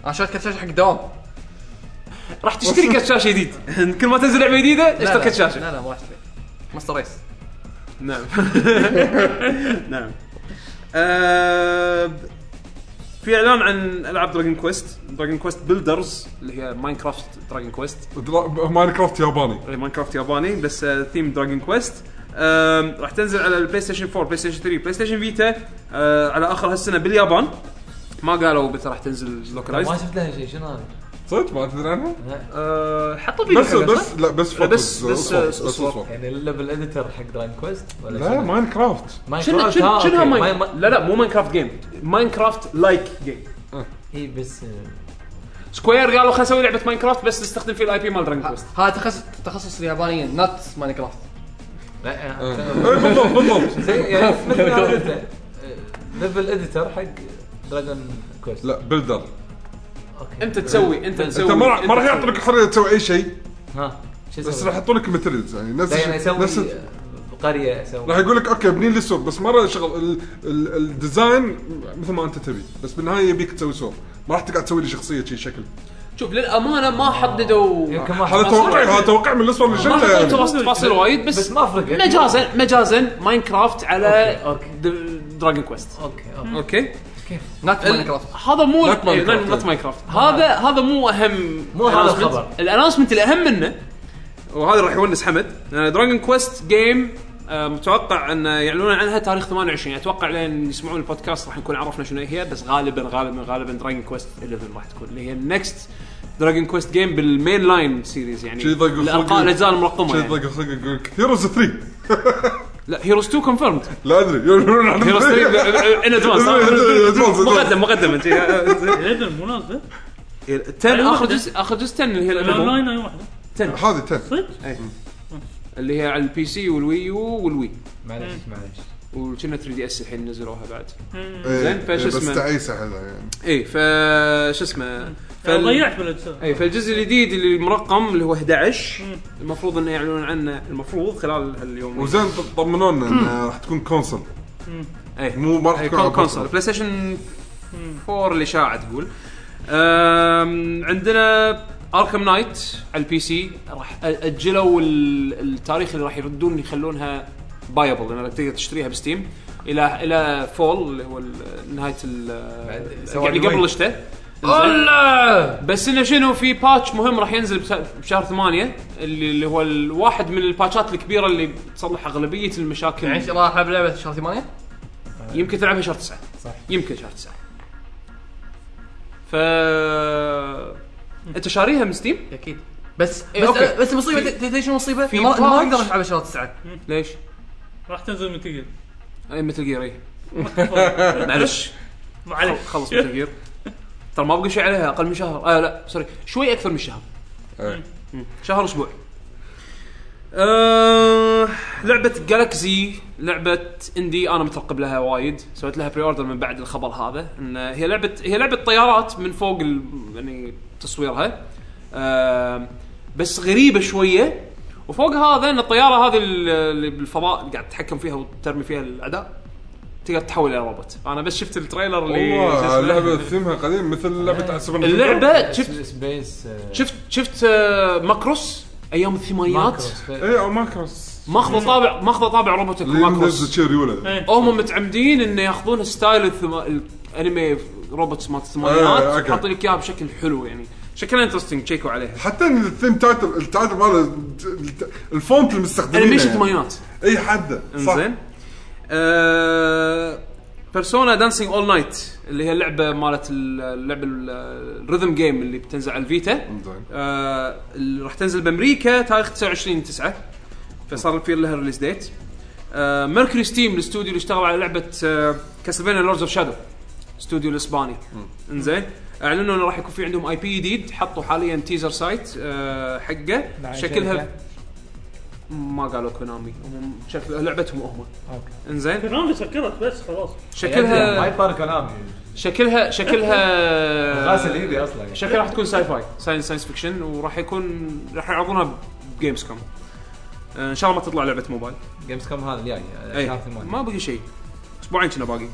[SPEAKER 2] انا شريت كرت شاشه حق دوام
[SPEAKER 1] راح تشتري كرت شاشه جديد كل ما تنزل لعبه جديده اشتري كرت شاشه
[SPEAKER 2] لا لا ما راح اشتري ماستر ريس
[SPEAKER 1] نعم نعم آه، في اعلان عن العاب دراجون كويست دراجون كويست بيلدرز اللي هي ماينكرافت دراجون كويست
[SPEAKER 4] درا- (laughs) ماينكرافت ياباني
[SPEAKER 1] ماينكرافت ياباني بس آه، ثيم دراجون كويست راح تنزل على البلاي ستيشن 4 بلاي ستيشن 3 بلاي ستيشن فيتا آه، على اخر هالسنه باليابان ما قالوا متى راح تنزل
[SPEAKER 5] ما
[SPEAKER 1] لوكلايز
[SPEAKER 5] شفت لها شيء شنو هذا؟
[SPEAKER 4] صدق ما تدري عنها؟
[SPEAKER 1] حطوا فيديو
[SPEAKER 4] بس
[SPEAKER 1] حقها،
[SPEAKER 4] بس لا بس
[SPEAKER 1] لا،
[SPEAKER 4] فوتوز
[SPEAKER 1] إيه، بس- بس-
[SPEAKER 4] أصور،
[SPEAKER 1] بس أصور.
[SPEAKER 4] أصور.
[SPEAKER 5] يعني الليفل اديتر حق دراين كويست ولا
[SPEAKER 4] لا ماينكرافت
[SPEAKER 1] شنو
[SPEAKER 5] ماينكرافت
[SPEAKER 1] شنو
[SPEAKER 5] ها
[SPEAKER 1] شنو
[SPEAKER 5] آه، أوكي.
[SPEAKER 1] ماين...
[SPEAKER 5] ما- ما-
[SPEAKER 1] لا لا مو ماينكرافت جيم ماينكرافت لايك جيم
[SPEAKER 5] اي بس آه،
[SPEAKER 1] سكوير قالوا خلينا نسوي لعبه ماينكرافت بس نستخدم فيه الاي بي مال دراجون كويست
[SPEAKER 2] هذا تخصص تخصص اليابانيين نوت ماينكرافت
[SPEAKER 5] لا آه،
[SPEAKER 4] إيه، بالضبط بالضبط
[SPEAKER 5] زي يعني
[SPEAKER 1] (laughs)
[SPEAKER 5] مثل ما قلت ليفل اديتر حق دراجون كويست
[SPEAKER 4] لا بلدر
[SPEAKER 5] اوكي
[SPEAKER 1] انت تسوي انت تسوي
[SPEAKER 4] انت ما راح ما راح يعطونك الحريه تسوي اي شيء
[SPEAKER 5] ها شو
[SPEAKER 4] بس
[SPEAKER 5] اسوي؟
[SPEAKER 4] راح يحطون لك ماتيريالز يعني نفس
[SPEAKER 5] لا، يعني
[SPEAKER 4] الشيء- نفس
[SPEAKER 5] اسوي
[SPEAKER 4] الشيء.
[SPEAKER 5] قريه اسوي
[SPEAKER 4] راح يقول لك اوكي ابني لي سور بس مره شغل ال- ال- الديزاين مثل ما انت تبي بس بالنهايه يبيك تسوي سور ما راح تقعد تسوي لي شخصيه شي شكل
[SPEAKER 1] شوف للامانه ما حددوا
[SPEAKER 5] يمكن ما
[SPEAKER 4] هذا توقع هذا توقع من الاسوار اللي
[SPEAKER 1] ما
[SPEAKER 4] شفته
[SPEAKER 1] حددوا
[SPEAKER 4] يعني
[SPEAKER 1] تفاصيل- تفاصيل وايد بس,
[SPEAKER 5] بس ما فرق يعني.
[SPEAKER 1] مجازا مجازا ماينكرافت على
[SPEAKER 5] أوكي، أوكي.
[SPEAKER 1] دراجون كويست
[SPEAKER 5] اوكي اوكي
[SPEAKER 1] اوكي
[SPEAKER 2] نوت ماينكرافت
[SPEAKER 1] هذا مو
[SPEAKER 4] Not Minecraft.
[SPEAKER 1] نوت ماينكرافت هذا هذا مو اهم
[SPEAKER 5] مو هذا
[SPEAKER 1] announcement.
[SPEAKER 5] الخبر.
[SPEAKER 1] الانونسمنت الاهم منه وهذا راح يونس حمد آه، دراجون كويست جيم آه، متوقع ان يعلنون عنها تاريخ 28 اتوقع لين يسمعون البودكاست راح نكون عرفنا شنو هي بس غالبا غالبا غالبا دراجون كويست 11 راح تكون اللي هي النكست دراجون كويست جيم بالمين لاين سيريز يعني
[SPEAKER 4] شي ضيق
[SPEAKER 1] الالقاء الاجزاء المرقمه
[SPEAKER 4] شي
[SPEAKER 1] يعني.
[SPEAKER 4] ضيق خلقك يقول لك هيروز 3
[SPEAKER 1] لا هيروز 2 كونفيرمد
[SPEAKER 4] لا ادري (laughs) يقولون عن
[SPEAKER 1] هيروز 3 ان ادفانس
[SPEAKER 4] Advance.
[SPEAKER 1] مقدم مقدم انت
[SPEAKER 3] ليفل مو نازله
[SPEAKER 1] إيه، 10 اخر جزء اخر جزء 10 اللي هي الألبوم.
[SPEAKER 3] اونلاين اي واحده
[SPEAKER 4] هذه 10
[SPEAKER 1] إيه. اللي هي على البي سي والويو والوي
[SPEAKER 5] معلش معلش
[SPEAKER 1] وكنا 3 دي اس الحين نزلوها بعد
[SPEAKER 4] إيه،
[SPEAKER 1] زين، فشو
[SPEAKER 4] إيه،
[SPEAKER 1] اسمه؟
[SPEAKER 4] بس تعيسه هذا يعني
[SPEAKER 1] اي ف شو اسمه
[SPEAKER 3] فال...
[SPEAKER 1] فال... إيه.
[SPEAKER 3] ضيعت بالاجزاء
[SPEAKER 1] اي فالجزء الجديد اللي مرقم اللي هو 11 المفروض انه يعلنون عنه المفروض خلال هاليوم
[SPEAKER 4] وزين طمنونا انها راح تكون كونسل
[SPEAKER 1] اي
[SPEAKER 4] مو ما راح
[SPEAKER 1] أي،
[SPEAKER 4] تكون على
[SPEAKER 1] إيه. كون- كونسول
[SPEAKER 4] بطل.
[SPEAKER 1] بلاي ستيشن 4 اللي شاع تقول أم، عندنا اركم نايت على البي سي راح أ- اجلوا ال- التاريخ اللي راح يردون يخلونها بايبل لان تقدر تشتريها بستيم الى الى فول اللي هو ال- نهايه ال-
[SPEAKER 5] بعد-
[SPEAKER 1] يعني قبل الشتاء
[SPEAKER 2] آه!
[SPEAKER 1] الله بس انه شنو في باتش مهم راح ينزل بس- بشهر ثمانية اللي اللي هو الواحد من الباتشات الكبيره اللي تصلح اغلبيه المشاكل
[SPEAKER 2] يعني إيش راح العب لعبه شهر 8
[SPEAKER 1] يمكن تلعبها شهر 9
[SPEAKER 5] صح.
[SPEAKER 1] يمكن شهر 9 ف انت شاريها من ستيم؟
[SPEAKER 2] اكيد بس
[SPEAKER 1] إيه،
[SPEAKER 2] بس,
[SPEAKER 1] أوكي.
[SPEAKER 2] بس المصيبه تدري شنو المصيبه؟
[SPEAKER 1] في
[SPEAKER 2] ما ما
[SPEAKER 1] باتش.
[SPEAKER 2] اقدر العب شهر 9
[SPEAKER 1] ليش؟
[SPEAKER 3] راح تنزل من تقل
[SPEAKER 1] اي مثل جير اي (laughs) معلش
[SPEAKER 3] معليش (laughs)
[SPEAKER 1] خلص مثل جير ترى ما بقى شيء عليها اقل من شهر آه لا سوري شوي اكثر من شهر
[SPEAKER 4] إيه.
[SPEAKER 1] شهر اسبوع أه لعبه جالكسي لعبه اندي انا مترقب لها وايد سويت لها بري اوردر من بعد الخبر هذا ان هي لعبه هي لعبه طيارات من فوق ال... يعني تصويرها أه بس غريبه شويه وفوق هذا ان الطياره هذه ال- اللي بالفضاء اللي قاعد تتحكم فيها وترمي فيها الاعداء تقدر تحول الى روبوت انا بس شفت التريلر اللي شو
[SPEAKER 4] والله
[SPEAKER 7] اسمه.
[SPEAKER 4] لعبه ثيمها قديم مثل لعبه
[SPEAKER 1] آه.
[SPEAKER 4] على السوبر نينتندو.
[SPEAKER 1] اللعبه شفت
[SPEAKER 5] سب- سبيس آه،
[SPEAKER 1] شفت شفت آه، ماكروس ايام الثمانينات
[SPEAKER 5] ماكروس.
[SPEAKER 4] اي او ماكروس
[SPEAKER 1] ماخذ طابع ماخذ طابع روبوتك
[SPEAKER 4] اللي ينزل
[SPEAKER 1] ماكروس
[SPEAKER 4] شي ريوله
[SPEAKER 3] إيه.
[SPEAKER 1] هم متعمدين انه ياخذون ستايل الثم... الانمي روبوتس مالت
[SPEAKER 4] إيه،
[SPEAKER 1] الثمانينات
[SPEAKER 4] أوكي.
[SPEAKER 1] حاطين لك اياها بشكل حلو يعني شكلها انترستنج تشيكوا عليها
[SPEAKER 4] حتى إن الثيم تايتل التايتل ماله الت- الفونت المستخدمين
[SPEAKER 1] انيميشن
[SPEAKER 4] يعني.
[SPEAKER 1] ثمانينات
[SPEAKER 4] اي حده صح
[SPEAKER 1] انزين آه، بيرسونا دانسينج اول نايت اللي هي اللعبه مالت ال- اللعبه ال- الريذم جيم اللي بتنزل على الفيتا
[SPEAKER 4] انزين
[SPEAKER 1] آه، اللي راح تنزل بامريكا تاريخ 29 9 فصار في لها ريليز ديت آه، ميركوري ستيم الاستوديو اللي اشتغل على آه، لعبه كاسلفينيا لوردز اوف شادو استوديو الاسباني انزين اعلنوا انه راح يكون في عندهم اي بي جديد حطوا حاليا تيزر سايت آه، حقه
[SPEAKER 5] مع
[SPEAKER 1] شكلها
[SPEAKER 5] نعم، شركة.
[SPEAKER 1] ما قالوا كونامي هم شكل لعبتهم هم
[SPEAKER 5] أوكي.
[SPEAKER 1] انزين
[SPEAKER 3] كونامي سكرت بس خلاص
[SPEAKER 5] ما
[SPEAKER 1] شكلها
[SPEAKER 5] يطار كلامي
[SPEAKER 1] شكلها شكلها
[SPEAKER 5] غاسل ايدي اصلا يعني.
[SPEAKER 1] شكلها راح تكون ساي فاي ساينس ساينس فيكشن وراح يكون راح يعرضونها بجيمز كوم آه، ان شاء الله ما تطلع لعبه موبايل
[SPEAKER 5] جيمز كوم هذا الجاي آه،
[SPEAKER 1] اي
[SPEAKER 5] شهر ثمانية.
[SPEAKER 1] إيه. ما بقي شيء اسبوعين كنا باقي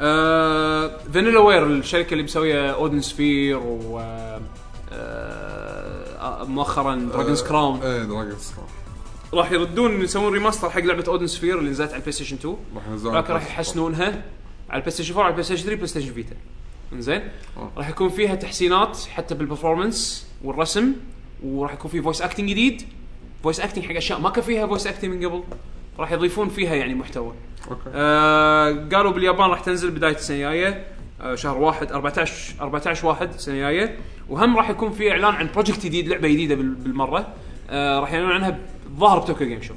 [SPEAKER 1] آه فانيلا وير الشركه اللي مسويه اودن سفير و آه، آه، مؤخرا دراجونز
[SPEAKER 4] آه،
[SPEAKER 1] كراون
[SPEAKER 4] اي دراجونز كراون
[SPEAKER 1] راح يردون يسوون ريماستر حق لعبه اودن سفير اللي نزلت على البلاي ستيشن 2
[SPEAKER 4] راح ينزلون
[SPEAKER 1] لكن راح يحسنونها على البلاي ستيشن 4 على البلاي ستيشن 3 بلاي ستيشن فيتا انزين
[SPEAKER 4] آه.
[SPEAKER 1] راح يكون فيها تحسينات حتى بالبرفورمانس والرسم وراح يكون في فويس اكتنج جديد فويس اكتنج حق اشياء ما كان فيها فويس اكتنج من قبل راح يضيفون فيها يعني محتوى
[SPEAKER 4] اوكي
[SPEAKER 1] آه قالوا باليابان راح تنزل بدايه السنه الجايه آه شهر واحد 14 14 واحد السنه الجايه وهم راح يكون في اعلان عن بروجكت جديد لعبه جديده بال- بالمره آه راح يعلنون عنها ظاهر بتوكيو جيم شو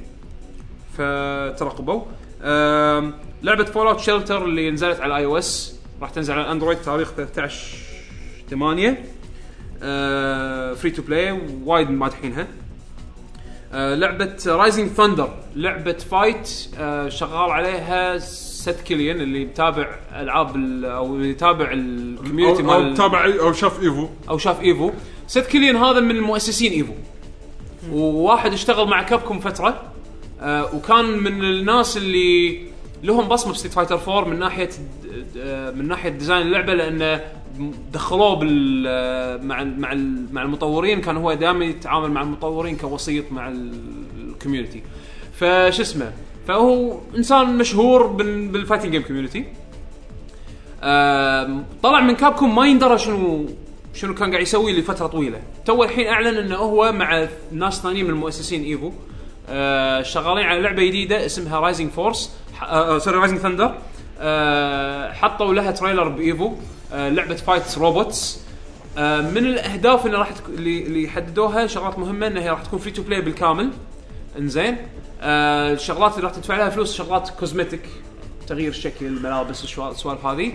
[SPEAKER 1] فترقبوا آم، لعبه فول اوت شيلتر اللي نزلت على الاي او اس راح تنزل على الاندرويد تاريخ 13 8 فري تو بلاي وايد مادحينها آه، لعبه رايزنج ثاندر لعبه فايت آه، شغال عليها سيت كيليان اللي متابع العاب ال- او اللي يتابع الكوميونتي
[SPEAKER 4] او أو
[SPEAKER 1] مال
[SPEAKER 4] تابع أي- او شاف ايفو
[SPEAKER 1] او شاف ايفو سيت كيليان هذا من المؤسسين ايفو وواحد اشتغل مع كابكم فتره آه وكان من الناس اللي لهم بصمه بستيت فايتر 4 من ناحيه آه من ناحيه ديزاين اللعبه لانه دخلوه بال آه، مع ال- مع ال- مع المطورين كان هو دائما يتعامل مع المطورين كوسيط مع الكوميونتي فش اسمه فهو انسان مشهور بال- بالفايتنج جيم كوميونتي آم، طلع من كابكوم ما يندرى شنو شنو كان قاعد يسوي لفتره طويله تو الحين اعلن انه هو مع ناس ثانيين من المؤسسين ايفو آه، شغالين على لعبه جديده اسمها رايزنج فورس سوري رايزنج ثندر آه، حطوا لها تريلر بايفو آه، لعبه فايت روبوتس آه، من الاهداف اللي راح تك... اللي اللي حددوها شغلات مهمه انها هي راح تكون فري تو بلاي بالكامل انزين آه، الشغلات اللي راح تدفع لها فلوس شغلات كوزمتيك تغيير شكل الملابس الشوا- السوالف هذه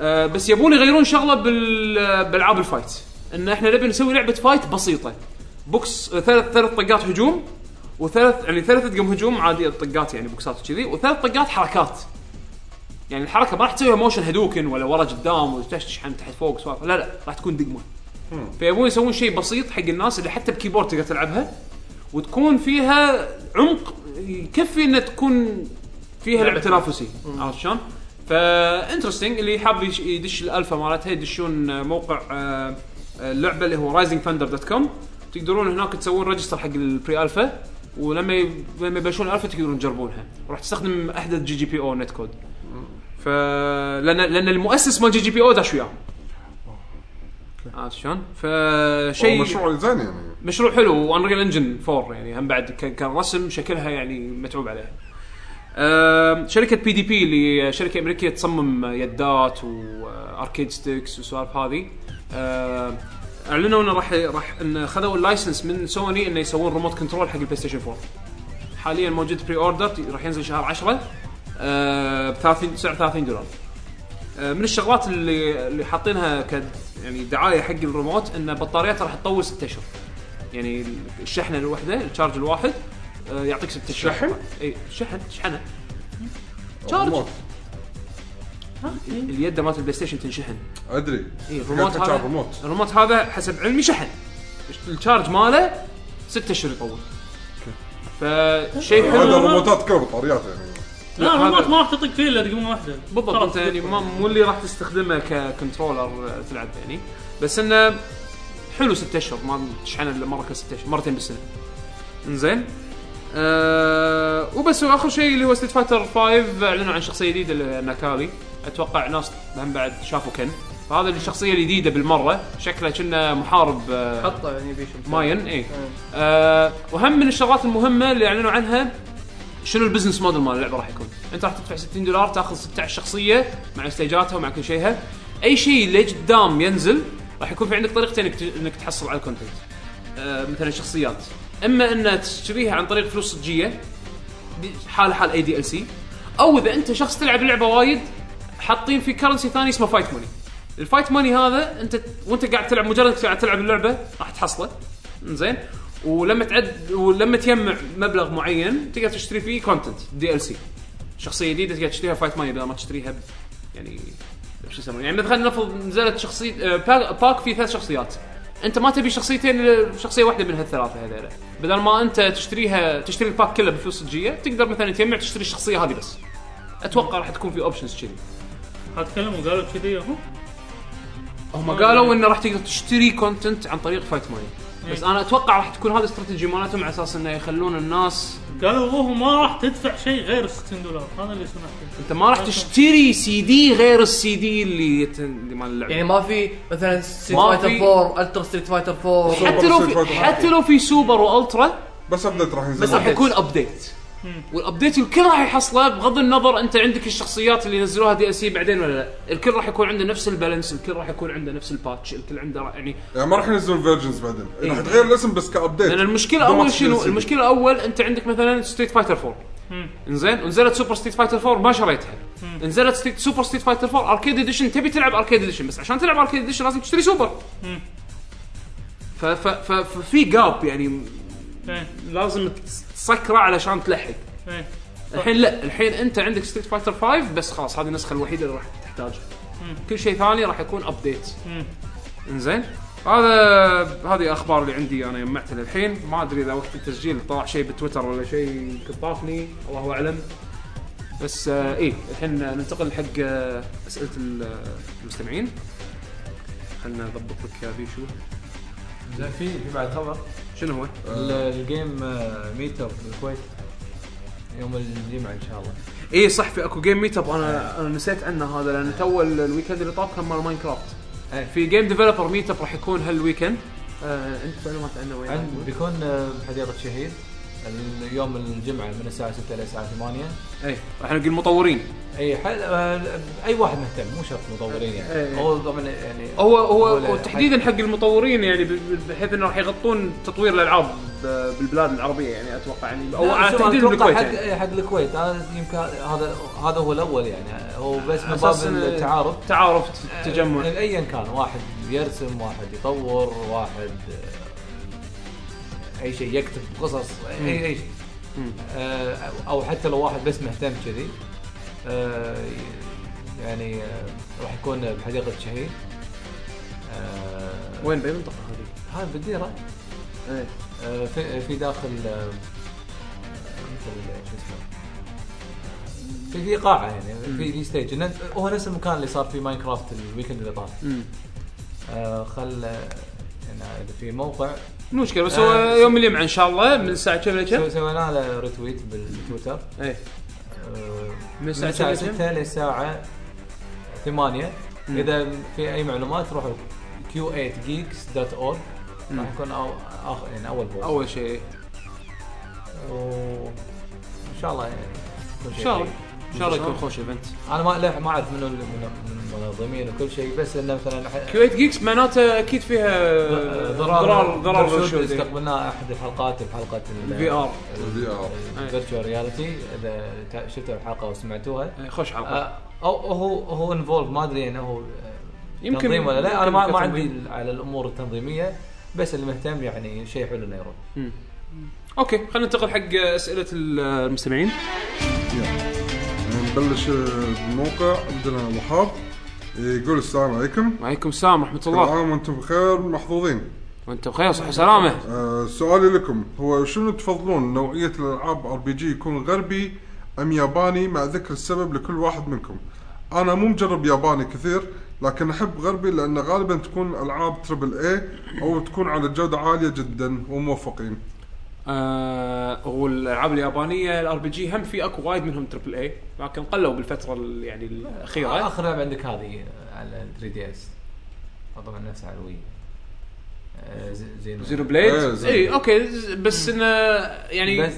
[SPEAKER 1] آه، بس يبون يغيرون شغله بال آه، بالعاب الفايت ان احنا نبي نسوي لعبه فايت بسيطه بوكس آه، ثلاث ثلاث طقات هجوم وثلاث يعني ثلاث دقم هجوم عادي طقات يعني بوكسات كذي وثلاث طقات حركات يعني الحركه ما راح تسويها موشن هدوكن ولا ورا قدام وتشحن تحت فوق سوالف لا لا راح تكون دقمه فيبون يسوون شيء بسيط حق الناس اللي حتى بكيبورد تقدر تلعبها وتكون فيها عمق يكفي انها تكون فيها لعبه تنافسي عرفت شلون؟ فانترستنج اللي حاب يش- يدش الالفا مالتها يدشون موقع آه، اللعبه اللي هو رايزنج ثاندر دوت كوم تقدرون هناك تسوون ريجستر حق البري الفا ولما ي- لما يبلشون الفا تقدرون تجربونها راح تستخدم احدث جي جي بي او نت كود ف لان لان المؤسس مال جي جي بي او داش وياهم عرفت شلون؟ فشيء
[SPEAKER 4] شيء مشروع زين يعني
[SPEAKER 1] مشروع حلو وانريل انجن 4 يعني هم بعد كان كان رسم شكلها يعني متعوب عليها. أم، شركه بي دي بي اللي شركه امريكيه تصمم يدات واركيد ستيكس والسوالف هذه أم، اعلنوا انه راح راح ان خذوا اللايسنس من سوني انه يسوون ريموت كنترول حق البلاي ستيشن 4 حاليا موجود بري اوردر راح ينزل شهر 10 أه، ب 30 39 دولار آه، من الشغلات اللي اللي حاطينها ك يعني دعايه حق الريموت ان بطاريته راح تطول 6 اشهر يعني الشحنه الواحده الشارج الواحد آه، يعطيك 6 اشهر
[SPEAKER 4] شحن؟
[SPEAKER 1] اي شحن شحنه شارج اليد مالت البلاي ستيشن تنشحن
[SPEAKER 4] ادري
[SPEAKER 1] اي
[SPEAKER 4] قاعد
[SPEAKER 1] الريموت
[SPEAKER 4] تحكي عن
[SPEAKER 1] إيه، هذا
[SPEAKER 4] الريموت
[SPEAKER 1] الريموت هذا حسب علمي شحن الشارج ماله 6 اشهر يطول فشيء إيه،
[SPEAKER 4] هذا
[SPEAKER 1] حلو
[SPEAKER 4] الريموتات كلها بطاريات يعني
[SPEAKER 1] لا،
[SPEAKER 3] لا الريموت
[SPEAKER 1] هذا-
[SPEAKER 3] ما راح تطق فيه الا دقيقه واحده
[SPEAKER 1] بالضبط انت
[SPEAKER 3] خلاص.
[SPEAKER 1] يعني ما مو اللي راح تستخدمه ككنترولر تلعب يعني بس انه حلو ست اشهر ما تشحنه الا مره كل ست اشهر مرتين بالسنه. انزين أه وبس واخر شيء اللي هو ستيت فايتر 5 اعلنوا عن شخصيه جديده اللي هي ناكالي اتوقع ناس هم بعد شافوا كن فهذا الشخصيه الجديده بالمره شكله كنا محارب آه،
[SPEAKER 2] حطه يعني بيشم
[SPEAKER 1] ماين اي آه وهم من الشغلات المهمه اللي اعلنوا عنها شنو البزنس موديل مال اللعبه راح يكون انت راح تدفع 60 دولار تاخذ 16 شخصيه مع استيجاتها ومع كل شيها اي شيء اللي قدام ينزل راح يكون في عندك طريقتين انك ت- انك تحصل على الكونتنت آه مثلا شخصيات اما ان تشتريها عن طريق فلوس صجيه حال حال اي دي ال سي او اذا انت شخص تلعب لعبه وايد حاطين في كرنسي ثاني اسمه فايت موني الفايت ماني هذا انت وانت قاعد تلعب مجرد إنك قاعد تلعب اللعبه راح تحصله زين ولما تعد ولما تجمع مبلغ معين تقدر تشتري فيه كونتنت دي ال سي شخصيه جديده تقدر تشتريها فايت ماني بدل ما تشتريها ب- يعني شو يسمونه يعني مثلا نفرض نزلت شخصيه آه، باك- باك فيه ثلاث شخصيات انت ما تبي شخصيتين ل- شخصيه واحده من هالثلاثه هذيلا بدل ما انت تشتريها تشتري الباك كله بفلوس صجيه تقدر مثلا تجمع تشتري الشخصيه هذه بس اتوقع راح تكون في اوبشنز كذي
[SPEAKER 3] حتكلم وقالوا كذي اهو
[SPEAKER 1] هم قالوا انه راح تقدر تشتري كونتنت عن طريق فايت ماني بس انا اتوقع راح تكون هذه الاستراتيجي مالتهم على اساس انه يخلون الناس
[SPEAKER 3] قالوا وهو ما راح تدفع شيء غير 60 دولار هذا اللي سمعته
[SPEAKER 1] انت ما راح تشتري سي دي غير السي دي اللي يت- اللي مال اللعبه
[SPEAKER 2] يعني ما في مثلا ستريت
[SPEAKER 1] ما
[SPEAKER 2] فايتر
[SPEAKER 1] في-
[SPEAKER 2] 4 الترا ستريت فايتر 4
[SPEAKER 1] حتى لو في حتى لو في سوبر والترا
[SPEAKER 4] بس ابديت راح ينزل
[SPEAKER 2] بس
[SPEAKER 1] راح يكون ابديت والابديت الكل راح يحصله بغض النظر انت عندك الشخصيات اللي نزلوها دي اس بعدين ولا لا الكل راح يكون عنده نفس البالانس الكل راح يكون عنده نفس الباتش الكل عنده راح- يعني
[SPEAKER 4] يعني ما راح ينزلون فيرجنز بعدين
[SPEAKER 1] إيه.
[SPEAKER 4] راح تغير الاسم بس كابديت
[SPEAKER 1] لان المشكله
[SPEAKER 4] بدون ما
[SPEAKER 1] اول
[SPEAKER 4] تشتري
[SPEAKER 1] شنو
[SPEAKER 4] السي دي.
[SPEAKER 1] المشكله اول انت عندك مثلا ستريت فايتر 4 انزين ونزلت سوبر ستريت فايتر 4 ما شريتها نزلت ستريت سوبر ستريت فايتر 4 اركيد اديشن تبي تلعب اركيد اديشن بس عشان تلعب اركيد اديشن لازم تشتري سوبر
[SPEAKER 3] مم.
[SPEAKER 1] ف- ف- ف- ففي جاب يعني
[SPEAKER 3] إيه،
[SPEAKER 1] لازم تس- تسكره علشان تلحق
[SPEAKER 3] إيه.
[SPEAKER 1] الحين لا الحين انت عندك ستريت فايتر 5 بس خلاص هذه النسخه الوحيده اللي راح تحتاجها كل شيء ثاني راح يكون ابديت
[SPEAKER 3] مم.
[SPEAKER 1] انزين هذا هذه اخبار اللي عندي انا جمعتها للحين ما ادري اذا وقت التسجيل طلع شيء بتويتر ولا شيء يمكن طافني الله اعلم بس آه ايه الحين ننتقل حق آه اسئله ال- المستمعين خلنا نضبط لك يا بيشو
[SPEAKER 5] زين في في بعد خبر
[SPEAKER 1] شنو هو؟
[SPEAKER 5] ال- الجيم آه، ميت اب بالكويت يوم الجمعه ان شاء الله
[SPEAKER 1] ايه صح في اكو جيم ميت اب انا انا نسيت عنه هذا لان تو ال- الويكند اللي طاف كان مال ماينكرافت
[SPEAKER 5] إيه.
[SPEAKER 1] في جيم ديفلوبر ميت اب راح يكون هالويكند آه انت معلومات عنه وين؟
[SPEAKER 5] عند بيكون آه، بحديقه شهيد اليوم الجمعه من الساعه 6 للساعه 8
[SPEAKER 1] اي إيه، راح نلقى المطورين
[SPEAKER 5] اي حل... آه، اي واحد مهتم مو شرط مطورين
[SPEAKER 1] إيه.
[SPEAKER 5] يعني هو طبعا يعني
[SPEAKER 1] هو هو,
[SPEAKER 5] هو لا-
[SPEAKER 1] هو تحديدا حق المطورين يعني ب- ب- بحيث انه راح يغطون تطوير الالعاب ب- بالبلاد العربيه يعني اتوقع يعني او
[SPEAKER 5] لا،
[SPEAKER 1] على
[SPEAKER 5] شوف،
[SPEAKER 1] تحديد
[SPEAKER 5] أتوقع
[SPEAKER 1] الكويت
[SPEAKER 5] حق
[SPEAKER 1] يعني.
[SPEAKER 5] حق الكويت هذا يمكن هذا هذا هو الاول يعني هو بس من باب
[SPEAKER 1] أساس إن-
[SPEAKER 5] التعارف
[SPEAKER 1] تعارف ت- تجمع
[SPEAKER 5] آه، ايا كان واحد يرسم واحد يطور واحد آه، اي شيء يكتب قصص اي اي شيء آه، او حتى لو واحد بس مهتم كذي آه، يعني آه، راح يكون بحديقه شهيد آه،
[SPEAKER 1] وين باي منطقه إيه، هذه؟
[SPEAKER 5] هذا بالديره
[SPEAKER 1] إيه.
[SPEAKER 5] آه، في في داخل آه، مثل آه، شو اسمه في في قاعه يعني في في ستيج إنه- هو نفس المكان اللي صار فيه ماينكرافت الويكند اللي طاف
[SPEAKER 1] مم.
[SPEAKER 5] آه، خل آه، يعني إذا في موقع
[SPEAKER 1] مو مشكله بس هو
[SPEAKER 5] آه،
[SPEAKER 1] يوم الجمعه ان شاء الله من الساعه كم لكم؟
[SPEAKER 5] سو- سوينا له ريتويت بالتويتر
[SPEAKER 1] اي
[SPEAKER 5] آه،
[SPEAKER 1] من الساعة
[SPEAKER 5] الساعه
[SPEAKER 1] كم؟
[SPEAKER 5] 6 للساعه 8 اذا في اي معلومات روحوا q8geeks.org راح يكون أو آخ- يعني اول بوست
[SPEAKER 1] اول شيء
[SPEAKER 5] وان شاء الله يعني كل
[SPEAKER 1] ان
[SPEAKER 5] شيء
[SPEAKER 1] شاء الله
[SPEAKER 5] طيب.
[SPEAKER 1] ان شاء الله يكون خوش ايفنت
[SPEAKER 5] انا ما لا ما اعرف منو المنظمين وكل شيء بس انه مثلا ح-
[SPEAKER 1] كويت جيكس معناته اكيد فيها
[SPEAKER 5] آه،
[SPEAKER 1] ضرار ضرار
[SPEAKER 5] برشود
[SPEAKER 1] بالشوت
[SPEAKER 5] استقبلناه احد الحلقات بحلقه
[SPEAKER 1] في ار
[SPEAKER 4] الفي ار
[SPEAKER 5] الفيرتشوال رياليتي اذا تا- شفتوا الحلقه وسمعتوها
[SPEAKER 1] خوش حلقه
[SPEAKER 5] آه، او هو هو انفولف ما ادري انه هو آه،
[SPEAKER 1] يمكن-
[SPEAKER 5] تنظيم ولا لا انا ما
[SPEAKER 1] يمكن
[SPEAKER 5] ما
[SPEAKER 1] كتنظيم.
[SPEAKER 5] عندي على الامور التنظيميه بس اللي مهتم يعني شيء حلو انه يروح
[SPEAKER 1] اوكي خلينا ننتقل حق آه، اسئله المستمعين
[SPEAKER 4] يعني نبلش بالموقع عندنا وهاب يقول السلام عليكم
[SPEAKER 1] وعليكم السلام ورحمه
[SPEAKER 4] كل
[SPEAKER 1] الله
[SPEAKER 4] عام وانتم بخير محظوظين
[SPEAKER 1] وانت بخير وصحه وسلامه
[SPEAKER 4] آه، سؤالي لكم هو شنو تفضلون نوعية الألعاب ار بي جي يكون غربي أم ياباني مع ذكر السبب لكل واحد منكم أنا مو مجرب ياباني كثير لكن أحب غربي لأن غالبا تكون ألعاب تربل اي أو تكون على جودة عالية جدا وموفقين
[SPEAKER 1] آه والالعاب اليابانيه الار بي جي هم في اكو وايد منهم تربل اي لكن قلوا بالفتره ال- يعني الاخيره
[SPEAKER 5] اخر لعبه آه، عندك هذه آه، على 3 دي اس طبعا نفسها على الوي آه، ز- زينو
[SPEAKER 1] زيرو بليد
[SPEAKER 4] إيه، زيرو.
[SPEAKER 1] اي اوكي ز- بس انه يعني
[SPEAKER 5] بس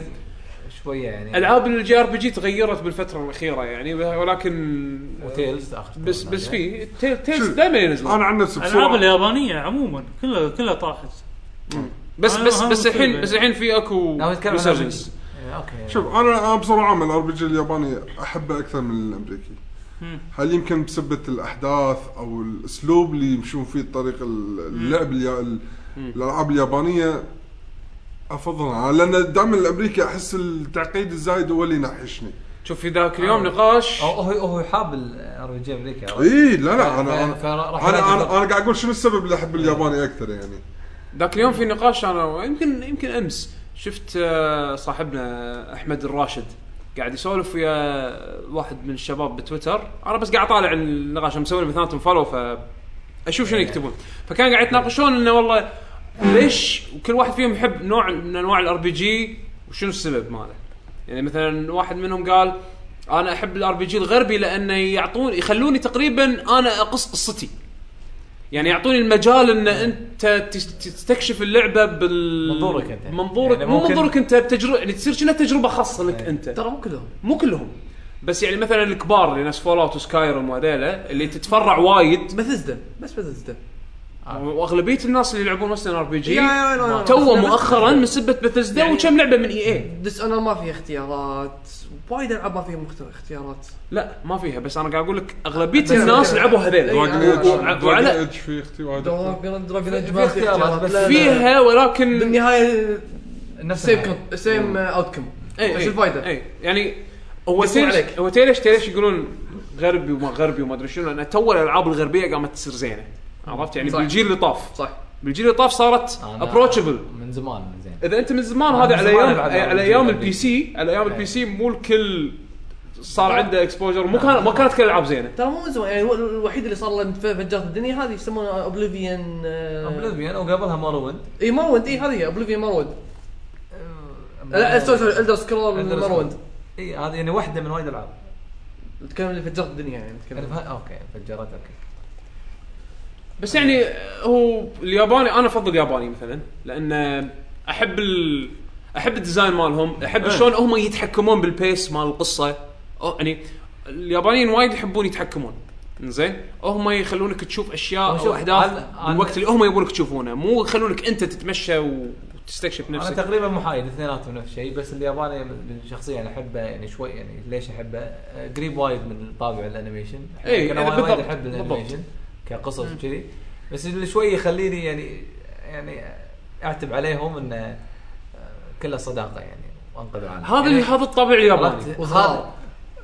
[SPEAKER 5] شويه يعني
[SPEAKER 1] العاب الجي ار بي جي تغيرت بالفتره الاخيره يعني ولكن
[SPEAKER 5] وتيلز اخر
[SPEAKER 1] بس بس في تيل- تيلز
[SPEAKER 4] شوف،
[SPEAKER 1] دائما ينزلون
[SPEAKER 4] أنا عن نفسي
[SPEAKER 3] الالعاب
[SPEAKER 4] بسرعة
[SPEAKER 3] اليابانيه عموما كلها كلها طاحت
[SPEAKER 1] بس
[SPEAKER 3] أنا
[SPEAKER 1] بس
[SPEAKER 3] هم
[SPEAKER 1] بس الحين
[SPEAKER 3] كذا.
[SPEAKER 1] بس الحين في اكو
[SPEAKER 5] لا هو يتكلم عن
[SPEAKER 1] resurgence.
[SPEAKER 5] آه، اوكي
[SPEAKER 4] شوف أنا أنا بصورة عامة الار بي جي الياباني أحبه أكثر من الأمريكي
[SPEAKER 3] مم.
[SPEAKER 4] هل يمكن بسبة الأحداث أو الأسلوب اللي يمشون فيه طريق اللعب اليا... ال- الألعاب اليابانية افضلها لان دائما الامريكي احس التعقيد الزايد هو اللي ينحشني
[SPEAKER 1] شوف في ذاك اليوم نقاش
[SPEAKER 5] أو- هو هو حاب الار بي جي امريكا عرفت؟
[SPEAKER 4] اي لا لا
[SPEAKER 5] ف-
[SPEAKER 4] انا انا
[SPEAKER 5] فراح
[SPEAKER 4] انا,
[SPEAKER 5] يلاقي
[SPEAKER 4] أنا,
[SPEAKER 5] فرق.
[SPEAKER 4] أنا قاعد اقول شنو السبب اللي احب الياباني اكثر يعني
[SPEAKER 1] ذاك اليوم في نقاش انا يمكن يمكن امس شفت آه، صاحبنا احمد الراشد قاعد يسولف ويا واحد من الشباب بتويتر انا بس قاعد اطالع النقاش أنا مسوي لهم اثنيناتهم فولو ف اشوف شنو يكتبون فكان قاعد يتناقشون انه والله ليش وكل واحد فيهم يحب نوع من انواع الار بي جي وشنو السبب ماله يعني مثلا واحد منهم قال انا احب الار بي جي الغربي لانه يعطون يخلوني تقريبا انا اقص قصتي يعني يعطوني المجال ان انت تس- تستكشف اللعبه بال
[SPEAKER 5] منظورك أنت.
[SPEAKER 1] منظورك
[SPEAKER 5] يعني
[SPEAKER 1] مو
[SPEAKER 5] ممكن-
[SPEAKER 1] منظورك انت بتجربه يعني تصير كأنها تجربه خاصه لك
[SPEAKER 5] إيه.
[SPEAKER 1] انت
[SPEAKER 2] ترى مو كلهم
[SPEAKER 1] مو كلهم بس يعني مثلا الكبار اللي ناس فول اوت وسكايرم وهذيلا اللي تتفرع وايد
[SPEAKER 2] بثزدا بس بثزدا
[SPEAKER 1] واغلبيه الناس اللي يلعبون مثلا ار بي جي
[SPEAKER 2] يا- يا- يا- يا-
[SPEAKER 1] تو
[SPEAKER 2] بس-
[SPEAKER 1] مؤخرا من سبه بثزدا
[SPEAKER 2] يعني-
[SPEAKER 1] وكم لعبه من E اي اي
[SPEAKER 2] ديس اونر ما فيها اختيارات وايد العاب ما فيها مختار- اختيارات
[SPEAKER 1] لا ما فيها بس انا قاعد اقول لك اغلبيه
[SPEAKER 2] بس-
[SPEAKER 1] الناس لعبوا
[SPEAKER 2] إيه،
[SPEAKER 1] هذيلا
[SPEAKER 4] دراجن
[SPEAKER 2] أنا-
[SPEAKER 4] ايج
[SPEAKER 1] وع-
[SPEAKER 4] دراجن
[SPEAKER 1] يعني وعلى-
[SPEAKER 4] ايج في اختي
[SPEAKER 2] دراجون دراجون ايج
[SPEAKER 5] في
[SPEAKER 2] ما فيها
[SPEAKER 5] اختيارات،
[SPEAKER 2] اختيارات
[SPEAKER 5] بس
[SPEAKER 2] لا، لا.
[SPEAKER 1] فيها ولكن
[SPEAKER 2] بالنهايه
[SPEAKER 5] نفس الحاجة. إيه،
[SPEAKER 2] سيم سيم اوت كم
[SPEAKER 1] اي
[SPEAKER 2] ايش الفائده؟
[SPEAKER 1] اي إيه، يعني هو
[SPEAKER 2] يصير
[SPEAKER 1] تيلش
[SPEAKER 2] عليك.
[SPEAKER 1] هو تيلش تيلش يقولون غربي وما غربي وما ادري شنو لان تو الالعاب الغربيه قامت تصير زينه عرفت يعني
[SPEAKER 2] صح.
[SPEAKER 1] بالجيل اللي طاف
[SPEAKER 2] صح
[SPEAKER 1] بالجيل اللي طاف صارت
[SPEAKER 5] أنا-
[SPEAKER 1] ابروتشبل
[SPEAKER 5] من زمان زين
[SPEAKER 1] اذا انت من زمان
[SPEAKER 5] أنا
[SPEAKER 1] هذا
[SPEAKER 5] من
[SPEAKER 1] على
[SPEAKER 5] زمان
[SPEAKER 1] ايام
[SPEAKER 5] ألعب
[SPEAKER 1] على
[SPEAKER 5] ألعاب
[SPEAKER 1] ايام
[SPEAKER 5] الجيل
[SPEAKER 1] البي سي على ايام
[SPEAKER 5] إيه.
[SPEAKER 1] البي سي مو الكل صار عنده اكسبوجر مو كان ما كانت كل الالعاب زينه
[SPEAKER 2] ترى مو من زمان يعني الو- الوحيد اللي صار له فجرت الدنيا هذه آه، يسمونها اوبليفيان
[SPEAKER 5] اوبليفيون وقبلها ماروند
[SPEAKER 2] اي مروند اي إيه، هذه اوبليفيان مروند
[SPEAKER 5] آه،
[SPEAKER 2] لا سوري سوري الدر سكرول مروند
[SPEAKER 5] اي هذه يعني واحده من وايد العاب
[SPEAKER 2] نتكلم اللي فجرت الدنيا يعني نتكلم
[SPEAKER 5] الف- اوكي فجرت اوكي
[SPEAKER 1] بس يعني هو الياباني انا افضل الياباني مثلا لان احب ال... احب الديزاين مالهم
[SPEAKER 5] إيه.
[SPEAKER 1] احب شلون هم يتحكمون بالبيس مال القصه أو يعني اليابانيين وايد يحبون يتحكمون زين هم يخلونك تشوف اشياء
[SPEAKER 5] هو شوف،
[SPEAKER 1] او احداث
[SPEAKER 5] أنا- أنا-
[SPEAKER 1] بالوقت اللي هم يبونك تشوفونه مو يخلونك انت تتمشى وتستكشف
[SPEAKER 5] انا
[SPEAKER 1] نفسك
[SPEAKER 5] تقريبا محايد اثنيناتهم نفس الشيء بس الياباني شخصيا انا احبه يعني شوي يعني ليش احبه آه، قريب وايد من طابع الانيميشن
[SPEAKER 4] إيه،
[SPEAKER 1] إي،
[SPEAKER 5] انا
[SPEAKER 1] يعني
[SPEAKER 5] وايد
[SPEAKER 1] بالضبط،
[SPEAKER 5] احب
[SPEAKER 1] بالضبط.
[SPEAKER 5] الانيميشن كقصص وكذي بس اللي شوي يخليني يعني يعني اعتب عليهم انه آه، كله صداقه يعني وانقذوا عنه
[SPEAKER 1] هذا هذا الطابع الياباني
[SPEAKER 5] عرفت؟ هذا-
[SPEAKER 2] وصغار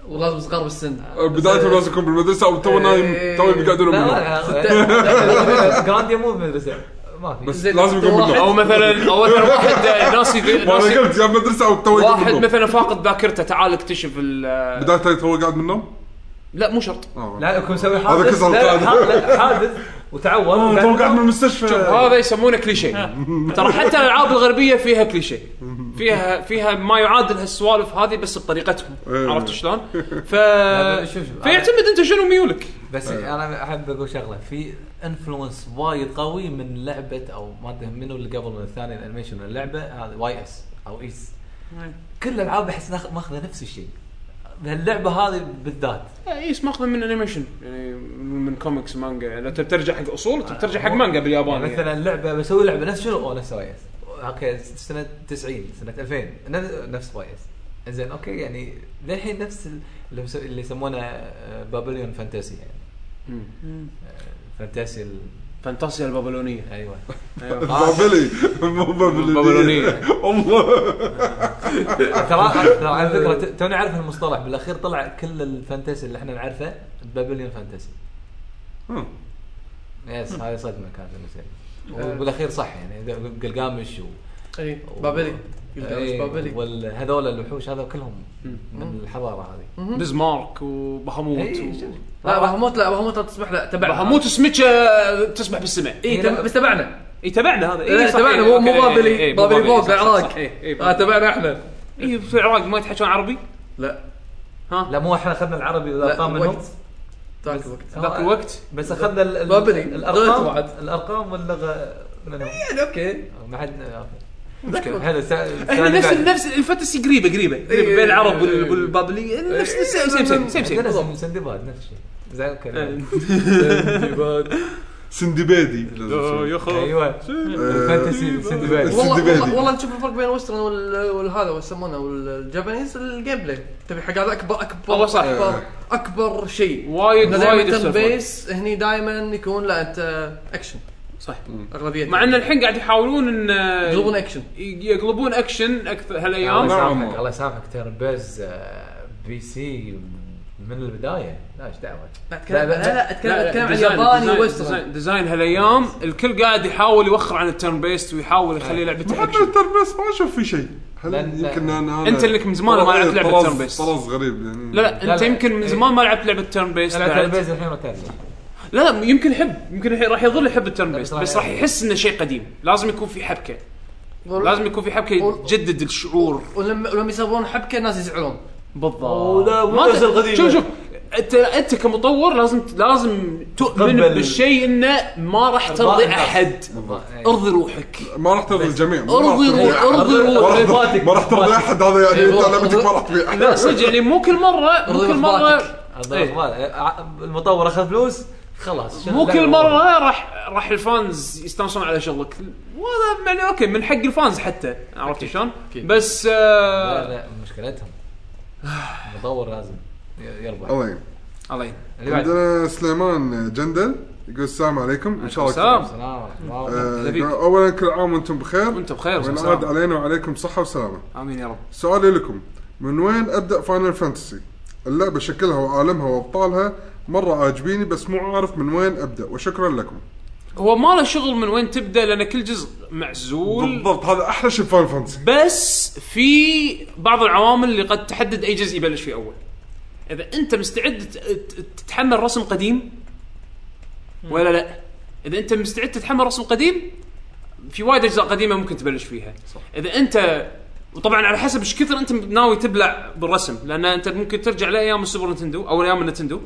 [SPEAKER 2] ولازم صغار
[SPEAKER 5] (laughs)
[SPEAKER 2] بالسن
[SPEAKER 4] بدايتهم لازم يكون بالمدرسه او تو نايم
[SPEAKER 2] إيه.
[SPEAKER 4] تو بيقعدون
[SPEAKER 5] لا
[SPEAKER 4] (laughs) بالنوم.
[SPEAKER 5] لا جرانديا مو بالمدرسه ما في
[SPEAKER 4] بس
[SPEAKER 2] زين،
[SPEAKER 4] لازم يكون
[SPEAKER 2] واحد-
[SPEAKER 1] او
[SPEAKER 4] بالنوم
[SPEAKER 1] مثلا او مثلا واحد ناس يقول-
[SPEAKER 4] ما
[SPEAKER 1] ناس
[SPEAKER 4] انا
[SPEAKER 1] يقول-
[SPEAKER 4] قلت يا مدرسه او تو يقعدون
[SPEAKER 1] واحد
[SPEAKER 4] بالنوم.
[SPEAKER 1] مثلا فاقد ذاكرته تعال اكتشف ال-
[SPEAKER 4] بدايته تو قاعد بالنوم
[SPEAKER 1] لا مو شرط
[SPEAKER 4] آه.
[SPEAKER 5] لا يكون مسوي
[SPEAKER 4] هذا
[SPEAKER 5] حادث
[SPEAKER 4] كسر
[SPEAKER 5] لا،
[SPEAKER 4] القاعدة.
[SPEAKER 5] لا، لا، حادث وتعور
[SPEAKER 4] آه، تو قاعد (laughs)
[SPEAKER 5] وبعدين-
[SPEAKER 4] بالمستشفى
[SPEAKER 1] هذا آه. يسمونه كليشيه ترى حتى الالعاب الغربيه فيها كليشيه فيها فيها ما يعادل هالسوالف هذه بس بطريقتهم
[SPEAKER 4] إيه.
[SPEAKER 1] عرفت شلون؟ ف
[SPEAKER 5] لا، شوف شوف.
[SPEAKER 1] فيعتمد انت شنو ميولك
[SPEAKER 5] بس انا احب اقول شغله في انفلونس وايد قوي من لعبه او ما ادري منو اللي قبل من الثاني الانيميشن من اللعبه هذا واي اس او ايس كل الالعاب احس ناخ- ماخذه نفس الشيء هاللعبه هذه بالذات
[SPEAKER 1] اي اسم ماخذ إيه، من انيميشن يعني من كوميكس مانجا يعني انت بترجع حق اصول انت بترجع حق مانجا باليابان
[SPEAKER 5] يعني
[SPEAKER 1] يعني.
[SPEAKER 5] مثلا لعبه بسوي لعبه نفس شنو اوه نفس وايس اوكي سنه 90 سنه 2000 نفس- نفس وايس زين اوكي يعني للحين نفس ال- اللي مسو- اللي يسمونه بابليون فانتاسي يعني آه، فانتاسي ال-
[SPEAKER 1] فانتاسيا البابلونيه
[SPEAKER 5] ايوه
[SPEAKER 4] بابلي مو بابلي
[SPEAKER 1] بابلونية.
[SPEAKER 4] الله
[SPEAKER 5] ترى ترى على فكره ت- توني عارف المصطلح بالاخير طلع كل الفانتاسي اللي احنا نعرفه بابليون فانتاسي
[SPEAKER 4] هم.
[SPEAKER 5] يس هاي صدمه كانت بالنسبه لي وبالاخير صح يعني د- قلقامش و
[SPEAKER 2] اي بابلي
[SPEAKER 5] إيه،
[SPEAKER 2] بابلي
[SPEAKER 5] والهذول الوحوش هذا كلهم من الحضاره هذه
[SPEAKER 1] بزمارك وبهاموت
[SPEAKER 5] إيه،
[SPEAKER 1] و-
[SPEAKER 5] شوف.
[SPEAKER 2] لا بهموت لا بهموت لا تسمح لا تبعنا
[SPEAKER 1] بهاموت سمكه تسبح
[SPEAKER 5] إيه،
[SPEAKER 1] بالسماء
[SPEAKER 2] اي تب- بس تبعنا
[SPEAKER 1] اي إيه، تبعنا هذا
[SPEAKER 2] لا،
[SPEAKER 1] صح،
[SPEAKER 2] تبعنا مو
[SPEAKER 1] أوكي،
[SPEAKER 2] مو
[SPEAKER 1] إي، إي، إي،
[SPEAKER 2] بابلي إيه،
[SPEAKER 1] مو
[SPEAKER 2] بابلي فوق
[SPEAKER 1] صح، صح،
[SPEAKER 2] العراق
[SPEAKER 1] صح، اي إي،
[SPEAKER 2] آه، تبعنا احنا
[SPEAKER 1] اي في العراق ما يتحكون عربي
[SPEAKER 2] لا
[SPEAKER 5] لا مو احنا اخذنا العربي والارقام منهم
[SPEAKER 2] وقت ذاك الوقت
[SPEAKER 1] ذاك الوقت
[SPEAKER 5] بس اخذنا ال- ال-
[SPEAKER 2] بابلي. غلط
[SPEAKER 5] الارقام
[SPEAKER 2] وعد.
[SPEAKER 5] الارقام واللغه منهم
[SPEAKER 2] يعني اوكي
[SPEAKER 5] ما حد آه،
[SPEAKER 2] ذاك الوقت.
[SPEAKER 5] حلو سا-
[SPEAKER 1] احنا
[SPEAKER 5] سا-
[SPEAKER 1] نفس
[SPEAKER 5] بعد.
[SPEAKER 1] نفس الفانتسي قريبه قريبه قريبه بين العرب وال- والبابليه نفس
[SPEAKER 2] إي،
[SPEAKER 1] سيم إيه، سيم سيم سيم سيم
[SPEAKER 5] عندنا سن- سندباد نفس الشيء زين اوكي
[SPEAKER 4] سندبادي
[SPEAKER 5] ايوه
[SPEAKER 4] آه.
[SPEAKER 5] الفانتسي سندباد
[SPEAKER 2] والله
[SPEAKER 4] سندبادي.
[SPEAKER 2] والله- والله تشوف الفرق بين الويسترن وال- والهذا وش يسمونه والجابانيز الجيم بلاي تبي حق هذا اكبر اكبر
[SPEAKER 1] والله صح.
[SPEAKER 2] اكبر اكبر شيء
[SPEAKER 1] وايد وايد
[SPEAKER 2] دائما
[SPEAKER 1] يختلفون.
[SPEAKER 2] بيس هني دائما يكون لا انت اكشن
[SPEAKER 1] صح
[SPEAKER 2] اغلبيه
[SPEAKER 1] مع ان الحين قاعد يحاولون ان
[SPEAKER 2] يضربون اكشن
[SPEAKER 1] يقلبون اكشن اكثر
[SPEAKER 5] الله
[SPEAKER 1] هالايام
[SPEAKER 4] نعم.
[SPEAKER 5] يسامحك الله يسامحك تربز آه، بي سي من البدايه لا ايش دعوه
[SPEAKER 2] لا اتكلم لا لا اتكلم اتكلم عن
[SPEAKER 1] ديزاين-
[SPEAKER 2] ياباني
[SPEAKER 1] ديزاين-
[SPEAKER 2] ويسترن
[SPEAKER 1] ديزاين- ديزاين هالايام الكل قاعد يحاول يوخر عن التيرن بيست ويحاول يخلي لعبته
[SPEAKER 4] حتى
[SPEAKER 1] اكشن
[SPEAKER 4] التربيس ما اشوف في شيء هل
[SPEAKER 5] لأن-
[SPEAKER 4] يمكن انا أنا-
[SPEAKER 1] أنت اللي من زمان ما
[SPEAKER 4] طراز-
[SPEAKER 1] لعبت لعبة
[SPEAKER 4] طراز-
[SPEAKER 1] turn based.
[SPEAKER 4] طراز غريب يعني
[SPEAKER 1] لا لا
[SPEAKER 5] لا،
[SPEAKER 1] انت
[SPEAKER 5] لا.
[SPEAKER 1] يمكن من
[SPEAKER 5] إيه.
[SPEAKER 1] زمان ما لعبت لعبه تيرن بيست
[SPEAKER 5] لا
[SPEAKER 1] بعد.
[SPEAKER 5] تربز الحين وتربز
[SPEAKER 1] لا لا يمكن يحب يمكن الحين راح يظل يحب التيرن بيست
[SPEAKER 5] بس راح
[SPEAKER 1] بس راح يحس انه شيء قديم لازم يكون في حبكه لازم يكون في حبكه
[SPEAKER 2] وال-
[SPEAKER 1] تجدد الشعور
[SPEAKER 2] ولما ولما يسوون حبكه الناس يزعلون
[SPEAKER 1] بالضبط
[SPEAKER 5] لا، مو
[SPEAKER 1] ما
[SPEAKER 5] نفس
[SPEAKER 1] ت-
[SPEAKER 5] القديمة.
[SPEAKER 1] شوف شوف انت انت كمطور لازم لازم تؤمن
[SPEAKER 5] تقبل.
[SPEAKER 1] بالشيء انه ما راح ترضي احد ارضي روحك
[SPEAKER 4] ما راح ترضي الجميع ما راح
[SPEAKER 1] ارضي
[SPEAKER 4] ترضي
[SPEAKER 1] روح
[SPEAKER 4] أحد.
[SPEAKER 1] ارضي
[SPEAKER 4] ما
[SPEAKER 1] روح
[SPEAKER 4] راح-
[SPEAKER 5] رضاتك.
[SPEAKER 4] ما راح ترضي احد هذا يعني
[SPEAKER 2] إيه،
[SPEAKER 4] انت
[SPEAKER 2] والله.
[SPEAKER 4] لعبتك ما راح تبيع احد
[SPEAKER 1] لا صدق يعني مو كل مره مو
[SPEAKER 2] ارضي
[SPEAKER 1] كل مره
[SPEAKER 2] رفضاتك.
[SPEAKER 1] إيه.
[SPEAKER 5] آه، المطور اخذ فلوس خلاص
[SPEAKER 1] مو كل مره راح راح الفانز يستانسون على شغلك وهذا يعني اوكي من حق الفانز حتى عرفت شلون؟ بس
[SPEAKER 5] لا،
[SPEAKER 1] آه،
[SPEAKER 5] لا، مشكلتهم المطور لازم ي- يربح
[SPEAKER 4] الله يعين.
[SPEAKER 1] الله يعين.
[SPEAKER 5] اللي بعد
[SPEAKER 4] طيب. عندنا سليمان جندل يقول السلام عليكم ان شاء الله
[SPEAKER 1] السلام.
[SPEAKER 5] السلام عليكم. الله
[SPEAKER 4] آه،
[SPEAKER 5] يرحمه.
[SPEAKER 1] لبيك.
[SPEAKER 4] يقول اولا كل عام وانتم بخير
[SPEAKER 1] وأنت بخير،
[SPEAKER 4] وينعاد
[SPEAKER 1] والسلام.
[SPEAKER 4] علينا وعليكم صحه وسلامه
[SPEAKER 1] امين يا رب
[SPEAKER 4] سؤالي لكم من وين ابدا فاينل فانتسي؟ اللعبه شكلها وعالمها وابطالها مره عاجبيني بس مو عارف من وين ابدا وشكرا لكم.
[SPEAKER 1] هو ما له شغل من وين تبدا لان كل جزء معزول
[SPEAKER 4] بالضبط هذا احلى شيء فاينل فانتسي.
[SPEAKER 1] بس في بعض العوامل اللي قد تحدد اي جزء يبلش فيه اول اذا انت مستعد ت- ت- تتحمل رسم قديم ولا لا اذا انت مستعد تتحمل رسم قديم في وايد اجزاء قديمه ممكن تبلش فيها صح. اذا انت وطبعا على حسب ايش كثر انت ناوي تبلع بالرسم لان انت ممكن ترجع لايام السوبر نتندو او ايام النتندو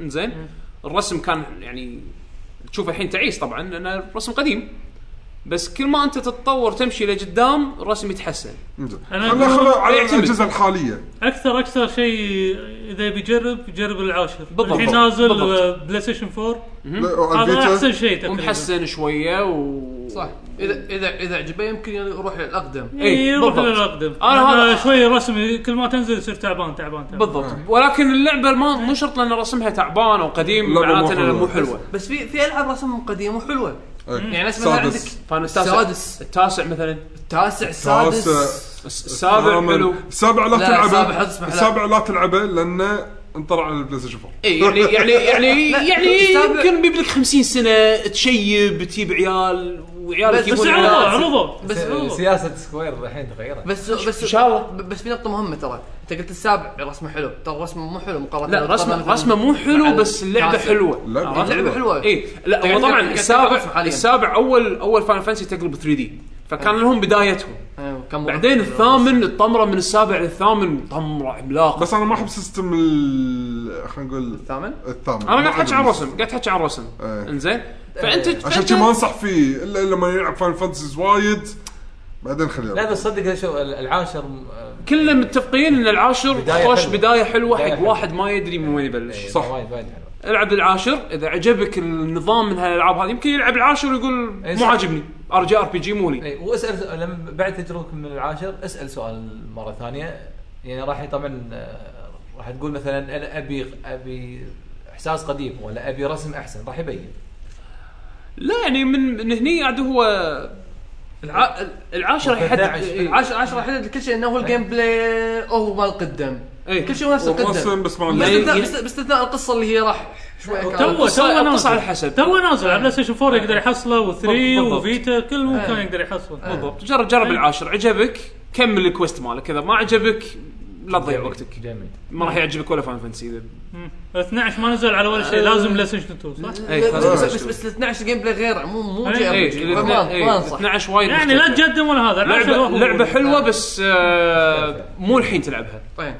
[SPEAKER 1] زين الرسم كان يعني تشوف الحين تعيس طبعا لان الرسم قديم بس كل ما انت تتطور تمشي لقدام الرسم يتحسن
[SPEAKER 4] انزين.
[SPEAKER 3] أنا
[SPEAKER 4] خلنا
[SPEAKER 3] أقول-
[SPEAKER 4] خلنا على
[SPEAKER 1] يعتمد.
[SPEAKER 4] الاجهزه الحاليه.
[SPEAKER 3] اكثر اكثر شيء اذا بيجرب يجرب العاشر
[SPEAKER 1] بالضبط.
[SPEAKER 3] الحين نازل
[SPEAKER 1] بالضبط.
[SPEAKER 3] آه، بلاي ستيشن 4
[SPEAKER 4] لا، وعلى
[SPEAKER 3] هذا
[SPEAKER 4] الفيتا.
[SPEAKER 3] احسن شيء تقريبا
[SPEAKER 1] ومحسن شويه و
[SPEAKER 2] صح اذا اذا اذا عجبه يمكن يعني يروح للاقدم
[SPEAKER 1] إيه،
[SPEAKER 3] اي يروح
[SPEAKER 1] بالضبط.
[SPEAKER 3] للاقدم
[SPEAKER 1] أنا
[SPEAKER 3] انا
[SPEAKER 1] هذا-
[SPEAKER 3] هذا شوي رسم كل ما تنزل يصير تعبان تعبان تعبان
[SPEAKER 1] بالضبط
[SPEAKER 4] آه.
[SPEAKER 1] ولكن اللعبه ما مو شرط لان رسمها تعبان او قديم
[SPEAKER 4] اللعبة مو
[SPEAKER 1] معناته انها
[SPEAKER 4] حلوة.
[SPEAKER 1] مو حلوه
[SPEAKER 2] بس في في العاب رسم قديمه وحلوه
[SPEAKER 4] إيه.
[SPEAKER 2] يعني نفس مثلا عندك
[SPEAKER 4] سادس.
[SPEAKER 1] فانا
[SPEAKER 2] السادس
[SPEAKER 1] التاسع مثلا
[SPEAKER 2] التاسع السادس
[SPEAKER 4] سادس.
[SPEAKER 1] الس- السابع
[SPEAKER 4] ثامن.
[SPEAKER 1] حلو
[SPEAKER 4] السابع لا
[SPEAKER 2] لا،
[SPEAKER 4] تلعبه
[SPEAKER 2] السابع حد اسمه لا.
[SPEAKER 4] السابع لا تلعبه لانه انطر على البلاي ستيشن 4.
[SPEAKER 1] اي يعني يعني
[SPEAKER 2] (laughs)
[SPEAKER 1] يعني يعني
[SPEAKER 2] السابع-
[SPEAKER 1] يمكن بيبلك 50 سنه تشيب تجيب عيال وعيالك
[SPEAKER 2] بس- بس
[SPEAKER 1] يجيبون
[SPEAKER 3] بس
[SPEAKER 1] عيال.
[SPEAKER 3] عرضوا عرضوا
[SPEAKER 2] بس
[SPEAKER 5] س- سياسه سكوير الحين تغيرت
[SPEAKER 2] بس بس
[SPEAKER 1] إن شاء الله.
[SPEAKER 2] ب- بس في نقطه مهمه ترى انت قلت السابع رسمه حلو ترى رسمه مو حلو مقارنه
[SPEAKER 1] لا
[SPEAKER 2] بالطبع
[SPEAKER 1] رسمه
[SPEAKER 2] مثلاً
[SPEAKER 1] رسمه مو
[SPEAKER 2] مع
[SPEAKER 1] حلو بس اللعبه
[SPEAKER 2] التاسع.
[SPEAKER 1] حلوه
[SPEAKER 4] لا،
[SPEAKER 1] عرفت؟
[SPEAKER 2] اللعبه حلوه
[SPEAKER 1] اي لا هو
[SPEAKER 2] يعني
[SPEAKER 1] طبعا
[SPEAKER 2] كان- كان تعرف
[SPEAKER 1] السابع
[SPEAKER 2] حالياً. آه.
[SPEAKER 1] السابع اول اول فاينل فانسي تقلب 3 دي فكان لهم بدايتهم
[SPEAKER 2] أيوة، كم مرة.
[SPEAKER 1] إيه. بعدين الثامن الطمره من السابع للثامن طمره عملاقه
[SPEAKER 4] بس انا ما احب سيستم ال خلينا نقول
[SPEAKER 2] الثامن
[SPEAKER 4] الثامن.
[SPEAKER 1] انا قاعد
[SPEAKER 4] ما
[SPEAKER 1] احكي عن
[SPEAKER 4] عجبني.
[SPEAKER 1] الرسم قاعد احكي عن الرسم
[SPEAKER 4] إيه.
[SPEAKER 1] انزين فانت
[SPEAKER 4] عشان
[SPEAKER 1] فأنت-
[SPEAKER 4] كذي ما انصح فيه الا لما يلعب فاين فانتسيز وايد بعدين خليه
[SPEAKER 5] لا بس صدق شو ال- العاشر م- آه،
[SPEAKER 1] كلنا متفقين ان العاشر
[SPEAKER 5] بداية
[SPEAKER 1] خوش
[SPEAKER 5] حلوة.
[SPEAKER 1] بدايه حلوه
[SPEAKER 5] بداية
[SPEAKER 1] حق
[SPEAKER 5] حلوة.
[SPEAKER 1] واحد ما يدري من وين يبلش
[SPEAKER 5] إيه،
[SPEAKER 4] صح.
[SPEAKER 5] وايد وايد حلو
[SPEAKER 1] العب العاشر اذا عجبك النظام من هالالعاب هذه يمكن يلعب العاشر ويقول
[SPEAKER 5] إيه،
[SPEAKER 1] مو
[SPEAKER 5] صح. إيه.
[SPEAKER 1] عاجبني ارجع ار بي جي مو لي
[SPEAKER 5] اي واسال لما بعد تجربتك من العاشر اسال سؤال مره ثانيه يعني راح طبعا آه، راح تقول مثلا انا ابي ابي احساس قديم ولا ابي رسم احسن راح يبين
[SPEAKER 1] لا يعني من من هني عاد هو الع... العاشر راح يحدد
[SPEAKER 5] 13.
[SPEAKER 1] إيه.
[SPEAKER 2] عشرة عشرة حدد كل شيء انه هو الجيم بلاي هو ما القدم
[SPEAKER 1] إيه.
[SPEAKER 2] كل شيء نفس القدم
[SPEAKER 4] ومرسم بس ما عنده
[SPEAKER 2] باستثناء
[SPEAKER 1] ي-
[SPEAKER 2] باست- باستثناء القصه اللي هي راح شوي
[SPEAKER 3] تو
[SPEAKER 2] كانت-
[SPEAKER 1] القصة-
[SPEAKER 3] تو
[SPEAKER 1] القصة
[SPEAKER 3] نازل
[SPEAKER 1] على حسب.
[SPEAKER 3] تو نازل على بلاي ستيشن 4 يقدر يحصله
[SPEAKER 1] إيه.
[SPEAKER 3] و3
[SPEAKER 1] بالضبط. إيه.
[SPEAKER 3] وفيتا كل مكان
[SPEAKER 2] آه.
[SPEAKER 3] يقدر يحصله بالضبط
[SPEAKER 1] طيب، جرب جرب
[SPEAKER 3] إيه.
[SPEAKER 1] العاشر عجبك كمل الكويست مالك اذا ما عجبك لا تضيع
[SPEAKER 3] إيه.
[SPEAKER 5] جميل.
[SPEAKER 1] وقتك
[SPEAKER 5] جميل
[SPEAKER 1] ما راح يعجبك ولا فان فانتسي اذا
[SPEAKER 3] مم. 12 ما نزل على ولا شيء لازم بلاي ستيشن 2 صح؟
[SPEAKER 1] إيه،
[SPEAKER 2] بس- بس
[SPEAKER 1] خلاص.
[SPEAKER 2] بس بس ال 12 جيم بلاي غير مو مو
[SPEAKER 3] إيه.
[SPEAKER 2] جي ار بي
[SPEAKER 1] اي
[SPEAKER 2] جي. ما ما انصح
[SPEAKER 1] 12 إيه، وايد
[SPEAKER 3] يعني لا
[SPEAKER 1] مختلفة.
[SPEAKER 3] تقدم ولا هذا العاشر هو-
[SPEAKER 1] لعبه
[SPEAKER 3] هو-
[SPEAKER 1] لعبه حلوه بس آه، مو الحين تلعبها
[SPEAKER 2] طيب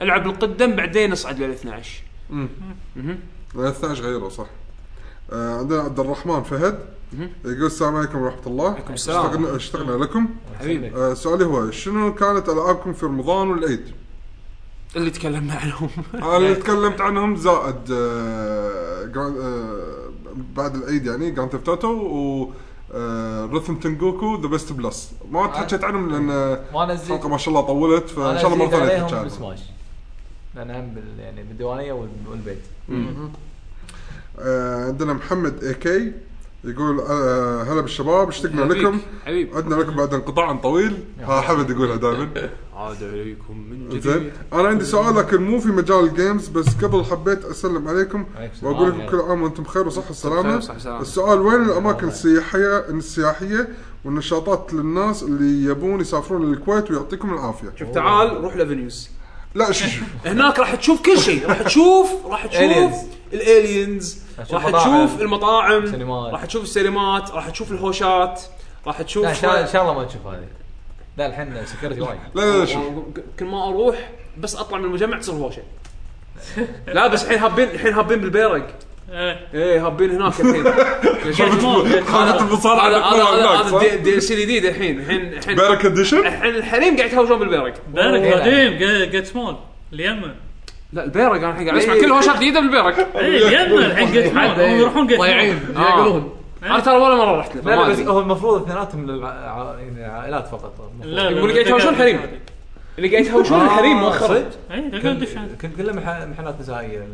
[SPEAKER 1] العب القدم بعدين اصعد لل 12
[SPEAKER 4] 13 غيره صح آه، عندنا عبد الرحمن فهد يقول السلام عليكم ورحمه الله عليكم
[SPEAKER 1] السلام.
[SPEAKER 4] اشتغلنا لكم
[SPEAKER 1] حبيبي
[SPEAKER 4] آه، سؤالي هو شنو كانت العابكم في رمضان والعيد؟
[SPEAKER 1] اللي تكلمنا عنهم
[SPEAKER 4] انا (laughs) اللي تكلمت عنهم زائد آه، جراند- آه، بعد العيد يعني جراند ثيفت اوتو و آه، رثم تنجوكو ذا بيست بلس ما تحكيت عنهم لان آه،
[SPEAKER 5] ما نزلت
[SPEAKER 4] الحلقه ما شاء الله طولت فان
[SPEAKER 5] انا
[SPEAKER 4] شاء الله مره
[SPEAKER 5] زيد
[SPEAKER 4] ثانيه
[SPEAKER 5] عليهم
[SPEAKER 4] تحكي عنهم
[SPEAKER 5] بسماش لان هم بال يعني بالديوانيه وال- والبيت
[SPEAKER 4] آه، عندنا محمد اي كي يقول آه، هلا بالشباب اشتقنا لكم
[SPEAKER 1] حبيبي
[SPEAKER 4] عدنا لكم بعد انقطاع طويل ها حمد يقولها
[SPEAKER 1] (laughs)
[SPEAKER 4] دائما
[SPEAKER 1] عاد عليكم من
[SPEAKER 4] زين انا عندي سؤال لكن مو في مجال الجيمز بس قبل حبيت اسلم عليكم
[SPEAKER 5] عليك السلام.
[SPEAKER 4] واقول لكم
[SPEAKER 5] يلا.
[SPEAKER 4] كل عام وانتم بخير وصحه وسلامه
[SPEAKER 1] وصحة وسلامة.
[SPEAKER 4] السؤال وين الاماكن السياحيه السياحيه والنشاطات للناس اللي يبون يسافرون للكويت ويعطيكم العافيه
[SPEAKER 1] شوف تعال روح لافنيوز
[SPEAKER 4] لا شو شو
[SPEAKER 1] هناك راح تشوف كل شيء راح تشوف راح تشوف
[SPEAKER 5] Aliens.
[SPEAKER 1] الالينز راح
[SPEAKER 5] راح تشوف مطاعم.
[SPEAKER 1] تشوف المطاعم
[SPEAKER 5] سينمات.
[SPEAKER 1] راح تشوف السينمات راح تشوف الهوشات راح تشوف
[SPEAKER 5] لا ان شاء الله ان شاء الله ما تشوف هذه لا الحين سكيورتي وايد
[SPEAKER 4] (laughs) لا لا لا شوف
[SPEAKER 1] كل ما اروح بس اطلع من المجمع تصير هوشه لا بس الحين هابين الحين هابين بالبيرق (laughs)
[SPEAKER 3] إيه.
[SPEAKER 1] ايه هابين هناك
[SPEAKER 5] (laughs)
[SPEAKER 1] الحين
[SPEAKER 4] خانة المصارعة
[SPEAKER 1] هذا هذا-
[SPEAKER 4] اللي هناك،
[SPEAKER 1] هذا
[SPEAKER 4] صح؟
[SPEAKER 1] الدي- الدي سي الجديد الحين الحين الحين
[SPEAKER 4] بارك اديشن
[SPEAKER 1] الحين الحريم قاعد يتهاوشون بالبيرق
[SPEAKER 3] بارك
[SPEAKER 5] أوه.
[SPEAKER 3] قديم جا- جيت سمول اليمه
[SPEAKER 1] لا البيرق انا الحين قاعد اسمع كل هوشات جديده
[SPEAKER 5] (laughs)
[SPEAKER 1] بالبيرق
[SPEAKER 3] ايه اليمه الحين جيت سمول
[SPEAKER 2] طيب.
[SPEAKER 3] هم يروحون جيت سمول
[SPEAKER 2] ضايعين
[SPEAKER 1] آه.
[SPEAKER 2] يعقلون
[SPEAKER 1] انا ترى ولا مره رحت له
[SPEAKER 5] لا
[SPEAKER 1] فما
[SPEAKER 5] لا بس
[SPEAKER 1] ادري
[SPEAKER 5] هو المفروض اثنيناتهم للع- ع- يعني عائلات فقط المفروض.
[SPEAKER 3] لا
[SPEAKER 1] يقول لك يتهاوشون حريم. اللي قاعد يتهاوشون
[SPEAKER 5] آه،
[SPEAKER 1] الحريم مؤخرا
[SPEAKER 5] صدق؟
[SPEAKER 3] اي إيه، تقدر تدش
[SPEAKER 5] كل-
[SPEAKER 3] عادي.
[SPEAKER 5] كل كلها محا- محلات نسائيه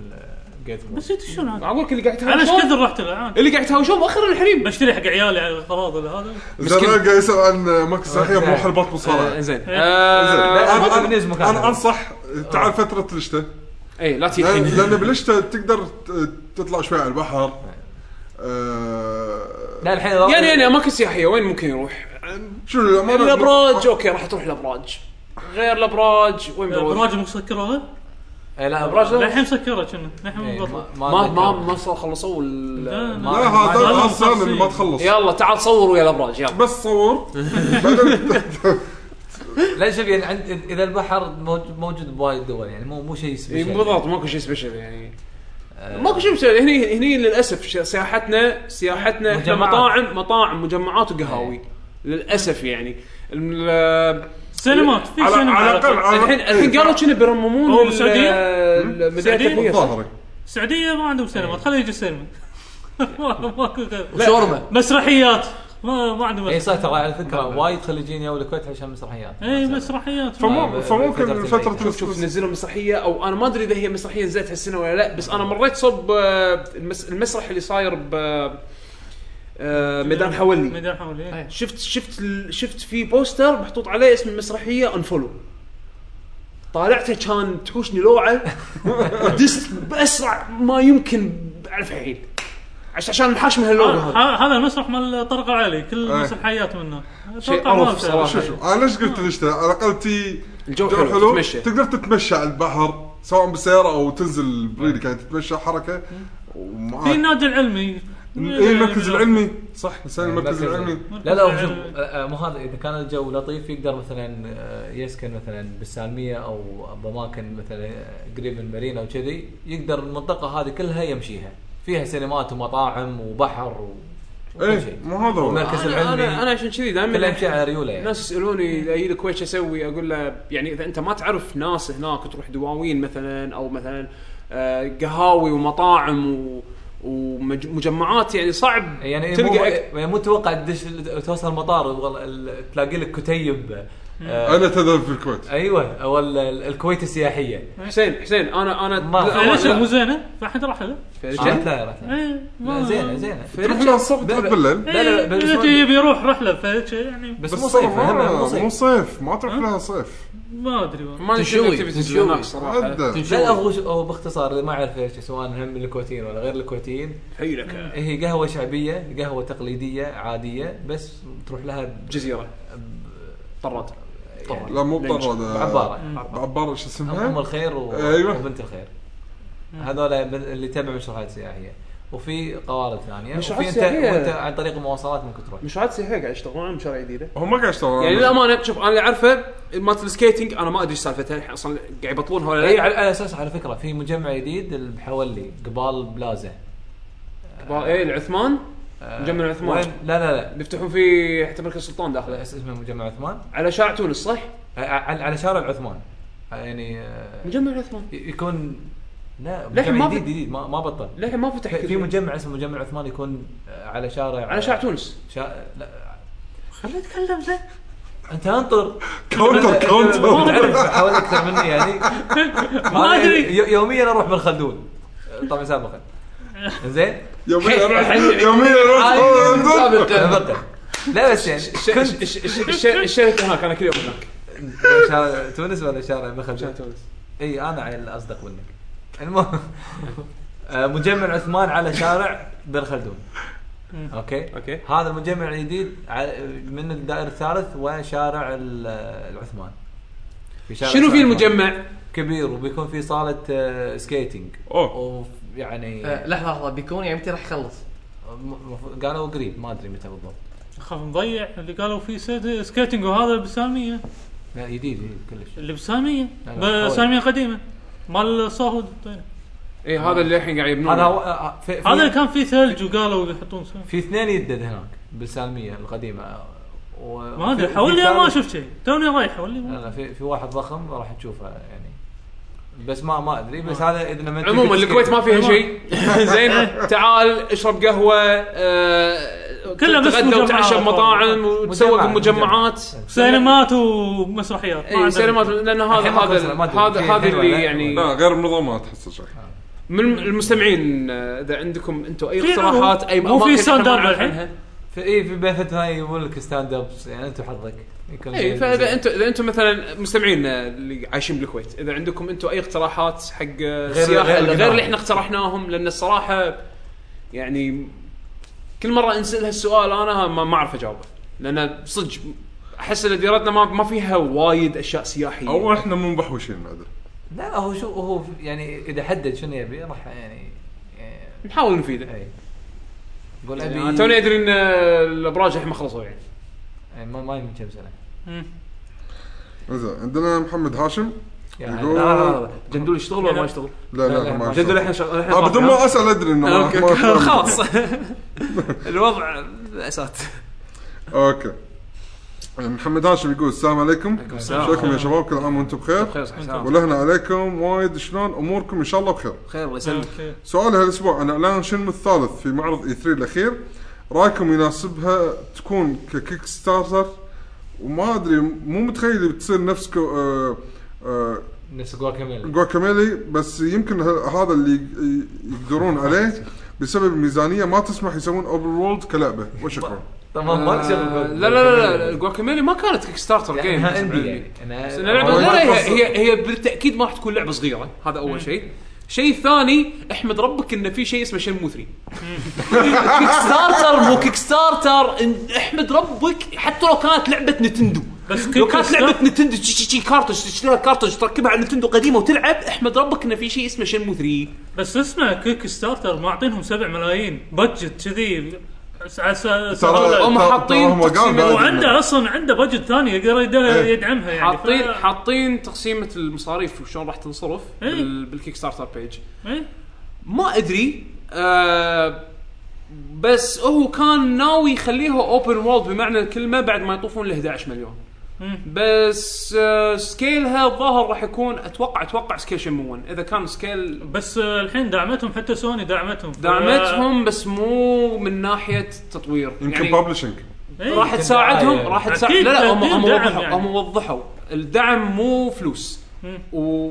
[SPEAKER 5] الجيت مول
[SPEAKER 3] بس يدشون عادي.
[SPEAKER 1] اقول لك اللي قاعد
[SPEAKER 3] انا ايش
[SPEAKER 1] يتهاوشون
[SPEAKER 3] كثر رحت الان
[SPEAKER 1] اللي قاعد يتهاوشون مؤخرا الحريم
[SPEAKER 3] بشتري حق عيالي على القراض ولا هذا
[SPEAKER 4] زين
[SPEAKER 1] مسكين.
[SPEAKER 4] قاعد يسال عن مركز سياحيه
[SPEAKER 5] آه،
[SPEAKER 4] مو حلبات
[SPEAKER 1] آه،
[SPEAKER 4] مصارعه
[SPEAKER 1] زين
[SPEAKER 5] لا،
[SPEAKER 1] آه، آه.
[SPEAKER 5] لا.
[SPEAKER 4] أنا-
[SPEAKER 5] بنيز
[SPEAKER 4] أنا-
[SPEAKER 5] مكان.
[SPEAKER 4] انا انصح تعال فتره الشتاء
[SPEAKER 1] اي إيه، لا تجي
[SPEAKER 4] لأن-
[SPEAKER 1] الحين
[SPEAKER 4] لان بالشتاء تقدر ت- تطلع شوي على البحر آه،
[SPEAKER 5] لا الحين
[SPEAKER 1] يعني يعني اماكن سياحيه وين ممكن يروح؟
[SPEAKER 4] شنو الامانه
[SPEAKER 1] الابراج اوكي راح تروح الابراج غير الابراج وين بروح؟
[SPEAKER 3] البراج مسكره
[SPEAKER 5] إيه، لا ابراج لا
[SPEAKER 3] الحين مسكره كنا الحين
[SPEAKER 5] إيه، ما
[SPEAKER 3] مضبطه
[SPEAKER 1] ما
[SPEAKER 5] ما
[SPEAKER 1] ما
[SPEAKER 5] ما
[SPEAKER 1] ما صار خلصوا ال-
[SPEAKER 4] لا
[SPEAKER 5] ما-
[SPEAKER 4] آه، هذا
[SPEAKER 5] ما-
[SPEAKER 4] هذا
[SPEAKER 3] ما-
[SPEAKER 4] سهل إنه ما تخلص
[SPEAKER 1] يلا تعال صور ويا الابراج يلا
[SPEAKER 4] بس صور بعدين
[SPEAKER 5] لا شوف يعني عند اذا البحر موج- موجود بوايد دول يعني مو مو شيء
[SPEAKER 4] إيه،
[SPEAKER 1] إي،
[SPEAKER 5] سبيشال
[SPEAKER 1] إيه، بالضبط ماكو شيء سبيشل يعني ماكو شيء سبيشل هني هني للاسف ش- سياحتنا سياحتنا احنا
[SPEAKER 5] مجمعات.
[SPEAKER 1] مطاعم مطاعم مجمعات وقهاوي للاسف يعني الم-
[SPEAKER 3] سينمات في
[SPEAKER 4] على-
[SPEAKER 3] سينما
[SPEAKER 4] على
[SPEAKER 3] على
[SPEAKER 4] الأقل-
[SPEAKER 3] فكرة.
[SPEAKER 4] على-
[SPEAKER 1] الحين الحين قالوا كنا بيرممون
[SPEAKER 3] هو
[SPEAKER 1] ال-
[SPEAKER 3] بالسعودية؟
[SPEAKER 1] المدينه
[SPEAKER 3] السعودية؟
[SPEAKER 1] الترفيهيه صح؟
[SPEAKER 4] ظهري
[SPEAKER 3] السعوديه ما عندهم سينمات خليه يجي السينما (laughs) ما- ماكو غير
[SPEAKER 2] شوربه
[SPEAKER 3] مسرحيات ما ما عندهم
[SPEAKER 5] اي صح ترى إيه، على فكره وايد خليجيين يو الكويت عشان مسرحيات
[SPEAKER 3] اي إيه، مسرحيات
[SPEAKER 4] فمو- فممكن
[SPEAKER 5] فترة
[SPEAKER 4] فتره
[SPEAKER 1] شوف شوف نزلوا مسرحيه او انا ما ادري اذا هي مسرحيه نزلت هالسنه ولا لا بس انا مريت صب آه، المس- المسرح اللي صاير ب آه، ميدان حولي
[SPEAKER 3] ميدان حولي إيه.
[SPEAKER 1] شفت شفت ال- شفت في بوستر محطوط عليه اسم المسرحيه انفولو طالعته كان تحوشني (laughs) لوعه دست باسرع ما يمكن بعرف الحين عشان عشان نحاش من هاللوعه
[SPEAKER 3] ه-
[SPEAKER 1] هذا
[SPEAKER 3] هذا المسرح مال طرق العلي كل
[SPEAKER 4] إيه.
[SPEAKER 3] مسرحيات منه
[SPEAKER 1] شيء
[SPEAKER 3] أتوقع ما
[SPEAKER 1] قرف
[SPEAKER 3] بتعرف.
[SPEAKER 1] صراحة.
[SPEAKER 4] شوف شوف انا ليش قلت الشتاء على الاقل تي
[SPEAKER 1] الجو
[SPEAKER 4] جو
[SPEAKER 1] حلو,
[SPEAKER 4] حلو
[SPEAKER 1] تتمشى
[SPEAKER 4] تقدر تتمشى على البحر سواء بالسياره او تنزل بريدك يعني تتمشى حركه
[SPEAKER 3] في
[SPEAKER 4] ومعاك
[SPEAKER 3] النادي
[SPEAKER 1] إيه،
[SPEAKER 3] العلمي إيه،
[SPEAKER 4] اي إيه، المركز العلمي صح نسينا المركز العلمي
[SPEAKER 5] لا لا شوف آه، آه، مو هذا اذا كان الجو لطيف يقدر مثلا آه، يسكن مثلا بالسالميه او باماكن مثلا آه، قريب من المارينا وكذي يقدر المنطقه هذه كلها يمشيها فيها سينمات ومطاعم وبحر و...
[SPEAKER 4] ايه مو هذا هو
[SPEAKER 5] المركز
[SPEAKER 1] انا
[SPEAKER 5] العلمي
[SPEAKER 1] انا, أنا عشان كذي دائما
[SPEAKER 5] كلها اشياء على ريوله يعني
[SPEAKER 1] الناس يسالوني اي الكويت شو اسوي اقول له يعني اذا انت ما تعرف ناس هناك تروح دواوين مثلا او مثلا آه، قهاوي ومطاعم و ومجمعات يعني صعب
[SPEAKER 5] يعني مو
[SPEAKER 1] تلقى أك-
[SPEAKER 5] يعني مو تتوقع تدش توصل المطار والله ال- تلاقي لك كتيب آه،
[SPEAKER 4] انا تذهب في الكويت
[SPEAKER 5] ايوه او ال- الكويت السياحيه
[SPEAKER 1] حسين حسين انا انا
[SPEAKER 5] ما-
[SPEAKER 1] لا،
[SPEAKER 3] إيه، ليش
[SPEAKER 1] لا.
[SPEAKER 3] مو زينه؟ ما حد راح له
[SPEAKER 1] آه.
[SPEAKER 5] عرفت آه، لا، عرفت لا.
[SPEAKER 3] ايه
[SPEAKER 5] لا،
[SPEAKER 3] ما-
[SPEAKER 5] زينه زينه
[SPEAKER 4] تروح لها الصبح
[SPEAKER 5] بلا-
[SPEAKER 4] تروح بالليل
[SPEAKER 5] لا، لا،
[SPEAKER 3] إيه،
[SPEAKER 5] بس-
[SPEAKER 3] إذا تبي يروح رحله فهيك يعني
[SPEAKER 5] بس
[SPEAKER 4] بس
[SPEAKER 5] مو صيف
[SPEAKER 4] صراحة
[SPEAKER 5] هم مو
[SPEAKER 4] مو
[SPEAKER 5] صيف
[SPEAKER 4] صيف ما تروح لها صيف
[SPEAKER 3] ما ادري والله
[SPEAKER 1] ما ادري شنو
[SPEAKER 2] تنشوي،
[SPEAKER 1] الاكتيفيتيز
[SPEAKER 2] تنشوي.
[SPEAKER 1] هناك صراحه
[SPEAKER 4] عدة.
[SPEAKER 5] لا لا، هو شو- هو باختصار اللي ما يعرف ايش سواء هم الكويتيين ولا غير الكويتيين
[SPEAKER 1] حي لك
[SPEAKER 5] هي قهوه شعبيه قهوه تقليديه عاديه بس تروح لها ب-
[SPEAKER 1] جزيره طرات
[SPEAKER 5] يعني
[SPEAKER 4] لا مو بطرد
[SPEAKER 5] عباره
[SPEAKER 4] عباره شو
[SPEAKER 5] ام
[SPEAKER 4] اسمها؟
[SPEAKER 5] الخير و...
[SPEAKER 4] أيوة.
[SPEAKER 5] وبنت الخير هذول اللي تبع مشروعات سياحيه وفي قوارب ثانيه
[SPEAKER 1] مشروعات
[SPEAKER 5] وفي انت
[SPEAKER 1] سياحية.
[SPEAKER 5] وانت عن طريق المواصلات ممكن تروح
[SPEAKER 1] مشروعات سياحيه قاعد يشتغلون على مشاريع جديده
[SPEAKER 4] هو ما قاعد يشتغل
[SPEAKER 1] يعني للامانه شوف انا اللي اعرفه مالت السكيتنج انا ما ادري ايش سالفتها الحين اصلا قاعد يبطلونها ولا
[SPEAKER 5] اي
[SPEAKER 1] لا
[SPEAKER 5] إيه، على على اساس على فكره في مجمع جديد اللي بحولي قبال بلازا
[SPEAKER 1] اي إيه، العثمان مجمع العثمان.
[SPEAKER 5] آه، وين- لا لا لا
[SPEAKER 1] بيفتحون فيه حتى مركز السلطان
[SPEAKER 5] على
[SPEAKER 1] داخله
[SPEAKER 5] أساس اسمه مجمع عثمان
[SPEAKER 1] على شارع تونس صح؟
[SPEAKER 5] آه، على على شارع العثمان آه، يعني آه،
[SPEAKER 1] مجمع العثمان
[SPEAKER 5] ي- يكون لا
[SPEAKER 1] للحين
[SPEAKER 5] مجمع
[SPEAKER 1] ما
[SPEAKER 5] جديد
[SPEAKER 1] بت-
[SPEAKER 5] جديد ما, ما بطل
[SPEAKER 1] للحين ما فتح
[SPEAKER 5] في- في
[SPEAKER 1] كذا.
[SPEAKER 5] مجمع اسمه مجمع عثمان يكون آه، على شارع
[SPEAKER 1] على شارع تونس
[SPEAKER 5] شا... لا
[SPEAKER 3] خليه يتكلم له
[SPEAKER 5] انت انطر
[SPEAKER 4] كاونتر كاونتر
[SPEAKER 5] (laughs) ما اعرف حوالي اكثر مني يعني
[SPEAKER 1] (laughs)
[SPEAKER 3] ما ادري
[SPEAKER 5] ي- يوميا اروح بالخلدون آه، طبعا سابقا زين
[SPEAKER 4] يوميا اروح يوميا
[SPEAKER 5] آه، (laughs)
[SPEAKER 4] اروح
[SPEAKER 5] سابقا لا بس يعني كنت
[SPEAKER 1] الشركه هناك انا كل يوم هناك
[SPEAKER 5] شارع تونس ولا شارع بخلدون؟
[SPEAKER 1] تونس
[SPEAKER 5] اي انا عيل اصدق منك المهم آه، مجمع عثمان على شارع بن خلدون اوكي
[SPEAKER 1] أوكي.
[SPEAKER 5] هذا المجمع الجديد ع- من الدائر الثالث وشارع ال- العثمان في شارع
[SPEAKER 1] شنو في
[SPEAKER 5] العثمان.
[SPEAKER 1] المجمع؟
[SPEAKER 5] كبير وبيكون في صاله آه، يعني، سكيتنج
[SPEAKER 4] أوه.
[SPEAKER 5] ويعني
[SPEAKER 2] آه، لحظه لحظه بيكون يعني متى راح يخلص؟
[SPEAKER 5] م- مف- قالوا قريب ما ادري متى بالضبط
[SPEAKER 3] خاف نضيع اللي قالوا في سيد- سكيتنج وهذا بساميه
[SPEAKER 5] لا جديد جديد كلش
[SPEAKER 3] اللي بساميه
[SPEAKER 5] لا، لا،
[SPEAKER 3] بساميه قديمه مال الصهود
[SPEAKER 1] اي إيه، هذا اللي الحين قاعد
[SPEAKER 5] هذا
[SPEAKER 1] يبنونه
[SPEAKER 5] هو- آه، في,
[SPEAKER 3] هذا اللي
[SPEAKER 5] في,
[SPEAKER 3] كان فيه ثلج وقالوا يحطون سامية.
[SPEAKER 5] في اثنين يدد هناك بالسالميه القديمه آه، و...
[SPEAKER 3] ما ادري
[SPEAKER 5] في-
[SPEAKER 3] حولي
[SPEAKER 5] في
[SPEAKER 3] أنا ما
[SPEAKER 5] ثالث-
[SPEAKER 3] شفت شيء توني رايح حولي
[SPEAKER 5] لا
[SPEAKER 3] ما-
[SPEAKER 5] لا في في واحد ضخم راح تشوفه يعني بس ما ما ادري بس هذا اذا لما
[SPEAKER 1] عموما آه. الكويت ما فيها شيء (laughs) زين تعال اشرب قهوه
[SPEAKER 3] كلها بس
[SPEAKER 1] تتغدى وتعشى
[SPEAKER 3] مجمعات.
[SPEAKER 1] بمطاعم وتسوق
[SPEAKER 5] مجمع-
[SPEAKER 1] بمجمعات
[SPEAKER 3] سينمات ومسرحيات
[SPEAKER 5] إيه،
[SPEAKER 3] ما
[SPEAKER 1] اي
[SPEAKER 3] عندنا.
[SPEAKER 1] سينمات لان إيه، هذا
[SPEAKER 5] الحين ما
[SPEAKER 1] هذا
[SPEAKER 5] خلصنا، ما أدري.
[SPEAKER 1] هذا
[SPEAKER 5] في
[SPEAKER 1] هذا
[SPEAKER 5] الحين
[SPEAKER 1] اللي
[SPEAKER 5] ولا-
[SPEAKER 1] يعني
[SPEAKER 4] لا غير منظم ما تحس شيء
[SPEAKER 1] من المستمعين آه، اذا عندكم انتم اي
[SPEAKER 3] في
[SPEAKER 1] اقتراحات اي
[SPEAKER 3] مو
[SPEAKER 1] اماكن
[SPEAKER 3] في
[SPEAKER 1] إحنا ما
[SPEAKER 3] ستاند اب
[SPEAKER 1] نعرف
[SPEAKER 3] الحين.
[SPEAKER 1] عنها.
[SPEAKER 5] في اي في بين فتره يقول لك ستاند ابس يعني انت حظك يكون
[SPEAKER 1] اي
[SPEAKER 5] شيء
[SPEAKER 1] فاذا
[SPEAKER 5] زين.
[SPEAKER 1] انتم اذا انتم مثلا مستمعين آه، اللي عايشين بالكويت اذا عندكم انتم اي اقتراحات حق آه،
[SPEAKER 5] غير-
[SPEAKER 1] السياحه
[SPEAKER 5] غير
[SPEAKER 1] غير, غير
[SPEAKER 5] القناة.
[SPEAKER 1] اللي احنا اقترحناهم لان الصراحه يعني كل مره انسال هالسؤال انا ما ما اعرف اجاوبه لان صدق احس ان ديرتنا ما, ما فيها وايد اشياء سياحيه
[SPEAKER 4] او احنا مو محوشين بعد
[SPEAKER 5] لا لا، هو شو هو يعني اذا حدد شنو يبي راح يعني يعني-
[SPEAKER 1] نحاول نفيده
[SPEAKER 5] اي يقول
[SPEAKER 1] يعني
[SPEAKER 5] ابي
[SPEAKER 1] انا توني ادري ان آه، الابراج الحين ما خلصوا يعني
[SPEAKER 5] يعني ما ما يمكن كم سنه
[SPEAKER 3] مم.
[SPEAKER 4] زين عندنا محمد هاشم
[SPEAKER 5] يعني
[SPEAKER 4] يقول-
[SPEAKER 5] لا، لا، لا،
[SPEAKER 1] جندول يشتغل ولا ما يشتغل؟
[SPEAKER 4] لا
[SPEAKER 5] لا،
[SPEAKER 4] لا
[SPEAKER 5] لا،
[SPEAKER 4] ما
[SPEAKER 5] ما
[SPEAKER 1] جندول
[SPEAKER 4] أدري.
[SPEAKER 1] الحين شغال الحين
[SPEAKER 4] آه، بدون ما اسال ادري انه ما-
[SPEAKER 1] أوكي،
[SPEAKER 4] ما
[SPEAKER 1] أوكي،
[SPEAKER 4] أفهم.
[SPEAKER 1] (laughs) خلاص الوضع اسات
[SPEAKER 4] اوكي محمد هاشم يقول السلام عليكم
[SPEAKER 1] السلام.
[SPEAKER 4] شلونكم يا شباب كل عام وانتم بخير
[SPEAKER 1] بخير صح سلام.
[SPEAKER 4] ولهنا عليكم وايد شلون اموركم ان شاء الله بخير
[SPEAKER 1] بخير الله يسلمك
[SPEAKER 3] اوكي
[SPEAKER 4] سؤالي هالاسبوع عن اعلان شنم الثالث في معرض E اي 3 الاخير رايكم يناسبها تكون ككيك ستارتر وما ادري مو متخيل بتصير نفس كو آه آه
[SPEAKER 5] نفس جواكاميلا
[SPEAKER 4] جواكاميلي بس يمكن ه- هذا اللي ي- يقدرون عليه بسبب الميزانيه ما تسمح يسوون اوبن وولد كلعبه وشكرا
[SPEAKER 5] تمام ما
[SPEAKER 1] آه،
[SPEAKER 5] تشوف
[SPEAKER 1] لا لا لا لا الجواكاميلي ما كانت كيك ستارتر جيم
[SPEAKER 5] انها اندي يعني
[SPEAKER 1] بس
[SPEAKER 5] انا
[SPEAKER 1] إنها لعبة-
[SPEAKER 5] هو-
[SPEAKER 1] لا لا
[SPEAKER 4] ما
[SPEAKER 1] هي, هي هي بالتاكيد ما راح تكون لعبه صغيره هذا اول شيء شيء ثاني احمد ربك ان في شيء اسمه شنمو 3 (laughs) كيك ستارتر مو كيك ستارتر إن- احمد ربك حتى لو كانت لعبه نتندو
[SPEAKER 3] بس
[SPEAKER 1] لو
[SPEAKER 3] كيك
[SPEAKER 1] كانت
[SPEAKER 3] ستارتر-
[SPEAKER 1] لعبه نتندو شي- شي- شي كارتج تشتريها كارتج تركبها على نتندو قديمه وتلعب احمد ربك ان في شيء اسمه شنمو 3
[SPEAKER 3] بس اسمه كيك ستارتر معطينهم 7 ملايين بادجت كذي س- س- س-
[SPEAKER 1] هم
[SPEAKER 4] ترى-
[SPEAKER 1] حاطين
[SPEAKER 4] ترى هم قالوا
[SPEAKER 1] تقسيم-
[SPEAKER 4] بعد إيه. إنه-
[SPEAKER 3] وعنده اصلا عنده بادجت ثاني يقدر يد- يدعمها يعني
[SPEAKER 1] حاطين
[SPEAKER 3] ف-
[SPEAKER 1] حاطين تقسيمه المصاريف وشلون راح تنصرف
[SPEAKER 3] إيه.
[SPEAKER 1] بال- بالكيك ستارتر بيج
[SPEAKER 3] إيه؟
[SPEAKER 1] ما ادري آه بس هو كان ناوي يخليها اوبن وورلد بمعنى الكلمه بعد ما يطوفون ل 11 مليون بس آه، سكيلها الظاهر راح يكون اتوقع اتوقع سكيل شنمو 1 اذا كان سكيل
[SPEAKER 3] بس آه، الحين دعمتهم حتى سوني دعمتهم
[SPEAKER 1] دعمتهم بس مو من ناحيه تطوير يعني
[SPEAKER 4] يمكن ببلشنج
[SPEAKER 3] إيه.
[SPEAKER 1] راح
[SPEAKER 5] يمكن
[SPEAKER 1] تساعدهم
[SPEAKER 5] دعاية.
[SPEAKER 1] راح
[SPEAKER 3] أكيد
[SPEAKER 1] تساعد لا لا هم
[SPEAKER 3] أكيد
[SPEAKER 1] هم
[SPEAKER 3] دعم
[SPEAKER 1] وضحوا
[SPEAKER 3] يعني.
[SPEAKER 1] هم وضحوا الدعم مو فلوس
[SPEAKER 3] مم.
[SPEAKER 1] و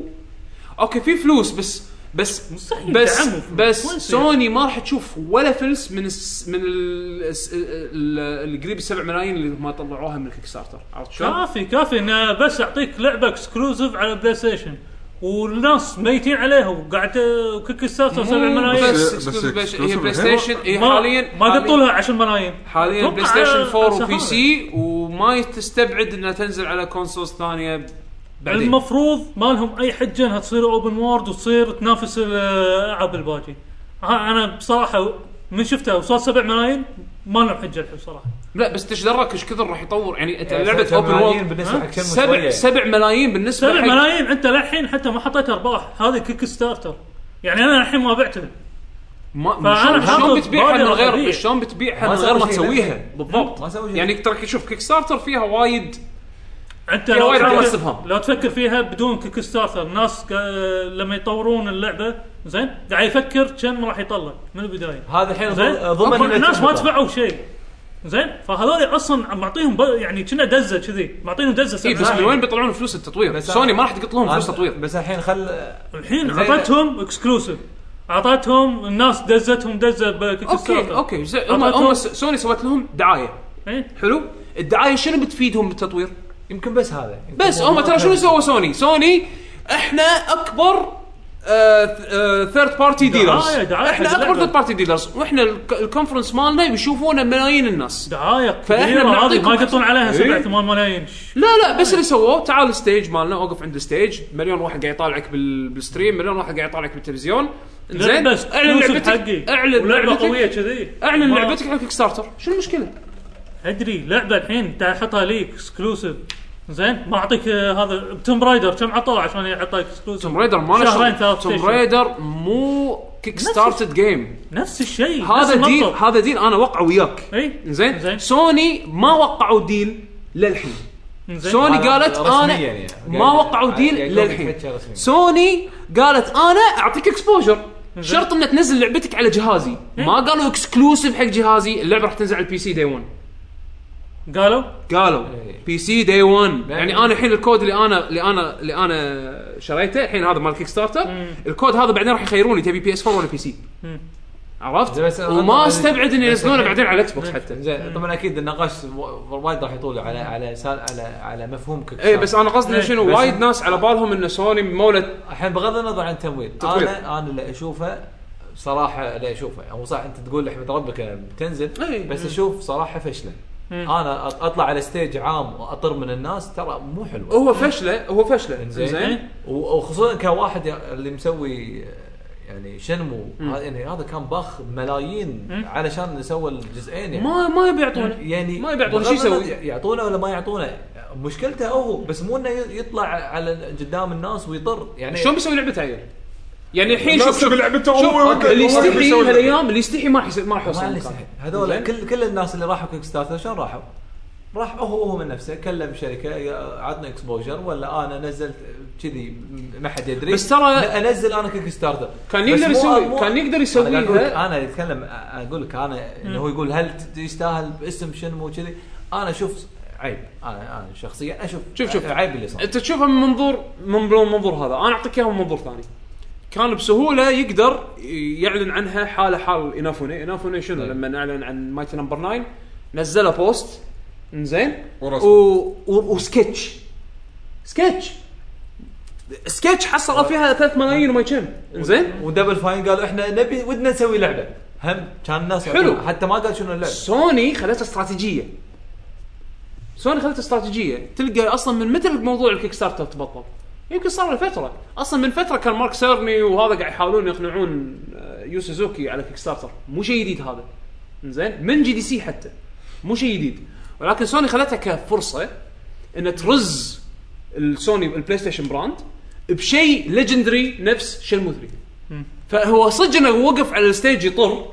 [SPEAKER 1] اوكي في فلوس بس بس
[SPEAKER 3] مستحيل
[SPEAKER 1] بس
[SPEAKER 3] دعمهم فلوس.
[SPEAKER 1] بس
[SPEAKER 3] وين يصير؟
[SPEAKER 1] سوني ما راح تشوف ولا فلس من الس من ال- الس- ال- القريب السبع ملايين اللي هم طلعوها من الكيك ستارتر عرفت شلون؟
[SPEAKER 3] كافي كافي انه بس اعطيك لعبه اكسكلوسيف على بلاي ستيشن والناس ميتين عليها وقاعد وكيك ستارتر 7 ملايين
[SPEAKER 1] بس
[SPEAKER 4] بس
[SPEAKER 1] exclusive بلاي-
[SPEAKER 4] exclusive
[SPEAKER 1] هي بلاي
[SPEAKER 4] هي
[SPEAKER 1] ستيشن هي
[SPEAKER 3] ما-
[SPEAKER 1] حاليا
[SPEAKER 3] ما
[SPEAKER 1] حالياً-
[SPEAKER 3] قطوا لها 10 ملايين
[SPEAKER 1] حاليا
[SPEAKER 3] أتوقع
[SPEAKER 1] بلاي ستيشن 4
[SPEAKER 3] سهالة.
[SPEAKER 1] وبي سي وما تستبعد انها تنزل على كونسولز ثانيه بعدين
[SPEAKER 3] المفروض ما لهم اي حجه انها تصير اوبن وورد وتصير تنافس آه، الالعاب الباقي ها، انا بصراحه من شفتها وصار 7 ملايين ما لهم حجه الحين صراحه
[SPEAKER 1] لا بس تدرك ايش كثر راح يطور يعني انت لعبه
[SPEAKER 5] سبع
[SPEAKER 1] اوبن
[SPEAKER 5] ملايين
[SPEAKER 1] وورلد
[SPEAKER 5] بالنسبه حق شنمو
[SPEAKER 1] سبع
[SPEAKER 5] شوية.
[SPEAKER 1] سبع ملايين بالنسبه
[SPEAKER 3] 7
[SPEAKER 1] حق-
[SPEAKER 3] ملايين انت للحين حتى ما حطيت ارباح هذه كيك ستارتر يعني انا الحين ما بعتها
[SPEAKER 1] ما
[SPEAKER 3] فأنا
[SPEAKER 1] ما-
[SPEAKER 3] حاطط
[SPEAKER 1] شلون بتبيعها من
[SPEAKER 3] بادرة
[SPEAKER 1] غير
[SPEAKER 3] غبية.
[SPEAKER 1] شلون بتبيعها
[SPEAKER 5] ما
[SPEAKER 1] من غير
[SPEAKER 5] سووا
[SPEAKER 1] ما
[SPEAKER 5] شيء
[SPEAKER 1] تسويها
[SPEAKER 5] للحين.
[SPEAKER 1] بالضبط
[SPEAKER 5] ما سووا شيء.
[SPEAKER 1] يعني ترى شوف كيك ستارتر فيها وايد
[SPEAKER 3] انت
[SPEAKER 1] في
[SPEAKER 3] لو
[SPEAKER 1] وايد علامات
[SPEAKER 3] تفكر,
[SPEAKER 1] استفهام.
[SPEAKER 3] لو تفكر فيها بدون كيك ستارتر الناس قا- لما يطورون اللعبه زين قاعد يفكر كم راح يطلع من البدايه
[SPEAKER 5] هذا الحين
[SPEAKER 3] زين
[SPEAKER 5] ضمن- ضمن
[SPEAKER 3] أكبر الناس ما
[SPEAKER 5] التجربة.
[SPEAKER 3] دفعوا شيء زين فهذول اصلا معطيهم ب- يعني كنا دزه كذي معطيهم دزه
[SPEAKER 1] اي
[SPEAKER 3] سبع
[SPEAKER 1] إيه، بس من
[SPEAKER 3] ملايين.
[SPEAKER 1] وين بيطلعون فلوس التطوير؟
[SPEAKER 5] بس
[SPEAKER 1] سوني
[SPEAKER 5] أنا-
[SPEAKER 1] ما راح تقط لهم فلوس
[SPEAKER 5] أنا-
[SPEAKER 1] تطوير
[SPEAKER 5] بس الحين خل
[SPEAKER 3] الحين
[SPEAKER 5] زين.
[SPEAKER 3] اعطتهم اكسكلوسيف اعطتهم الناس دزتهم دزه بكيك
[SPEAKER 1] اوكي
[SPEAKER 3] ستارتر
[SPEAKER 1] اوكي زي- هم هم س- سوني سوت لهم دعايه
[SPEAKER 3] إيه؟
[SPEAKER 1] حلو؟ الدعايه شنو بتفيدهم بالتطوير؟
[SPEAKER 5] يمكن بس هذا يمكن
[SPEAKER 1] بس
[SPEAKER 5] هو
[SPEAKER 1] هم ترى شنو
[SPEAKER 5] كان-
[SPEAKER 1] سووا سوني؟ سوني احنا آه، اكبر ثيرد بارتي ديلرز
[SPEAKER 3] دعاية- دعاية
[SPEAKER 1] احنا
[SPEAKER 3] حق
[SPEAKER 1] اكبر
[SPEAKER 3] اللعبة.
[SPEAKER 1] ثيرد بارتي ديلرز واحنا الك- الكونفرنس مالنا بيشوفونه ملايين الناس
[SPEAKER 3] دعايه
[SPEAKER 1] فإحنا
[SPEAKER 3] كبيره هذه
[SPEAKER 1] بنعطيكم
[SPEAKER 3] ما يقطون عليها 7
[SPEAKER 1] إيه؟
[SPEAKER 3] 8 ملايين
[SPEAKER 1] لا لا بس اللي سووه تعال الستيج مالنا اوقف عند الستيج مليون واحد قاعد يطالعك بال- بالستريم مليون واحد قاعد يطالعك بالتلفزيون زين
[SPEAKER 3] بس
[SPEAKER 1] اعلن لعبتك اعلن
[SPEAKER 3] لعبه قويه
[SPEAKER 1] لعبتك
[SPEAKER 3] كذي
[SPEAKER 1] اعلن
[SPEAKER 3] ما-
[SPEAKER 1] لعبتك على كيك ستارتر شو المشكله؟
[SPEAKER 3] ادري لعبه الحين تحطها لي اكسكلوسيف زين ما اعطيك آه، هذا توم رايدر كم عطوه عشان يعطيك اكسكلوسيف
[SPEAKER 1] توم ريدر ما
[SPEAKER 3] شهرين ثلاث
[SPEAKER 1] توم
[SPEAKER 3] شهور.
[SPEAKER 1] ريدر مو كيك ستارتد جيم
[SPEAKER 3] نفس الشيء نفس
[SPEAKER 1] هذا ديل
[SPEAKER 3] المنطق.
[SPEAKER 1] هذا ديل انا وقع وياك
[SPEAKER 3] اي
[SPEAKER 1] زين
[SPEAKER 3] زين
[SPEAKER 1] سوني ما وقعوا ديل للحين
[SPEAKER 3] زين.
[SPEAKER 1] سوني
[SPEAKER 5] هذا
[SPEAKER 1] قالت
[SPEAKER 5] رسمياً
[SPEAKER 1] انا
[SPEAKER 5] يعني.
[SPEAKER 1] ما وقعوا ديل
[SPEAKER 5] يعني
[SPEAKER 1] للحين
[SPEAKER 5] فتشة رسمية.
[SPEAKER 1] سوني قالت انا اعطيك اكسبوجر شرط ان تنزل لعبتك على جهازي ما قالوا اكسكلوسيف حق جهازي اللعبه راح تنزل على البي سي دي 1
[SPEAKER 3] قالوا
[SPEAKER 1] قالوا
[SPEAKER 5] إيه.
[SPEAKER 1] بي سي دي 1 يعني
[SPEAKER 5] يعني-
[SPEAKER 1] انا الحين الكود اللي انا اللي انا اللي انا شريته الحين هذا مال كيك ستارتر الكود هذا بعدين راح يخيروني تبي بي اس 4 ولا بي سي
[SPEAKER 3] مم.
[SPEAKER 1] عرفت
[SPEAKER 5] بس
[SPEAKER 1] وما
[SPEAKER 5] أنا-
[SPEAKER 1] استبعد ان
[SPEAKER 5] بس
[SPEAKER 1] ينزلونه
[SPEAKER 5] الحين-
[SPEAKER 1] بعدين على الاكس بوكس حتى
[SPEAKER 5] زين طبعا اكيد النقاش و- وايد راح يطول على على سال على على مفهوم كل
[SPEAKER 1] اي بس انا قصدي
[SPEAKER 3] إيه.
[SPEAKER 1] شنو
[SPEAKER 5] بس-
[SPEAKER 1] وايد ناس على بالهم ان سوني مولد
[SPEAKER 5] الحين بغض النظر عن التمويل
[SPEAKER 1] تطوير.
[SPEAKER 5] انا انا اللي اشوفه صراحه اللي اشوفه هو صح انت تقول احمد ربك أنا بتنزل
[SPEAKER 1] إي.
[SPEAKER 5] بس اشوف صراحه فشله
[SPEAKER 3] مم.
[SPEAKER 5] انا أط- اطلع على ستيج عام واطر من الناس ترى مو حلوه
[SPEAKER 1] هو فشله هو فشله
[SPEAKER 5] زين
[SPEAKER 1] زين
[SPEAKER 5] و- وخصوصا كواحد ي- اللي مسوي يعني شنمو هذا- يعني هذا كان باخ ملايين علشان سوى الجزئين يعني
[SPEAKER 1] ما ما يبي يعطونه
[SPEAKER 5] يعني
[SPEAKER 1] ما يبي يعطونه شو
[SPEAKER 5] بغض
[SPEAKER 1] يسوي؟
[SPEAKER 5] النظر يعطونه ولا ما يعطونه مشكلته هو بس مو انه ي- يطلع على قدام الناس ويطر يعني
[SPEAKER 1] شلون بيسوي لعبه عيل؟ يعني الحين شوف
[SPEAKER 4] الناس
[SPEAKER 1] شوف
[SPEAKER 4] تبي لعبته
[SPEAKER 1] شوف،
[SPEAKER 4] هو
[SPEAKER 5] أوكي،
[SPEAKER 1] اللي
[SPEAKER 4] هو اللي
[SPEAKER 1] يستحي
[SPEAKER 4] بيسوي لعبة.
[SPEAKER 1] هالايام اللي يستحي ما راح يس- ما راح
[SPEAKER 5] ما
[SPEAKER 1] يوصل
[SPEAKER 5] اللي
[SPEAKER 1] مكان.
[SPEAKER 5] يستحق. هذول كل كل الناس اللي راحوا كيك ستارتر شلون راحوا؟ راح هو هو من نفسه كلم شركه يا- عطنا اكسبوجر ولا انا نزلت كذي ما حد يدري
[SPEAKER 1] بس ترى-
[SPEAKER 5] لا، انزل انا كيك ستارتر
[SPEAKER 1] كان
[SPEAKER 5] بس
[SPEAKER 1] يقدر
[SPEAKER 5] مو-
[SPEAKER 1] يسوي-
[SPEAKER 5] مو-
[SPEAKER 1] كان يقدر
[SPEAKER 5] أنا
[SPEAKER 1] يسويها.
[SPEAKER 5] أقول- انا اتكلم اقول لك انا انه هو يقول هل ت- يستاهل باسم شنمو كذي انا اشوف عيب انا انا شخصيا اشوف
[SPEAKER 1] شوف، شوف.
[SPEAKER 5] عيب اللي صار
[SPEAKER 1] انت تشوفها من منظور من من منظور هذا انا اعطيك اياها من منظور ثاني كان بسهوله يقدر يعلن عنها حاله حال انافوني انافوني شنو لما اعلن عن مايتي نمبر 9 نزله بوست زين
[SPEAKER 4] ورسم.
[SPEAKER 1] وسكتش سكتش سكتش حصلوا فيها 3 ملايين وما كم زين
[SPEAKER 5] ودبل فاين قالوا احنا نبي ودنا نسوي لعبه هم كان الناس
[SPEAKER 1] حلو.
[SPEAKER 5] يعطونا، حتى ما قال شنو اللعبه
[SPEAKER 1] سوني خلتها استراتيجيه سوني خلتها استراتيجيه تلقى اصلا من متى موضوع الكيك ستارتر تبطل يمكن صار له فتره اصلا من فتره كان مارك سيرني وهذا قاعد يحاولون يقنعون آه، يو سوزوكي على كيك ستارتر مو شيء جديد هذا زين من جي دي سي حتى مو شيء جديد ولكن سوني خلتها كفرصه ان ترز السوني البلاي ستيشن براند بشيء ليجندري نفس شنمو 3 فهو صدق انه وقف على الستيج يطر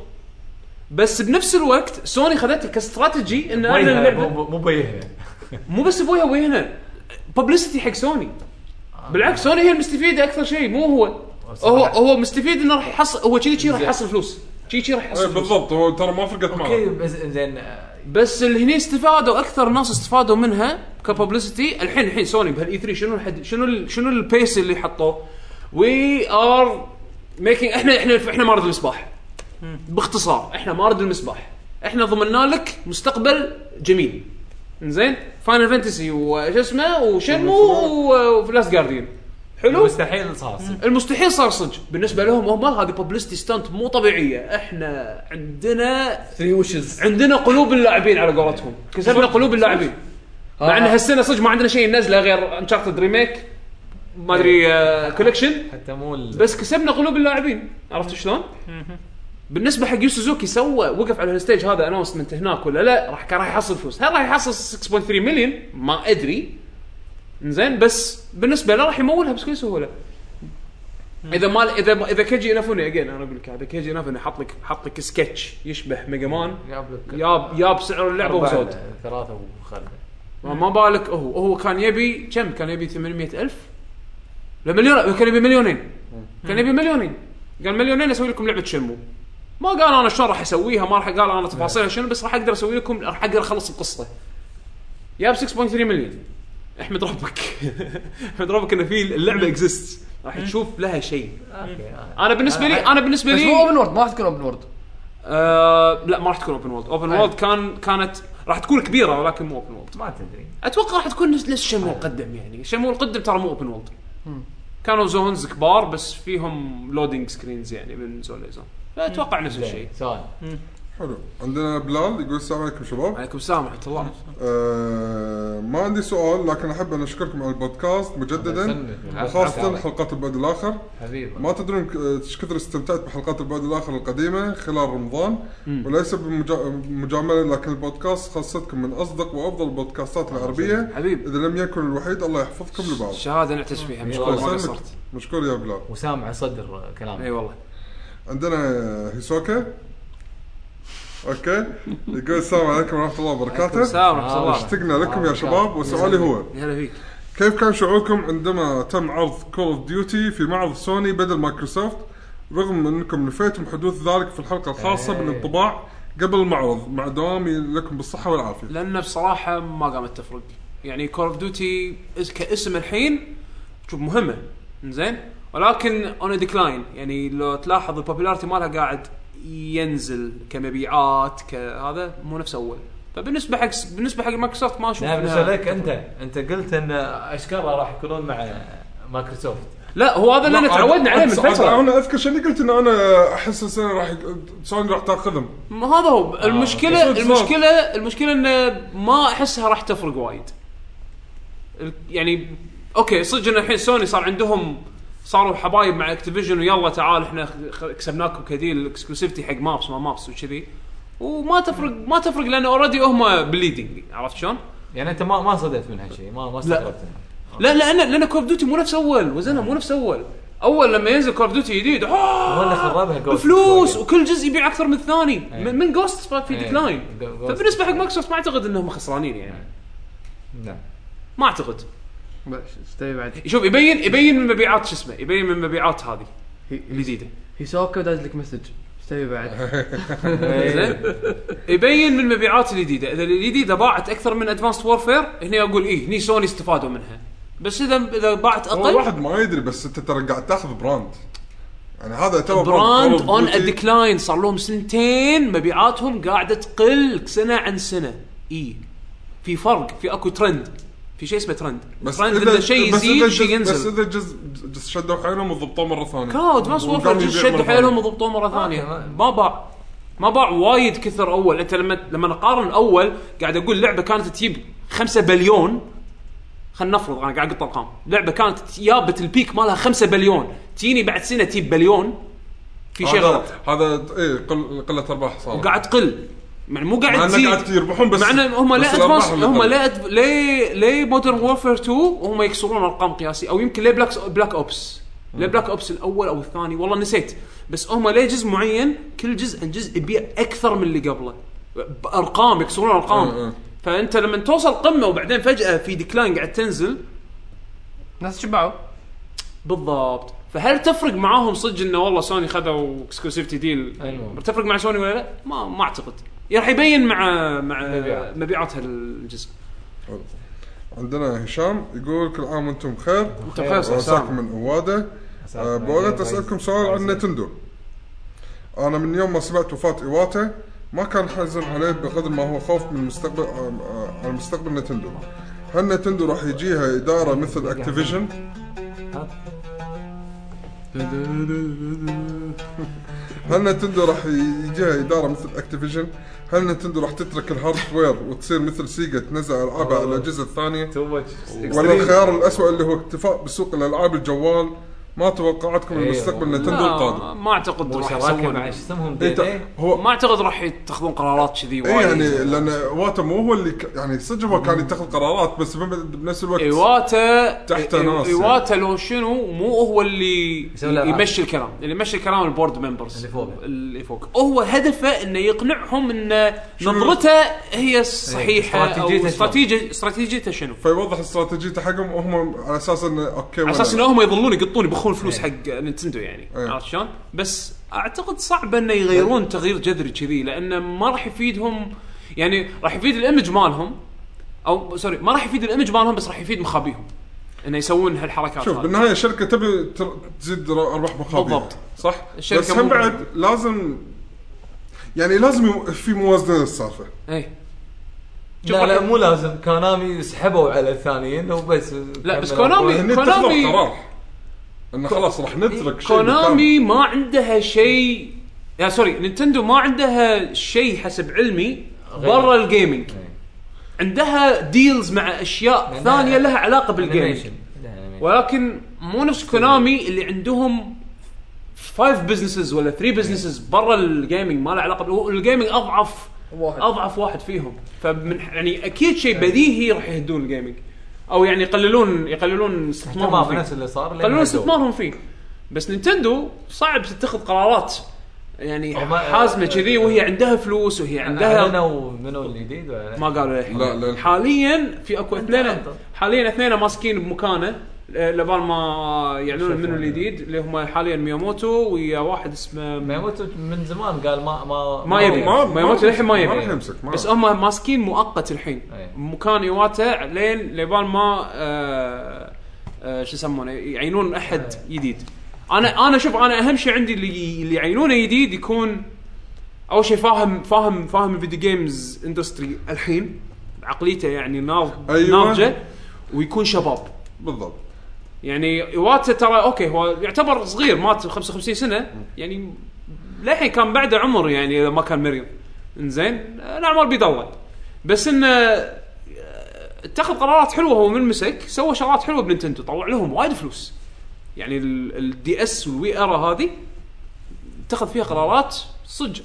[SPEAKER 1] بس بنفس الوقت سوني خذتها كاستراتيجي ان انا
[SPEAKER 5] بويها،
[SPEAKER 1] اللعبه
[SPEAKER 5] مو- مو مو بويها
[SPEAKER 1] مو بس ابويها ويهنا ببلستي حق سوني بالعكس سوني هي المستفيده اكثر شيء مو هو هو هو مستفيد انه راح يحصل هو كذي كذي راح يحصل فلوس كذي كذي راح
[SPEAKER 4] إيه،
[SPEAKER 1] يحصل فلوس
[SPEAKER 4] بالضبط هو ترى ما فرقت
[SPEAKER 5] اوكي
[SPEAKER 4] معه
[SPEAKER 5] بس زين آه،
[SPEAKER 1] بس اللي هني استفادوا اكثر ناس استفادوا منها كببلستي الحين الحين سوني بهالاي 3 شنو الحد شنو ال شنو البيس اللي حطوه وي ار ميكينج احنا احنا احنا مارد المصباح باختصار احنا مارد المصباح احنا ضمننا لك مستقبل جميل زين فاينل فانتسي وش اسمه وشنمو ولاست جارديان حلو
[SPEAKER 5] مستحيل صار صدق.
[SPEAKER 1] المستحيل صار صدق بالنسبه لهم هم هذه ببلستي ستانت مو طبيعيه احنا عندنا
[SPEAKER 8] ثري وشز
[SPEAKER 1] عندنا قلوب اللاعبين على قولتهم كسبنا قلوب اللاعبين مع ان هالسنه صدق ما عندنا شيء نزله غير انشارتد ريميك ما ادري آه، كولكشن
[SPEAKER 5] حتى مو ال-
[SPEAKER 1] بس كسبنا قلوب اللاعبين عرفت شلون؟ بالنسبه حق يو سوزوكي سوى وقف على الستيج هذا اناونسمنت هناك ولا لا راح كان راح يحصل فلوس هل راح يحصل 6.3 مليون ما ادري زين بس بالنسبه له راح يمولها بكل سهوله اذا ما اذا اذا كيجي انافوني اجين انا اقول لك هذا كيجي انافوني حط لك حط لك سكتش يشبه ميجا مان
[SPEAKER 5] جاب لك
[SPEAKER 1] ياب ياب سعر اللعبه
[SPEAKER 5] أربعة،
[SPEAKER 1] وزود
[SPEAKER 5] آه، ثلاثة وخلنا
[SPEAKER 1] ما ما بالك هو هو كان يبي كم كان يبي 800 ألف لا مليون كان يبي مليونين كان يبي مليونين قال مليونين اسوي لكم لعبه شنمو ما قال انا شلون راح اسويها ما راح قال انا تفاصيلها شنو بس راح اقدر اسوي لكم راح اقدر اخلص القصه ياب 6.3 مليون احمد ربك (laughs) احمد ربك انه في اللعبه اكزيست راح تشوف لها شيء
[SPEAKER 5] اوكي آه.
[SPEAKER 1] انا بالنسبه لي انا بالنسبه
[SPEAKER 2] بس
[SPEAKER 1] لي
[SPEAKER 2] مو اوبن وورد ما راح تكون اوبن وورد
[SPEAKER 1] آه لا ما راح تكون اوبن وولد اوبن
[SPEAKER 2] أي.
[SPEAKER 1] وولد كان كانت راح تكون كبيره ولكن مو اوبن وولد
[SPEAKER 5] ما تدري
[SPEAKER 1] اتوقع راح تكون نفس نفس شمو قدم يعني شمو قدم ترى مو اوبن وولد كانوا زونز كبار بس فيهم لودينج سكرينز يعني من زون لزون فاتوقع نفس الشيء
[SPEAKER 5] زين، سؤال
[SPEAKER 4] حلو عندنا بلال يقول السلام عليكم شباب
[SPEAKER 1] عليكم السلام ورحمه الله
[SPEAKER 4] آه ما عندي سؤال لكن احب ان اشكركم على البودكاست مجددا
[SPEAKER 5] سنة.
[SPEAKER 4] وخاصة حلقات البعد الاخر
[SPEAKER 5] حبيبي
[SPEAKER 4] ما تدرون ك- ايش كثر استمتعت بحلقات البعد الاخر القديمه خلال رمضان وليس بمجامله لكن البودكاست خاصتكم من اصدق وافضل البودكاستات العربيه
[SPEAKER 1] حبيب.
[SPEAKER 4] اذا لم يكن الوحيد الله يحفظكم لبعض
[SPEAKER 1] شهاده نعتز فيها
[SPEAKER 4] إيه
[SPEAKER 1] مشكور
[SPEAKER 5] الله
[SPEAKER 1] ما
[SPEAKER 4] يسلمك.
[SPEAKER 1] قصرت
[SPEAKER 4] مشكور يا بلال
[SPEAKER 5] وسامع صدر
[SPEAKER 4] أيوة.
[SPEAKER 5] كلامك
[SPEAKER 1] اي والله
[SPEAKER 4] عندنا هيسوكا اوكي يقول السلام عليكم ورحمه الله وبركاته
[SPEAKER 5] آه،
[SPEAKER 1] السلام ورحمه الله
[SPEAKER 4] اشتقنا لكم يا شباب وسؤالي هو
[SPEAKER 1] يا هلا فيك
[SPEAKER 4] كيف كان شعوركم عندما تم عرض كول اوف ديوتي في معرض سوني بدل مايكروسوفت رغم انكم نفيتم حدوث ذلك في الحلقه الخاصه
[SPEAKER 5] إيه.
[SPEAKER 4] بالانطباع قبل المعرض مع دوامي لكم بالصحه والعافيه
[SPEAKER 1] لان بصراحه ما قامت تفرق يعني كول اوف ديوتي كاسم الحين شوف مهمه زين ولكن اون ديكلاين يعني لو تلاحظ البوبيلارتي مالها قاعد ينزل كمبيعات كهذا مو نفس اول فبالنسبه حق بالنسبه حق مايكروسوفت ما اشوف
[SPEAKER 5] لا
[SPEAKER 1] إنها-
[SPEAKER 5] بالنسبه لك انت انت قلت ان اشكرها راح يكونون مع مايكروسوفت
[SPEAKER 1] لا هو هذا اللي أنا تعودنا عليه من
[SPEAKER 4] أنا-
[SPEAKER 1] فتره
[SPEAKER 4] انا اذكر شنو قلت ان انا احس السنه راح سوني راح تاخذهم
[SPEAKER 1] ما هذا هو المشكله
[SPEAKER 4] أوكي.
[SPEAKER 1] المشكله المشكله انه ما احسها راح تفرق وايد ال- يعني اوكي صدق ان الحين سوني صار عندهم صاروا حبايب مع اكتيفيجن ويلا تعال احنا خ- خ- كسبناكم كديل اكسكلوسيفتي حق مابس ما مابس وكذي وما تفرق ما تفرق لان اوريدي هم بليدنج عرفت شلون؟
[SPEAKER 5] يعني انت ما ما صدقت من هالشيء ما ما استغربت منه.
[SPEAKER 1] لا لان لان كول اوف ديوتي مو نفس اول وزنها مو نفس اول اول لما ينزل كول اوف ديوتي جديد
[SPEAKER 5] هو اللي خربها جوست
[SPEAKER 1] فلوس
[SPEAKER 5] شوية. إيه.
[SPEAKER 1] وكل جزء يبيع اكثر من الثاني
[SPEAKER 5] أي.
[SPEAKER 1] من, من جوست في
[SPEAKER 5] أي.
[SPEAKER 1] ديكلاين
[SPEAKER 5] جو-
[SPEAKER 1] فبالنسبه حق مايكروسوفت ما اعتقد انهم خسرانين يعني
[SPEAKER 5] نعم
[SPEAKER 1] ما اعتقد
[SPEAKER 2] بس ايش تبي بعد
[SPEAKER 1] شوف يبين يبين من مبيعات شو اسمه يبين من مبيعات هذه
[SPEAKER 2] إيه.
[SPEAKER 1] الجديده
[SPEAKER 2] هيسوكا داز لك مسج ايش تبي (laughs) بعد
[SPEAKER 4] إيه.
[SPEAKER 1] زين (laughs) يبين من مبيعات الجديده اذا الجديده باعت اكثر من ادفانس وورفير هنا اقول ايه هني سوني استفادوا منها بس اذا اذا باعت
[SPEAKER 4] هو
[SPEAKER 1] اقل
[SPEAKER 4] الواحد ما يدري بس انت ترى قاعد تاخذ براند يعني هذا يعتبر
[SPEAKER 1] براند
[SPEAKER 4] Call of
[SPEAKER 1] اون
[SPEAKER 4] Duty.
[SPEAKER 1] ديكلاين صار لهم سنتين مبيعاتهم قاعده تقل سنه عن سنه اي في فرق في اكو ترند في شيء اسمه ترند
[SPEAKER 4] بس
[SPEAKER 1] ترند
[SPEAKER 4] اذا
[SPEAKER 1] اذا شيء
[SPEAKER 4] بس إذا
[SPEAKER 1] يزيد
[SPEAKER 4] جز-
[SPEAKER 1] شيء
[SPEAKER 4] بس
[SPEAKER 1] ينزل
[SPEAKER 4] اذا جز جز شدوا حيلهم وضبطوه مره ثانيه
[SPEAKER 1] كاو ادفانس
[SPEAKER 4] وقاموا
[SPEAKER 1] وورفير
[SPEAKER 4] يبيع مرة
[SPEAKER 1] شدوا
[SPEAKER 4] ثانية.
[SPEAKER 1] حيلهم وضبطوه مره ثانيه
[SPEAKER 5] ما-
[SPEAKER 1] ما باع ما باع وايد كثر اول انت لما لما نقارن اول قاعد اقول لعبه كانت تجيب 5 بليون خلينا نفرض انا قاعد اقط ارقام لعبه كانت جابت البيك مالها 5 بليون تجيني بعد سنه تجيب بليون في شيء
[SPEAKER 4] هذا-
[SPEAKER 1] غلط
[SPEAKER 4] هذا ايه قل- قله ارباح صار
[SPEAKER 1] وقاعد تقل يعني مو
[SPEAKER 4] مع
[SPEAKER 1] قاعد
[SPEAKER 4] انه قاعد
[SPEAKER 1] تزيد
[SPEAKER 4] يربحون بس
[SPEAKER 1] مع ان هم لا
[SPEAKER 4] بس
[SPEAKER 1] ادفانس
[SPEAKER 4] الأرباح اللي
[SPEAKER 1] هم
[SPEAKER 4] قبل.
[SPEAKER 1] لا أدف... ليه ليه مودرن وورفير 2 وهم يكسرون ارقام قياسيه او يمكن ليه بلاك بلاك اوبس لا بلاك اوبس الاول او الثاني والله نسيت بس هم ليه جزء معين كل جزء عن جزء يبيع اكثر من اللي قبله بارقام يكسرون
[SPEAKER 4] مم.
[SPEAKER 1] ارقام فانت لما توصل قمه وبعدين فجاه في ديكلاين قاعد تنزل
[SPEAKER 2] ناس شبعوا
[SPEAKER 1] بالضبط فهل تفرق معاهم صدق انه والله سوني خذوا اكسكلوسيفتي ديل
[SPEAKER 5] أيوة.
[SPEAKER 1] تفرق مع سوني ولا لا؟ ما ما اعتقد راح يبين مع مع
[SPEAKER 5] مبيعات.
[SPEAKER 1] مبيعات هالجزء
[SPEAKER 4] حلو. عندنا هشام يقول كل عام وانتم بخير
[SPEAKER 1] انت بخير أستاذ
[SPEAKER 4] عساكم
[SPEAKER 1] سام.
[SPEAKER 4] من عواده أه، بولت اسالكم سؤال عن نتندو انا من يوم ما سمعت وفاه ايواتا ما كان حزن عليه بقدر ما هو خوف من مستقبل آه، آه، على مستقبل نتندو هل نتندو راح يجيها اداره مثل اكتيفيجن هل نتندو راح يجيها اداره مثل اكتيفيجن هل نتندو راح تترك الهاردوير وتصير مثل سيجا تنزل العابها على الاجهزه الثانيه
[SPEAKER 5] تو ماتش
[SPEAKER 4] ولا الخيار الاسوء اللي هو اكتفاء بسوق الالعاب الجوال ما توقعاتكم
[SPEAKER 5] أيوة.
[SPEAKER 4] لمستقبل نتندو
[SPEAKER 1] لا،
[SPEAKER 4] القادم
[SPEAKER 1] ما اعتقد راح
[SPEAKER 5] مشاركه مع
[SPEAKER 1] يسوون
[SPEAKER 5] شو اسمهم دي
[SPEAKER 4] انت
[SPEAKER 5] دي
[SPEAKER 4] هو
[SPEAKER 1] ما اعتقد راح يتخذون قرارات كذي
[SPEAKER 4] اي
[SPEAKER 1] وايد
[SPEAKER 4] يعني لان واتا مو هو اللي ك... يعني صدق هو كان يتخذ قرارات بس بم- بنفس الوقت
[SPEAKER 1] إيه، ايواتا
[SPEAKER 4] تحت
[SPEAKER 1] إي-
[SPEAKER 4] ناس
[SPEAKER 1] ايواتا لو شنو مو هو اللي
[SPEAKER 5] يسوي الألعاب.
[SPEAKER 1] يمشي الكلام اللي يمشي الكلام البورد ممبرز
[SPEAKER 5] اللي فوق.
[SPEAKER 1] اللي فوق هو هدفه انه يقنعهم ان نظرته هي الصحيحه او
[SPEAKER 5] استراتيجيته شنو.
[SPEAKER 1] استراتيجيه استراتيجيته شنو
[SPEAKER 4] فيوضح استراتيجيته حقهم وهم على اساس انه اوكي
[SPEAKER 1] على
[SPEAKER 4] ولا
[SPEAKER 1] اساس
[SPEAKER 4] لا.
[SPEAKER 1] انهم يظلون يقطون يبخون فلوس حق نينتندو يعني
[SPEAKER 4] إيه.
[SPEAKER 1] عرفت شلون؟ بس اعتقد صعب انه يغيرون تغيير جذري كذي لانه ما راح يفيدهم يعني راح يفيد الايمج مالهم او سوري ما راح يفيد الايمج مالهم بس راح يفيد مخابيهم انه يسوون هالحركات
[SPEAKER 4] شوف
[SPEAKER 1] هذه.
[SPEAKER 4] بالنهايه الشركه تبي تر- تزيد ر- ارباح مخابئ
[SPEAKER 1] بالضبط.
[SPEAKER 4] صح
[SPEAKER 1] الشركة
[SPEAKER 4] بس هم
[SPEAKER 1] مو-
[SPEAKER 4] بعد لازم يعني لازم يو- في موازنه للسالفه
[SPEAKER 1] اي إيه. شوف
[SPEAKER 5] لا لا
[SPEAKER 1] راح-
[SPEAKER 5] مو لازم كونامي سحبوا على الثانيين وبس
[SPEAKER 1] لا، بس كونامي-
[SPEAKER 4] هني اتخذوا
[SPEAKER 1] كونامي-
[SPEAKER 4] يعني قرار انه خلاص راح نترك شيء
[SPEAKER 1] كونامي ما عندها شيء يا سوري نينتندو ما عندها شيء حسب علمي برا الجيمنج
[SPEAKER 5] إيه.
[SPEAKER 1] عندها ديلز مع اشياء
[SPEAKER 5] لأنها
[SPEAKER 1] ثانيه لها علاقه بالجيمنج
[SPEAKER 5] أنيميشن. لا، أنيميشن.
[SPEAKER 1] ولكن مو نفس كونامي اللي عندهم فايف بزنسز ولا ثري بزنسز برا الجيمنج ما له علاقه بال- الجيمنج اضعف
[SPEAKER 2] واحد.
[SPEAKER 1] اضعف واحد فيهم فمن يعني اكيد شيء بديهي راح يهدون الجيمنج او يعني يقللون يقللون استثمارهم
[SPEAKER 5] تمام
[SPEAKER 1] فيه.
[SPEAKER 5] نفس اللي صار لأن
[SPEAKER 1] يقللون
[SPEAKER 5] هدوا.
[SPEAKER 1] استثمارهم فيه بس نينتندو صعب تتخذ قرارات يعني
[SPEAKER 5] وما-
[SPEAKER 1] حازمه كذي وهي عندها فلوس وهي عندها
[SPEAKER 5] اعلنوا منو الجديد ولا
[SPEAKER 1] ما قالوا للحين.
[SPEAKER 4] لا، للحين.
[SPEAKER 1] حاليا في اكو اثنين
[SPEAKER 5] أنت.
[SPEAKER 1] حاليا اثنين ماسكين بمكانه آه، لبال ما يعلنون منو الجديد اللي هم حاليا مياموتو ويا واحد اسمه
[SPEAKER 5] ميموتو من زمان قال ما ما
[SPEAKER 1] ما يبي
[SPEAKER 4] ما- ما-
[SPEAKER 1] ما يموت للحين ما
[SPEAKER 4] ما آه.
[SPEAKER 1] يبي
[SPEAKER 4] راح يمسك، ما
[SPEAKER 1] بس آه.
[SPEAKER 4] راح.
[SPEAKER 1] هم ماسكين مؤقت الحين
[SPEAKER 5] أي.
[SPEAKER 1] مكان يواتا لين لبال ما آه، آه، شو يسمونه يعينون احد جديد انا انا شوف انا اهم شيء عندي اللي اللي يعينونه جديد يكون اول شيء فاهم فاهم فاهم الفيديو جيمز اندستري الحين عقليته يعني ناض
[SPEAKER 4] أيوة.
[SPEAKER 1] ناضجه ويكون شباب
[SPEAKER 4] بالضبط
[SPEAKER 1] يعني ايواتا ترى اوكي هو يعتبر صغير مات 55 سنه يعني للحين كان بعده عمر يعني اذا ما كان مريض انزين الاعمار بيد الله بس انه آه، اتخذ قرارات حلوه هو من مسك سوى شغلات حلوه بننتندو طلع لهم وايد فلوس يعني الدي اس والوي ارا هذه اتخذ فيها قرارات صدق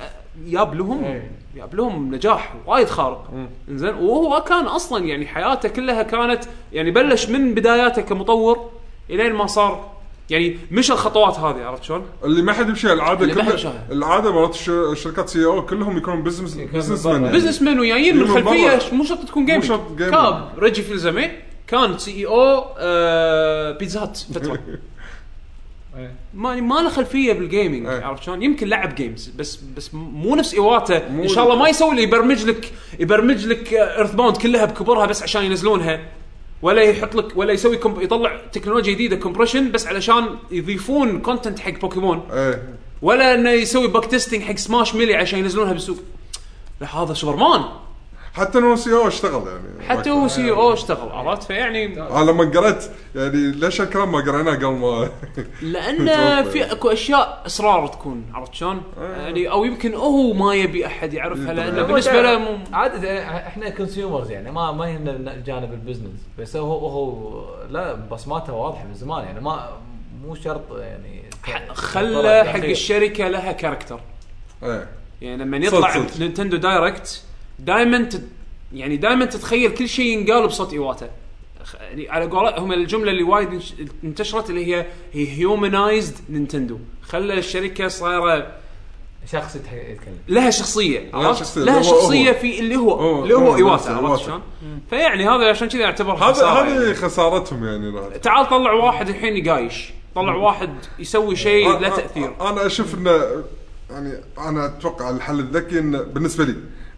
[SPEAKER 1] جاب لهم جاب لهم نجاح وايد خارق انزين وهو كان اصلا يعني حياته كلها كانت يعني بلش من بداياته كمطور الين ما صار يعني مش الخطوات هذه عرفت شلون؟
[SPEAKER 4] اللي ما حد يمشي العاده
[SPEAKER 1] اللي ما حد
[SPEAKER 4] كلها
[SPEAKER 1] يمشيها.
[SPEAKER 4] العاده مرات الش- الشركات سي او كلهم يكونون بزنس بزنس مان
[SPEAKER 1] بزنس مان وجايين من
[SPEAKER 4] من
[SPEAKER 1] خلفيه
[SPEAKER 4] برا.
[SPEAKER 1] ش- مو شرط تكون
[SPEAKER 4] مو
[SPEAKER 1] جيمنج
[SPEAKER 4] شرط gaming.
[SPEAKER 1] كاب ريجي في الزمي كان سي اي او آه بيتزا هات
[SPEAKER 4] (laughs)
[SPEAKER 1] فتره ما ما له خلفيه بالجيمنج
[SPEAKER 4] أي.
[SPEAKER 1] عرفت شلون؟ يمكن لعب جيمز بس بس مو نفس ايواتا
[SPEAKER 4] مو-
[SPEAKER 1] ان شاء الله ما يسوي اللي يبرمج لك يبرمج لك ايرث باوند كلها بكبرها بس عشان ينزلونها ولا يحط لك ولا يسوي كم يطلع تكنولوجيا جديده كومبريشن بس علشان يضيفون كونتنت حق بوكيمون
[SPEAKER 4] ايه
[SPEAKER 1] ولا انه يسوي باك تيستنج حق سماش ميلي عشان ينزلونها بالسوق لا هذا سوبرمان
[SPEAKER 4] حتى لو سي او اشتغل يعني
[SPEAKER 1] حتى هو سي او اشتغل عرفت فيعني
[SPEAKER 4] انا لما قريت يعني ليش الكلام ما قريناه قبل ما (laughs)
[SPEAKER 1] لان
[SPEAKER 4] متوقع.
[SPEAKER 1] في اكو اشياء اسرار تكون عرفت شلون؟ يعني او يمكن هو ما يبي احد يعرفها لانه
[SPEAKER 5] هو
[SPEAKER 1] بالنسبه له مو-
[SPEAKER 5] عاده احنا كونسيومرز يعني ما ما يهمنا جانب البزنس بس هو هو لا بصماته واضحه من زمان يعني ما مو شرط يعني
[SPEAKER 1] خلى حق الشركه لها كاركتر
[SPEAKER 4] ايه
[SPEAKER 1] يعني لما
[SPEAKER 4] صوت-
[SPEAKER 1] يطلع
[SPEAKER 4] صوت.
[SPEAKER 1] نينتندو دايركت دائما تت... يعني دائما تتخيل كل شيء ينقال بصوت ايواتا خ- يعني على قولهم الجمله اللي وايد انش- انتشرت اللي هي هي هيومنايزد نينتندو خلى الشركه صايره
[SPEAKER 5] شخص يتح- يتكلم
[SPEAKER 1] لها شخصيه عرفت؟
[SPEAKER 4] شخصية،
[SPEAKER 1] لها
[SPEAKER 4] اللي هو-
[SPEAKER 1] شخصيه في اللي هو
[SPEAKER 4] هو-
[SPEAKER 1] اللي هو
[SPEAKER 4] هو
[SPEAKER 1] ايواتا
[SPEAKER 4] نفسه،
[SPEAKER 1] عرفت
[SPEAKER 4] إيواتا.
[SPEAKER 1] شلون؟ فيعني هذا عشان كذا اعتبر
[SPEAKER 4] هذا
[SPEAKER 1] خسارة يعني.
[SPEAKER 4] هذه خسارتهم يعني راح.
[SPEAKER 1] تعال طلع واحد الحين يقايش طلع واحد يسوي شيء إيه، لا
[SPEAKER 4] أنا-
[SPEAKER 1] تاثير
[SPEAKER 4] انا اشوف انه يعني انا اتوقع الحل الذكي انه بالنسبه لي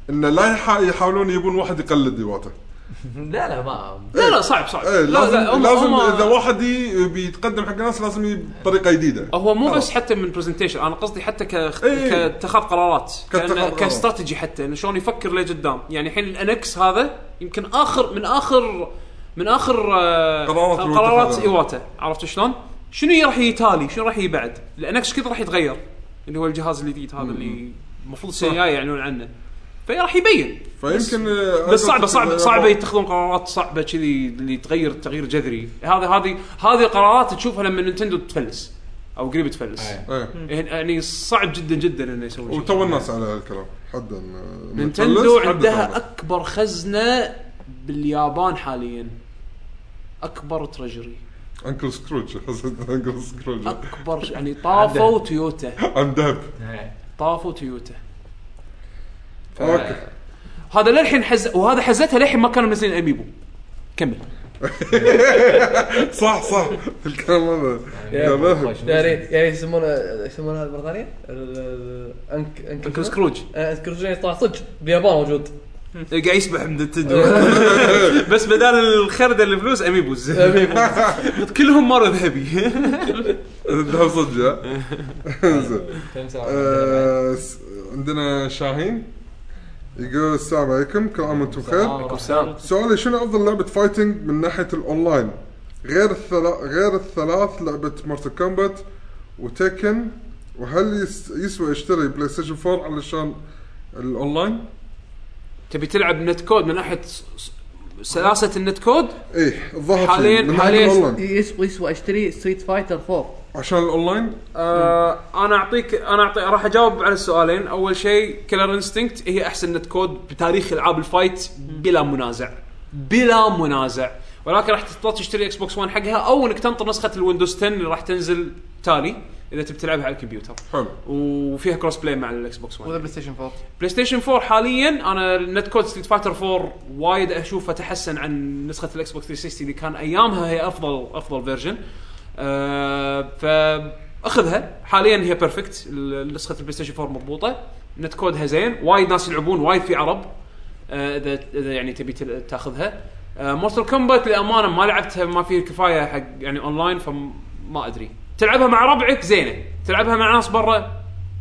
[SPEAKER 4] انه لا يحا- يحاولون يبون واحد يقلد ايواتا
[SPEAKER 5] لا لا ما
[SPEAKER 1] لا لا صعب صعب
[SPEAKER 4] ايه
[SPEAKER 1] لا
[SPEAKER 4] لازم
[SPEAKER 1] لا هم-
[SPEAKER 4] لازم
[SPEAKER 1] هم-
[SPEAKER 4] اذا واحد ي- بيتقدم حق الناس لازم ي- بطريقه جديده
[SPEAKER 1] هو مو بس
[SPEAKER 4] خلاص.
[SPEAKER 1] حتى من برزنتيشن انا قصدي حتى ك
[SPEAKER 4] إيه.
[SPEAKER 1] كاتخاذ قرارات
[SPEAKER 4] كاتخاذ
[SPEAKER 1] كأن-
[SPEAKER 4] قرارات.
[SPEAKER 1] كاستراتيجي حتى انه شلون يفكر لقدام يعني الحين الانكس هذا يمكن اخر من اخر من اخر آه،
[SPEAKER 4] قرارات الوقت
[SPEAKER 1] قرارات
[SPEAKER 4] هذا.
[SPEAKER 1] ايواتا عرفت شلون؟ شنو راح يتالي؟ شنو راح يبعد؟ الانكس كذا راح يتغير اللي هو الجهاز الجديد هذا اللي المفروض السنه الجايه يعلنون عنه فراح يبين
[SPEAKER 4] فيمكن
[SPEAKER 1] بس صعبه صعبه صعبه يتخذون قرارات صعبه كذي اللي تغير تغيير جذري هذا هذه هذه قرارات تشوفها لما نينتندو تفلس او قريب تفلس
[SPEAKER 5] أي.
[SPEAKER 4] ايه
[SPEAKER 1] يعني صعب جدا جدا انه يسوي شيء
[SPEAKER 4] وتو الناس على هالكلام حدا إنه
[SPEAKER 1] نينتندو
[SPEAKER 4] متخلص، حدا
[SPEAKER 1] عندها
[SPEAKER 4] طالع.
[SPEAKER 1] اكبر خزنه باليابان حاليا اكبر ترجري
[SPEAKER 4] انكل سكروج (laughs) حسيت انكل سكروج
[SPEAKER 1] اكبر يعني طافوا تويوتا
[SPEAKER 4] ام دهب
[SPEAKER 5] إيه.
[SPEAKER 1] طافوا تويوتا
[SPEAKER 5] ف-
[SPEAKER 4] اوكي
[SPEAKER 1] هذا للحين حز وهذا حزتها للحين ما كانوا منزلين اميبو كمل
[SPEAKER 4] صح صح (laughs) الكلام هذا
[SPEAKER 5] يا
[SPEAKER 4] يا ذهب.
[SPEAKER 5] خوش.
[SPEAKER 2] يعني يعني يسمونه يسمونه هذا بالبريطانيه؟ ال- ال- انك انك
[SPEAKER 1] انكل سكروج
[SPEAKER 2] انكروج طلع صدق باليابان موجود (laughs)
[SPEAKER 1] إيه، قاعد يسبح من نينتندو (laughs) بس بدال الخردة الفلوس (laughs) اميبوز كلهم مره ذهبي
[SPEAKER 4] الذهب صدق ها؟ زين
[SPEAKER 5] كم ساعة؟
[SPEAKER 4] آه، س- عندنا شاهين يقول السلام عليكم كل عام وانتم بخير
[SPEAKER 1] سلام
[SPEAKER 4] سؤالي شنو افضل لعبه فايتنج من ناحيه الاونلاين غير الثلا... غير الثلاث لعبه مارتل كومبات وتكن وهل يس... يسوى اشتري بلاي ستيشن 4 علشان الاونلاين؟
[SPEAKER 1] تبي تلعب نت كود من ناحيه س- س- سلاسه النت كود
[SPEAKER 4] ايه الظاهر شي،
[SPEAKER 1] حالياً-
[SPEAKER 4] من ناحية
[SPEAKER 1] حالياً
[SPEAKER 4] الأونلاين.
[SPEAKER 2] يسوى يسوى اشتري ستريت فايتر 4
[SPEAKER 4] عشان الاونلاين
[SPEAKER 1] آه انا اعطيك انا اعطي راح اجاوب على السؤالين اول شيء كيلر انستنكت هي احسن نت كود بتاريخ العاب الفايت بلا منازع بلا منازع ولكن راح تضطر تشتري اكس بوكس 1 حقها او انك تنطر نسخه الويندوز 10 اللي راح تنزل تالي اذا تبي تلعبها على الكمبيوتر
[SPEAKER 4] حلو
[SPEAKER 1] وفيها كروس بلاي مع الاكس بوكس 1
[SPEAKER 2] ولا بلاي ستيشن 4
[SPEAKER 1] بلاي ستيشن 4 حاليا انا النت كود ستريت فايتر 4 وايد اشوفه تحسن عن نسخه الاكس بوكس 360 اللي كان ايامها هي افضل افضل فيرجن أه فاخذها حاليا هي بيرفكت ال- نسخه البلاي ستيشن 4 مضبوطه نت كودها زين وايد ناس يلعبون وايد في عرب آه، اذا اذا يعني تبي تل- تاخذها آه، مورتال كومبات للامانه ما لعبتها ما فيه كفايه حق يعني اونلاين فما ادري تلعبها مع ربعك زينه تلعبها مع ناس برا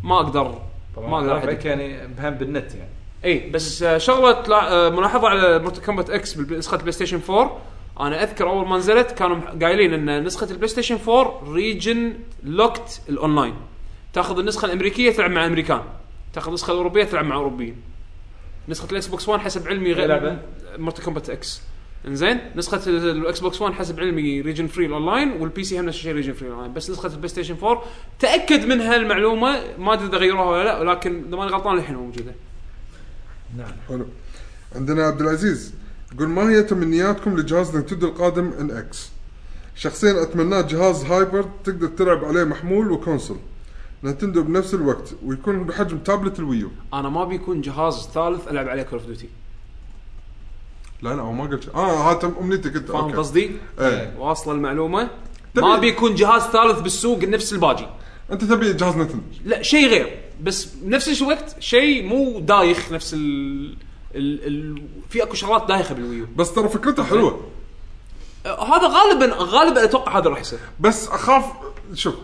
[SPEAKER 1] ما اقدر
[SPEAKER 5] طبعاً
[SPEAKER 1] ما اقدر
[SPEAKER 5] ربعك
[SPEAKER 1] أحدد.
[SPEAKER 5] يعني مهم بالنت يعني
[SPEAKER 1] اي بس آه، شغله تلا- آه، ملاحظه على مورتال كومبات اكس بنسخه البلاي ستيشن 4 انا اذكر اول ما نزلت كانوا مح- قايلين ان نسخه البلاي ستيشن 4 ريجن لوكت الاونلاين تاخذ النسخه الامريكيه تلعب مع امريكان تاخذ النسخه الاوروبيه تلعب مع اوروبيين نسخه الاكس بوكس 1 حسب علمي غير
[SPEAKER 5] لعبة؟
[SPEAKER 1] مورتال كومبات اكس انزين نسخه ال- الاكس بوكس 1 حسب علمي ريجن فري الاونلاين والبي سي هم نفس الشيء ريجن فري الاونلاين بس نسخه البلاي ستيشن 4 تاكد من هالمعلومه ما ادري اذا غيروها ولا لا ولكن اذا ماني غلطان الحين موجوده
[SPEAKER 4] حلو عندنا عبد العزيز يقول ما هي تمنياتكم لجهاز نينتندو القادم ان اكس؟ شخصيا اتمناه جهاز هايبرد تقدر تلعب عليه محمول وكونسول نينتندو بنفس الوقت ويكون بحجم تابلت الويو
[SPEAKER 1] انا ما بيكون جهاز ثالث العب عليه كول اوف ديوتي
[SPEAKER 4] لا لا هو ما قلت شيء. اه هات امنيتي كنت
[SPEAKER 1] فاهم قصدي؟
[SPEAKER 4] ايه
[SPEAKER 1] واصله المعلومه
[SPEAKER 4] تبي-
[SPEAKER 1] ما بيكون جهاز ثالث بالسوق نفس الباجي
[SPEAKER 4] انت تبي جهاز نينتندو
[SPEAKER 1] لا شيء غير بس بنفس الوقت شيء مو دايخ نفس ال... ال... ال... في اكو شغلات دايخه بالويو
[SPEAKER 4] بس ترى فكرته حلوه
[SPEAKER 1] آه، هذا غالبا غالبا اتوقع هذا راح يصير
[SPEAKER 4] بس اخاف شوف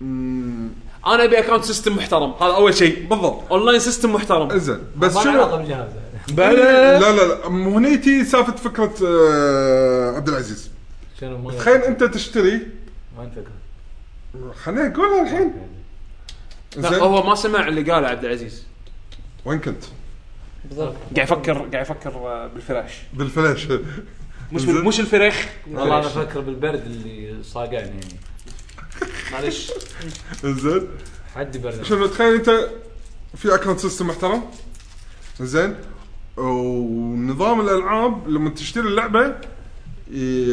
[SPEAKER 4] مم،
[SPEAKER 1] انا ابي اكونت سيستم محترم هذا اول شيء
[SPEAKER 4] بالضبط
[SPEAKER 1] اونلاين سيستم محترم
[SPEAKER 4] انزين بس
[SPEAKER 5] ما له
[SPEAKER 4] شنو
[SPEAKER 5] علاقه بالجهاز يعني.
[SPEAKER 4] إيه، لا لا لا مو هني تي سالفه فكره آه، عبد العزيز
[SPEAKER 5] شنو ما
[SPEAKER 4] تخيل انت تشتري
[SPEAKER 5] ما فكره
[SPEAKER 4] خليني اقولها الحين
[SPEAKER 1] لا
[SPEAKER 4] زين
[SPEAKER 1] هو ما سمع اللي قاله عبد العزيز
[SPEAKER 4] وين كنت؟
[SPEAKER 2] بالضبط
[SPEAKER 1] قاعد يفكر قاعد يفكر آه، بالفلاش
[SPEAKER 4] بالفلاش
[SPEAKER 1] مش بال... مش الفريخ
[SPEAKER 5] والله انا افكر بالبرد اللي صاقعني يعني معلش
[SPEAKER 4] زين
[SPEAKER 5] حدي برد
[SPEAKER 4] شنو تخيل انت في اكونت سيستم محترم زين ونظام الالعاب لما تشتري اللعبه ي-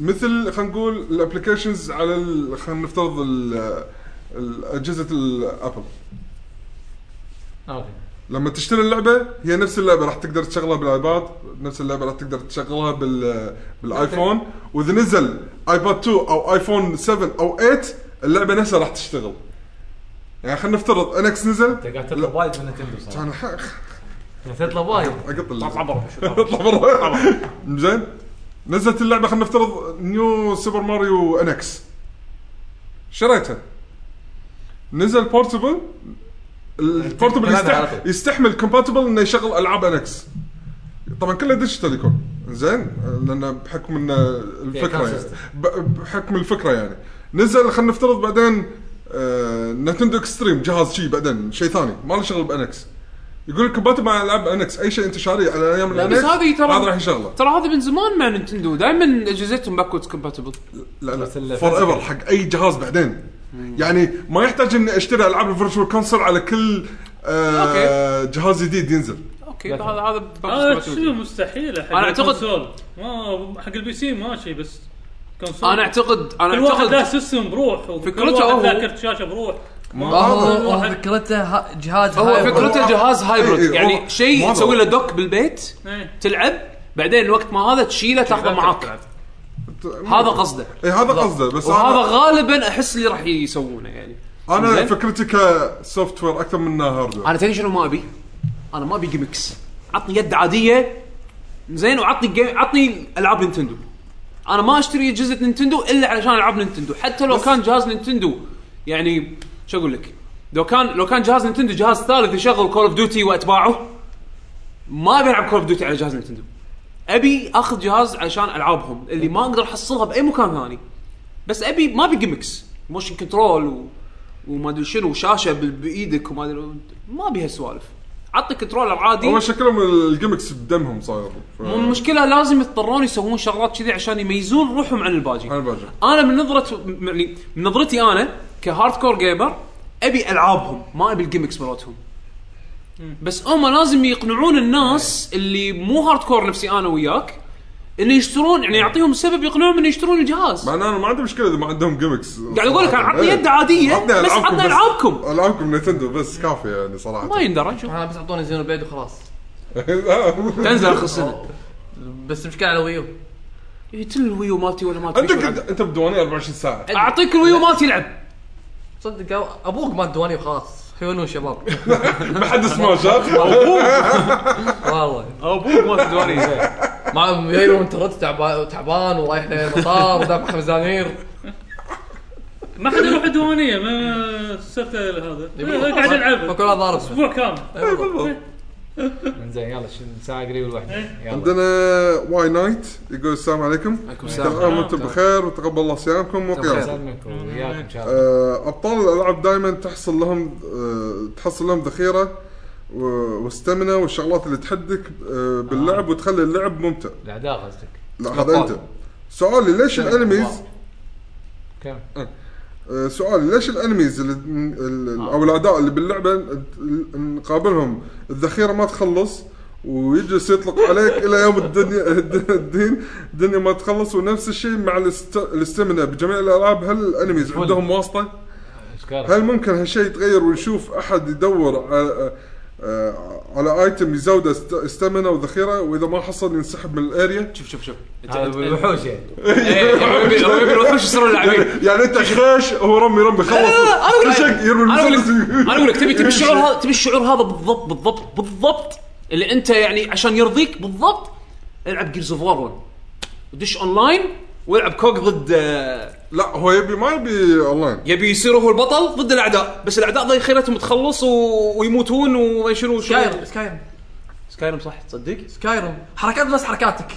[SPEAKER 4] مثل خلينا نقول الابلكيشنز على ال- خلينا نفترض ال- ال- اجهزه الابل
[SPEAKER 5] اوكي
[SPEAKER 4] لما تشتري اللعبه هي نفس اللعبه راح تقدر تشغلها بالايباد نفس اللعبه راح تقدر تشغلها بال بالايفون واذا نزل ايباد 2 او ايفون 7 او 8 اللعبه نفسها راح تشتغل يعني خلينا نفترض انكس نزل
[SPEAKER 5] انت قاعد تطلب وايد من نتندو صراحه
[SPEAKER 4] انا ح-
[SPEAKER 5] قاعد تطلب وايد
[SPEAKER 4] اقط
[SPEAKER 1] اطلع
[SPEAKER 4] اللعبه
[SPEAKER 1] برا شو طلع.
[SPEAKER 4] اطلع برا زين نزلت اللعبه خلينا نفترض نيو سوبر ماريو انكس شريتها نزل بورتبل البورتبل
[SPEAKER 5] تلعبها على
[SPEAKER 4] يستح...
[SPEAKER 5] طول.
[SPEAKER 4] يستحمل كومباتبل انه يشغل العاب انكس طبعا كله ديجيتال يكون زين لان بحكم ان الفكره
[SPEAKER 5] كان
[SPEAKER 4] يعني
[SPEAKER 5] سيستم.
[SPEAKER 4] ب- بحكم الفكره يعني نزل خلينا نفترض بعدين آه... نتندو اكستريم جهاز شيء بعدين شيء ثاني ما له شغل بانكس يقول لك كومباتبل مع العاب انكس اي شيء انت شاريه على ايام
[SPEAKER 1] لا، بس
[SPEAKER 4] الNX
[SPEAKER 1] هذه ترى-
[SPEAKER 4] هذا راح يشغله
[SPEAKER 1] ترى هذا من زمان مع نينتندو دائما اجهزتهم باكورد كومباتبل
[SPEAKER 4] لا لا
[SPEAKER 5] بس ال-
[SPEAKER 4] فور ايفر حق اي جهاز بعدين يعني ما يحتاج اني اشتري العاب الفيرتشوال كونسول على كل آه جهاز جديد ينزل
[SPEAKER 1] اوكي
[SPEAKER 5] لا
[SPEAKER 1] هذا هذا
[SPEAKER 5] ترى.
[SPEAKER 1] باكورد
[SPEAKER 3] هذا
[SPEAKER 1] compatible.
[SPEAKER 3] شيء آه، مستحيل حق
[SPEAKER 1] آه، أنا أعتقد-
[SPEAKER 3] الكونسول. ما حق البي سي ماشي بس كونسول
[SPEAKER 1] انا اعتقد انا
[SPEAKER 3] كل واحد له
[SPEAKER 1] اعتقد
[SPEAKER 3] سيستم بروح وكل
[SPEAKER 1] فكرته هو-
[SPEAKER 3] واحد له كرت شاشه بروح
[SPEAKER 2] هو هو
[SPEAKER 3] واحد.
[SPEAKER 2] فكرته ها- جهاز
[SPEAKER 1] هو
[SPEAKER 2] هايبر.
[SPEAKER 1] فكرته جهاز هايبرد
[SPEAKER 4] إيه،
[SPEAKER 1] يعني
[SPEAKER 4] والله.
[SPEAKER 1] شيء
[SPEAKER 4] والله.
[SPEAKER 1] تسوي له دوك بالبيت
[SPEAKER 3] إيه.
[SPEAKER 1] تلعب بعدين وقت ما هذا تشيله تاخذه معاك هذا قصده
[SPEAKER 4] اي إيه، هذا قصده بس
[SPEAKER 1] وهذا
[SPEAKER 4] انا
[SPEAKER 1] غالبا احس اللي راح يسوونه يعني
[SPEAKER 4] انا
[SPEAKER 1] زين.
[SPEAKER 4] فكرتي كسوفت وير اكثر من إنها هاردوير
[SPEAKER 1] انا تدري شنو ما ابي؟ انا ما ابي جيمكس عطني يد عاديه زين وعطني جيم عطني العاب نينتندو انا ما اشتري اجهزه نينتندو الا علشان العاب نينتندو حتى لو كان جهاز نينتندو يعني شو اقول لك؟ لو كان لو كان جهاز نينتندو جهاز ثالث يشغل كول اوف ديوتي واتباعه ما ابي العب كول اوف ديوتي على جهاز نينتندو ابي اخذ جهاز علشان العابهم اللي ما اقدر احصلها باي مكان ثاني بس ابي ما ابي جيمكس موشن كنترول و... وما ادري شنو وشاشه بال- بايدك وما ادري ما ابي هالسوالف عطني كنترولر عادي
[SPEAKER 4] هو شكلهم الجيمكس بدمهم صاير ف-
[SPEAKER 1] مو المشكله لازم يضطرون يسوون شغلات كذي عشان يميزون روحهم عن الباجي
[SPEAKER 4] انا برجع
[SPEAKER 1] انا من نظره م- يعني من نظرتي انا كهارد كور جيمر ابي العابهم ما ابي الجيمكس مالتهم بس هم لازم يقنعون الناس اللي مو هارد كور نفسي انا وياك انه يشترون يعني يعطيهم سبب يقنعهم انه يشترون الجهاز
[SPEAKER 4] مع ان انا ما عندي مشكله اذا ما عندهم إيه. جيمكس
[SPEAKER 1] قاعد اقول لك أنا عطني يد عاديه بس عطنا العابكم
[SPEAKER 4] العابكم نتندو بس كافي يعني صراحه
[SPEAKER 1] ما
[SPEAKER 4] (laughs)
[SPEAKER 1] يندرى نشوف
[SPEAKER 2] انا بس اعطوني زينو بليد وخلاص
[SPEAKER 1] تنزل اخر السنه
[SPEAKER 2] بس مشكلة على ويو
[SPEAKER 1] إيه، تل الويو مالتي ولا مالتي شو ألعب؟
[SPEAKER 4] عندك انت بدواني 24 ساعه
[SPEAKER 1] اعطيك الويو مالتي يلعب
[SPEAKER 2] صدق أو- ابوك مال دواني وخلاص حيوانون شباب (laughs)
[SPEAKER 4] ما حد سماشات
[SPEAKER 2] والله
[SPEAKER 1] ابوك مالتي دواني
[SPEAKER 2] مع جايبه من ترد تعبان تعبان ورايح للمطار ودافع مزامير
[SPEAKER 3] ما حد يروح الديوانيه ما صرت هذا إيه، قاعد العب
[SPEAKER 2] فكل هذا ضارب
[SPEAKER 3] اسبوع كامل
[SPEAKER 5] زين يلا شن- ساعه قريب الوحده يلا
[SPEAKER 4] عندنا واي نايت يقول السلام عليكم السلام نعم، وانتم بخير وتقبل الله صيامكم وقيامكم
[SPEAKER 5] سلمك وياك ان شاء الله
[SPEAKER 4] آه، ابطال الالعاب دائما تحصل لهم آه، تحصل لهم ذخيره و- واستمنه والشغلات اللي تحدك آه، باللعب وتخلي اللعب ممتع
[SPEAKER 5] الاعداء قصدك
[SPEAKER 4] لا هذا انت سؤالي ليش الانميز
[SPEAKER 5] كم
[SPEAKER 4] آه، سؤالي ليش الانميز اللي ال-
[SPEAKER 1] آه.
[SPEAKER 4] او الاعداء اللي باللعبه ن- نقابلهم الذخيره ما تخلص ويجلس يطلق عليك الى يوم الدنيا (laughs) الدين الدنيا ما تخلص ونفس الشيء مع الاست- الاستمنه بجميع الالعاب هل الانميز عندهم واسطه؟
[SPEAKER 5] اشكال
[SPEAKER 4] هل ممكن هالشيء يتغير ونشوف احد يدور على آه، على ايتم يزوده است- استمنه وذخيره واذا ما حصل ينسحب من الاريا
[SPEAKER 1] شوف شوف شوف
[SPEAKER 5] هذا بالوحوش يعني
[SPEAKER 1] إيه، (laughs) وش يصير اللاعبين
[SPEAKER 4] يعني, يعني انت خيش هو رمي رمي خلص
[SPEAKER 1] طيب. أنا أقول لك-
[SPEAKER 4] خشك يرمي
[SPEAKER 1] انا اقول لك
[SPEAKER 4] المسدس
[SPEAKER 1] انا اقول لك تبي تبي الشعور هذا تبي الشعور هذا بالضبط بالضبط بالضبط اللي انت يعني عشان يرضيك بالضبط العب جيرز اوف وار 1 ودش اونلاين والعب كوك ضد آه،
[SPEAKER 4] لا هو يبي ما يبي اونلاين
[SPEAKER 1] يبي يصير هو البطل ضد الاعداء بس الاعداء ضي خيرتهم تخلص و- ويموتون وما شنو
[SPEAKER 2] سكايرم سكايرم
[SPEAKER 1] سكايرم صح تصدق
[SPEAKER 2] سكايرم حركات نفس حركاتك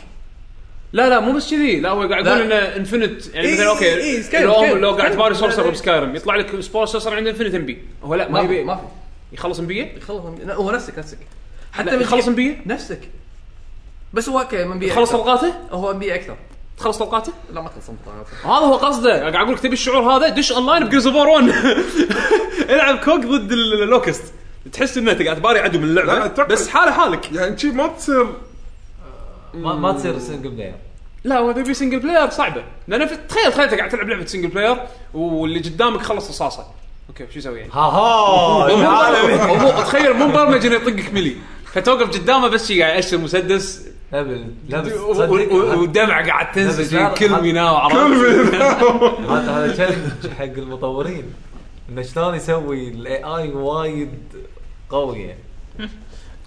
[SPEAKER 1] لا لا مو بس كذي لا هو قاعد يقول انه انفنت يعني مثلا اوكي
[SPEAKER 2] إي، Skyrim،
[SPEAKER 1] لو
[SPEAKER 2] Skyrim.
[SPEAKER 1] لو قاعد تباري سورسر
[SPEAKER 2] لا، لا.
[SPEAKER 1] بسكايرم يطلع لك سبور سورسر عنده انفنت ام بي هو لا ما
[SPEAKER 2] ما في
[SPEAKER 1] يبي
[SPEAKER 2] ما في
[SPEAKER 1] يخلص ام بي
[SPEAKER 2] يخلص من- لا، هو نفسك نفسك
[SPEAKER 1] لا،
[SPEAKER 2] من-
[SPEAKER 1] يخلص NBA؟
[SPEAKER 2] نفسك بس هو اوكي من بي
[SPEAKER 1] تخلص طلقاته
[SPEAKER 2] هو ام بي اكثر
[SPEAKER 1] تخلص طلقاته
[SPEAKER 2] لا ما تخلص من
[SPEAKER 1] هذا هو قصده قاعد اقول لك تبي الشعور هذا دش اونلاين بجيرز اوف (laughs) 1 العب كوك ضد ال- اللوكست تحس ان انت قاعد تباري عدو من
[SPEAKER 4] لا،
[SPEAKER 1] اللعبه
[SPEAKER 4] أتوقع-
[SPEAKER 1] بس حاله حالك
[SPEAKER 4] يعني شي ما تصير
[SPEAKER 5] ما ما تصير يعني. سنجل بلاير
[SPEAKER 1] لا هو تبي سنجل بلاير صعبه لان في- تخيل تخيل انت قاعد تلعب لعبه سنجل بلاير واللي قدامك خلص رصاصه اوكي شو يسوي
[SPEAKER 2] (laughs)
[SPEAKER 1] يعني؟
[SPEAKER 5] ها ها
[SPEAKER 1] هو مو
[SPEAKER 5] العالمي.
[SPEAKER 1] هو مو- تخيل مو مبرمج انه يطقك ملي فتوقف قدامه بس شي قاعد يأشر مسدس
[SPEAKER 5] هبل لبس
[SPEAKER 1] و- و- و-
[SPEAKER 5] صدق
[SPEAKER 1] والدمعه قاعد
[SPEAKER 5] بس
[SPEAKER 1] تنزل
[SPEAKER 5] هذا-
[SPEAKER 1] كل
[SPEAKER 5] هذا-
[SPEAKER 1] ميناء عرفت
[SPEAKER 4] كلمة
[SPEAKER 5] هذا هذا تشالنج حق المطورين انه شلون يسوي الاي اي وايد قوي يعني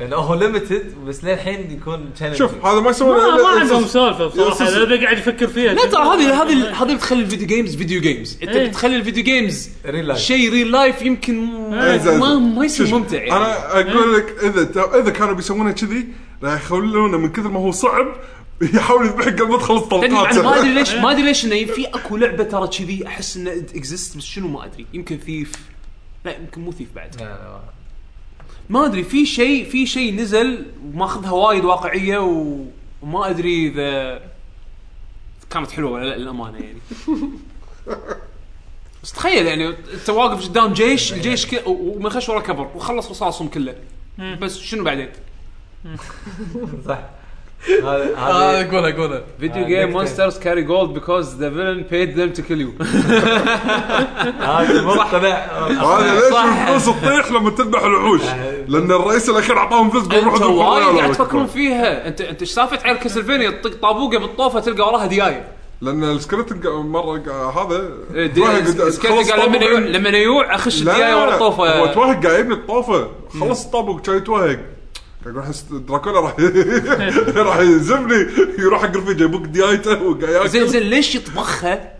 [SPEAKER 5] لانه هو ليمتد بس للحين يكون تشالنج
[SPEAKER 4] شوف هذا ما يسوون
[SPEAKER 3] ما ما
[SPEAKER 4] إلا-
[SPEAKER 3] عندهم سالفه بصراحه
[SPEAKER 4] يصير-
[SPEAKER 3] انا قاعد افكر فيها
[SPEAKER 1] لا ترى هذه هذه هذه اللي تخلي الفيديو جيمز فيديو جيمز انت
[SPEAKER 3] يعني إيه.
[SPEAKER 1] بتخلي الفيديو جيمز
[SPEAKER 5] ريل لايف
[SPEAKER 1] شيء ريل لايف يمكن
[SPEAKER 4] إيه، زين.
[SPEAKER 1] ما ما يصير
[SPEAKER 4] شوف،
[SPEAKER 1] ممتع يعني
[SPEAKER 4] انا اقول لك اذا تو- اذا كانوا بيسوونه كذي راح يخلونه من كثر ما هو صعب (laughs) يحاول يذبحك قبل ما تخلص
[SPEAKER 1] تدري مع إنه ما ادري
[SPEAKER 4] طلقاته
[SPEAKER 1] (laughs) ليش ما ادري ليش انه في اكو لعبه ترى كذي احس انه اكزيست بس شنو ما ادري يمكن ثيف لا يمكن مو ثيف بعد ما ادري في شيء في شيء نزل وماخذها وايد واقعيه و- وما ادري اذا كانت حلوه ولا لا للامانه (laughs) يعني بس تخيل يعني انت واقف قدام (laughs) جيش الجيش ك... ومن خش ورا كبر وخلص رصاصهم كله بس شنو بعدين؟
[SPEAKER 5] صح هذا
[SPEAKER 2] آه،
[SPEAKER 5] هذا
[SPEAKER 2] قولها قولها
[SPEAKER 1] فيديو
[SPEAKER 5] آه، game نكتة. monsters
[SPEAKER 1] carry gold because the villain paid them to kill you
[SPEAKER 5] هذا مقتنع
[SPEAKER 4] هذا ليش
[SPEAKER 1] صح.
[SPEAKER 4] الفلوس تطيح لما تذبح
[SPEAKER 1] (laughs)
[SPEAKER 4] الوحوش لان الرئيس الاخير اعطاهم فلوس بيروح
[SPEAKER 1] انتوا وايد قاعد تفكرون فيها انت انت ايش سالفه عيال كاسلفينيا تطق طابوقه بالطوفه تلقى وراها ديايه
[SPEAKER 4] لان السكريبت مره قا- هذا توهق- خلص يعني.
[SPEAKER 1] سكيتي إيه، قال لما يو-
[SPEAKER 4] طابق-
[SPEAKER 1] لما يوع اخش
[SPEAKER 4] لا،
[SPEAKER 1] ديايه ورا
[SPEAKER 4] هو
[SPEAKER 1] الطوفه
[SPEAKER 4] توهق قاعد يبني الطوفه خلص الطابق كان يتوهق قاعد يروح يس- دراكولا راح (laughs) راح يزبني يروح حق رفيجه يبوق ديايته وقاعد ياكل
[SPEAKER 1] زين زين ليش يطبخها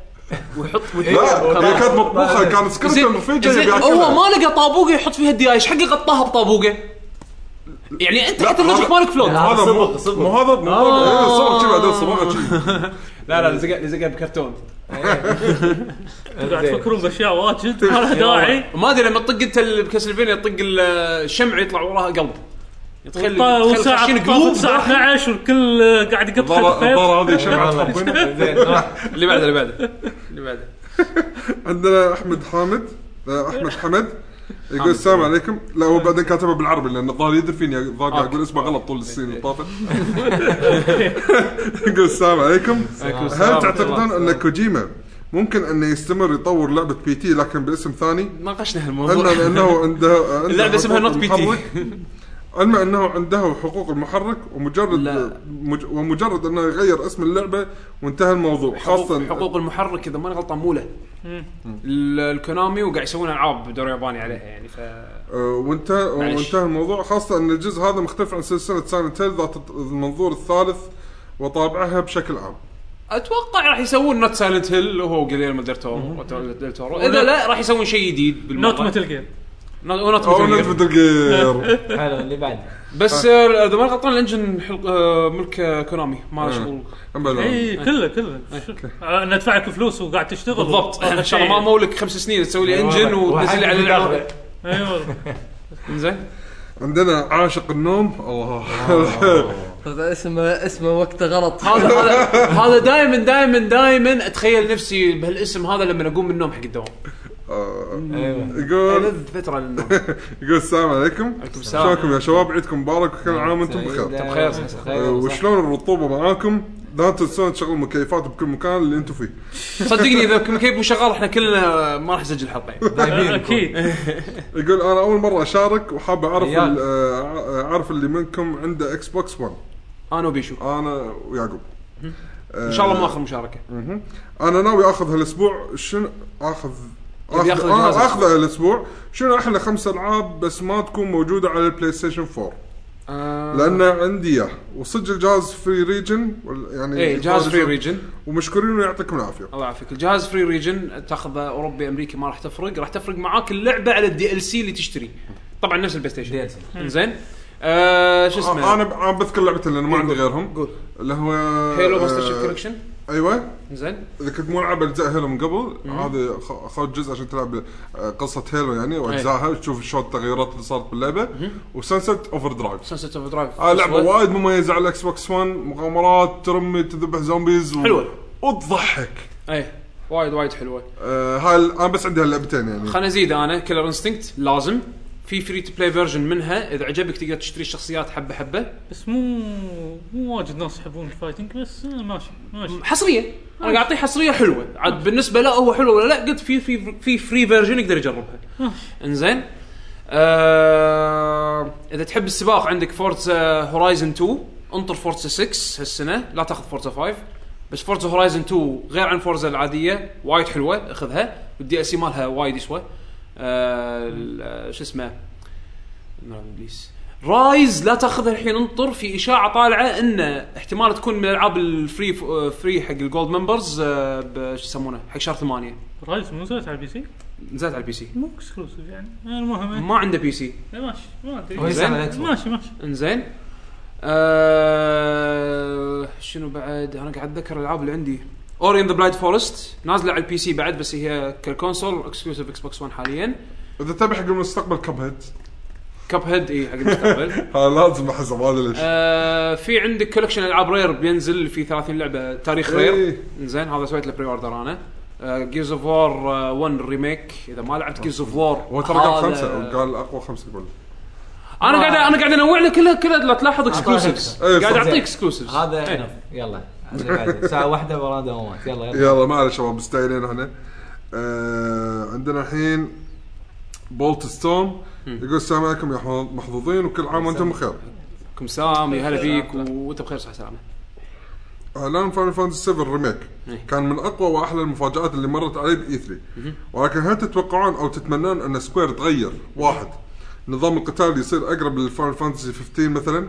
[SPEAKER 1] ويحط
[SPEAKER 4] لا هي كانت مطبوخه
[SPEAKER 5] زين.
[SPEAKER 4] كانت سكرت المفيجه
[SPEAKER 1] زين
[SPEAKER 4] يبي
[SPEAKER 1] هو
[SPEAKER 4] ياكلها
[SPEAKER 1] ما لقى طابوقه يحط فيها الديايه ايش حقه غطاها بطابوقه؟ يعني انت
[SPEAKER 4] لا،
[SPEAKER 1] حتى اللوجيك
[SPEAKER 4] هذا-
[SPEAKER 1] مالك آه. فلوت
[SPEAKER 5] لا.
[SPEAKER 4] هذا
[SPEAKER 5] صبغ-
[SPEAKER 4] مو
[SPEAKER 5] صبغ.
[SPEAKER 4] مو هذا مو هذا إيه، صبغ شي بعدين صبغه شي
[SPEAKER 1] لا لزق لزقها بكرتون
[SPEAKER 3] قاعد تفكرون باشياء واجد ما لها داعي
[SPEAKER 1] ما ادري لما تطق انت ال- بكاسلفينيا تطق ال- الشمع يطلع وراها قلب تخلي
[SPEAKER 3] والساعه طافت الساعه 12 والكل قاعد يقطع خلفين
[SPEAKER 4] الضاره هذه شمعة تخبينا.
[SPEAKER 1] (laughs)
[SPEAKER 5] زين راح.
[SPEAKER 1] اللي بعده اللي بعده اللي بعده
[SPEAKER 4] عندنا احمد حامد آه، احمد
[SPEAKER 1] (laughs)
[SPEAKER 4] حمد يقول السلام عليكم لا هو بعدين كاتبها بالعربي لان الظاهر يدري فيني الظاهر
[SPEAKER 1] آه.
[SPEAKER 4] قاعد اقول اسمه غلط طول السنين اللي
[SPEAKER 1] (laughs)
[SPEAKER 4] طافت يقول السلام عليكم هل تعتقدون ان كوجيما ممكن انه يستمر يطور لعبه بي تي لكن باسم ثاني؟
[SPEAKER 1] ناقشنا
[SPEAKER 4] علما
[SPEAKER 1] هالموضوع (laughs)
[SPEAKER 4] انه عنده عنده
[SPEAKER 1] اللعبة اسمها
[SPEAKER 4] حقوق
[SPEAKER 1] Not PT.
[SPEAKER 4] المحرك. علما انه عنده حقوق المحرك ومجرد
[SPEAKER 1] لا.
[SPEAKER 4] مج... ومجرد انه يغير اسم اللعبه وانتهى الموضوع خاصه
[SPEAKER 1] حقوق, حقوق المحرك اذا ماني غلطان مو له ال- الكونامي وقاعد يسوون العاب بدور ياباني عليها يعني ف
[SPEAKER 4] آه، وانتهى
[SPEAKER 1] معليش.
[SPEAKER 4] وانتهى الموضوع خاصه ان الجزء هذا مختلف عن سلسله سايلنت هيل ذات المنظور الثالث وطابعها بشكل عام
[SPEAKER 1] اتوقع راح يسوون نوت سايلنت هيل هو جليرمو ديل تورو ديل تورو اذا لا راح يسوون شيء جديد
[SPEAKER 3] نوت
[SPEAKER 1] بالمره
[SPEAKER 3] متل جيم
[SPEAKER 1] نوت
[SPEAKER 4] او نت
[SPEAKER 1] متل
[SPEAKER 4] بدل
[SPEAKER 5] (laughs)
[SPEAKER 4] جير
[SPEAKER 5] حلو اللي بعد
[SPEAKER 1] بس آه، اذا ماني غلطان الانجن حل- آه، ملك آه، كونامي ما له شغل إيه،
[SPEAKER 3] اي إيه، كله كله آه، ندفع لك فلوس وقاعد تشتغل
[SPEAKER 1] (laughs) بالضبط أيوة، ان شاء الله ما مولك خمس سنين تسوي لي انجن وتنزل لي على العاب
[SPEAKER 3] اي والله
[SPEAKER 1] زين
[SPEAKER 4] عندنا عاشق النوم الله (laughs)
[SPEAKER 2] هذا اسمه اسمه وقته غلط
[SPEAKER 1] هذا هذا هذا دائما دائما دائما اتخيل نفسي بهالاسم هذا لما اقوم من النوم حق الدوام
[SPEAKER 5] ايوه
[SPEAKER 4] يقول
[SPEAKER 1] ألذ فتره للنوم
[SPEAKER 4] (laughs) يقول السلام عليكم
[SPEAKER 1] السلام.
[SPEAKER 4] شلونكم يا شباب عيدكم مبارك وكل
[SPEAKER 5] نعم،
[SPEAKER 4] عام وانتم بخير
[SPEAKER 1] بخير،
[SPEAKER 5] أيوة،
[SPEAKER 4] آه، وشلون الرطوبه معاكم لا تنسون تشغلوا مكيفات بكل مكان اللي انتم فيه
[SPEAKER 1] صدقني اذا كم كيف مو شغال احنا كلنا ما راح نسجل حلقه يعني.
[SPEAKER 3] اكيد
[SPEAKER 4] يقول انا اول مره اشارك وحاب اعرف
[SPEAKER 5] ريال.
[SPEAKER 4] ال- آه، اعرف اللي منكم عنده اكس بوكس 1
[SPEAKER 1] انا وبيشو
[SPEAKER 4] انا ويعقوب
[SPEAKER 1] ان شاء الله ما اخر مشاركه
[SPEAKER 4] مهم. انا ناوي اخذ هالاسبوع شنو اخذ
[SPEAKER 1] يبي
[SPEAKER 4] اخذ
[SPEAKER 1] ياخذ
[SPEAKER 4] آه،
[SPEAKER 1] الجهاز.
[SPEAKER 4] اخذ هالاسبوع شنو احلى خمس العاب بس ما تكون موجوده على البلاي ستيشن 4
[SPEAKER 1] آه،
[SPEAKER 4] لان عندي اياه وصدق الجهاز فري ريجن يعني
[SPEAKER 1] ايه جهاز فري ريجن
[SPEAKER 4] ومشكورين ويعطيكم العافيه
[SPEAKER 1] الله يعافيك الجهاز فري ريجن تاخذه اوروبي امريكي ما راح تفرق راح تفرق معاك اللعبه على الدي ال سي اللي تشتري طبعا نفس البلاي ستيشن زين آه، شو اسمه
[SPEAKER 4] آه، انا ب- انا بذكر لعبتين لان ما عندي غيرهم
[SPEAKER 1] قول.
[SPEAKER 4] اللي هو
[SPEAKER 1] هيلو ماستر شيف
[SPEAKER 4] آه،
[SPEAKER 1] كولكشن
[SPEAKER 4] ايوه
[SPEAKER 1] زين
[SPEAKER 4] اذا كنت مو العب اجزاء هيلو من قبل هذا خ- خذ جزء عشان تلعب آه، قصه هيلو
[SPEAKER 1] إيه.
[SPEAKER 4] يعني واجزائها تشوف شلون التغيرات اللي صارت باللعبه وسانسيت اوفر درايف
[SPEAKER 1] سانست اوف درايف
[SPEAKER 4] آه لعبه وايد مميزه على الاكس بوكس 1 مغامرات ترمي تذبح زومبيز و...
[SPEAKER 1] حلوة.
[SPEAKER 4] وتضحك
[SPEAKER 1] اي وايد وايد حلوه
[SPEAKER 4] آه هاي ال- انا بس عندي هاللعبتين يعني
[SPEAKER 1] خليني ازيد انا كلر انستنكت لازم في فري تو بلاي فيرجن منها اذا عجبك تقدر تشتري الشخصيات حبه حبه
[SPEAKER 3] بس مو مو واجد ناس يحبون الفايتنج بس آه، ماشي ماشي
[SPEAKER 1] حصريه انا قاعد اعطيه حصريه حلوه عاد بالنسبه لا هو حلو ولا لا قلت في في في فري فيرجن يقدر يجربها انزين آه اذا تحب السباق عندك فورتزا هورايزن 2 انطر فورتزا 6 هالسنه لا تاخذ فورتزا 5 بس فورتزا هورايزن 2 غير عن فورتزا العاديه وايد حلوه اخذها والدي اس مالها وايد يسوى آه ال- شو اسمه ملعب ابليس رايز لا تاخذها الحين انطر في اشاعه طالعه انه احتمال تكون من الالعاب الفري فري آه، حق الجولد ممبرز آه، ب- شو يسمونه حق شهر 8
[SPEAKER 3] رايز مو نزلت على البي سي
[SPEAKER 1] نزلت على البي سي
[SPEAKER 3] مو اكسكلوسيف يعني المهم
[SPEAKER 1] ما عنده بي سي
[SPEAKER 3] إيه، ماشي ما ادري
[SPEAKER 5] هو ينزل على الإكس بوكس.
[SPEAKER 3] ماشي ماشي
[SPEAKER 1] انزين آه شنو بعد انا قاعد اتذكر الالعاب اللي عندي اوري ان ذا بلايد فورست نازله على البي سي بعد بس هي ككونسول اكسكلوسيف اكس بوكس 1 حاليا
[SPEAKER 4] اذا تبي حق المستقبل كب هيد
[SPEAKER 1] كاب هيد اي حق المستقبل
[SPEAKER 4] هذا لازم احسب هذا ليش
[SPEAKER 1] (laughs) آه في عندك كولكشن العاب رير بينزل في 30 لعبه تاريخ رير
[SPEAKER 4] إيه.
[SPEAKER 1] زين هذا سويت له آه، بري اوردر انا جيرز اوف وور 1 ريميك اذا ما لعبت جيرز اوف وور
[SPEAKER 4] هو ترى قال خمسه قال اقوى خمسه يقول
[SPEAKER 1] انا قاعد انا قاعد انوع له كلها كلها لا تلاحظ اكسكلوسيفز
[SPEAKER 4] إيه،
[SPEAKER 1] قاعد إيه.
[SPEAKER 4] صح.
[SPEAKER 1] اعطيك اكسكلوسيفز
[SPEAKER 5] هذا enough. يلا أنا قاعد. ساعه واحده ورا دوامات يلا يلا
[SPEAKER 4] يلا معلش شباب مستعجلين احنا آه عندنا الحين بولت ستورم يقول السلام عليكم يا محظوظ- محظوظين وكل عام وانتم بخير
[SPEAKER 1] كم سام يا هلا فيك وانت بخير صحه سلامه
[SPEAKER 4] اعلان فاينل فانتسي 7 ريميك
[SPEAKER 1] إيه.
[SPEAKER 4] كان من اقوى واحلى المفاجات اللي مرت علي باي 3 ولكن هل تتوقعون او تتمنون ان سكوير تغير؟ واحد نظام القتال يصير اقرب للفاينل فانتسي 15 مثلا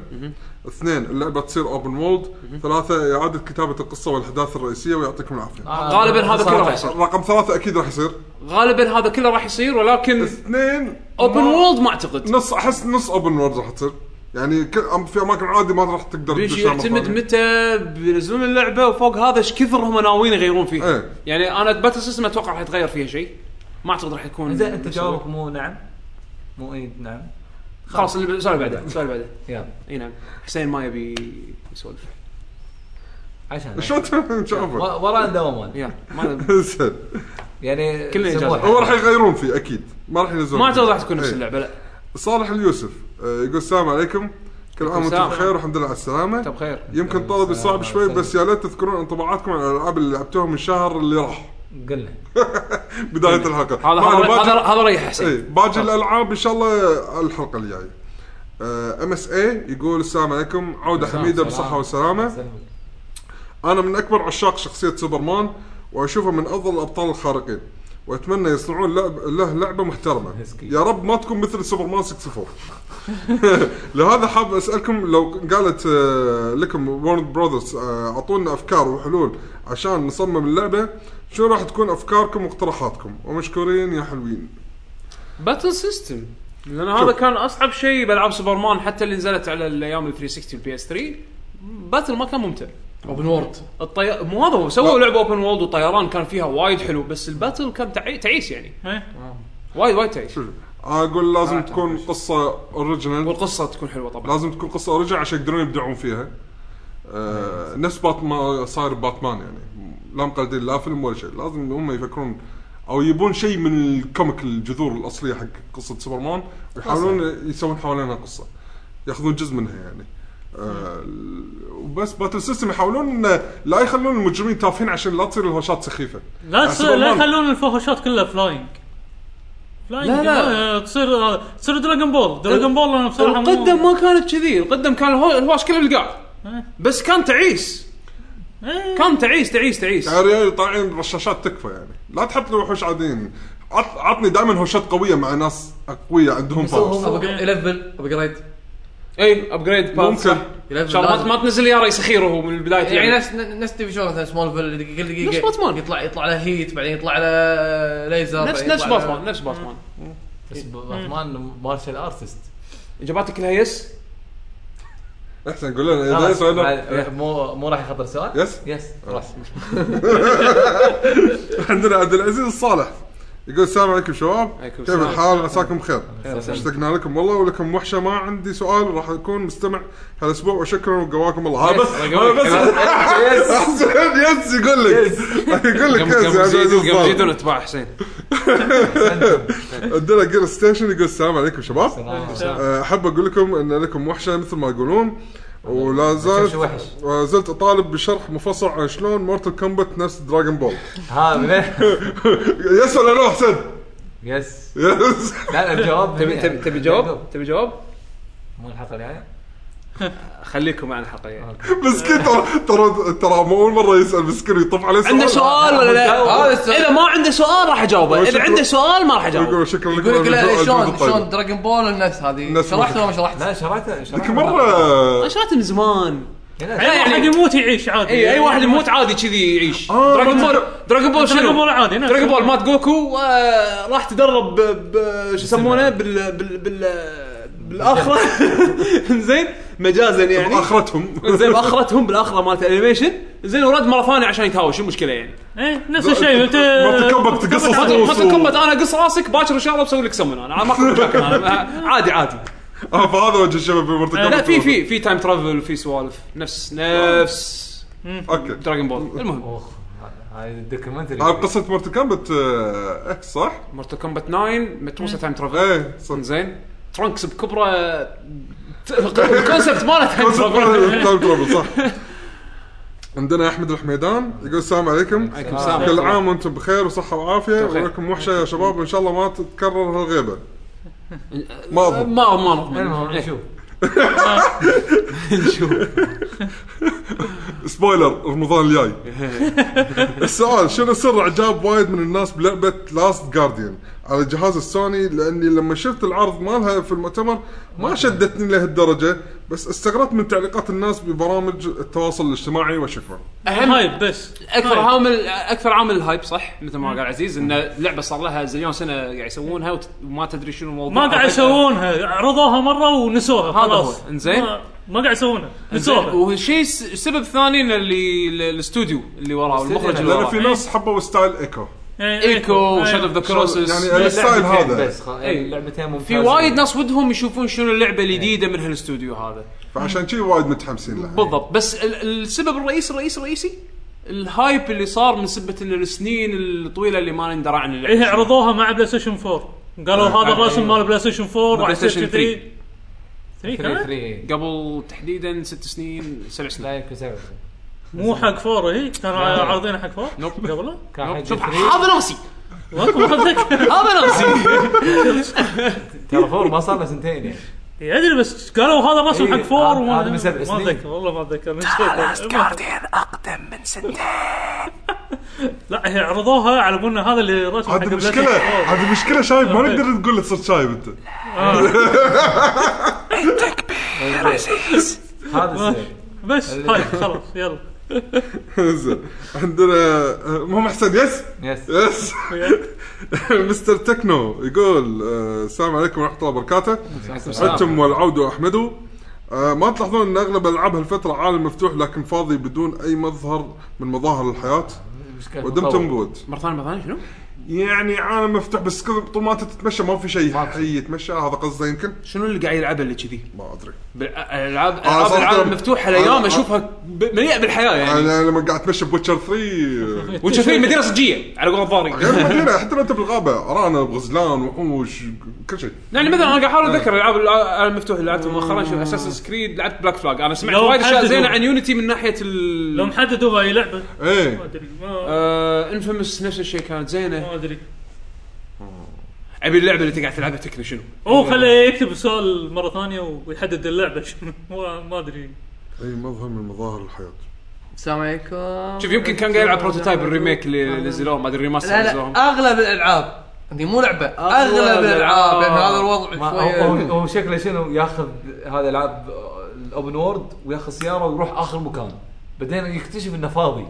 [SPEAKER 4] اثنين اللعبه تصير اوبن وولد ثلاثه اعاده كتابه القصه والاحداث الرئيسيه ويعطيكم العافيه
[SPEAKER 5] آه،
[SPEAKER 1] غالباً هذا
[SPEAKER 5] صار
[SPEAKER 1] كله
[SPEAKER 5] طيب.
[SPEAKER 1] راح يصير.
[SPEAKER 4] رقم ثلاثه اكيد راح يصير
[SPEAKER 1] غالبا هذا كله راح يصير ولكن
[SPEAKER 4] اثنين
[SPEAKER 1] اوبن
[SPEAKER 4] ما-
[SPEAKER 1] وولد ما اعتقد
[SPEAKER 4] نص احس نص اوبن وورد راح تصير يعني ك- في اماكن عادي ما راح تقدر
[SPEAKER 1] بيجي
[SPEAKER 4] تدشها مرة
[SPEAKER 1] يعتمد
[SPEAKER 4] (laughs) ثانية.
[SPEAKER 1] متى بينزلون اللعبه وفوق هذا ايش كثر هم ناويين يغيرون فيها
[SPEAKER 4] إيه.
[SPEAKER 1] يعني انا باتل سيستم اتوقع راح يتغير فيها شيء ما اعتقد راح يكون
[SPEAKER 5] زين انت جوابك مو نعم مو اي نعم
[SPEAKER 1] خلاص اللي- السؤال اللي بعده السؤال اللي بعده
[SPEAKER 5] يلا
[SPEAKER 1] اي نعم حسين ما يبي يسولف
[SPEAKER 5] عشان
[SPEAKER 4] شلون تفهم شافه؟
[SPEAKER 5] و- ورانا دوامات
[SPEAKER 1] يلا ما
[SPEAKER 4] (laughs) زين.
[SPEAKER 5] يعني
[SPEAKER 1] كلنا
[SPEAKER 5] سموها
[SPEAKER 1] إجازة.
[SPEAKER 4] هو راح يغيرون فيه اكيد ما راح ينزلون
[SPEAKER 1] ما اعتقد راح تكون نفس
[SPEAKER 4] إيه.
[SPEAKER 1] اللعبه لا
[SPEAKER 4] صالح اليوسف آه، يقول السلام عليكم كل عام وانتم
[SPEAKER 1] السلام.
[SPEAKER 4] بخير والحمد لله على
[SPEAKER 1] انت
[SPEAKER 4] السلامه
[SPEAKER 1] بخير
[SPEAKER 4] يمكن طلبي صعب
[SPEAKER 5] السلام
[SPEAKER 4] شوي
[SPEAKER 5] عليكم.
[SPEAKER 4] بس يا ليت تذكرون انطباعاتكم عن الالعاب اللي لعبتوهم من الشهر اللي راح
[SPEAKER 5] قلنا
[SPEAKER 4] بدايه الحلقه
[SPEAKER 1] إيه. هذا
[SPEAKER 4] ما أنا
[SPEAKER 1] هذا
[SPEAKER 4] باجي-
[SPEAKER 1] هذا- هذا ريح
[SPEAKER 4] اي
[SPEAKER 1] حسين
[SPEAKER 4] إيه، باقي الالعاب ان شاء الله آه، على الحلقه الجايه ام اس اي يقول السلام عليكم عوده حميده بالصحه والسلامه
[SPEAKER 5] سلمك.
[SPEAKER 4] انا من اكبر عشاق شخصيه سوبرمان واشوفه من افضل الابطال الخارقين واتمنى يصنعون لعب له لعبه محترمه
[SPEAKER 5] مسكين.
[SPEAKER 4] يا رب ما تكون مثل سوبرمان 64 (laughs) لهذا حاب اسالكم لو قالت آه، لكم وورن براذرز اعطونا افكار وحلول عشان نصمم اللعبه شو راح تكون افكاركم واقتراحاتكم ومشكورين يا حلوين
[SPEAKER 1] باتل سيستم لان هذا
[SPEAKER 4] شوف.
[SPEAKER 1] كان اصعب شيء بالعاب سوبرمان حتى اللي نزلت على الايام ال 360 والبي اس 3 باتل ما كان ممتع
[SPEAKER 2] اوبن وورد
[SPEAKER 1] الطي... مو هذا هو سووا لعبه اوبن وولد وطيران كان فيها وايد حلو بس الباتل كان تعي... تعيس يعني
[SPEAKER 3] إيه.
[SPEAKER 1] وايد وايد تعيس
[SPEAKER 4] شوف، اقول لازم
[SPEAKER 1] آه،
[SPEAKER 4] تكون
[SPEAKER 1] تعرف.
[SPEAKER 4] قصه اوريجينال
[SPEAKER 1] والقصه تكون حلوه طبعا
[SPEAKER 4] لازم تكون قصه اوريجينال عشان يقدرون يبدعون فيها آه نفس باتمان صاير باتمان يعني لا مقلدين لا فيلم ولا شيء لازم هم يفكرون او يبون شيء من الكوميك الجذور الاصليه حق قصه سوبرمان ويحاولون يسوون حوالينها قصه ياخذون جزء منها يعني آه وبس باتل سيستم يحاولون إنه لا يخلون المجرمين تافهين عشان لا تصير الهوشات سخيفه
[SPEAKER 3] لا تس...
[SPEAKER 4] سوبرمان.
[SPEAKER 3] لا يخلون الفوهوشات كلها فلاينج فلاينج
[SPEAKER 1] لا، لا.
[SPEAKER 3] آه، تصير آه، تصير دراجون بول دراجون بول انا بصراحه مو-
[SPEAKER 1] القدم ما كانت كذي القدم كان الهو- الهواش كله بالقاع
[SPEAKER 3] إيه.
[SPEAKER 1] بس كان تعيس
[SPEAKER 3] إيه.
[SPEAKER 1] كان تعيس تعيس تعيس
[SPEAKER 4] يا ريال طالعين رشاشات تكفى يعني لا تحط لي وحوش عاديين عط- عطني دائما هوشات قويه مع ناس اقوياء عندهم باورز
[SPEAKER 2] ليفل ابجريد
[SPEAKER 1] اي ابجريد
[SPEAKER 4] ممكن.
[SPEAKER 1] باس ان إيه، شاء الله ما- ما تنزل يا ري سخير وهو من البدايه
[SPEAKER 2] يعني
[SPEAKER 1] يعني
[SPEAKER 2] نفس نفس ديفيجن مثلا سمول فيل دقيقه كل دقيقه
[SPEAKER 1] نفس باتمان.
[SPEAKER 2] يطلع يطلع له هيت بعدين يطلع له ليزر
[SPEAKER 1] نفس
[SPEAKER 2] بعدين
[SPEAKER 1] نفس
[SPEAKER 2] يطلع له-
[SPEAKER 1] باتمان نفس باتمان
[SPEAKER 5] بس باتمان مارشال ارتست
[SPEAKER 1] اجاباتك كلها يس
[SPEAKER 4] احسن قول لنا اذا يس ولا
[SPEAKER 5] إيه، مو مو راح يخطر سؤال
[SPEAKER 4] يس (laughs)
[SPEAKER 5] يس راس
[SPEAKER 4] عندنا عبد العزيز الصالح يقول السلام عليكم شباب
[SPEAKER 1] عليكم
[SPEAKER 4] كيف
[SPEAKER 1] السلام.
[SPEAKER 4] الحال عساكم بخير
[SPEAKER 2] وسهلا.
[SPEAKER 4] اشتقنا لكم والله ولكم وحشه ما عندي سؤال راح اكون مستمع هالاسبوع وشكرا وقواكم الله هذا بس
[SPEAKER 1] (laughs)
[SPEAKER 4] (laughs)
[SPEAKER 1] يس.
[SPEAKER 4] احسن يس يقول لك (laughs) يقول لك
[SPEAKER 1] قام-
[SPEAKER 4] يس يا
[SPEAKER 1] قام
[SPEAKER 4] عبد
[SPEAKER 1] زيدون- قام
[SPEAKER 4] العزيز
[SPEAKER 1] زيدون اتباع حسين
[SPEAKER 4] عندنا جير ستيشن يقول السلام عليكم شباب
[SPEAKER 3] السلام.
[SPEAKER 4] أه، احب اقول لكم ان لكم وحشه مثل ما يقولون ولا زالت
[SPEAKER 5] شو وحش؟
[SPEAKER 4] ولا زلت اطالب بشرح مفصل عن شلون مورتل كومبات نفس دراجون بول (laughs)
[SPEAKER 5] ها منين؟
[SPEAKER 4] يس ولا لا حسين
[SPEAKER 5] يس
[SPEAKER 4] يس (laughs)
[SPEAKER 5] لا لا الجواب
[SPEAKER 1] تبي تبي تبي جواب؟ تبي جواب؟
[SPEAKER 5] مو الحلقه الجايه؟
[SPEAKER 1] خليكم مع الحلقه يعني.
[SPEAKER 4] مسكين ترى ترى ترى مو اول مره يسال مسكين يطف عليه سؤال
[SPEAKER 1] عنده سؤال ولا
[SPEAKER 5] هذا
[SPEAKER 1] لا؟
[SPEAKER 2] السؤال.
[SPEAKER 1] اذا ما عنده سؤال راح اجاوبه، اذا
[SPEAKER 4] شكرا.
[SPEAKER 1] عنده سؤال ما راح اجاوبه.
[SPEAKER 4] يقول شكرا لكم
[SPEAKER 2] يقول لك
[SPEAKER 4] على
[SPEAKER 2] لا
[SPEAKER 4] الجو-
[SPEAKER 2] شلون
[SPEAKER 4] الجو الطيب.
[SPEAKER 2] شلون دراجون بول النفس هذه
[SPEAKER 4] نفس
[SPEAKER 2] شرحت ولا ما شرحت؟
[SPEAKER 5] لا شريته شريته
[SPEAKER 4] ذيك مره
[SPEAKER 1] انا شريته من زمان.
[SPEAKER 5] لا،
[SPEAKER 3] اي واحد يموت يعيش عادي
[SPEAKER 1] اي اي إيه، واحد يموت عادي كذي يعيش.
[SPEAKER 4] آه،
[SPEAKER 1] دراجون
[SPEAKER 4] ما
[SPEAKER 1] بول دراجون بول شنو؟
[SPEAKER 3] دراجون بول عادي نفس.
[SPEAKER 1] دراجون بول مات جوكو آه، راح تدرب ب- ب- شو يسمونه بال بال بال بالاخره زين مجازا يعني
[SPEAKER 4] اخرتهم
[SPEAKER 1] زين باخرتهم بالاخره مالت الانيميشن زين ورد مره ثانيه عشان يتهاوش شو المشكله يعني؟
[SPEAKER 3] اي نفس
[SPEAKER 4] (laughs)
[SPEAKER 3] الشيء انت
[SPEAKER 4] ما تكبر تقصص
[SPEAKER 1] ما
[SPEAKER 4] فلوس
[SPEAKER 1] تكمت انا قص راسك باكر ان شاء الله بسوي لك سمن انا ما اخذ مشاكل انا عادي عادي
[SPEAKER 4] آه، فهذا وجه الشباب بمورتل كومبات
[SPEAKER 1] لا في في في تايم ترافل في سوالف نفس نفس
[SPEAKER 4] اوكي
[SPEAKER 1] دراجون بول المهم
[SPEAKER 5] اوخ هاي الدوكيومنتري
[SPEAKER 4] هاي قصه مورتل كومبات آه، اكس صح؟
[SPEAKER 1] مورتال كومبات 9 متروسه تايم ترافل
[SPEAKER 4] ايه
[SPEAKER 1] (laughs)
[SPEAKER 4] صح
[SPEAKER 1] زين ترانكس بكبره ت- الكونسبت ماله تايم
[SPEAKER 4] كونسبت
[SPEAKER 1] ترافل
[SPEAKER 4] مال تايم ترافل، صح عندنا احمد الحميدان يقول السلام عليكم
[SPEAKER 1] عليكم السلام.
[SPEAKER 4] كل عام وانتم بخير وصحه وعافيه
[SPEAKER 1] بخير.
[SPEAKER 4] ولكم وحشه يا شباب وان شاء الله ما
[SPEAKER 1] (laughs)
[SPEAKER 4] تتكرر هالغيبه ما اظن
[SPEAKER 1] ما إيه. ما نضمن
[SPEAKER 5] المهم نشوف
[SPEAKER 4] سبويلر رمضان الجاي السؤال شنو سر اعجاب وايد من الناس بلعبه لاست جارديان على جهاز السوني لاني لما شفت العرض مالها في المؤتمر ما شدتني لهالدرجه بس استغربت من تعليقات الناس ببرامج التواصل الاجتماعي وشكرا
[SPEAKER 1] اهم
[SPEAKER 3] هايب طيب، بس
[SPEAKER 1] اكثر
[SPEAKER 3] هايب.
[SPEAKER 1] عامل اكثر عامل الهايب صح مثل ما قال عزيز ان اللعبه صار لها زليون سنه قاعد يسوونها وت- وما تدري شنو الموضوع
[SPEAKER 3] ما قاعد يسوونها عرضوها مره ونسوها
[SPEAKER 1] هذا هو.
[SPEAKER 3] خلاص
[SPEAKER 1] إنزين.
[SPEAKER 3] ما- ما قاعد يسوونها نسوها
[SPEAKER 1] والشيء الس- السبب الثاني ان اللي ال- الاستوديو اللي وراه المخرج اللي
[SPEAKER 4] لان في
[SPEAKER 1] وراه
[SPEAKER 4] ناس حبوا ستايل ايكو
[SPEAKER 3] إيه، أيوه.
[SPEAKER 1] ايكو وشاد اوف ذا كروسس
[SPEAKER 4] يعني أيوه. الستايل هذا
[SPEAKER 5] بس خ-
[SPEAKER 1] إيه.
[SPEAKER 5] لعبتين ممتازه
[SPEAKER 1] في وايد ناس ودهم يشوفون شنو اللعبه الجديده من هالاستوديو هذا
[SPEAKER 4] فعشان شي وايد متحمسين له
[SPEAKER 1] بالضبط بس ال- السبب الرئيسي الرئيسي الرئيسي الهايب اللي صار من سبه ان السنين الطويله اللي ما ندرى عن اللعبه
[SPEAKER 3] ايه عرضوها مع بلاي ستيشن 4 قالوا هذا الرسم مال بلاي ستيشن 4
[SPEAKER 1] بلاي
[SPEAKER 3] وعلى
[SPEAKER 1] ستيشن
[SPEAKER 3] 3 3
[SPEAKER 5] 3
[SPEAKER 3] إيه، كان
[SPEAKER 5] 3
[SPEAKER 1] قبل تحديدا ست سنين سبع سنين
[SPEAKER 5] لا يمكن سبعة
[SPEAKER 3] مو حق 4 هي كانوا عارضينها حق 4
[SPEAKER 1] نوب.
[SPEAKER 3] قبله
[SPEAKER 5] كان حق
[SPEAKER 1] شوف
[SPEAKER 5] 3
[SPEAKER 1] هذا ناسي
[SPEAKER 3] ما- ما اتذكر
[SPEAKER 1] هذا ناسي
[SPEAKER 5] ترى فور ما صار له سنتين يعني
[SPEAKER 3] ادري إيه، بس قالوا هذا الرسم
[SPEAKER 5] إيه،
[SPEAKER 3] حق 4
[SPEAKER 5] هذا-
[SPEAKER 3] وما
[SPEAKER 5] هذا من سبع
[SPEAKER 3] ما
[SPEAKER 5] سنين.
[SPEAKER 3] اتذكر والله ما اتذكر نسيت.
[SPEAKER 1] اقدم من سنتين
[SPEAKER 3] لا هي عرضوها على بالنا هذا اللي رسم حق
[SPEAKER 4] هذه
[SPEAKER 3] بلاي
[SPEAKER 4] المشكله
[SPEAKER 3] ستيشن 4
[SPEAKER 4] هذه المشكله شايب ما نقدر تقول له صرت شايب انت
[SPEAKER 5] هذا السبب
[SPEAKER 3] بس هاي خلاص يلا
[SPEAKER 4] (laughs) زين عندنا آه، المهم احسن يس
[SPEAKER 5] يس
[SPEAKER 4] (laughs) يس مستر تكنو يقول آه، السلام عليكم ورحمه الله وبركاته عدتم والعود واحمدو آه، ما تلاحظون ان اغلب العاب هالفتره عالم مفتوح لكن فاضي بدون اي مظهر من مظاهر الحياه
[SPEAKER 5] مشكلة
[SPEAKER 4] ودمتم
[SPEAKER 5] مطور.
[SPEAKER 4] بود
[SPEAKER 1] مره ثانيه مره ثانيه شنو؟
[SPEAKER 4] يعني عالم مفتوح بس كذا طول ما انت تتمشى ما في شيء حي يتمشى هذا قصده يمكن
[SPEAKER 1] شنو اللي قاعد يلعبها اللي كذي؟
[SPEAKER 4] ما ادري
[SPEAKER 1] العاب
[SPEAKER 4] آه،
[SPEAKER 1] العاب
[SPEAKER 4] صدق.
[SPEAKER 1] العالم مفتوحه الايام
[SPEAKER 4] آه،
[SPEAKER 1] اشوفها ب- مليئه بالحياه يعني
[SPEAKER 4] انا لما قاعد اتمشى بوتشر 3 (laughs)
[SPEAKER 1] وانت في مدينه صجيه على قول
[SPEAKER 4] غير
[SPEAKER 1] ظهري
[SPEAKER 4] المدينه حتى لو انت بالغابه ارانب غزلان وحوش كل شيء
[SPEAKER 1] يعني مثلا انا قاعد احاول اتذكر الالعاب العالم المفتوح آه، اللي لعبتها مؤخرا شوف اساسن سكريد لعبت بلاك فلاج انا سمعت
[SPEAKER 3] لو
[SPEAKER 1] وايد اشياء
[SPEAKER 3] حددوا.
[SPEAKER 1] زينه عن يونيتي من ناحيه
[SPEAKER 3] لو
[SPEAKER 1] ال
[SPEAKER 3] محددوها اي لعبه ما
[SPEAKER 4] ايه
[SPEAKER 3] ادري ما
[SPEAKER 1] انفيمس نفس الشيء كانت زينه
[SPEAKER 3] ما ادري
[SPEAKER 1] ابي اللعبه اللي تقعد تلعبها تكني شنو؟
[SPEAKER 3] او خليه يكتب السؤال مره ثانيه ويحدد اللعبه شنو (laughs) ما- ما ادري
[SPEAKER 4] اي مظهر من مظاهر الحياه
[SPEAKER 2] السلام عليكم
[SPEAKER 1] شوف يمكن كان قاعد يلعب بروتوتايب الريميك اللي نزلوه ما ادري الريماستر
[SPEAKER 2] لا
[SPEAKER 1] اللي
[SPEAKER 2] لا
[SPEAKER 1] نزلوه
[SPEAKER 2] اغلب الالعاب هذه مو لعبه اغلب الالعاب لان يعني هذا الوضع
[SPEAKER 5] ما- هو- هو
[SPEAKER 2] شويه
[SPEAKER 5] هو شكله شنو ياخذ هذا العاب الاوبن وورد وياخذ سياره ويروح اخر مكان بعدين يكتشف انه فاضي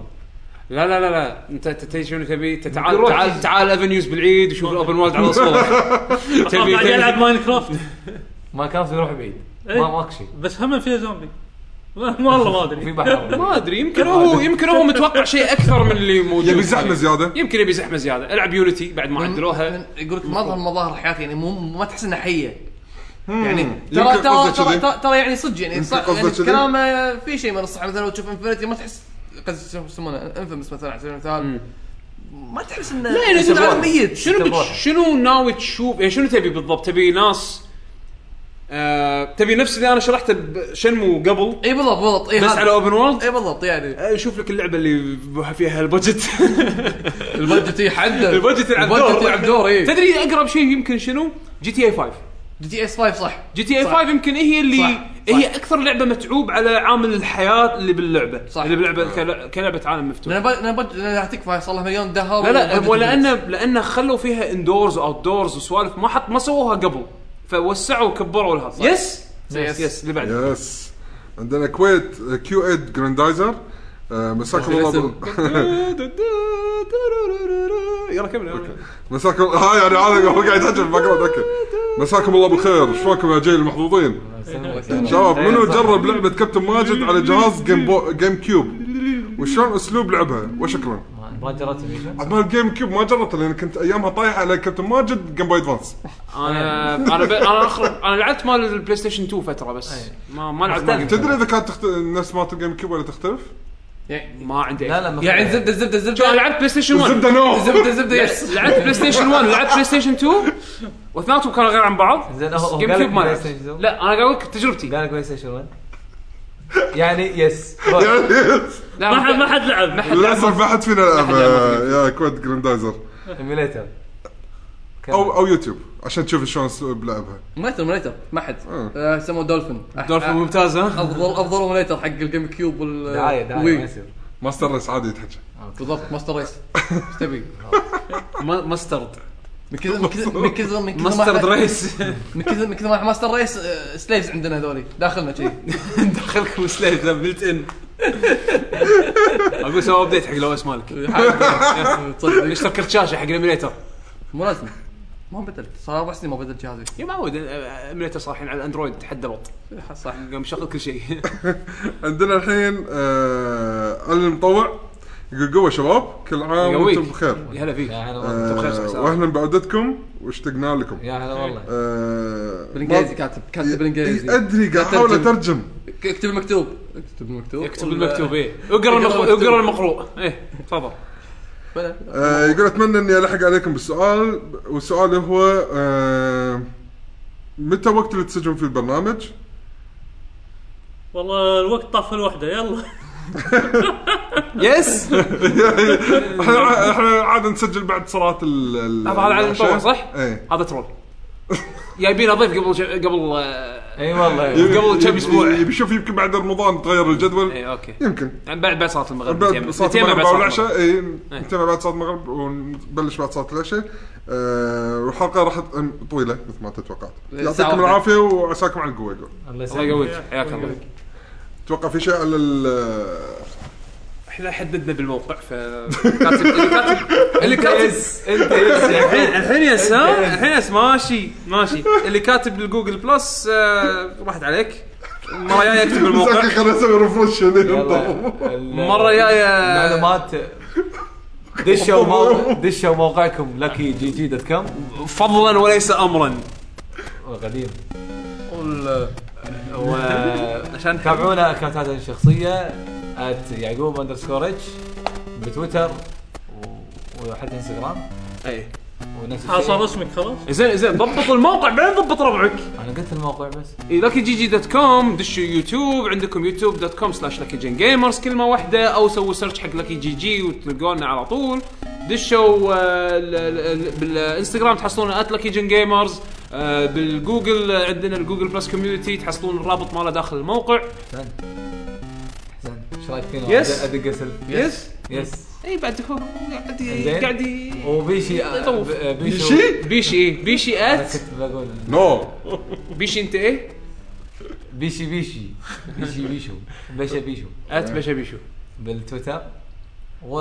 [SPEAKER 1] لا لا لا لا انت انت تدري شنو تبي أنت تعال
[SPEAKER 5] روح.
[SPEAKER 1] تعال تعال افنيوز بالعيد وشوف الاوبن وورلد على صوره
[SPEAKER 3] قاعد
[SPEAKER 1] تبي-
[SPEAKER 3] يلعب ماين كرافت
[SPEAKER 5] ما كان في يروح بعيد
[SPEAKER 3] إيه.
[SPEAKER 5] ما ماك شيء
[SPEAKER 3] بس هم فيها زومبي والله ما
[SPEAKER 5] في
[SPEAKER 3] ادري
[SPEAKER 5] بحر
[SPEAKER 1] (laughs)
[SPEAKER 5] (laughs)
[SPEAKER 1] ما ادري يمكن هو يمكن هو متوقع شيء اكثر من اللي موجود
[SPEAKER 4] يبي زحمه زياده
[SPEAKER 1] يمكن يبي زحمه زياده العب يونيتي بعد ما عدلوها
[SPEAKER 2] من- يقول لك مظهر مظاهر الحياه يعني مو ما تحس انها حيه يعني ترى
[SPEAKER 4] يمكن
[SPEAKER 2] ترى
[SPEAKER 4] قصدك
[SPEAKER 2] ترى
[SPEAKER 4] كذي.
[SPEAKER 2] ترى- ترى يعني صدق يعني
[SPEAKER 4] يمكن
[SPEAKER 2] صح
[SPEAKER 4] قصدك
[SPEAKER 2] يعني
[SPEAKER 4] كذي.
[SPEAKER 2] كلامه في شيء من الصح مثلا لو تشوف انفنتي ما تحس قصدي شو يسمونه انفمس مثلا على سبيل المثال ما تحس انه لا
[SPEAKER 1] يعني
[SPEAKER 2] يعني
[SPEAKER 1] يسوون.
[SPEAKER 2] عالم ميت
[SPEAKER 1] شنو بتش... شنو ناوي تشوف يعني شنو تبي بالضبط تبي ناس آه... تبي نفس اللي انا شرحته بشنمو قبل
[SPEAKER 2] اي بالضبط بالضبط اي
[SPEAKER 1] بس على اوبن وورلد
[SPEAKER 2] اي بالضبط يعني
[SPEAKER 1] آه، شوف لك اللعبه اللي فيها البادجت
[SPEAKER 2] البادجت يحدد
[SPEAKER 1] البادجت يلعب دور.
[SPEAKER 2] البادجت يلعب دور إيه. اي
[SPEAKER 1] تدري اقرب شيء يمكن شنو؟ جي تي اي 5
[SPEAKER 2] جي تي اس 5 صح
[SPEAKER 1] جي تي اي
[SPEAKER 2] صح.
[SPEAKER 1] 5 يمكن هي اللي
[SPEAKER 2] صح. صح.
[SPEAKER 1] هي اكثر لعبه متعوب على عامل الحياه اللي باللعبه
[SPEAKER 2] صح.
[SPEAKER 1] اللي باللعبه كل- كلعبه عالم مفتوح
[SPEAKER 2] لان بد- لان بد- لان راح تكفى صار لها مليون دهر
[SPEAKER 1] لا لا
[SPEAKER 2] والبادجت
[SPEAKER 1] هو
[SPEAKER 2] يزيد.
[SPEAKER 1] لانه لانه خلوا فيها اندورز واوت دورز وسوالف ما حط ما سووها قبل فوسعوا وكبروا الهذا يس يس
[SPEAKER 2] يس.
[SPEAKER 1] يس اللي بعده
[SPEAKER 4] يس عندنا كويت كيو ايد جراندايزر آه، مساكم الله (laughs) بال-
[SPEAKER 1] يلا كمل
[SPEAKER 4] مساكم (laughs) هاي انا هذا هو قاعد يحكي ما قاعد اتذكر مساكم الله بالخير شلونكم يا جيل المحظوظين (laughs) شباب
[SPEAKER 5] إيه،
[SPEAKER 4] منو جرب لعبه كابتن ماجد على جهاز جيم بو جيم كيوب وشلون اسلوب لعبها وشكرا
[SPEAKER 5] ما- ما جربت ميشا
[SPEAKER 4] عاد ما الجيم كيوب ما جربته لان كنت ايامها طايح على كابتن ماجد جيم بوي ادفانس
[SPEAKER 1] انا انا ب... انا اخرب انا لعبت مال البلاي ستيشن 2 فتره بس ما ما لعبت مال
[SPEAKER 4] تدري اذا كانت تخت... نفس مالت الجيم كيوب ولا تختلف؟
[SPEAKER 2] يعني
[SPEAKER 1] ما عندي
[SPEAKER 5] لا لا ما
[SPEAKER 2] يعني زبده زبده
[SPEAKER 1] شو، انا
[SPEAKER 2] زبده
[SPEAKER 1] لعبت بلاي ستيشن 1
[SPEAKER 4] الزبده نو
[SPEAKER 2] زبده
[SPEAKER 5] (laughs)
[SPEAKER 2] زبده يس
[SPEAKER 1] لعبت بلاي ستيشن 1 لعبت بلاي ستيشن 2 واثنيناتهم كانوا غير عن بعض
[SPEAKER 5] زين هو- هو
[SPEAKER 1] جيم
[SPEAKER 5] قال
[SPEAKER 1] كيوب
[SPEAKER 5] لك
[SPEAKER 1] ما
[SPEAKER 5] بلاي
[SPEAKER 1] لعبت.
[SPEAKER 5] ستيشن 2
[SPEAKER 1] لا انا قاعد اقول لك تجربتي
[SPEAKER 5] قال لك بلاي ستيشن 1
[SPEAKER 4] (laughs)
[SPEAKER 5] يعني يس
[SPEAKER 1] لا
[SPEAKER 3] ما حد ما حد لعب
[SPEAKER 4] للاسف ما حد فينا لعبه يا كويت جراندايزر
[SPEAKER 5] ايميليتر
[SPEAKER 4] او او يوتيوب عشان تشوف شلون اسلوب لعبها
[SPEAKER 2] مونيتر مونيتر ما حد
[SPEAKER 4] آه.
[SPEAKER 2] آه، يسموه دولفين
[SPEAKER 1] دولفين ممتاز ها
[SPEAKER 2] افضل افضل مونيتر حق الجيم كيوب وال
[SPEAKER 5] دعايه دعايه ما
[SPEAKER 2] وي.
[SPEAKER 5] يصير
[SPEAKER 4] ماستر ريس عادي يتحكى
[SPEAKER 2] بالضبط ماستر ريس
[SPEAKER 1] (laughs)
[SPEAKER 2] ايش تبي؟
[SPEAKER 1] ماسترد
[SPEAKER 2] من كذا من كذا من كذا من كذا ما إحنا-
[SPEAKER 1] ماسترد
[SPEAKER 5] (laughs)
[SPEAKER 1] ريس
[SPEAKER 2] من كذا من كذا ما إحنا ماستر ريس آه، سليفز عندنا هذولي داخلنا
[SPEAKER 1] (laughs)
[SPEAKER 2] شي
[SPEAKER 1] دخلكم سليف ذا بلت (laughs) ان اقول سوى ابديت حق الاو اس مالك
[SPEAKER 2] تصدق
[SPEAKER 1] اشتري كرت شاشه حق الاميليتر
[SPEAKER 2] مو لازم ما بدلت صار اربع سنين ما بدلت جهازي
[SPEAKER 1] يا معود الاميليتر صار الحين على اندرويد تحدى بط
[SPEAKER 2] صح
[SPEAKER 1] قام شغل كل شيء (laughs)
[SPEAKER 4] عندنا الحين آه علي المطوع يقول قوه شباب كل عام
[SPEAKER 1] يقويك.
[SPEAKER 4] وانتم بخير
[SPEAKER 1] يا هلا فيك
[SPEAKER 5] يا هلا والله
[SPEAKER 1] بخير،
[SPEAKER 4] آه،
[SPEAKER 1] سعد.
[SPEAKER 4] واهلا بعودتكم واشتقنا لكم
[SPEAKER 5] يا هلا والله
[SPEAKER 4] آه،
[SPEAKER 2] بالانجليزي
[SPEAKER 4] ما-
[SPEAKER 2] كاتب كاتب بالانجليزي
[SPEAKER 4] إي، ادري قاعد احاول
[SPEAKER 2] أترجم.
[SPEAKER 4] اترجم
[SPEAKER 2] اكتب المكتوب اكتب المكتوب
[SPEAKER 1] اكتب المكتوب ايه اقرا المقروء اقرا المقروء ايه تفضل
[SPEAKER 2] بلى.
[SPEAKER 4] آه، يقول اتمنى اني الحق عليكم بالسؤال والسؤال هو آه، متى وقت اللي تسجلون فيه البرنامج؟
[SPEAKER 3] والله الوقت طاف الوحده يلا
[SPEAKER 1] يس
[SPEAKER 4] احنا احنا عاده نسجل بعد صلاه ال ال-
[SPEAKER 1] هذا على
[SPEAKER 4] العشاء.
[SPEAKER 1] المطور صح؟
[SPEAKER 4] ايه
[SPEAKER 1] هذا ترول جايبين اضيف قبل ج- قبل آه،
[SPEAKER 5] اي
[SPEAKER 4] إيه.
[SPEAKER 5] والله
[SPEAKER 1] قبل كم إيه.
[SPEAKER 4] يبي-
[SPEAKER 1] اسبوع.
[SPEAKER 4] يبي يشوف يمكن بعد رمضان تغير الجدول
[SPEAKER 1] اي اوكي
[SPEAKER 4] يمكن
[SPEAKER 1] يعني بعد بعد صلاه المغرب
[SPEAKER 4] بعد
[SPEAKER 1] نتيمم.
[SPEAKER 4] صلاه
[SPEAKER 1] نتيمم
[SPEAKER 4] المغرب
[SPEAKER 1] بعد
[SPEAKER 4] او
[SPEAKER 1] صلاة
[SPEAKER 4] العشاء
[SPEAKER 1] المغرب. إيه.
[SPEAKER 4] اي نتابع بعد صلاه المغرب ونبلش بعد صلاه العشاء آه، والحلقه راح تكون طويله مثل ما تتوقعت
[SPEAKER 1] إيه،
[SPEAKER 4] يعطيكم
[SPEAKER 2] واحدة.
[SPEAKER 4] العافيه وعساكم على القوه يقول
[SPEAKER 5] الله
[SPEAKER 1] الله
[SPEAKER 5] يسلمك
[SPEAKER 1] يقويك حياك الله
[SPEAKER 4] اتوقع في شيء على ال
[SPEAKER 1] احنا حددنا بالموقع ف (laughs) كاتب- اللي كاتب اللي كاتب إيه.
[SPEAKER 5] انت يس إيه يا
[SPEAKER 1] الحين الحين يس ها الحين يس ماشي ماشي اللي كاتب بالجوجل بلس آه، راحت عليك المره الجايه اكتب
[SPEAKER 4] (laughs)
[SPEAKER 1] بالموقع
[SPEAKER 4] مساكن خليني اسوي ريفرش
[SPEAKER 1] مرة
[SPEAKER 5] مرة
[SPEAKER 1] جاية-
[SPEAKER 5] معلومات دشوا موقع دشوا موقعكم لكي جي جي دوت كوم
[SPEAKER 1] فضلا وليس امرا
[SPEAKER 5] قديم
[SPEAKER 1] آه،
[SPEAKER 2] وال-
[SPEAKER 1] عشان
[SPEAKER 5] تابعونا اكونتاتنا الشخصية ات يعقوب اندرسكور اتش بتويتر و- وحتى انستغرام
[SPEAKER 1] اي
[SPEAKER 5] ونفس
[SPEAKER 3] ها، صار
[SPEAKER 5] الشيء
[SPEAKER 3] اسمك خلاص
[SPEAKER 1] زين زين ضبط الموقع بعدين ضبط ربعك
[SPEAKER 5] انا قلت الموقع بس
[SPEAKER 1] لكي جي جي دوت كوم دشوا يوتيوب عندكم يوتيوب دوت كوم سلاش لكي جين جيمرز كلمه واحده او سووا سيرش حق لكي جي جي وتلقونا على طول دشوا آه، ال- ال- ال- بالانستغرام تحصلون ات لكي جين جيمرز بالجوجل آه، عندنا الجوجل بلس كوميونتي تحصلون الرابط ماله داخل الموقع
[SPEAKER 5] احسن احسن ايش رايك فينا؟
[SPEAKER 1] Yes.
[SPEAKER 5] ادق اسلك
[SPEAKER 1] يس
[SPEAKER 5] يس
[SPEAKER 1] اي إيه، بعد هو قاعد
[SPEAKER 5] زين.
[SPEAKER 1] قاعد ي-
[SPEAKER 5] وبيشي
[SPEAKER 1] طوف.
[SPEAKER 5] آه، ب- بيشو
[SPEAKER 4] شيء
[SPEAKER 1] بيشي ايه بيشي
[SPEAKER 5] أنا
[SPEAKER 1] ات
[SPEAKER 5] (laughs) كنت بقول
[SPEAKER 4] نو
[SPEAKER 1] بيشي انت ايه
[SPEAKER 5] بيشي بيشي بيشي بيشو بيشا بيشو
[SPEAKER 1] ات بشا بيشو
[SPEAKER 5] بالتويتر و...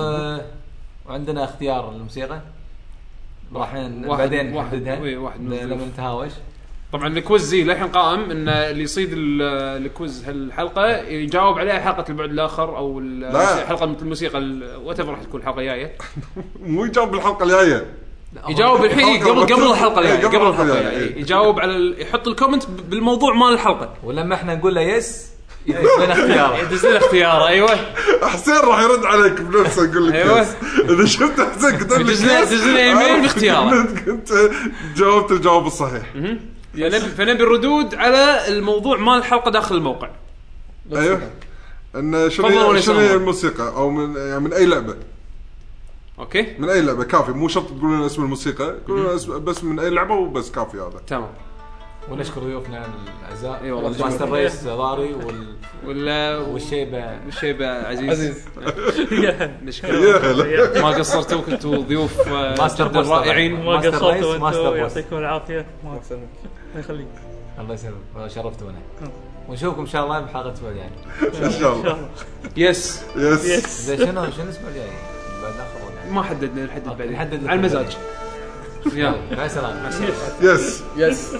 [SPEAKER 5] وعندنا اختيار الموسيقى راح ن-
[SPEAKER 1] واحد-
[SPEAKER 5] بعدين
[SPEAKER 1] واحد-
[SPEAKER 5] نحددها
[SPEAKER 1] إيه، واحد من
[SPEAKER 5] ل-
[SPEAKER 1] الضيوف.
[SPEAKER 5] لما نتهاوش
[SPEAKER 1] طبعا الكويز زي للحين قائم ان اللي يصيد ال- الكويز هالحلقه يجاوب عليها حلقه البعد الاخر او ال-
[SPEAKER 4] لا.
[SPEAKER 1] حلقه مثل الموسيقى وات راح تكون الحلقه الجايه
[SPEAKER 4] مو يجاوب الحلقه الجايه
[SPEAKER 1] يجاوب الحين إيه، قبل قبل الحلقه الجايه
[SPEAKER 4] إيه،
[SPEAKER 1] قبل الحلقه الجايه يجاوب على ال- يحط الكومنت ب- بالموضوع مال الحلقه
[SPEAKER 5] ولما احنا نقول له يس
[SPEAKER 1] إيه.
[SPEAKER 5] يدز لنا
[SPEAKER 1] (laughs)
[SPEAKER 5] اختياره
[SPEAKER 1] يدز لنا اختياره ايوه
[SPEAKER 4] حسين راح يرد عليك بنفسه يقول لك
[SPEAKER 1] أيوة.
[SPEAKER 4] يس. اذا شفت حسين كتب لك
[SPEAKER 1] يدز لنا-
[SPEAKER 4] يس،
[SPEAKER 1] يدز لنا إيميل
[SPEAKER 4] عرفت (laughs)
[SPEAKER 1] باختياره.
[SPEAKER 4] إنك انت أيوة. جاوبت الجواب الصحيح
[SPEAKER 1] فنبي فنبي الردود على الموضوع مال الحلقه داخل الموقع
[SPEAKER 4] ايوه ان شنو
[SPEAKER 1] تفضل ولا
[SPEAKER 4] هي- شنو
[SPEAKER 1] يسمع.
[SPEAKER 4] هي الموسيقى او من يعني من اي لعبه
[SPEAKER 1] اوكي
[SPEAKER 4] من اي لعبه كافي مو شرط تقول لنا اسم الموسيقى قول لنا اسم- بس من اي لعبه وبس كافي هذا
[SPEAKER 1] تمام
[SPEAKER 5] ونشكر ضيوفنا الاعزاء
[SPEAKER 1] إي إيه والله.
[SPEAKER 5] ماستر ريس ضاري وال...
[SPEAKER 1] ولا
[SPEAKER 5] والشيبه
[SPEAKER 1] والشيبه عزيز (laughs) عزيز
[SPEAKER 4] يا
[SPEAKER 1] نشكرك
[SPEAKER 4] هلا
[SPEAKER 1] ما قصرتوا كنتوا ضيوف آه،
[SPEAKER 5] (laughs) ماستر
[SPEAKER 1] جدا
[SPEAKER 5] بوستر.
[SPEAKER 1] رائعين
[SPEAKER 3] ما
[SPEAKER 5] ماستر ريس،
[SPEAKER 3] قصرتوا
[SPEAKER 5] ماستر
[SPEAKER 3] انتم
[SPEAKER 5] بوس.
[SPEAKER 3] يعطيكم العافيه ما الله يخليك
[SPEAKER 5] الله يسلمك شرفتونا ونشوفكم ان شاء الله بحلقه الاسبوع الجاي
[SPEAKER 4] ان شاء الله
[SPEAKER 1] يس
[SPEAKER 4] يس
[SPEAKER 3] يس
[SPEAKER 5] زين شنو شنو الاسبوع الجاي؟ بعد اخر ولا؟
[SPEAKER 1] ما حددنا نحدد بعدين
[SPEAKER 5] نحدد
[SPEAKER 1] على المزاج يلا
[SPEAKER 5] مع السلامه
[SPEAKER 4] يس
[SPEAKER 9] يس